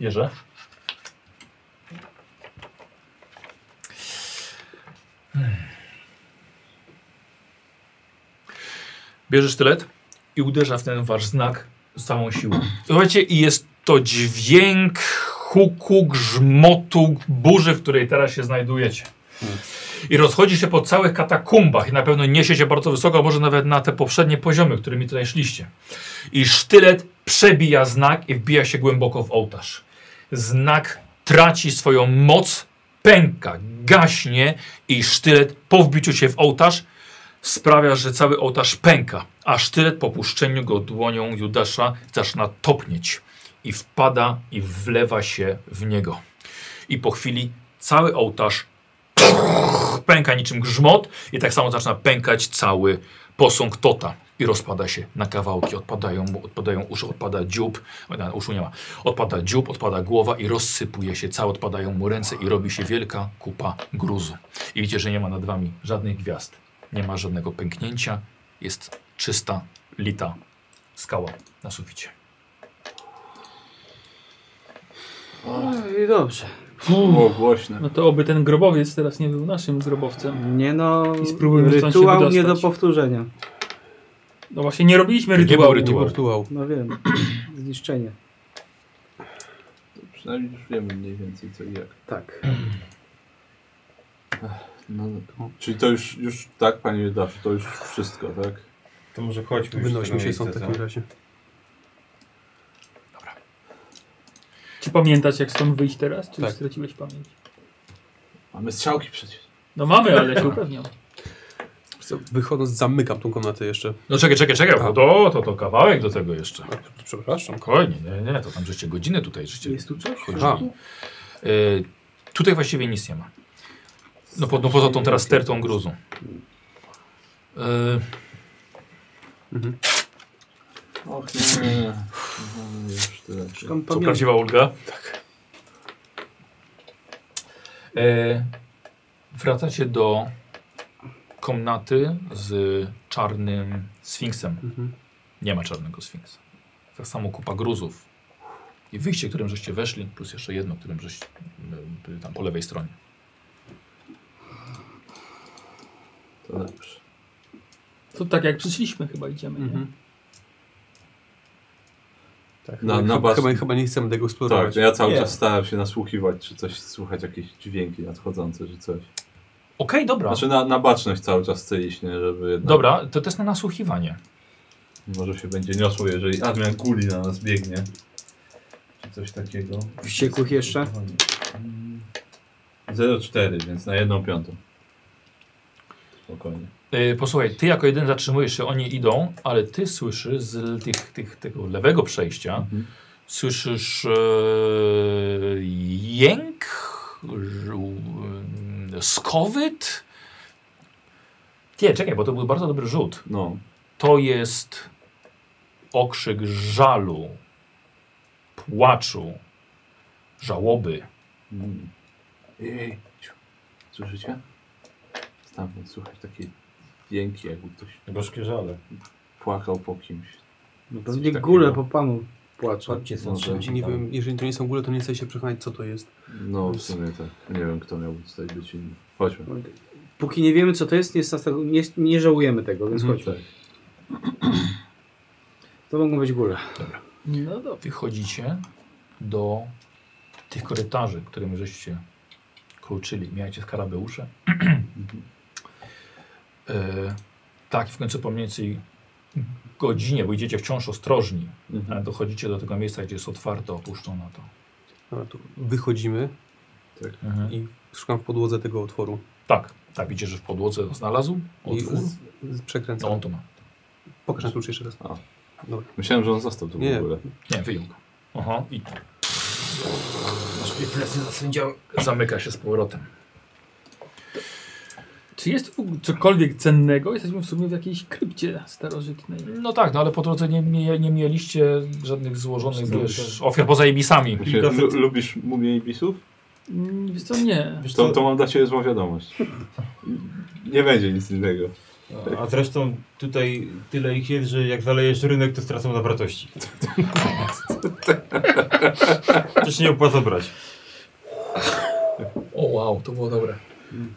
[SPEAKER 1] Bierze. Hmm. Bierze sztylet i uderza w ten wasz znak z całą siłą. Słuchajcie, i jest to dźwięk huku, grzmotu, burzy, w której teraz się znajdujecie. I rozchodzi się po całych katakumbach i na pewno niesie się bardzo wysoko, a może nawet na te poprzednie poziomy, którymi tutaj szliście. I sztylet przebija znak i wbija się głęboko w ołtarz. Znak traci swoją moc, pęka, gaśnie i sztylet po wbiciu się w ołtarz sprawia, że cały ołtarz pęka, a sztylet po puszczeniu go dłonią Judasza zaczyna topnieć i wpada i wlewa się w niego. I po chwili cały ołtarz pęka niczym grzmot i tak samo zaczyna pękać cały posąg Tota i rozpada się na kawałki. Odpadają mu, odpadają uszy, odpada dziób, o, na, uszu nie ma, odpada dziób, odpada głowa i rozsypuje się cały, odpadają mu ręce i robi się wielka kupa gruzu. I widzicie, że nie ma nad wami żadnych gwiazd, nie ma żadnego pęknięcia, jest czysta, lita skała na suficie.
[SPEAKER 4] No i dobrze.
[SPEAKER 3] Było głośne.
[SPEAKER 5] No to oby ten grobowiec teraz nie był naszym grobowcem.
[SPEAKER 4] Nie no,
[SPEAKER 5] I spróbujmy stąd się
[SPEAKER 4] rytuał nie do
[SPEAKER 5] wydostać.
[SPEAKER 4] powtórzenia.
[SPEAKER 5] No właśnie, nie robiliśmy
[SPEAKER 1] Nie
[SPEAKER 5] rytuału.
[SPEAKER 1] był rytuał.
[SPEAKER 6] Nie portuał.
[SPEAKER 4] No wiem, zniszczenie.
[SPEAKER 3] Przynajmniej już wiemy mniej więcej co i jak.
[SPEAKER 4] Tak.
[SPEAKER 3] No, no. Czyli to już, już tak, panie Judaszu, to już wszystko, tak?
[SPEAKER 8] To może chodźmy już z
[SPEAKER 6] Wynośmy
[SPEAKER 8] tego
[SPEAKER 6] się stąd w
[SPEAKER 8] miejsca,
[SPEAKER 6] takim
[SPEAKER 8] co?
[SPEAKER 6] razie.
[SPEAKER 5] Czy pamiętać, jak stąd wyjść teraz? Czy
[SPEAKER 6] Tak.
[SPEAKER 5] straciłeś pamięć?
[SPEAKER 3] Mamy strzałki przecież.
[SPEAKER 5] No mamy, ale się upewniam.
[SPEAKER 6] Co, Wychodząc, zamykam tą komnatę jeszcze.
[SPEAKER 1] No czekaj, czekaj, czekaj, bo to, to, to kawałek do tego jeszcze.
[SPEAKER 6] A, przepraszam.
[SPEAKER 1] Spokojnie, nie, nie, to tam żeście godzinę tutaj życie.
[SPEAKER 4] Jest tu coś?
[SPEAKER 1] Aha. Y, tutaj właściwie nic nie ma. No, po, no poza tą teraz stertą E, gruzu. Y,
[SPEAKER 3] Och nie, nie, nie. No, już tyle.
[SPEAKER 4] Szukam
[SPEAKER 1] to
[SPEAKER 4] pamięci.
[SPEAKER 1] prawdziwa ulga. Tak. Y, wracacie do komnaty z czarnym sfinksem.
[SPEAKER 6] Mhm.
[SPEAKER 1] Nie ma czarnego sfinksa. Tak samo kupa gruzów. I wyjście, którym żeście weszli, plus jeszcze jedno, którym żeście y, tam po lewej stronie.
[SPEAKER 3] To lepsze.
[SPEAKER 5] To tak jak przyszliśmy chyba idziemy, nie?
[SPEAKER 6] Mhm. Tak,
[SPEAKER 3] Na-
[SPEAKER 6] chyba-
[SPEAKER 3] na bas-
[SPEAKER 6] chyba, chyba nie chcemy tego
[SPEAKER 3] Tak,
[SPEAKER 6] eksplorować.
[SPEAKER 3] ja cały
[SPEAKER 8] Nie.
[SPEAKER 3] czas starałem się nasłuchiwać, czy coś słychać, jakieś dźwięki nadchodzące, czy coś.
[SPEAKER 1] Okej, dobra.
[SPEAKER 3] Znaczy no. na, na baczność cały czas celiśnie, żeby jednak...
[SPEAKER 1] Dobra, to test na nasłuchiwanie.
[SPEAKER 3] Może się będzie niosło, jeżeli armia kuli na nas biegnie. Czy coś takiego.
[SPEAKER 4] Wściekłych jeszcze?
[SPEAKER 3] Mm, 0,4, więc na jedną piątą. Spokojnie.
[SPEAKER 1] Yy, posłuchaj, ty jako jeden zatrzymujesz się, oni idą, ale ty słyszysz z tych, tych, tego lewego przejścia, Słyszysz e, jęk, żu- skowyt. Nie, czekaj, bo to był bardzo dobry rzut.
[SPEAKER 3] No.
[SPEAKER 1] To jest okrzyk żalu, płaczu, żałoby.
[SPEAKER 3] Mm. Ej, ej, ciu. Słyszycie? Stamtąd słychać takie jęki, jakby ktoś
[SPEAKER 8] Gorzkie żale.
[SPEAKER 3] płakał po kimś. No,
[SPEAKER 4] No
[SPEAKER 3] Coś
[SPEAKER 4] pewnie
[SPEAKER 3] takiego.
[SPEAKER 4] górę po panu płaczą.
[SPEAKER 8] Chodźcie są
[SPEAKER 3] Może.
[SPEAKER 8] szybciej
[SPEAKER 6] Nie
[SPEAKER 8] tam.
[SPEAKER 6] wiem, jeżeli to nie są góle, to nie chcę się przekonać, co to jest.
[SPEAKER 3] No w sumie tak. Nie wiem, kto miałby tutaj być inny. Chodźmy.
[SPEAKER 4] Póki nie wiemy co to jest, nie, nie, nie żałujemy tego, więc
[SPEAKER 3] Mhm,
[SPEAKER 4] chodźmy. To mogą być góle.
[SPEAKER 5] No dobra.
[SPEAKER 1] Wychodzicie do tych korytarzy, którymi żeście kluczyli. Miałecie skarabeusze. e, tak, w końcu po mniej więcej godzinie, bo idziecie wciąż ostrożni, ale
[SPEAKER 3] Mhm.
[SPEAKER 1] dochodzicie do tego miejsca, gdzie jest otwarte, opuszczone to.
[SPEAKER 6] Dobra, to wychodzimy i szukam w podłodze tego otworu.
[SPEAKER 1] Tak, tak, widzicie, że w podłodze znalazł
[SPEAKER 6] I
[SPEAKER 1] otwór.
[SPEAKER 6] z, z,
[SPEAKER 1] No
[SPEAKER 6] przekręcam.
[SPEAKER 1] on to ma.
[SPEAKER 6] Pokaż na klucz jeszcze raz.
[SPEAKER 3] Myślałem, że on został tu
[SPEAKER 6] Nie.
[SPEAKER 3] w ogóle.
[SPEAKER 1] Nie, wyjął go. Aha, i
[SPEAKER 8] Aż mnie plecy zasędziały.
[SPEAKER 1] zamyka się z powrotem.
[SPEAKER 5] Czy jest w ogóle cokolwiek cennego? Jesteśmy w sumie w jakiejś krypcie starożytnej.
[SPEAKER 1] No tak, no ale po drodze nie, nie, nie mieliście żadnych złożonych
[SPEAKER 8] Znowu
[SPEAKER 1] wiesz, ofiar poza ibisami.
[SPEAKER 3] Myślę,
[SPEAKER 8] Kilkaset-
[SPEAKER 3] lu- lubisz mumię i bisów?
[SPEAKER 5] Mm, Wiesz co, nie.
[SPEAKER 8] Wiesz
[SPEAKER 3] To,
[SPEAKER 8] co,
[SPEAKER 3] to mam dla ciebie złą wiadomość. Nie będzie nic innego.
[SPEAKER 8] A zresztą tutaj tyle ich jest, że jak zalejesz rynek, to stracą na wartości. To się nie opłaca brać.
[SPEAKER 1] O wow, to było dobre.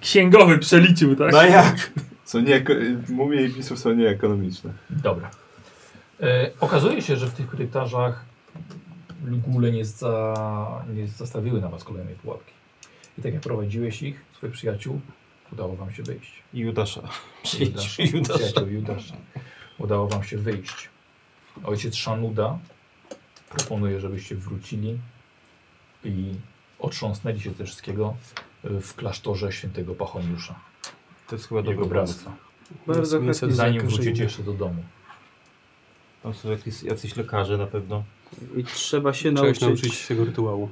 [SPEAKER 5] Księgowy przeliczył, tak?
[SPEAKER 8] No jak?
[SPEAKER 3] Są nie, mumie i bisów są nieekonomiczne.
[SPEAKER 1] Dobra. E, okazuje się, że w tych korytarzach gule nie, za, nie zastawiły na was kolejnej pułapki. I tak jak prowadziłeś ich, swoich przyjaciół, udało wam się wyjść.
[SPEAKER 8] Judasza. Przyjdź,
[SPEAKER 1] Judasza.
[SPEAKER 8] Judasza.
[SPEAKER 1] Przyjaciół Judasza. Udało wam się wyjść. Ojciec Szanuda proponuje, żebyście wrócili i otrząsnęli się ze wszystkiego e, w klasztorze świętego Pachoniusza,
[SPEAKER 8] To jest chyba
[SPEAKER 1] jego
[SPEAKER 8] dobry pomysł.
[SPEAKER 1] bractwa.
[SPEAKER 4] Bardzo
[SPEAKER 6] Mięso
[SPEAKER 4] chętnie.
[SPEAKER 6] do
[SPEAKER 1] Zanim
[SPEAKER 6] zakażenia.
[SPEAKER 1] wrócicie jeszcze do domu.
[SPEAKER 8] Tam są jakieś, jacyś lekarze na pewno.
[SPEAKER 4] I trzeba się
[SPEAKER 6] Czegoś
[SPEAKER 4] nauczyć.
[SPEAKER 6] nauczyć się tego rytuału.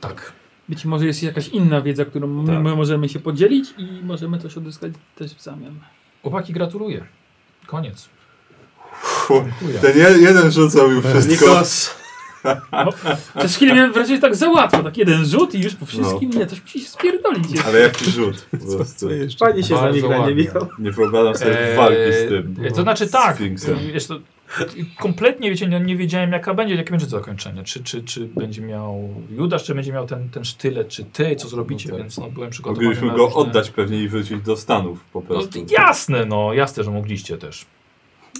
[SPEAKER 1] Tak.
[SPEAKER 5] Być może jest jakaś inna wiedza, którą my,
[SPEAKER 8] Tak.
[SPEAKER 5] my możemy się podzielić i możemy coś odzyskać też w zamian.
[SPEAKER 1] Chłopaki, gratuluję. Koniec. Dziękuję.
[SPEAKER 3] Ten je, jeden rzut zrobił wszystko.
[SPEAKER 4] Eee, Nikos,
[SPEAKER 5] Przez chwilę miałem wrażenie, że tak za łatwo, tak jeden rzut i już po wszystkim, nie, coś musi się spierdolić. Jest.
[SPEAKER 3] Ale jaki rzut. Po prostu.
[SPEAKER 4] pani się
[SPEAKER 1] Bardzo
[SPEAKER 4] zamigla, nie
[SPEAKER 1] ładnie.
[SPEAKER 4] Michał?
[SPEAKER 3] Nie wyobrażam sobie walki z tym.
[SPEAKER 1] Eee, E, To znaczy tak,
[SPEAKER 3] Sfinksem.
[SPEAKER 1] wiesz, to, kompletnie wiecie, nie, nie wiedziałem jaka będzie, jakie będzie to zakończenie. Czy, czy, czy będzie miał Judasz, czy będzie miał ten, ten sztylet, czy ty, co zrobicie,
[SPEAKER 3] No tak.
[SPEAKER 1] więc no, byłem przygotowany
[SPEAKER 3] Moglibyśmy
[SPEAKER 1] na
[SPEAKER 3] go
[SPEAKER 1] różne-
[SPEAKER 3] oddać pewnie i wrócić do Stanów po
[SPEAKER 1] No,
[SPEAKER 3] prostu.
[SPEAKER 1] jasne, no, jasne, że mogliście też.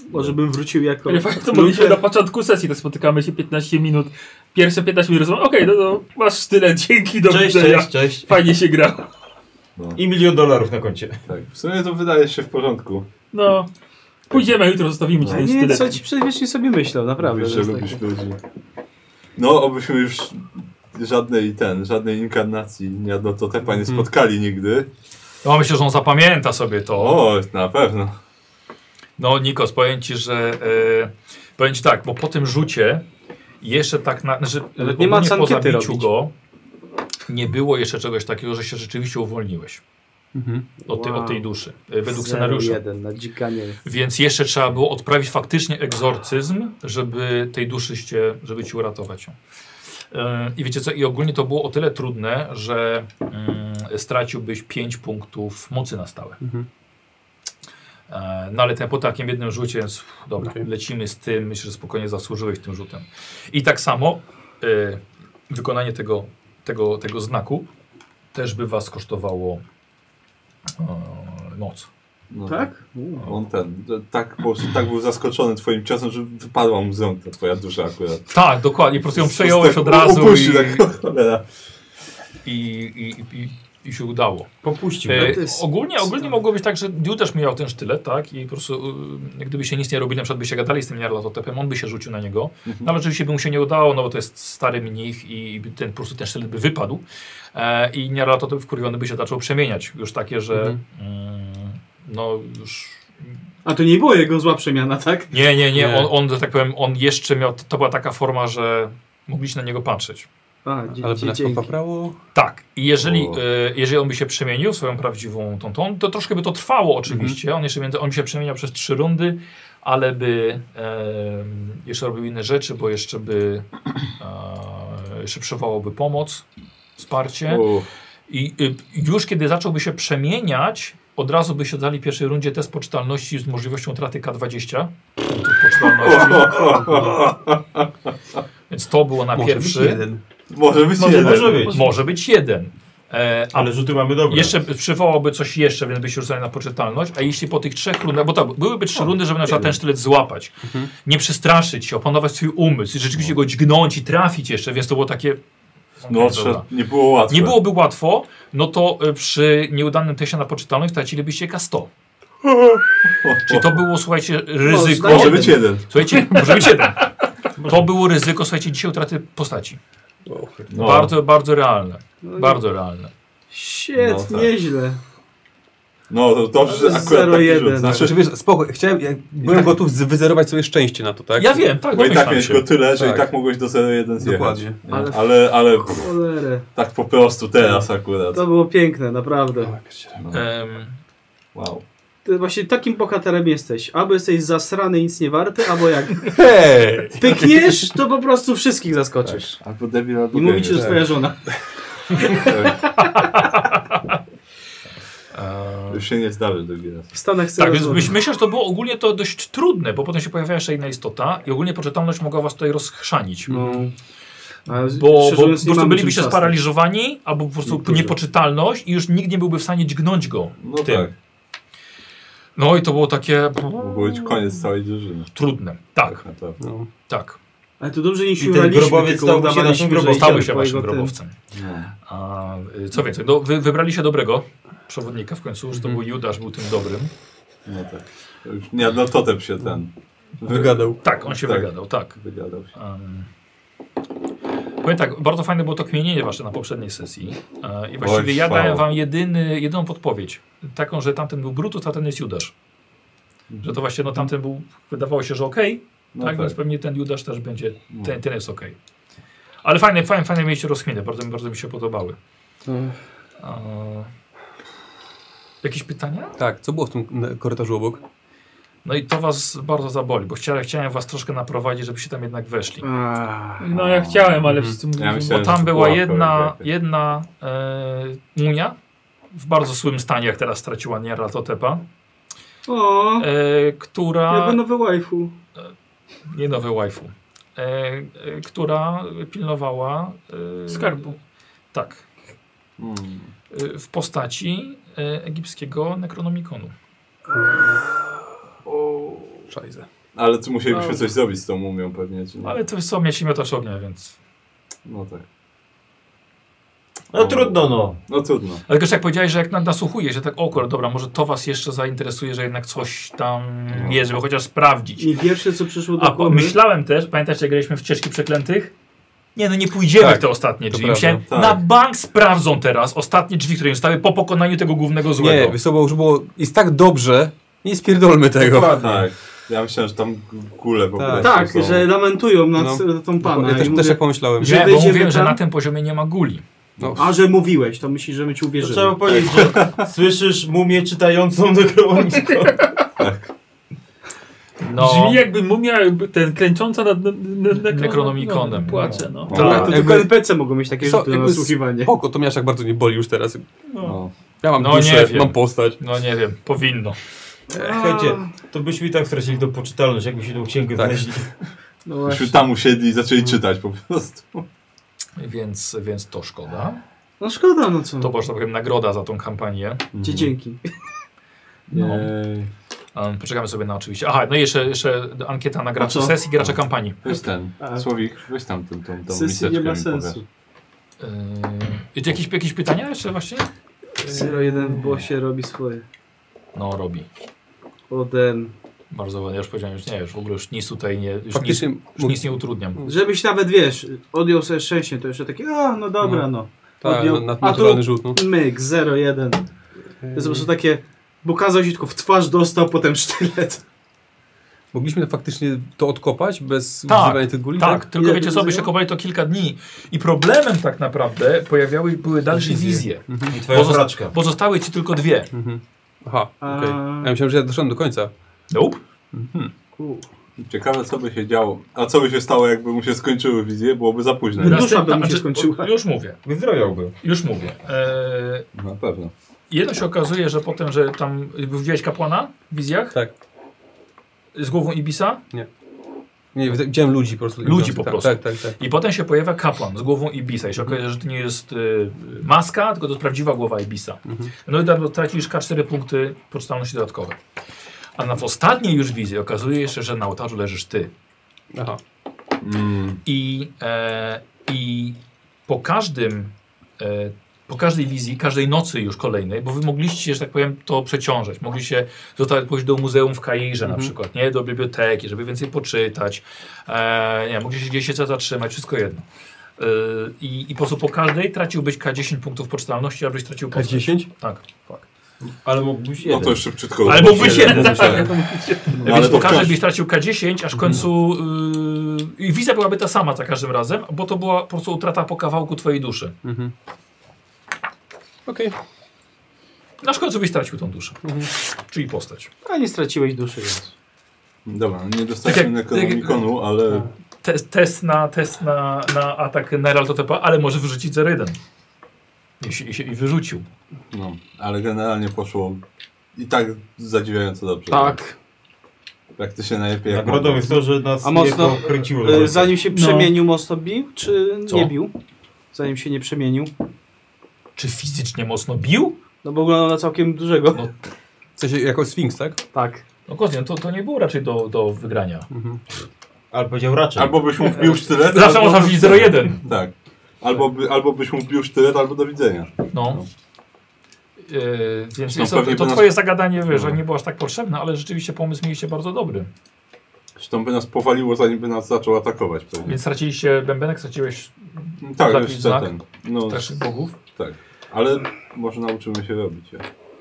[SPEAKER 4] Może bym wrócił jako...
[SPEAKER 5] Ale fakt, to mogliśmy na początku sesji, tak spotykamy się 15 minut, pierwsze 15 minut rozmowy, okej, no to masz tyle, dzięki, do
[SPEAKER 8] Cześć,
[SPEAKER 5] widzenia.
[SPEAKER 8] cześć, cześć.
[SPEAKER 5] Fajnie się gra.
[SPEAKER 3] No,
[SPEAKER 8] I milion dolarów na koncie.
[SPEAKER 3] tak. W sumie to wydaje się w porządku.
[SPEAKER 5] No, pójdziemy jutro, zostawimy ci
[SPEAKER 4] Ja
[SPEAKER 5] ten
[SPEAKER 4] nie wiem, co
[SPEAKER 5] stylet.
[SPEAKER 4] ci przedwiecznie sobie myślał, naprawdę.
[SPEAKER 3] Mówisz,
[SPEAKER 4] że
[SPEAKER 3] że
[SPEAKER 4] jest tak.
[SPEAKER 1] tak.
[SPEAKER 3] lubisz
[SPEAKER 4] taki-
[SPEAKER 3] ludzi. No, obyśmy już żadnej ten, żadnej inkarnacji nie no to te panie
[SPEAKER 1] Mhm.
[SPEAKER 3] spotkali nigdy.
[SPEAKER 1] No myślę, że on zapamięta sobie to.
[SPEAKER 3] O, na pewno.
[SPEAKER 1] No Nikos, powiem ci, że e, powiem ci tak, bo po tym rzucie jeszcze tak, na, znaczy
[SPEAKER 4] Ale
[SPEAKER 1] ogólnie
[SPEAKER 4] nie ma co
[SPEAKER 1] po
[SPEAKER 4] ankiety
[SPEAKER 1] zabiciu
[SPEAKER 4] robić.
[SPEAKER 1] go nie było jeszcze czegoś takiego, że się rzeczywiście uwolniłeś
[SPEAKER 6] Mhm.
[SPEAKER 1] od, tej-
[SPEAKER 4] Wow.
[SPEAKER 1] od tej duszy, e, według
[SPEAKER 4] Zero
[SPEAKER 1] scenariusza.
[SPEAKER 4] jeden na dzikanie.
[SPEAKER 1] Więc jeszcze trzeba było odprawić faktycznie egzorcyzm, żeby tej duszy cię, żeby ci uratować ją. E, I wiecie co, i ogólnie to było o tyle trudne, że mm, straciłbyś 5 punktów mocy na stałe.
[SPEAKER 6] Mhm.
[SPEAKER 1] E, No ale ten po takim jednym rzucie, więc uff, dobra,
[SPEAKER 6] Okej.
[SPEAKER 1] lecimy z tym, myślę, że spokojnie zasłużyłeś tym rzutem. I tak samo e, wykonanie tego, tego, tego znaku też by was kosztowało e, noc.
[SPEAKER 3] No.
[SPEAKER 4] Tak?
[SPEAKER 3] On ten, tak, po prostu, tak był zaskoczony twoim ciosem, że wypadła mu z rąk ta twoja dusza akurat.
[SPEAKER 1] Tak, dokładnie, po prostu ją
[SPEAKER 3] Z- z-
[SPEAKER 1] przejąłeś
[SPEAKER 3] tak
[SPEAKER 1] od razu
[SPEAKER 3] Upuścił,
[SPEAKER 1] i,
[SPEAKER 3] tak, cholera.
[SPEAKER 1] i, i, i, i się udało.
[SPEAKER 8] Popuścił.
[SPEAKER 1] E,
[SPEAKER 4] No to jest-
[SPEAKER 1] ogólnie, ogólnie
[SPEAKER 4] tak. mogło...
[SPEAKER 1] mogło być tak, że Diu też miał ten sztylet, tak? I po prostu y, gdyby się nic nie robili, na przykład by się gadali z tym Jarlatotepem, on by się rzucił na niego. No ale oczywiście by mu się nie udało, no bo to jest stary mnich i by ten, po prostu ten sztylet by wypadł. E, I Jarlatotep wkurwiony by się zaczął przemieniać. Już takie, że
[SPEAKER 6] Mhm.
[SPEAKER 1] mm, no już...
[SPEAKER 9] A to nie było jego zła przemiana, tak?
[SPEAKER 1] Nie, nie, nie,
[SPEAKER 6] Nie.
[SPEAKER 1] On, on, że tak powiem, on jeszcze miał, to była taka forma, że Mogliście na niego patrzeć.
[SPEAKER 4] A,
[SPEAKER 6] Ale
[SPEAKER 4] dzie-
[SPEAKER 6] by
[SPEAKER 4] dzie-
[SPEAKER 6] nas
[SPEAKER 4] dzięki.
[SPEAKER 6] popaprało?
[SPEAKER 1] Tak, i jeżeli,
[SPEAKER 3] O.
[SPEAKER 1] e, jeżeli on by się przemienił w swoją prawdziwą tą, tą to troszkę by to trwało oczywiście.
[SPEAKER 3] Mhm.
[SPEAKER 1] On jeszcze między, on by się przemieniał przez trzy rundy, ale by em, jeszcze robił inne rzeczy, bo jeszcze by e, jeszcze przywołałby pomoc, wsparcie.
[SPEAKER 3] O,
[SPEAKER 1] I y, już kiedy zacząłby się przemieniać, od razu by się dali w pierwszej rundzie test poczytalności z możliwością traty K20. punktów Poczytalności. Więc to było na
[SPEAKER 6] Może być
[SPEAKER 1] pierwszy.
[SPEAKER 6] jeden.
[SPEAKER 3] może być
[SPEAKER 8] Może,
[SPEAKER 3] jeden.
[SPEAKER 8] może być.
[SPEAKER 1] Może być jeden. E, a
[SPEAKER 8] Ale rzuty mamy dobre.
[SPEAKER 1] jeszcze by- przywołałby coś jeszcze, więc by się rzucali na poczytalność. A jeśli po tych trzech rundach, bo tak, byłyby trzy rundy, żeby na przykład ten sztylet złapać,
[SPEAKER 8] Mhm.
[SPEAKER 1] nie przestraszyć się, opanować swój umysł i rzeczywiście go dźgnąć i trafić jeszcze, więc to było takie.
[SPEAKER 3] No,
[SPEAKER 1] Okej,
[SPEAKER 3] trze-
[SPEAKER 1] dobra.
[SPEAKER 3] nie było łatwe.
[SPEAKER 1] Nie byłoby łatwo, no to y, przy nieudanym teście na poczytalność stracilibyście K100. Czyli to było, słuchajcie, ryzyko.
[SPEAKER 8] No,
[SPEAKER 3] Może być jeden.
[SPEAKER 1] Słuchajcie, może być jeden. To było ryzyko, słuchajcie, dzisiaj utraty postaci.
[SPEAKER 3] No.
[SPEAKER 1] Bardzo, bardzo realne.
[SPEAKER 4] No i-
[SPEAKER 1] Bardzo realne.
[SPEAKER 4] Shit,
[SPEAKER 3] No tak.
[SPEAKER 4] nieźle.
[SPEAKER 3] No, to dobrze, że akurat
[SPEAKER 4] Zero
[SPEAKER 3] taki
[SPEAKER 4] jeden.
[SPEAKER 3] rzut. Znaczy,
[SPEAKER 6] Znaczy, wiesz, spoko, chciałem, ja byłem gotów z- wyzerować sobie szczęście na to, tak?
[SPEAKER 1] Ja wiem, tak,
[SPEAKER 3] bo i tak
[SPEAKER 1] domyślam
[SPEAKER 3] miałeś
[SPEAKER 1] się.
[SPEAKER 3] go tyle, że
[SPEAKER 6] Tak.
[SPEAKER 3] i tak mogłeś do 0-1 zjechać.
[SPEAKER 6] Dokładnie.
[SPEAKER 3] Nie?
[SPEAKER 4] Ale- Tak.
[SPEAKER 3] Ale, ale pff,
[SPEAKER 4] Cholerę.
[SPEAKER 3] tak po prostu teraz akurat. No,
[SPEAKER 4] To było piękne, naprawdę.
[SPEAKER 1] Em, e,
[SPEAKER 3] Wow.
[SPEAKER 4] Ty właśnie takim bohaterem jesteś. Albo jesteś zasrany i nic nie warty, albo jak
[SPEAKER 6] Hej!
[SPEAKER 4] pykniesz, to po prostu wszystkich zaskoczysz.
[SPEAKER 3] Albo debil, Tak, albo
[SPEAKER 4] I mówicie, że
[SPEAKER 6] Tak.
[SPEAKER 4] twoja żona.
[SPEAKER 1] em,
[SPEAKER 3] no, Już się nie zdarzy drugi raz.
[SPEAKER 4] W Stanach chce
[SPEAKER 1] Tak, więc
[SPEAKER 4] rozwodu.
[SPEAKER 1] myśl, myślę, że to było ogólnie to dość trudne, bo potem się pojawiała jeszcze inna istota i ogólnie poczytalność mogła was tutaj rozchrzanić.
[SPEAKER 4] No. A z-
[SPEAKER 1] Bo,
[SPEAKER 4] szczerze
[SPEAKER 1] bo po
[SPEAKER 4] mówiąc, nie
[SPEAKER 1] prostu
[SPEAKER 4] mamy czym
[SPEAKER 1] bylibyście
[SPEAKER 4] szastać.
[SPEAKER 1] sparaliżowani, albo po prostu
[SPEAKER 4] Niektórzy.
[SPEAKER 1] niepoczytalność i już nikt nie byłby w stanie dźgnąć go.
[SPEAKER 3] No
[SPEAKER 1] Tym.
[SPEAKER 3] tak,
[SPEAKER 1] No i to było takie
[SPEAKER 3] mógł być koniec całej drużyny.
[SPEAKER 1] trudne. Tak,
[SPEAKER 3] Tak naprawdę.
[SPEAKER 6] No.
[SPEAKER 1] tak.
[SPEAKER 4] Ale to dobrze nie
[SPEAKER 8] ten
[SPEAKER 4] siłowaliśmy,
[SPEAKER 8] grobowiec
[SPEAKER 4] tylko
[SPEAKER 8] stał na
[SPEAKER 4] udawaliśmy,
[SPEAKER 8] naszym
[SPEAKER 4] że
[SPEAKER 8] grobowcu.
[SPEAKER 4] idziemy
[SPEAKER 1] Stały się
[SPEAKER 4] po
[SPEAKER 1] waszym
[SPEAKER 4] jego tym.
[SPEAKER 1] grobowcem.
[SPEAKER 3] No.
[SPEAKER 1] A, y, co więcej, no, wy, wybrali się dobrego przewodnika w końcu,
[SPEAKER 4] Mhm.
[SPEAKER 1] że to był Judasz, był tym dobrym.
[SPEAKER 3] No tak. To Już nie, no totem się ten
[SPEAKER 6] Wygadał.
[SPEAKER 1] Tak, on się
[SPEAKER 3] Tak.
[SPEAKER 1] wygadał, tak.
[SPEAKER 3] wygadał. Się.
[SPEAKER 1] Um, powiem tak, bardzo fajne było to kmienienie wasze na poprzedniej sesji. E, I właściwie
[SPEAKER 3] Oj,
[SPEAKER 1] ja
[SPEAKER 3] chwała.
[SPEAKER 1] dałem wam jedyny, jedyną podpowiedź. Taką, że tamten był Brutus, a ten jest Judasz. Że to właśnie no, tamten był, wydawało się, że okej,
[SPEAKER 3] Mhm. No
[SPEAKER 1] tak,
[SPEAKER 3] tak, No.
[SPEAKER 1] więc pewnie ten Judasz też będzie, ten, ten jest okej. Ale fajne, fajne, fajne mieliście rozkminy, bardzo, mi- bardzo mi się podobały. E, jakieś pytania?
[SPEAKER 6] Tak, co było w tym na- korytarzu obok?
[SPEAKER 1] No i to was bardzo zaboli, bo chciałem, chciałem was troszkę naprowadzić, żebyście tam jednak weszli.
[SPEAKER 4] Aaa.
[SPEAKER 5] No ja chciałem, ale wszyscy mówili,
[SPEAKER 3] Mhm. Ja
[SPEAKER 5] że
[SPEAKER 3] myślałem,
[SPEAKER 1] Tam
[SPEAKER 3] że
[SPEAKER 1] była
[SPEAKER 3] pułapka
[SPEAKER 1] jedna,
[SPEAKER 3] będzie.
[SPEAKER 1] jedna e, munia w bardzo złym stanie, jak teraz straciła Niera Totepa,
[SPEAKER 4] O,
[SPEAKER 1] e,
[SPEAKER 4] jakby
[SPEAKER 1] która...
[SPEAKER 4] nowe waifu.
[SPEAKER 1] Nie nowy waifu. E, e, która pilnowała... E,
[SPEAKER 5] Skarbu.
[SPEAKER 1] Tak.
[SPEAKER 3] Mm.
[SPEAKER 1] E, w postaci e, egipskiego Necronomiconu.
[SPEAKER 6] Szajze.
[SPEAKER 3] Ale tu musielibyśmy
[SPEAKER 4] No.
[SPEAKER 3] coś zrobić z tą mumią pewnie, czy nie?
[SPEAKER 1] Ale to jest co, mieć miotaż ognia, więc...
[SPEAKER 3] No tak.
[SPEAKER 8] No trudno no.
[SPEAKER 3] No trudno.
[SPEAKER 1] Ale też jak powiedziałeś, że jak na- nasłuchuje się, tak o kur, dobra, może to was jeszcze zainteresuje, że jednak coś tam jest, żeby chociaż sprawdzić.
[SPEAKER 4] I pierwsze co przyszło do
[SPEAKER 1] A po-
[SPEAKER 4] głowy.
[SPEAKER 1] myślałem też, pamiętacie, jak graliśmy w Cieczki Przeklętych? Nie, no nie pójdziemy
[SPEAKER 6] Tak,
[SPEAKER 1] w te ostatnie
[SPEAKER 6] to
[SPEAKER 1] drzwi.
[SPEAKER 6] prawda.
[SPEAKER 1] Myślałem,
[SPEAKER 3] Tak.
[SPEAKER 1] na bank sprawdzą teraz ostatnie drzwi, które im stały po pokonaniu tego głównego złego.
[SPEAKER 6] Nie, wiesz co, bo już było, jest tak dobrze, nie spierdolmy tego.
[SPEAKER 3] Tak. Ja myślałem, że tam g- kule po
[SPEAKER 6] Tak.
[SPEAKER 3] prostu
[SPEAKER 4] Tak,
[SPEAKER 3] są.
[SPEAKER 4] że lamentują nad
[SPEAKER 6] No.
[SPEAKER 4] tą pana.
[SPEAKER 6] Ja
[SPEAKER 4] i
[SPEAKER 6] też,
[SPEAKER 4] mówię,
[SPEAKER 6] też tak pomyślałem.
[SPEAKER 4] że
[SPEAKER 1] nie bo
[SPEAKER 4] wyjdziemy
[SPEAKER 1] mówiłem, że
[SPEAKER 4] tam?
[SPEAKER 1] na tym poziomie nie ma guli.
[SPEAKER 6] No,
[SPEAKER 4] A że mówiłeś, to myślisz, że my ci uwierzymy.
[SPEAKER 8] No, Trzeba powiedzieć, że słyszysz mumię czytającą nekromonicę.
[SPEAKER 1] No,
[SPEAKER 5] Brzmi jakby mumia, jakby ten klęcząca nad nad- nad- nad-
[SPEAKER 1] Necronomiconem.
[SPEAKER 5] Płacze, no.
[SPEAKER 3] No.
[SPEAKER 4] Tak, to
[SPEAKER 1] tak.
[SPEAKER 4] tylko
[SPEAKER 6] jakby-
[SPEAKER 4] NPC mogą mieć takie
[SPEAKER 6] Co,
[SPEAKER 4] rzuty na
[SPEAKER 6] jakby
[SPEAKER 4] nasłuchiwanie.
[SPEAKER 6] Spoko, to mnie aż tak bardzo nie boli już teraz.
[SPEAKER 3] No.
[SPEAKER 6] Ja mam
[SPEAKER 1] No, nie
[SPEAKER 6] duszę,
[SPEAKER 1] wiem.
[SPEAKER 6] mam postać.
[SPEAKER 1] No nie wiem, powinno.
[SPEAKER 8] E, Słuchajcie, to byśmy i tak stracili do poczytalność, jakby się tą księgę
[SPEAKER 6] Tak.
[SPEAKER 8] wleźli.
[SPEAKER 3] Myśmy
[SPEAKER 4] No właśnie.
[SPEAKER 3] tam usiedli i zaczęli czytać po prostu.
[SPEAKER 1] Więc, więc to szkoda.
[SPEAKER 4] No szkoda, no co.
[SPEAKER 6] Mm.
[SPEAKER 1] To była, że tak powiem, nagroda za tą kampanię.
[SPEAKER 4] Dzie- Dzięki.
[SPEAKER 1] No.
[SPEAKER 3] Jej.
[SPEAKER 1] Um, poczekamy sobie na oczywiście. Aha, no i jeszcze, jeszcze ankieta na graczy
[SPEAKER 4] A co?
[SPEAKER 1] sesji,
[SPEAKER 6] Tak.
[SPEAKER 1] gracza kampanii.
[SPEAKER 3] Weź ten,
[SPEAKER 4] A.
[SPEAKER 3] Słowik, weź tam tą, tą, tą
[SPEAKER 4] Sesji
[SPEAKER 3] miseczkę
[SPEAKER 4] nie ma
[SPEAKER 3] mi
[SPEAKER 4] sensu.
[SPEAKER 1] Yy, jakieś, jakieś pytania jeszcze właśnie?
[SPEAKER 4] 0-1 w bosie robi swoje.
[SPEAKER 1] No, robi.
[SPEAKER 4] Odem.
[SPEAKER 1] Bardzo ładnie, ja już powiedziałem, już nie, już w ogóle już nic tutaj nie, już nic,
[SPEAKER 6] Faktycznie,
[SPEAKER 1] już nic nie utrudniam.
[SPEAKER 9] Mm.
[SPEAKER 4] Żebyś nawet wiesz, odjął sobie 6, to jeszcze takie, a no dobra, no.
[SPEAKER 6] tak,
[SPEAKER 4] odjął-
[SPEAKER 6] na, na,
[SPEAKER 4] a tu-
[SPEAKER 6] naturalny rzut, no.
[SPEAKER 4] Myk, 0-1. To jest po prostu takie, bo kazał się tylko w twarz dostał, potem sztylet.
[SPEAKER 6] Mogliśmy faktycznie to odkopać bez
[SPEAKER 1] Tak,
[SPEAKER 6] używania tych guli?
[SPEAKER 1] Tak, tylko
[SPEAKER 6] Ile-
[SPEAKER 1] wiecie co, by się kopali to kilka dni. I problemem tak naprawdę pojawiały były dalsze
[SPEAKER 6] Wizje.
[SPEAKER 1] wizje.
[SPEAKER 8] I twoja
[SPEAKER 1] Pozosta-
[SPEAKER 8] poraczka.
[SPEAKER 1] Pozostały ci tylko dwie.
[SPEAKER 6] Mhm. Aha,
[SPEAKER 4] A-
[SPEAKER 6] okej. Ja myślałem, że ja doszedłem do końca.
[SPEAKER 1] Nope.
[SPEAKER 6] Mhm.
[SPEAKER 3] Ciekawe, co by się działo. A co by się stało, jakby mu się skończyły wizje? Byłoby za późno.
[SPEAKER 9] Dusza by mu się
[SPEAKER 1] znaczy,
[SPEAKER 9] skończyła.
[SPEAKER 1] Już mówię,
[SPEAKER 8] Wyzdrowiałby.
[SPEAKER 1] już mówię. Eee,
[SPEAKER 3] Na pewno. No
[SPEAKER 1] jedno się okazuje, że potem, że tam widziałeś kapłana w wizjach
[SPEAKER 6] Tak.
[SPEAKER 1] z głową Ibisa
[SPEAKER 6] Nie, widziałem ludzi po prostu.
[SPEAKER 1] Ludzi po
[SPEAKER 6] tak,
[SPEAKER 1] prostu.
[SPEAKER 6] Tak, tak, tak.
[SPEAKER 1] i potem się pojawia kapłan z głową Ibisa i się okazuje, że to nie jest y, maska, tylko to jest prawdziwa głowa Ibisa.
[SPEAKER 6] Mhm.
[SPEAKER 1] No i dlatego tracisz K4 punkty poczytalności dodatkowe. A na w ostatniej już wizji okazuje się, że na ołtarzu leżysz ty.
[SPEAKER 6] Aha.
[SPEAKER 3] Mm,
[SPEAKER 1] I, e, i po każdym, e, po każdej wizji, każdej nocy już kolejnej, bo wy mogliście, że tak powiem, to przeciążać. Mogliście zostać pójść do muzeum w Kairze na przykład, nie? Do biblioteki, żeby więcej poczytać. E, nie, mogliście gdzieś się zatrzymać, wszystko jedno. E, I, I po prostu po każdej traciłbyś K10 punktów poczytalności, abyś tracił postać.
[SPEAKER 6] K10?
[SPEAKER 1] Tak, tak.
[SPEAKER 8] Ale mógłbyś
[SPEAKER 3] no
[SPEAKER 8] jeden.
[SPEAKER 3] to już szybciutko.
[SPEAKER 1] Ale mógłbyś jeden, tak.
[SPEAKER 3] myślałem. No, ale
[SPEAKER 1] Więc
[SPEAKER 3] to Mhm.
[SPEAKER 1] po każdej
[SPEAKER 3] wciąż.
[SPEAKER 1] byś tracił K10, aż w końcu yy, i wizja byłaby ta sama za każdym razem, bo to była po prostu utrata po kawałku twojej duszy.
[SPEAKER 6] Mhm. Okej.
[SPEAKER 1] Na końcu byś tracił tą duszę. Czyli postać.
[SPEAKER 4] A nie straciłeś duszy, więc.
[SPEAKER 3] Dobra, no nie
[SPEAKER 1] Tak
[SPEAKER 3] dostaliśmy
[SPEAKER 1] jak-
[SPEAKER 3] Necronomiconu, ale
[SPEAKER 1] Te, test na, test na, na atak Neraltotepa, ale może wyrzucić 0-1. I, się- i, się- I wyrzucił.
[SPEAKER 3] No, ale generalnie poszło i tak zadziwiająco dobrze.
[SPEAKER 4] Tak.
[SPEAKER 3] Praktycznie najlepiej jak
[SPEAKER 8] Nagrodą jest to, że nas
[SPEAKER 4] A mocno,
[SPEAKER 8] nie kręciło.
[SPEAKER 4] e, Zanim się przemienił, mocno bił, czy
[SPEAKER 1] Co?
[SPEAKER 4] nie bił? Zanim się nie przemienił.
[SPEAKER 1] Czy fizycznie mocno bił?
[SPEAKER 4] No bo wyglądał na całkiem dużego.
[SPEAKER 1] No.
[SPEAKER 6] W sensie jako Sfinks, tak?
[SPEAKER 4] Tak.
[SPEAKER 1] No Kozjan, to, to nie było raczej do, do wygrania.
[SPEAKER 8] Ale powiedział raczej.
[SPEAKER 3] Albo byś mu wbił sztylet,
[SPEAKER 1] Zawsze
[SPEAKER 3] albo...
[SPEAKER 1] można wrzucić 0-1.
[SPEAKER 3] Tak. Albo, by, albo byś mu wbił sztylet, albo do widzenia.
[SPEAKER 1] No. Yy, więc
[SPEAKER 3] No,
[SPEAKER 1] jest to,
[SPEAKER 3] pewnie
[SPEAKER 1] to
[SPEAKER 3] by nas-
[SPEAKER 1] twoje zagadanie, wiesz, że
[SPEAKER 3] No.
[SPEAKER 1] nie było aż tak potrzebne, ale rzeczywiście pomysł mieliście bardzo dobry.
[SPEAKER 3] Zresztą by nas powaliło, zanim by nas zaczął atakować pewnie.
[SPEAKER 1] Więc straciliście bębenek, straciłeś
[SPEAKER 3] Tak,
[SPEAKER 1] Jakiś
[SPEAKER 3] już za
[SPEAKER 1] znak?
[SPEAKER 3] ten. No,
[SPEAKER 1] też bogów.
[SPEAKER 3] tak. Ale może nauczymy się robić. ja.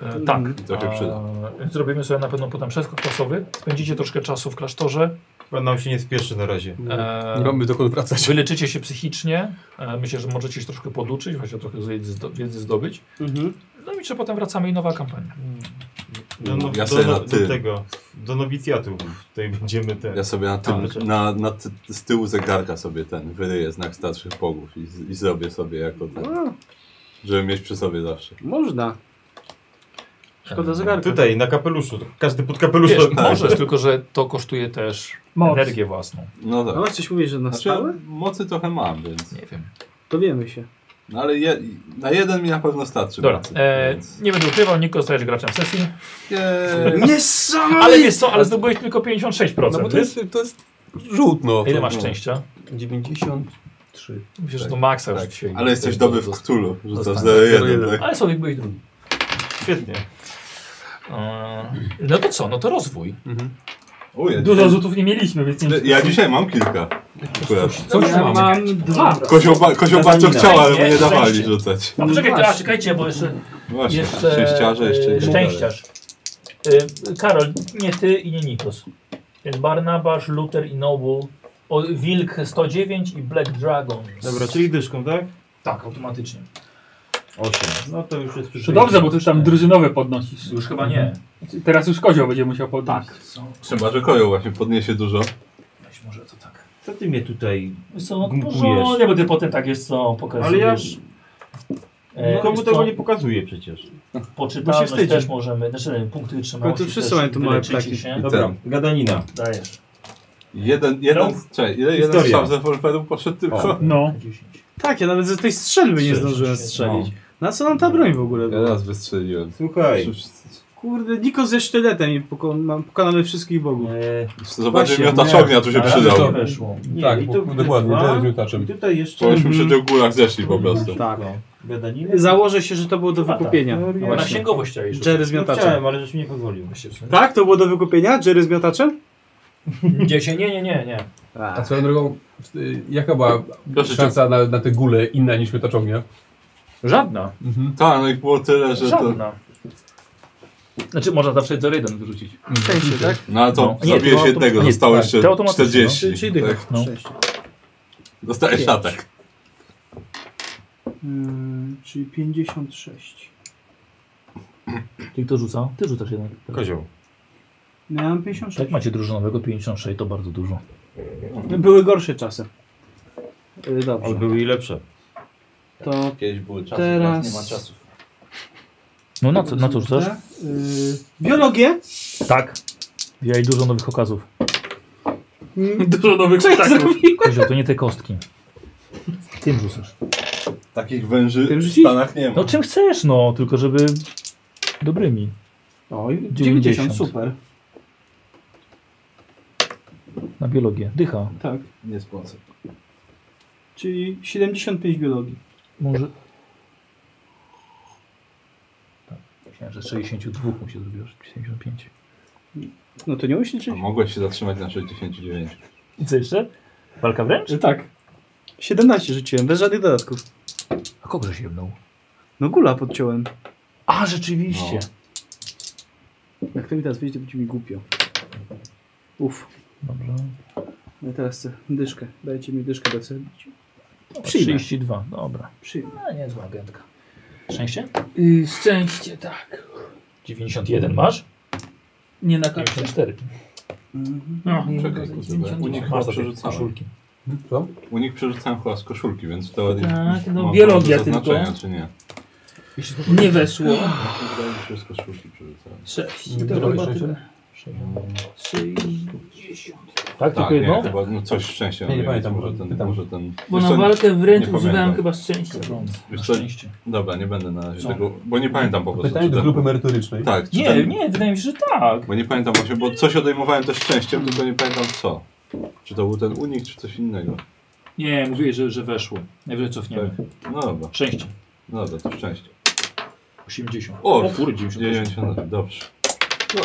[SPEAKER 1] E, tak.
[SPEAKER 3] I Mm. to się przyda.
[SPEAKER 1] E, więc zrobimy sobie na pewno potem przeskok czasowy. Spędzicie troszkę czasu w klasztorze.
[SPEAKER 8] Chyba nam się nie spieszy na razie.
[SPEAKER 1] E,
[SPEAKER 6] Nie
[SPEAKER 3] No,
[SPEAKER 6] mamy dokąd wracać.
[SPEAKER 1] wyleczycie się psychicznie. E, myślę, że możecie się troszkę poduczyć, chociaż trochę z- zdo- wiedzy zdobyć. No i czy potem wracamy i nowa kampania.
[SPEAKER 8] Do, no,
[SPEAKER 3] Ja
[SPEAKER 8] do,
[SPEAKER 3] sobie
[SPEAKER 8] do,
[SPEAKER 3] na ty.
[SPEAKER 8] tego. Do nowicjatu. Tutaj będziemy te.
[SPEAKER 3] Ja sobie na,
[SPEAKER 8] Ale
[SPEAKER 3] tym,
[SPEAKER 8] czekaj.
[SPEAKER 3] na, na ty, z tyłu zegarka sobie ten wyryję znak starszych bogów i, i zrobię sobie jako ten. Żeby mieć przy sobie zawsze.
[SPEAKER 4] Można. Szkoda zegarka.
[SPEAKER 8] Tutaj, na kapeluszu. Każdy pod kapeluszem.
[SPEAKER 1] Wiesz, możesz, tylko że to kosztuje też
[SPEAKER 5] Moc.
[SPEAKER 1] energię własną.
[SPEAKER 3] No tak.
[SPEAKER 4] No masz coś mówisz, że na
[SPEAKER 3] Znaczy,
[SPEAKER 4] stałe?
[SPEAKER 3] mocy trochę mam, więc.
[SPEAKER 1] Nie wiem.
[SPEAKER 4] Dowiemy się.
[SPEAKER 3] No ale je, na jeden mi na pewno starczy.
[SPEAKER 1] Dobra,
[SPEAKER 3] mocy,
[SPEAKER 1] e,
[SPEAKER 3] więc-
[SPEAKER 1] nie będę ukrywał, Niko zostajesz graczem sesji.
[SPEAKER 3] Jej.
[SPEAKER 4] Niesamowite!
[SPEAKER 1] Ale wiesz co, ale zdobyłeś tylko 56%.
[SPEAKER 6] No bo to
[SPEAKER 1] wiesz?
[SPEAKER 6] jest, to jest rzut, no.
[SPEAKER 1] Ile
[SPEAKER 6] To-
[SPEAKER 1] masz
[SPEAKER 3] no.
[SPEAKER 1] szczęścia?
[SPEAKER 6] 93.
[SPEAKER 1] Myślę, że to maksa już
[SPEAKER 3] Tak,
[SPEAKER 1] dzisiaj.
[SPEAKER 3] Ale jesteś dobry w Cthulhu, rzucasz
[SPEAKER 1] Dostanę.
[SPEAKER 3] 0-1, tak?
[SPEAKER 1] Ale sobie byłeś drugi.
[SPEAKER 8] Świetnie.
[SPEAKER 1] Eee, No to co, no to rozwój.
[SPEAKER 3] O, ja,
[SPEAKER 5] Dużo
[SPEAKER 3] dzisiaj,
[SPEAKER 5] rzutów nie mieliśmy, więc nie...
[SPEAKER 3] ja dzisiaj mam kilka. Akurat.
[SPEAKER 6] Coś
[SPEAKER 9] Ja
[SPEAKER 6] mam.
[SPEAKER 9] mam dwa.
[SPEAKER 3] Kozioł, ba, kozioł bardzo chciał, ale mu nie dawali
[SPEAKER 1] Szczęście.
[SPEAKER 3] rzucać.
[SPEAKER 1] A
[SPEAKER 9] No
[SPEAKER 1] poczekaj,
[SPEAKER 9] właśnie.
[SPEAKER 1] a, czekajcie, bo jeszcze...
[SPEAKER 3] Właśnie,
[SPEAKER 1] jeszcze
[SPEAKER 3] szczęściarze jeszcze
[SPEAKER 1] e,
[SPEAKER 3] nie
[SPEAKER 1] szczęściarz. E, Karol, nie ty i nie Nikos. Jest Barnabasz, Luther i Noble. O, Wilk 109 i Black Dragon.
[SPEAKER 8] Dobra, czyli dyszką, tak?
[SPEAKER 1] Tak, automatycznie.
[SPEAKER 8] 8. No to już jest
[SPEAKER 5] To dobrze, bo ty już tam drużynowe podnosisz.
[SPEAKER 1] Już chyba nie.
[SPEAKER 5] Teraz już kozioł będzie musiał podnosić. Tak.
[SPEAKER 1] Co?
[SPEAKER 3] Chyba, że kozioł właśnie podniesie dużo.
[SPEAKER 1] Weź może to tak.
[SPEAKER 8] Co ty mnie tutaj.
[SPEAKER 1] Wiesz co, no
[SPEAKER 8] Gumpujesz.
[SPEAKER 1] porządnie, bo ty potem tak jest co
[SPEAKER 8] Ale ja.
[SPEAKER 1] pokazujesz. E,
[SPEAKER 8] Nikomu
[SPEAKER 1] wiesz
[SPEAKER 8] tego
[SPEAKER 1] co,
[SPEAKER 8] nie pokazuję przecież.
[SPEAKER 1] Poczytalność
[SPEAKER 9] wstydzi.
[SPEAKER 1] też możemy, znaczy nie, punkty wytrzymałości
[SPEAKER 4] No to wszyscy
[SPEAKER 1] też
[SPEAKER 4] mają tu małe
[SPEAKER 1] wyleczycie
[SPEAKER 4] ptaki.
[SPEAKER 1] się.
[SPEAKER 3] I
[SPEAKER 8] Dobra,
[SPEAKER 3] ten.
[SPEAKER 8] gadanina.
[SPEAKER 1] Dajesz.
[SPEAKER 3] Jeden, jeden, czekaj, ile jeden
[SPEAKER 8] Historia.
[SPEAKER 3] strzał z rewolweru poszedł tylko?
[SPEAKER 8] O.
[SPEAKER 5] No.
[SPEAKER 1] 10.
[SPEAKER 4] Tak, ja nawet ze tej strzelby nie zdążyłem strzelić. Na co nam ta broń w ogóle?
[SPEAKER 3] Ja raz wystrzeliłem.
[SPEAKER 8] Słuchaj.
[SPEAKER 4] Kurde, Niko ze sztyletem i pokona, pokonamy wszystkich bogów.
[SPEAKER 8] E,
[SPEAKER 3] Zobaczymy,
[SPEAKER 4] Właśnie,
[SPEAKER 3] miotacz
[SPEAKER 4] nie.
[SPEAKER 3] ognia tu się
[SPEAKER 8] Ale
[SPEAKER 3] przydał.
[SPEAKER 8] to-
[SPEAKER 1] Weszło.
[SPEAKER 8] nie,
[SPEAKER 6] tak,
[SPEAKER 8] i
[SPEAKER 6] bo,
[SPEAKER 8] to
[SPEAKER 6] dokładnie,
[SPEAKER 8] dwa.
[SPEAKER 6] teraz
[SPEAKER 8] I
[SPEAKER 6] miotaczem.
[SPEAKER 8] tutaj jeszcze.
[SPEAKER 1] Mhm.
[SPEAKER 3] Bośmy przy tych górach zeszli po prostu.
[SPEAKER 4] Tak.
[SPEAKER 8] No, gadanina.
[SPEAKER 4] Założę się, że to było do
[SPEAKER 1] Chyba tak.
[SPEAKER 4] wykupienia.
[SPEAKER 8] No,
[SPEAKER 1] Na
[SPEAKER 8] właśnie.
[SPEAKER 1] księgowość chciałeś
[SPEAKER 4] Jerry z
[SPEAKER 8] No
[SPEAKER 4] miotaczem.
[SPEAKER 8] chciałem, ale żeś mi nie pozwolił.
[SPEAKER 4] Tak? To było do wykupienia? Jerry z miotaczem?
[SPEAKER 1] Gdzie się? Nie, nie, nie, nie.
[SPEAKER 6] A swoją drogą, y, jaka była
[SPEAKER 3] Proszę cię.
[SPEAKER 6] szansa na, na te gule inna niż miotacz ognia?
[SPEAKER 1] Żadna.
[SPEAKER 3] Tak, no i było tyle, że to...
[SPEAKER 1] Żadna. Znaczy można zawsze 0,1 wyrzucić.
[SPEAKER 4] Szczęście, tak?
[SPEAKER 3] No ale to
[SPEAKER 1] No, nie,
[SPEAKER 3] zabiłeś
[SPEAKER 1] to
[SPEAKER 3] jednego,
[SPEAKER 1] automatycznie.
[SPEAKER 3] zostało
[SPEAKER 1] Tak,
[SPEAKER 3] jeszcze
[SPEAKER 1] to automatycznie,
[SPEAKER 3] 40.
[SPEAKER 1] no. Czyli dycha.
[SPEAKER 3] tak?
[SPEAKER 1] No.
[SPEAKER 3] Dostajesz
[SPEAKER 12] Pięć.
[SPEAKER 3] atak.
[SPEAKER 12] Yy, czyli 56.
[SPEAKER 1] Czyli kto rzuca? Ty rzucasz jednak. Tak.
[SPEAKER 8] Kozioł.
[SPEAKER 12] No ja mam 56.
[SPEAKER 1] Jak macie drużynowego 56, to bardzo dużo.
[SPEAKER 4] No, Były gorsze czasy. Yy,
[SPEAKER 8] Ale
[SPEAKER 4] Dobrze.
[SPEAKER 8] były i lepsze.
[SPEAKER 4] To
[SPEAKER 13] Kiedyś były czasy,
[SPEAKER 4] Teraz-
[SPEAKER 13] teraz nie ma czasów.
[SPEAKER 1] No na co, na co
[SPEAKER 4] Y,
[SPEAKER 1] rzucasz?
[SPEAKER 12] Tak? Yy, biologię?
[SPEAKER 1] Tak. Ja i dużo nowych okazów.
[SPEAKER 5] Dużo nowych
[SPEAKER 4] Co ja
[SPEAKER 1] tak.
[SPEAKER 5] ptaków.
[SPEAKER 1] Kozioł, to nie te kostki. Tym rzucasz.
[SPEAKER 3] Takich węży
[SPEAKER 4] Tym
[SPEAKER 3] w
[SPEAKER 4] rzucić?
[SPEAKER 3] Stanach nie ma.
[SPEAKER 1] No czym chcesz, no, tylko żeby dobrymi.
[SPEAKER 4] O, 90,
[SPEAKER 1] 90.
[SPEAKER 4] super.
[SPEAKER 1] Na biologię. Dycha.
[SPEAKER 12] Tak.
[SPEAKER 3] Nie spłacę.
[SPEAKER 12] Czyli 75 biologii.
[SPEAKER 1] Może. Tak. Myślałem, że z 62 mu się zrobiło, że 75.
[SPEAKER 4] No to nie musisz
[SPEAKER 3] A
[SPEAKER 4] liczyć?
[SPEAKER 3] mogłeś się zatrzymać na 69.
[SPEAKER 1] I co jeszcze? E, Walka wręcz?
[SPEAKER 4] Że tak. 17 rzuciłem, bez żadnych dodatków.
[SPEAKER 1] A kogo się jedną?
[SPEAKER 4] No gula podciąłem.
[SPEAKER 1] A,
[SPEAKER 3] No,
[SPEAKER 1] rzeczywiście.
[SPEAKER 4] Jak to mi teraz wyjdzie, to będzie mi głupio. Uff.
[SPEAKER 1] No, Dobrze.
[SPEAKER 4] Ja no teraz chcę dyszkę. Dajcie mi dyszkę do celu.
[SPEAKER 1] O,
[SPEAKER 4] Przyjmę.
[SPEAKER 1] 32, No, dobra.
[SPEAKER 4] Przyjmę.
[SPEAKER 1] A, niezła agentka. Szczęście?
[SPEAKER 5] Yy, szczęście, tak.
[SPEAKER 1] 91 masz?
[SPEAKER 5] Nie na kartę.
[SPEAKER 1] 94.
[SPEAKER 5] No,
[SPEAKER 3] Czekaj, kurde. Unik
[SPEAKER 1] Masz
[SPEAKER 3] chyba
[SPEAKER 1] za tej
[SPEAKER 3] przerzucałem.
[SPEAKER 1] koszulki.
[SPEAKER 6] Co?
[SPEAKER 3] Unik przerzucałem chyba z koszulki, więc to ładnie.
[SPEAKER 5] Tak, no,
[SPEAKER 3] ma
[SPEAKER 5] biologia
[SPEAKER 3] dużo
[SPEAKER 5] tylko.
[SPEAKER 3] znaczenia, Czy nie?
[SPEAKER 5] Nie weszło.
[SPEAKER 3] Wydaje mi się, że z koszulki przerzucałem.
[SPEAKER 5] Sześć.
[SPEAKER 1] Nie
[SPEAKER 5] To
[SPEAKER 1] wybrałeś
[SPEAKER 5] chyba
[SPEAKER 1] sześciu?
[SPEAKER 5] tyle. Sześćdziesiąt.
[SPEAKER 1] Tak, tylko
[SPEAKER 3] Tak, nie,
[SPEAKER 1] jedno?
[SPEAKER 3] chyba no, coś szczęścia.
[SPEAKER 6] Ja nie
[SPEAKER 3] miałem,
[SPEAKER 6] pamiętam,
[SPEAKER 3] Może
[SPEAKER 6] bo
[SPEAKER 3] ten,
[SPEAKER 6] pytam.
[SPEAKER 3] może ten...
[SPEAKER 5] Bo
[SPEAKER 3] Wiesz co,
[SPEAKER 5] na walkę wręcz
[SPEAKER 3] nie pamiętam.
[SPEAKER 5] używałem chyba szczęścia.
[SPEAKER 3] wiesz
[SPEAKER 1] Na
[SPEAKER 3] co,
[SPEAKER 1] szczęście.
[SPEAKER 3] Dobra, nie będę na razie
[SPEAKER 1] Co?
[SPEAKER 3] tego, bo nie pamiętam po prostu.
[SPEAKER 6] Pytanie
[SPEAKER 3] czy
[SPEAKER 6] do
[SPEAKER 3] ten-
[SPEAKER 6] grupy merytorycznej.
[SPEAKER 3] Tak, czy
[SPEAKER 1] Nie,
[SPEAKER 3] ten-
[SPEAKER 1] nie, wydaje mi się, że tak.
[SPEAKER 3] Bo nie pamiętam właśnie, bo coś odejmowałem też szczęściem, tylko nie pamiętam co. Czy to był ten unik, czy coś innego.
[SPEAKER 1] Nie, mówiłeś, że, że weszło. Najwyżej cofniemy.
[SPEAKER 3] No dobra,
[SPEAKER 1] Szczęście.
[SPEAKER 3] no dobra, to szczęście.
[SPEAKER 1] 80.
[SPEAKER 3] O,
[SPEAKER 1] kurde, 98.
[SPEAKER 3] 98, dobrze. No,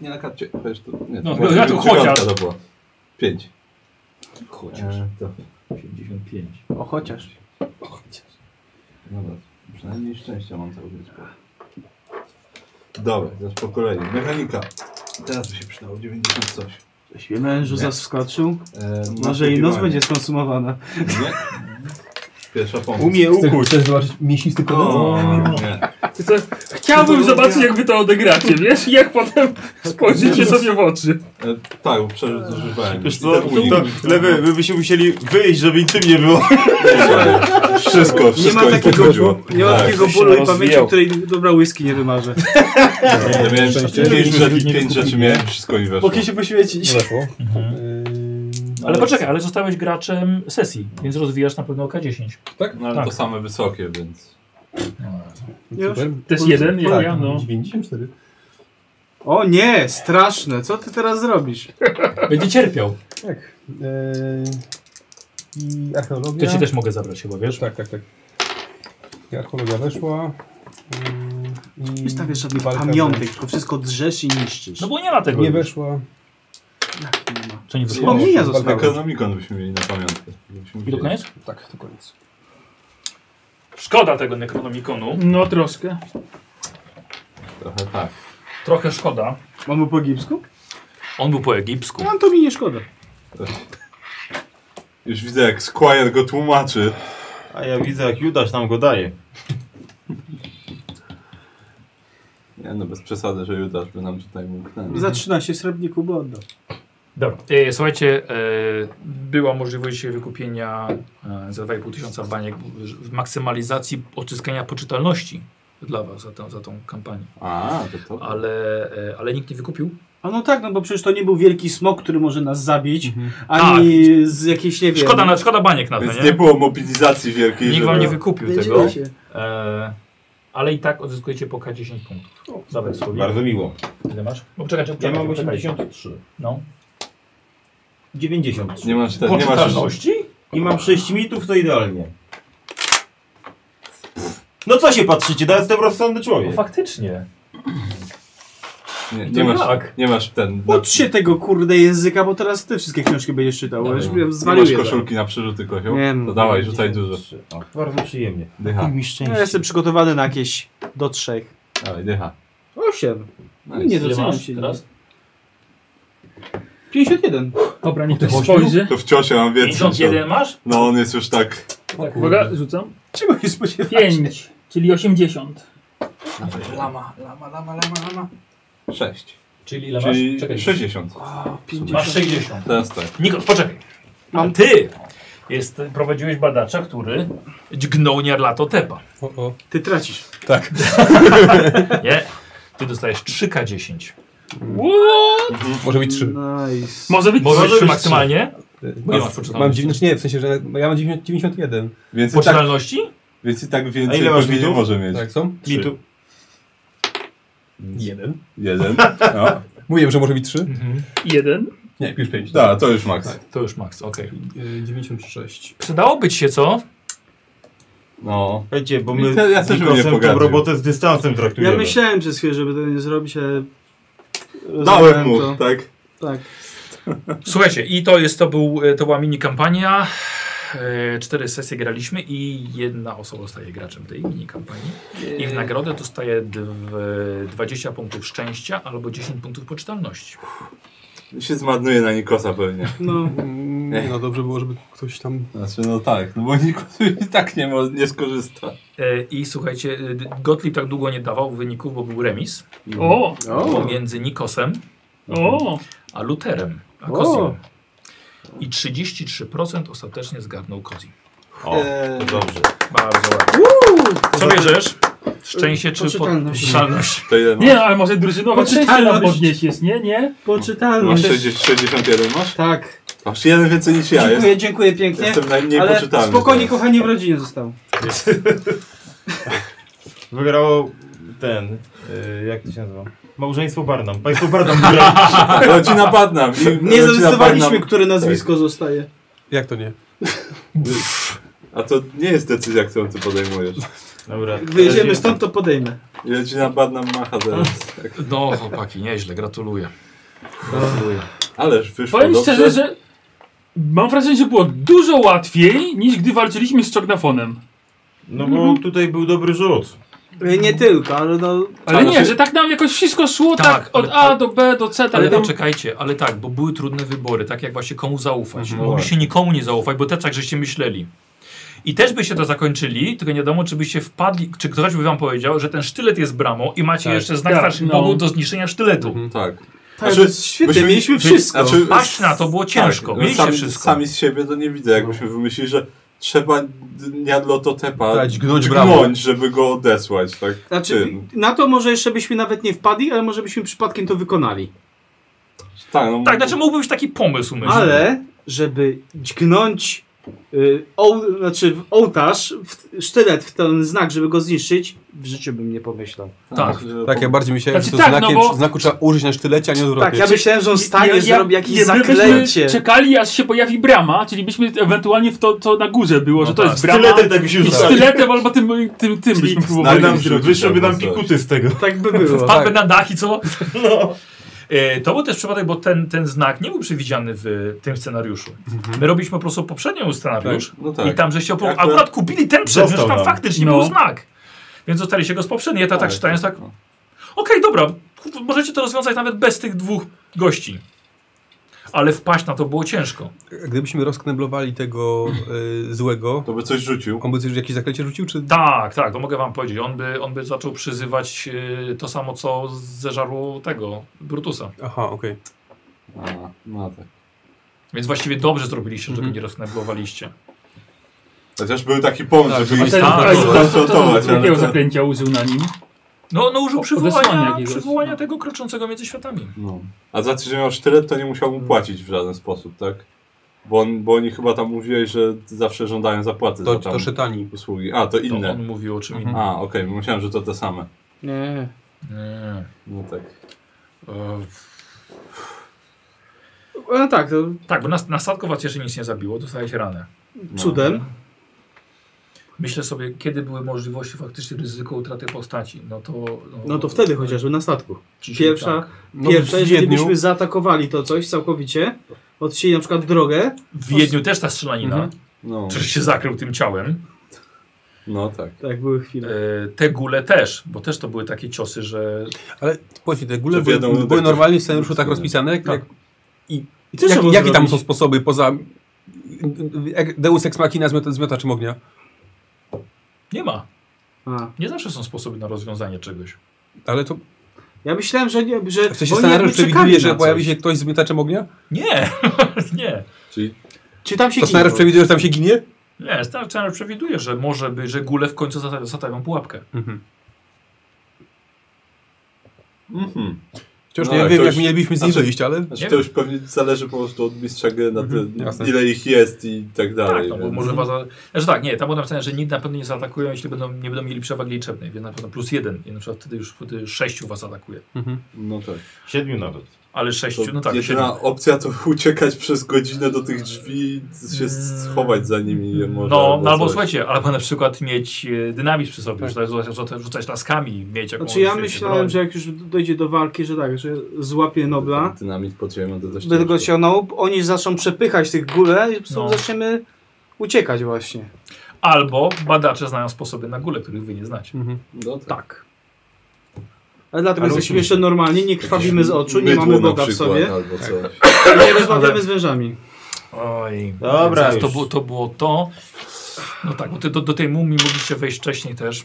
[SPEAKER 3] nie na karcie, wiesz, to nie.
[SPEAKER 1] No,
[SPEAKER 3] może
[SPEAKER 1] ja tu
[SPEAKER 3] dziewiątka
[SPEAKER 1] chociaż.
[SPEAKER 3] to była. Pięć.
[SPEAKER 1] Chociaż.
[SPEAKER 3] E, to,
[SPEAKER 1] 85.
[SPEAKER 4] O, chociaż.
[SPEAKER 3] dobra, przynajmniej szczęścia mam cały czas. Dobra, teraz po kolei. Mechanika. Teraz by się przydało, 90 coś.
[SPEAKER 4] Coś mi mężu
[SPEAKER 3] Nie.
[SPEAKER 4] zaskoczył.
[SPEAKER 3] E,
[SPEAKER 4] Może i noc
[SPEAKER 3] nasłuchiwanie.
[SPEAKER 4] będzie skonsumowana.
[SPEAKER 3] Nie. Pierwsza pomoc.
[SPEAKER 8] Umie
[SPEAKER 6] Chcesz, chcesz zobaczyć mięsisty kolec?
[SPEAKER 3] O, nie.
[SPEAKER 5] Ty co, chciałbym zobaczyć, jak wy to odegracie, wiesz? I jak potem spojrzycie sobie w oczy.
[SPEAKER 3] E, tak, bo prze- zużywałem.
[SPEAKER 8] Wiesz
[SPEAKER 3] I
[SPEAKER 8] co,
[SPEAKER 1] Tak,
[SPEAKER 3] ten
[SPEAKER 8] No, to,
[SPEAKER 3] unik.
[SPEAKER 8] to lewy,
[SPEAKER 1] No.
[SPEAKER 8] my byśmy musieli wyjść, żeby im tym nie było.
[SPEAKER 3] Nie, Wszystko,
[SPEAKER 4] Nie
[SPEAKER 3] wszystko
[SPEAKER 4] ma
[SPEAKER 3] mi
[SPEAKER 4] takiego,
[SPEAKER 3] podchodziło.
[SPEAKER 4] nie ma
[SPEAKER 3] Tak.
[SPEAKER 4] takiego bólu i pamięci, której dobra whisky nie wymarzę.
[SPEAKER 3] Ja miałem pięć rzeczy, pięć rzeczy miałem, wszystko mi weszło.
[SPEAKER 14] Mogę się poświęcić.
[SPEAKER 6] Weszło. Yy,
[SPEAKER 1] Mhm. Ale poczekaj, ale zostałeś graczem sesji, więc rozwijasz na pewno K10.
[SPEAKER 3] No ale to same wysokie, więc...
[SPEAKER 4] Już?
[SPEAKER 5] To jest jeden, ja,
[SPEAKER 6] tak,
[SPEAKER 5] ja no.
[SPEAKER 6] 94.
[SPEAKER 4] O nie, straszne. Co ty teraz zrobisz?
[SPEAKER 1] Będzie cierpiał.
[SPEAKER 6] Tak. Eee, I
[SPEAKER 1] To
[SPEAKER 6] archeologia.
[SPEAKER 1] ci też mogę zabrać chyba, wiesz?
[SPEAKER 6] Tak, tak, tak. I archeologia weszła. Yy, i
[SPEAKER 4] Nie stawiasz żadnych
[SPEAKER 6] walka
[SPEAKER 4] pamiątek, tylko wszystko drzesz i niszczysz.
[SPEAKER 1] No bo nie ma
[SPEAKER 6] wręcz.
[SPEAKER 1] tego.
[SPEAKER 6] Nie
[SPEAKER 1] już.
[SPEAKER 6] weszła.
[SPEAKER 1] Co nie wyszło?
[SPEAKER 4] Wspomnienia
[SPEAKER 6] Walka
[SPEAKER 4] zostały.
[SPEAKER 3] Necronomicon byśmy mieli na pamiątkę. Gdybyśmy
[SPEAKER 1] I do
[SPEAKER 3] wiedzieli.
[SPEAKER 1] koniec?
[SPEAKER 6] Tak, to koniec.
[SPEAKER 1] Szkoda tego Necronomiconu.
[SPEAKER 5] No troszkę.
[SPEAKER 3] Trochę tak.
[SPEAKER 1] Trochę szkoda.
[SPEAKER 4] Mam mu po egipsku?
[SPEAKER 1] On był po egipsku.
[SPEAKER 4] Mam to mi nie szkoda.
[SPEAKER 3] Już widzę jak Squire go tłumaczy.
[SPEAKER 8] A ja widzę, jak Judasz nam go daje.
[SPEAKER 3] Nie no, bez przesady, że Judasz by nam tutaj mógł...
[SPEAKER 12] Za 13 srebrników bo oddał.
[SPEAKER 1] Dobra. E, słuchajcie, e, była możliwość wykupienia e, za 2,5 tysiąca baniek w w maksymalizacji odzyskania poczytalności dla was za, tę- za tą kampanię.
[SPEAKER 3] A, to to.
[SPEAKER 1] Ale, e, ale nikt nie wykupił.
[SPEAKER 4] A no tak, no bo przecież to nie był wielki smok, który może nas zabić,
[SPEAKER 1] Tak.
[SPEAKER 4] ani z jakiejś, nie wiem...
[SPEAKER 1] Szkoda, na, szkoda baniek na to,
[SPEAKER 3] Więc nie
[SPEAKER 1] nie?
[SPEAKER 3] było mobilizacji wielkiej,
[SPEAKER 1] Nikt
[SPEAKER 3] żeby-
[SPEAKER 1] wam nie wykupił tego.
[SPEAKER 4] Wiedzieli się.
[SPEAKER 1] E, ale i tak odzyskujecie po K10 punktów. Zabaj sobie.
[SPEAKER 8] Bardzo miło.
[SPEAKER 1] Ile masz? No, czekaj, czekaj,
[SPEAKER 8] Ja mam
[SPEAKER 1] czekaj.
[SPEAKER 8] 83.
[SPEAKER 1] No.
[SPEAKER 8] 93.
[SPEAKER 3] Nie masz, te, nie masz
[SPEAKER 1] Poczytalności?
[SPEAKER 8] I mam 6 mitów, to idealnie. No co się patrzycie, teraz jestem rozsądny
[SPEAKER 1] No,
[SPEAKER 8] człowiek.
[SPEAKER 1] faktycznie.
[SPEAKER 3] Nie,
[SPEAKER 1] To
[SPEAKER 3] nie masz,
[SPEAKER 1] jak?
[SPEAKER 3] nie masz ten. Na,
[SPEAKER 4] Ucz się tego kurde języka, bo teraz ty wszystkie książki będziesz czytał, bo już mnie
[SPEAKER 3] nie masz
[SPEAKER 4] zwalił
[SPEAKER 3] koszulki na przerzuty kozioł?
[SPEAKER 4] Nie no,
[SPEAKER 3] To dawaj, rzucaj dużo.
[SPEAKER 8] 93. O, bardzo przyjemnie.
[SPEAKER 4] Tak.
[SPEAKER 3] Dycha.
[SPEAKER 8] mi
[SPEAKER 4] Ja jestem przygotowany na jakieś do trzech.
[SPEAKER 3] Dawaj, dycha.
[SPEAKER 4] Osiem.
[SPEAKER 1] Nice.
[SPEAKER 4] Nie
[SPEAKER 1] Ile
[SPEAKER 4] doceniam
[SPEAKER 1] masz
[SPEAKER 4] się.
[SPEAKER 1] teraz?
[SPEAKER 4] 51.
[SPEAKER 5] Dobra, niech ktoś
[SPEAKER 1] Ośmiu?
[SPEAKER 5] spojrzy.
[SPEAKER 3] To w ciosie mam więcej.
[SPEAKER 1] 51 masz?
[SPEAKER 3] No on jest już tak.
[SPEAKER 5] Tak, uwaga, rzucam.
[SPEAKER 4] Czego się spodziewasz?
[SPEAKER 5] 5, czyli 80.
[SPEAKER 1] Lama, lama, lama, lama, lama.
[SPEAKER 3] 6.
[SPEAKER 1] Czyli ile masz?
[SPEAKER 3] Czyli
[SPEAKER 1] Czekaj.
[SPEAKER 3] 60.
[SPEAKER 5] A,
[SPEAKER 1] Masz
[SPEAKER 5] 50.
[SPEAKER 1] 60.
[SPEAKER 3] Teraz tak.
[SPEAKER 1] Nikos, poczekaj. Mam ty! Jest, prowadziłeś badacza, który dźgnął Nierlato Tepa.
[SPEAKER 6] O, o.
[SPEAKER 4] Ty tracisz.
[SPEAKER 6] Tak.
[SPEAKER 1] Nie? Ty dostajesz 3K10.
[SPEAKER 6] Może być trzy.
[SPEAKER 4] Nice.
[SPEAKER 1] Może być
[SPEAKER 6] Może
[SPEAKER 1] 3
[SPEAKER 6] być
[SPEAKER 1] maksymalnie? Bo nie masz
[SPEAKER 6] Yy, Mam
[SPEAKER 1] poczytalności.
[SPEAKER 6] 9, nie, w sensie, że ja mam 90 91.
[SPEAKER 3] Więc i tak,
[SPEAKER 1] Poczytalności?
[SPEAKER 3] więc i tak
[SPEAKER 8] A
[SPEAKER 3] więcej
[SPEAKER 8] ile masz
[SPEAKER 3] pewnie nie
[SPEAKER 8] bitów?
[SPEAKER 3] może mieć.
[SPEAKER 6] Tak, są?
[SPEAKER 3] Trzy.
[SPEAKER 8] Mitu.
[SPEAKER 6] Jeden.
[SPEAKER 3] Jeden. No.
[SPEAKER 6] Mówiłem, że może być trzy?
[SPEAKER 1] Mhm.
[SPEAKER 5] 1.
[SPEAKER 6] Nie, już pięć.
[SPEAKER 8] Tak.
[SPEAKER 3] Da, to już maks.
[SPEAKER 1] To już max, okej.
[SPEAKER 6] Y, 96.
[SPEAKER 1] Przydałoby ci się co?
[SPEAKER 3] No.
[SPEAKER 8] Słuchajcie, bo my
[SPEAKER 3] Ja- ja też
[SPEAKER 8] z
[SPEAKER 3] bym nie
[SPEAKER 8] Nikosem tą
[SPEAKER 3] pogadził.
[SPEAKER 8] robotę z dystansem traktujemy.
[SPEAKER 4] Ja myślałem przez chwilę, żeby tego nie zrobić, ale...
[SPEAKER 3] Dałem mu,
[SPEAKER 4] To.
[SPEAKER 3] tak.
[SPEAKER 4] Tak.
[SPEAKER 1] Słuchajcie, i to jest, to, był, e, to była mini kampania. E, Cztery sesje graliśmy i jedna osoba staje graczem tej mini kampanii. I
[SPEAKER 4] E,
[SPEAKER 1] w nagrodę dostaje dw- 20 punktów szczęścia albo 10 punktów poczytalności.
[SPEAKER 3] Się zmarnuje na Nikosa pewnie.
[SPEAKER 4] No,
[SPEAKER 6] Mm, nie, no dobrze było, żeby ktoś tam...
[SPEAKER 3] Znaczy no tak, no bo Nikos i tak nie, mo- nie skorzysta.
[SPEAKER 1] E, I słuchajcie, e, d- Gottlieb tak długo nie dawał wyników, bo był remis
[SPEAKER 5] O,
[SPEAKER 1] pomiędzy Nikosem
[SPEAKER 5] o.
[SPEAKER 1] a Luterem, a
[SPEAKER 4] O.
[SPEAKER 1] Kozim. I 33% ostatecznie zgarnął Kozim.
[SPEAKER 8] O, to dobrze.
[SPEAKER 1] Bardzo ładnie. Co bierzesz? Szczęście czy
[SPEAKER 4] Poczytalność.
[SPEAKER 1] poczytalność?
[SPEAKER 3] To ile masz?
[SPEAKER 5] Nie, ale może drużynowa trzeci nam
[SPEAKER 4] Poczytalność.
[SPEAKER 5] podnieść jest, nie? Nie?
[SPEAKER 3] Masz
[SPEAKER 4] Poczytalność.
[SPEAKER 3] 60, 61 masz?
[SPEAKER 4] Tak.
[SPEAKER 3] Masz jeden więcej niż ja. Jest,
[SPEAKER 4] Dziękuję, dziękuję pięknie.
[SPEAKER 3] jestem najmniej
[SPEAKER 4] Ale
[SPEAKER 3] poczytalny.
[SPEAKER 4] spokojnie,
[SPEAKER 3] teraz.
[SPEAKER 4] kochanie, w rodzinie zostało.
[SPEAKER 8] Wygrało ten, y, jak to się nazywa? Małżeństwo Barnum. Państwo Barnum wygrało.
[SPEAKER 3] Rodzina Badnam. i-
[SPEAKER 4] Nie
[SPEAKER 3] rodzina Tak.
[SPEAKER 4] zdecydowaliśmy,
[SPEAKER 3] Badnam.
[SPEAKER 4] które nazwisko zostaje.
[SPEAKER 6] Jak to nie?
[SPEAKER 3] A to nie jest decyzja, którą ty podejmujesz.
[SPEAKER 8] Dobra.
[SPEAKER 4] Jak wyjedziemy
[SPEAKER 8] teraz
[SPEAKER 4] stąd, to podejmę.
[SPEAKER 3] I Rodzina Badnam macha teraz. Tak.
[SPEAKER 1] No chłopaki, nieźle, gratuluję.
[SPEAKER 3] Ależ wyszło
[SPEAKER 5] Powiem
[SPEAKER 3] dobrze.
[SPEAKER 5] szczerze, że mam wrażenie, że było dużo łatwiej niż gdy walczyliśmy z Czognafonem.
[SPEAKER 8] No bo tutaj był dobry rzut.
[SPEAKER 4] Y, Nie tylko, ale no...
[SPEAKER 5] Ale
[SPEAKER 1] Ale
[SPEAKER 5] nie,
[SPEAKER 1] czy-
[SPEAKER 5] że tak nam jakoś wszystko szło tak,
[SPEAKER 1] Tak,
[SPEAKER 5] od
[SPEAKER 1] ale-
[SPEAKER 5] A do B do C. tak
[SPEAKER 1] Ale
[SPEAKER 5] tam-
[SPEAKER 1] poczekajcie, ale tak, bo były trudne wybory, tak jak właśnie komu zaufać.
[SPEAKER 3] Mhm.
[SPEAKER 1] Mogliście nikomu nie zaufać, bo też tak żeście myśleli. I też by się to zakończyli, tylko nie wiadomo, czy byście wpadli, czy ktoś by wam powiedział, że ten sztylet jest bramą i macie
[SPEAKER 6] Tak.
[SPEAKER 1] jeszcze znak
[SPEAKER 5] Tak,
[SPEAKER 1] starszych
[SPEAKER 5] no.
[SPEAKER 1] bogów do zniszczenia sztyletu.
[SPEAKER 6] Mhm.
[SPEAKER 3] Tak.
[SPEAKER 4] Tak,
[SPEAKER 3] Znaczy,
[SPEAKER 4] to jest świetnie,
[SPEAKER 3] myśmy-
[SPEAKER 4] mieliśmy wszystko.
[SPEAKER 3] Znaczy,
[SPEAKER 1] No, Paść na to, było ciężko,
[SPEAKER 3] no
[SPEAKER 1] mieliście
[SPEAKER 3] sami,
[SPEAKER 1] wszystko. No.
[SPEAKER 3] Sami z siebie to nie widzę, jakbyśmy wymyślili, że trzeba Niadlototepa
[SPEAKER 6] Dać gnąć bramą.
[SPEAKER 3] gnąć, żeby go odesłać. Tak,
[SPEAKER 4] Znaczy,
[SPEAKER 3] tym.
[SPEAKER 4] na to może jeszcze byśmy nawet nie wpadli, ale może byśmy przypadkiem to wykonali.
[SPEAKER 3] tak, no,
[SPEAKER 1] Tak, znaczy mógłby być taki pomysł, myślę.
[SPEAKER 4] Ale, żeby dźgnąć y, oł, znaczy w ołtarz, w, sztylet w ten znak, żeby go zniszczyć, w życiu bym nie pomyślał.
[SPEAKER 1] tak.
[SPEAKER 3] że-
[SPEAKER 6] Tak, ja bardziej myślałem,
[SPEAKER 5] Znaczy
[SPEAKER 6] że to
[SPEAKER 5] tak,
[SPEAKER 6] znakiem,
[SPEAKER 5] no bo-
[SPEAKER 6] znaku trzeba użyć na sztylecie, a nie odwrotnie.
[SPEAKER 4] Tak, ja myślałem, że on stanie, zrobi jakieś
[SPEAKER 5] gdybyśmy
[SPEAKER 4] zaklęcie.
[SPEAKER 5] czekali, aż się pojawi brama, czyli byśmy ewentualnie w to, co na górze było, że to
[SPEAKER 1] tak.
[SPEAKER 5] jest brama.
[SPEAKER 8] Styletem tak się
[SPEAKER 5] I
[SPEAKER 8] rzucało.
[SPEAKER 5] styletem albo tym, tym, tym byśmy próbowali.
[SPEAKER 3] znajdę-
[SPEAKER 8] Nam, wyszłyby nam pikuty z tego.
[SPEAKER 4] Tak by było.
[SPEAKER 1] Wpadłby na dach i co? E, To był też przypadek, bo ten, ten znak nie był przewidziany w tym scenariuszu. My robiliśmy po prostu poprzednią scenariusz
[SPEAKER 3] No tak.
[SPEAKER 1] i tam żeście opo-
[SPEAKER 3] Akurat-
[SPEAKER 1] akurat kupili ten przedmiot,
[SPEAKER 8] Został
[SPEAKER 1] tam
[SPEAKER 8] nam.
[SPEAKER 1] faktycznie
[SPEAKER 5] No.
[SPEAKER 1] był znak. Więc dostali się go z poprzedniej. Ja to tak czytając tak, okej, dobra, kurwa, możecie to rozwiązać nawet bez tych dwóch gości. Ale wpaść na to było ciężko.
[SPEAKER 6] Gdybyśmy rozkneblowali tego y, złego,
[SPEAKER 3] To by coś rzucił.
[SPEAKER 6] on by coś, jakieś zaklęcie rzucił, czy...
[SPEAKER 1] Tak, tak, to mogę wam powiedzieć. On by, on by zaczął przyzywać e, to samo, co zeżarło tego Brutusa.
[SPEAKER 6] Aha, okej.
[SPEAKER 3] A, no tak.
[SPEAKER 1] Więc właściwie dobrze zrobiliście, że
[SPEAKER 6] Mhm.
[SPEAKER 1] tego nie rozkneblowaliście.
[SPEAKER 3] Chociaż był taki pomysł,
[SPEAKER 6] Tak,
[SPEAKER 3] żeby
[SPEAKER 5] A
[SPEAKER 3] ich
[SPEAKER 5] ten,
[SPEAKER 1] tak,
[SPEAKER 5] a,
[SPEAKER 1] żeby
[SPEAKER 5] to, to, to,
[SPEAKER 3] skonfrontować, ale
[SPEAKER 5] jakiego
[SPEAKER 3] to...
[SPEAKER 5] tak, zaklęcia użył na nim?
[SPEAKER 1] No, no użył
[SPEAKER 5] odesłania
[SPEAKER 1] przywołania,
[SPEAKER 5] jakiegoś.
[SPEAKER 1] przywołania tego kroczącego między światami.
[SPEAKER 3] No. A za to, że miał sztylet, to nie musiał mu płacić w żaden sposób, tak? Bo, on, bo oni chyba tam mówili, że zawsze żądają zapłaty
[SPEAKER 6] To,
[SPEAKER 3] za tam
[SPEAKER 6] to szytani.
[SPEAKER 3] usługi. A, to
[SPEAKER 1] To
[SPEAKER 3] inne.
[SPEAKER 1] on mówił o czym
[SPEAKER 6] Mhm.
[SPEAKER 1] innym.
[SPEAKER 3] A, okej, bo myślałem, że to te same.
[SPEAKER 4] Nie.
[SPEAKER 1] Nie.
[SPEAKER 3] No tak.
[SPEAKER 1] E,
[SPEAKER 4] No tak, to
[SPEAKER 1] tak, bo na, na statku was jeszcze nic nie zabiło, dostałeś ranę.
[SPEAKER 4] cudem.
[SPEAKER 1] Myślę sobie, kiedy były możliwości faktycznie ryzyko utraty postaci. No to,
[SPEAKER 4] No to wtedy chociażby na statku.
[SPEAKER 1] Dzisiaj
[SPEAKER 4] Pierwsza,
[SPEAKER 1] tak.
[SPEAKER 6] No,
[SPEAKER 4] pierwsza
[SPEAKER 6] w
[SPEAKER 4] jeżeli
[SPEAKER 6] Wiedniu-
[SPEAKER 4] byśmy zaatakowali to coś całkowicie, odcięli na przykład drogę,
[SPEAKER 1] W Wiedniu też ta strzelanina.
[SPEAKER 6] Mhm.
[SPEAKER 1] Przecież się zakrył tym ciałem.
[SPEAKER 3] No tak.
[SPEAKER 15] Tak, były chwile.
[SPEAKER 1] E, te gule też, bo też to były takie ciosy, że...
[SPEAKER 6] Ale powiedzcie, te gule
[SPEAKER 3] To
[SPEAKER 6] były,
[SPEAKER 3] wiadomo,
[SPEAKER 6] były
[SPEAKER 3] tak,
[SPEAKER 6] normalnie w
[SPEAKER 3] tak.
[SPEAKER 6] scenariuszu tak rozpisane? Jak, jak, I,
[SPEAKER 15] I co trzeba
[SPEAKER 6] jak, jakie tam
[SPEAKER 15] zrobić?
[SPEAKER 6] są sposoby poza jak Deus Ex Machina z miota- z miotaczem ognia?
[SPEAKER 1] Nie ma.
[SPEAKER 4] A.
[SPEAKER 1] Nie zawsze są sposoby na rozwiązanie czegoś.
[SPEAKER 6] Ale to
[SPEAKER 4] Ja myślałem, że nie, że
[SPEAKER 6] w sensie
[SPEAKER 4] oni jakby
[SPEAKER 6] scenariusz
[SPEAKER 4] czekali
[SPEAKER 6] przewiduje,
[SPEAKER 4] że
[SPEAKER 6] że
[SPEAKER 4] na coś.
[SPEAKER 6] pojawi się ktoś z miotaczem ognia?
[SPEAKER 1] Nie, nie.
[SPEAKER 3] Czyli
[SPEAKER 4] Czy tam się
[SPEAKER 6] To scenariusz
[SPEAKER 4] giną?
[SPEAKER 6] przewiduje, że tam się ginie?
[SPEAKER 1] Nie, scenariusz przewiduje, że może by, że gule w końcu zata- zatawią pułapkę.
[SPEAKER 3] Mhm.
[SPEAKER 6] Wciąż
[SPEAKER 3] No
[SPEAKER 6] nie
[SPEAKER 3] tak,
[SPEAKER 6] wiem,
[SPEAKER 3] to
[SPEAKER 6] jak
[SPEAKER 3] już-
[SPEAKER 6] mielibyśmy z nim
[SPEAKER 3] znaczy-
[SPEAKER 6] wyjść, ale...
[SPEAKER 3] Znaczy,
[SPEAKER 1] Nie
[SPEAKER 3] to
[SPEAKER 1] wiem. Mhm.
[SPEAKER 3] już pewnie zależy po prostu od mistrza gry, na te,
[SPEAKER 6] jasne.
[SPEAKER 3] ile ich jest i tak
[SPEAKER 1] Tak,
[SPEAKER 3] dalej.
[SPEAKER 1] no, bo
[SPEAKER 3] więc-
[SPEAKER 1] może was... Znaczy tak, nie, tam było napisane, że nigdy na pewno nie zaatakują, jeśli będą, nie będą mieli przewagi liczebnej, więc na pewno plus jeden. I na przykład wtedy już wtedy sześciu was atakuje.
[SPEAKER 3] No tak.
[SPEAKER 8] Siedmiu nawet.
[SPEAKER 1] Ale
[SPEAKER 3] To
[SPEAKER 1] sześciu, no tak,
[SPEAKER 3] jedyna
[SPEAKER 1] siedmiu.
[SPEAKER 3] opcja to uciekać przez godzinę do tych drzwi i się schować za nimi. je Może,
[SPEAKER 1] Mm. No, no albo
[SPEAKER 3] coś.
[SPEAKER 1] słuchajcie, albo na przykład mieć e, dynamit przy sobie, rzucać, rzucać, rzucać laskami, mieć
[SPEAKER 15] Tak.
[SPEAKER 1] jakąś...
[SPEAKER 15] Znaczy ja
[SPEAKER 1] wiecie,
[SPEAKER 15] myślałem,
[SPEAKER 1] broń.
[SPEAKER 15] że jak już dojdzie do walki, że tak, że złapie Nobla,
[SPEAKER 3] Ten Dynamit pod ziemią to dość
[SPEAKER 4] Będę go
[SPEAKER 3] ciężko.
[SPEAKER 4] ciągnął, oni zaczną przepychać tych górę i po prostu
[SPEAKER 1] No.
[SPEAKER 4] zaczniemy uciekać właśnie.
[SPEAKER 1] Albo badacze znają sposoby na gule, których wy nie znacie.
[SPEAKER 3] No, tak.
[SPEAKER 4] Tak. Ale dlatego
[SPEAKER 1] Ale
[SPEAKER 4] jesteśmy
[SPEAKER 1] oczywiście.
[SPEAKER 4] jeszcze normalni, nie krwawimy z oczu, nie
[SPEAKER 3] Mydło
[SPEAKER 4] mamy
[SPEAKER 3] na
[SPEAKER 4] Boga w
[SPEAKER 3] przykład no.
[SPEAKER 4] sobie, Tak.
[SPEAKER 3] Albo coś.
[SPEAKER 4] nie rozmawiamy z wężami.
[SPEAKER 1] Oj,
[SPEAKER 8] Dobra,
[SPEAKER 1] więc
[SPEAKER 8] już.
[SPEAKER 1] To, było, to było to. No tak, bo ty, do, do tej mumii mogliście wejść wcześniej też.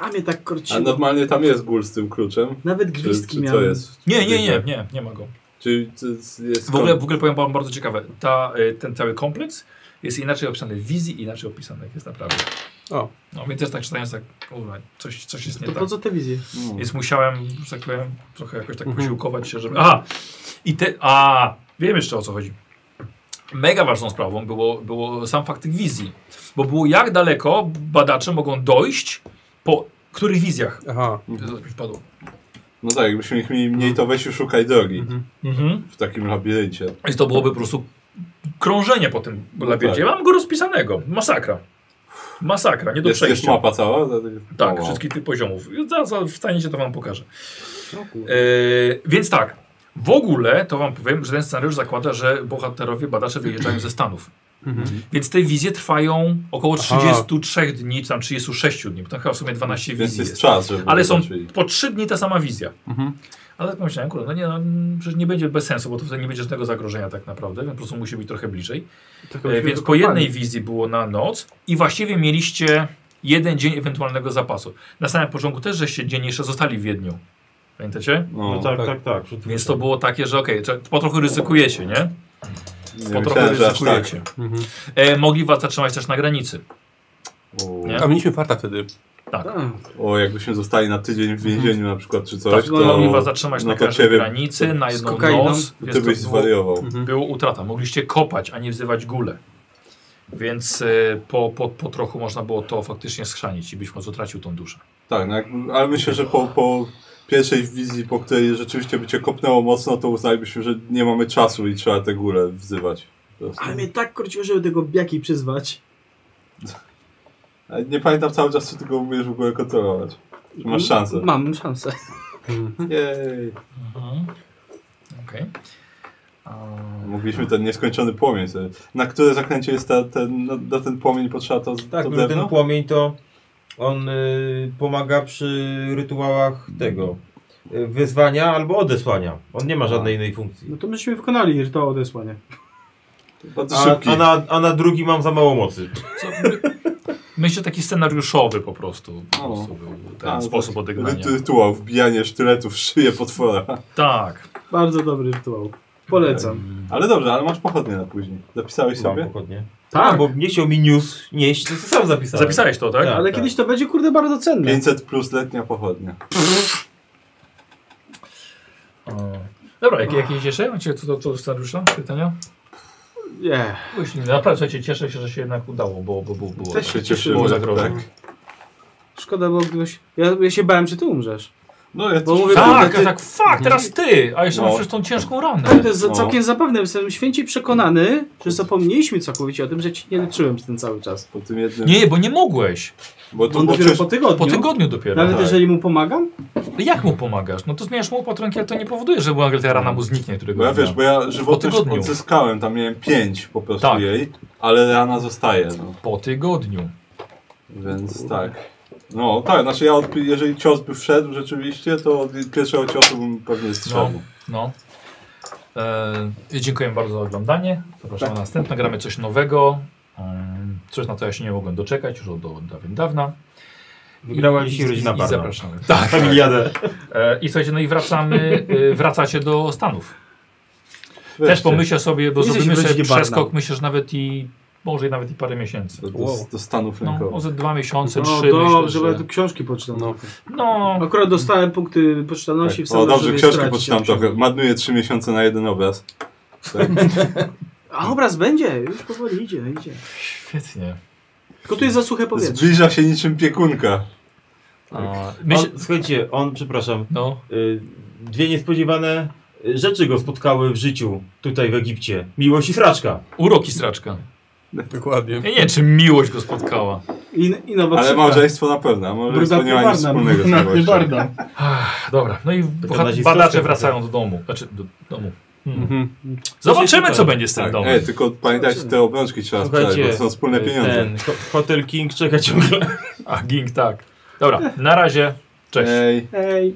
[SPEAKER 15] a mnie tak korciło.
[SPEAKER 3] A no, normalnie tam jest gól z tym kluczem.
[SPEAKER 15] Nawet
[SPEAKER 3] Czy-
[SPEAKER 15] gwizdki
[SPEAKER 3] czy
[SPEAKER 15] miałem.
[SPEAKER 3] co jest?
[SPEAKER 1] Nie, nie, nie, nie, nie ma go.
[SPEAKER 3] Czy to jest- jest
[SPEAKER 1] W ogóle, w ogóle powiem wam bardzo ciekawe, ta, y, ten cały kompleks jest inaczej opisany w wizji, inaczej opisany jak jest naprawdę.
[SPEAKER 6] O.
[SPEAKER 1] No więc też tak czytając, tak, kurwa, coś, coś jest nie
[SPEAKER 15] No To
[SPEAKER 1] tak.
[SPEAKER 15] po co Mhm. te wizje?
[SPEAKER 1] Więc musiałem, że tak powiem, trochę jakoś tak posiłkować się, żeby... Aha! I te... A! Wiem jeszcze o co chodzi. Mega ważną sprawą było, było sam fakt tych wizji. Bo było jak daleko badacze mogą dojść po których wizjach.
[SPEAKER 6] Aha.
[SPEAKER 15] Mhm.
[SPEAKER 1] Wpadło.
[SPEAKER 3] No tak, jakbyśmy ich mieli mniej, to weź i szukaj drogi
[SPEAKER 1] Mhm.
[SPEAKER 3] w takim labiryncie.
[SPEAKER 1] I to byłoby po prostu krążenie po tym
[SPEAKER 3] No
[SPEAKER 1] labiryncie.
[SPEAKER 3] tak.
[SPEAKER 1] Mam go rozpisanego. Masakra. Masakra, nie do
[SPEAKER 3] Jest, jest
[SPEAKER 1] przejścia.
[SPEAKER 3] mapa No. cała?
[SPEAKER 1] Tak,
[SPEAKER 3] Mała.
[SPEAKER 1] wszystkich tych poziomów. Za, za, wstaniecie, to wam pokażę.
[SPEAKER 3] No
[SPEAKER 1] Yy, więc tak, w ogóle to wam powiem, że ten scenariusz zakłada, że bohaterowie, badacze wyjeżdżają ze Stanów.
[SPEAKER 3] Mhm.
[SPEAKER 1] Więc te wizje trwają około
[SPEAKER 6] Aha.
[SPEAKER 1] 33 dni, czy tam 36 dni, bo tam chyba w sumie 12
[SPEAKER 3] Więc
[SPEAKER 1] wizji
[SPEAKER 3] jest
[SPEAKER 1] jest.
[SPEAKER 3] czas, żeby
[SPEAKER 1] Ale są
[SPEAKER 3] zobaczyli.
[SPEAKER 1] po 3 dni ta sama wizja.
[SPEAKER 6] Mhm.
[SPEAKER 1] Ale tak pomyślałem, kurde, no nie, no, przecież nie będzie bez sensu, bo to wtedy nie będzie żadnego zagrożenia tak naprawdę, więc po prostu musi być trochę bliżej.
[SPEAKER 15] Tak
[SPEAKER 1] E,
[SPEAKER 15] jakbyśmy
[SPEAKER 1] więc po
[SPEAKER 15] wykopali.
[SPEAKER 1] jednej wizji było na noc i właściwie mieliście jeden dzień ewentualnego zapasu. Na samym początku też, żeście dzień jeszcze zostali w Wiedniu. Pamiętacie?
[SPEAKER 3] No,
[SPEAKER 8] No, tak,
[SPEAKER 6] tak.
[SPEAKER 8] tak, tak. tak.
[SPEAKER 1] Więc to było takie, że okej, okay, po trochu ryzykujecie, nie? Po
[SPEAKER 3] nie
[SPEAKER 1] trochu
[SPEAKER 3] myślałem, że aż tak.
[SPEAKER 1] ryzykujecie. E, mogli was zatrzymać też na granicy.
[SPEAKER 3] O.
[SPEAKER 1] Nie?
[SPEAKER 6] A mieliśmy farta wtedy.
[SPEAKER 3] O, jakbyśmy zostali na tydzień w więzieniu na przykład, czy coś,
[SPEAKER 1] Tak,
[SPEAKER 3] to...
[SPEAKER 1] mogli was zatrzymać
[SPEAKER 3] no
[SPEAKER 1] na
[SPEAKER 3] to
[SPEAKER 1] każdej
[SPEAKER 3] ciebie-
[SPEAKER 1] granicy, na
[SPEAKER 4] z
[SPEAKER 1] jedną
[SPEAKER 4] kokainą,
[SPEAKER 1] noc.
[SPEAKER 3] Ty
[SPEAKER 1] Więc to Mhm.
[SPEAKER 3] byś
[SPEAKER 1] było,
[SPEAKER 3] zwariował.
[SPEAKER 1] było utrata. Mogliście kopać, a nie wzywać gule. Więc e, po, po, po trochu można było to faktycznie schrzanić i być może utracił tą duszę.
[SPEAKER 3] Tak, no, jak- ale myślę, że po, po pierwszej wizji, po której rzeczywiście by cię kopnęło mocno, to uznalibyśmy, że nie mamy czasu i trzeba tę górę wzywać. Po prostu.
[SPEAKER 15] Ale mnie tak korciło, żeby tego biaki przyzwać.
[SPEAKER 3] Ale Nie pamiętam cały czas, czy ty go umiesz w ogóle kontrolować. Czy masz szansę.
[SPEAKER 4] Mam szansę.
[SPEAKER 3] Jej.
[SPEAKER 1] Mhm. Okej. A-
[SPEAKER 3] Mogliśmy ten nieskończony płomień sobie. Na które zaklęcie jest ta, ten, na, na ten płomień potrzeba to,
[SPEAKER 8] Tak,
[SPEAKER 3] to
[SPEAKER 8] no, ten
[SPEAKER 3] drewno?
[SPEAKER 8] płomień to on y, pomaga przy rytuałach tego y, wyzwania albo odesłania. On nie ma żadnej innej
[SPEAKER 15] No
[SPEAKER 8] funkcji.
[SPEAKER 15] to myśmy wykonali rytuał odesłania.
[SPEAKER 3] Bardzo
[SPEAKER 8] A,
[SPEAKER 3] szybki.
[SPEAKER 8] a, na, a na drugi mam za mało mocy.
[SPEAKER 1] Co, my, myślę taki scenariuszowy po prostu. Po
[SPEAKER 3] O.
[SPEAKER 1] prostu był ten
[SPEAKER 3] A,
[SPEAKER 1] sposób odegrania.
[SPEAKER 3] Ry- Rytuał, wbijanie sztyletu w szyję potwora.
[SPEAKER 1] Tak.
[SPEAKER 15] Bardzo dobry rytuał. Polecam.
[SPEAKER 3] Ale dobrze, ale masz pochodnie na później. Zapisałeś
[SPEAKER 8] Mam
[SPEAKER 3] sobie?
[SPEAKER 8] pochodnie. Tak, bo nie chciał mi news nieść, to sam zapisałem.
[SPEAKER 1] Zapisałeś to, tak?
[SPEAKER 8] Tak.
[SPEAKER 15] Ale kiedyś to będzie kurde bardzo cenne.
[SPEAKER 3] 500 plus letnia pochodnia.
[SPEAKER 1] O. Dobra, jak, jakieś jeszcze? Macie co do co do scenariusza? Pytania?
[SPEAKER 15] Nie.
[SPEAKER 1] Właśnie, no, Naprawdę słuchajcie, cieszę się, że się jednak udało, bo, bo, bo było,
[SPEAKER 15] Też się cieszymy,
[SPEAKER 1] było zagrożenie.
[SPEAKER 3] tak.
[SPEAKER 4] Szkoda, bo gdybyś... Ja, ja się bałem, czy ty umrzesz.
[SPEAKER 3] No ja
[SPEAKER 4] Bo
[SPEAKER 3] też-
[SPEAKER 4] mówię,
[SPEAKER 1] Tak,
[SPEAKER 4] tak,
[SPEAKER 1] tak, tak, fuck, teraz ty! A jeszcze
[SPEAKER 3] No.
[SPEAKER 1] masz przecież tą ciężką ranę.
[SPEAKER 4] tak, to jest za-
[SPEAKER 3] No.
[SPEAKER 4] całkiem zabawne. Jestem święcie przekonany, że zapomnieliśmy całkowicie o tym, że ci nie leczyłem przez ten cały czas.
[SPEAKER 3] Po tym jednym.
[SPEAKER 1] Nie, bo nie mogłeś.
[SPEAKER 3] No Bo to
[SPEAKER 15] On
[SPEAKER 3] bo
[SPEAKER 15] dopiero
[SPEAKER 3] przecież,
[SPEAKER 15] po tygodniu.
[SPEAKER 1] Po tygodniu dopiero.
[SPEAKER 4] Nawet
[SPEAKER 3] tak.
[SPEAKER 4] No jeżeli mu pomagam?
[SPEAKER 1] Jak mu pomagasz? No to zmieniasz mu opatrunki, ale to nie powoduje, że nagle ta rana mu zniknie, którego
[SPEAKER 3] bo No ja
[SPEAKER 1] dnia.
[SPEAKER 3] wiesz, bo ja żywotność
[SPEAKER 1] tygodniu.
[SPEAKER 3] odzyskałem, tam miałem 5 po prostu
[SPEAKER 1] Tak.
[SPEAKER 3] jej, ale rana zostaje. No.
[SPEAKER 1] Po tygodniu.
[SPEAKER 3] Więc tak. No tak, znaczy ja odpi- jeżeli cios by wszedł rzeczywiście, to od pierwszego ciosu bym pewnie
[SPEAKER 1] No,
[SPEAKER 3] strzelił.
[SPEAKER 1] no. E, dziękuję bardzo za oglądanie. Zapraszam
[SPEAKER 3] Tak.
[SPEAKER 1] na następne. Gramy coś nowego. Em, Coś na co ja się nie mogłem doczekać już od, od dawien dawna.
[SPEAKER 8] Wygrała
[SPEAKER 1] I-
[SPEAKER 8] dzisiaj
[SPEAKER 1] i-
[SPEAKER 8] rodzina
[SPEAKER 1] I
[SPEAKER 8] Barna.
[SPEAKER 1] zapraszamy. Tak.
[SPEAKER 8] Familiadę.
[SPEAKER 1] E, I słuchajcie, no i wracamy, e, wracacie do Stanów. Też
[SPEAKER 3] Wreszcie.
[SPEAKER 1] pomyślę sobie, bo
[SPEAKER 3] Jesteś
[SPEAKER 1] zrobimy
[SPEAKER 3] w rodzinie
[SPEAKER 1] sobie
[SPEAKER 3] Barna.
[SPEAKER 1] przeskok, myślę, że nawet i może i nawet i parę miesięcy.
[SPEAKER 3] Do, do, do Stanów
[SPEAKER 1] No,
[SPEAKER 3] rynkowych.
[SPEAKER 1] może dwa miesiące,
[SPEAKER 9] No
[SPEAKER 1] trzy
[SPEAKER 9] dobrze, bo
[SPEAKER 1] myślę,
[SPEAKER 9] ja
[SPEAKER 1] że...
[SPEAKER 9] tu książki poczytam.
[SPEAKER 6] No.
[SPEAKER 1] No.
[SPEAKER 9] Akurat dostałem punkty poczytalności w
[SPEAKER 3] Tak. O
[SPEAKER 9] samym
[SPEAKER 3] dobrze,
[SPEAKER 9] żeby je
[SPEAKER 3] książki
[SPEAKER 9] stracić.
[SPEAKER 3] poczytam trochę. Madnuję trzy miesiące na jeden obraz. Tak.
[SPEAKER 4] A obraz będzie, już powoli idzie, idzie.
[SPEAKER 1] Świetnie.
[SPEAKER 4] Tylko tu jest za suche powietrze.
[SPEAKER 3] Zbliża się niczym piekunka.
[SPEAKER 1] A,
[SPEAKER 8] On, słuchajcie, on, przepraszam,
[SPEAKER 1] no.
[SPEAKER 8] y, dwie niespodziewane y, rzeczy go spotkały w życiu tutaj w Egipcie. Miłość i sraczka.
[SPEAKER 1] Uroki straczka.
[SPEAKER 6] Dokładnie.
[SPEAKER 1] Ja nie wiem, czy miłość go spotkała.
[SPEAKER 9] I, i nowa
[SPEAKER 3] Ale
[SPEAKER 9] ksywka.
[SPEAKER 3] małżeństwo na pewno, a małżeństwo nie ma nic wspólnego z
[SPEAKER 9] Brudna
[SPEAKER 3] miłością. Tak.
[SPEAKER 9] barda.
[SPEAKER 1] Ach, Dobra, no i bohat-
[SPEAKER 8] nazistowska
[SPEAKER 1] badacze
[SPEAKER 8] trochę.
[SPEAKER 1] wracają do domu. Znaczy, do domu. Hmm.
[SPEAKER 6] Mhm.
[SPEAKER 1] Zobaczymy, co będzie z tym
[SPEAKER 3] Tak.
[SPEAKER 1] domem.
[SPEAKER 3] Ej, tylko pamiętajcie, te obrączki trzeba sprzedać, bo to są wspólne
[SPEAKER 8] y,
[SPEAKER 3] pieniądze.
[SPEAKER 8] Ten, ho- Hotel King czeka ciągle.
[SPEAKER 1] A, Ging, tak. Dobra, na razie. Cześć.
[SPEAKER 3] Ej.
[SPEAKER 9] Ej.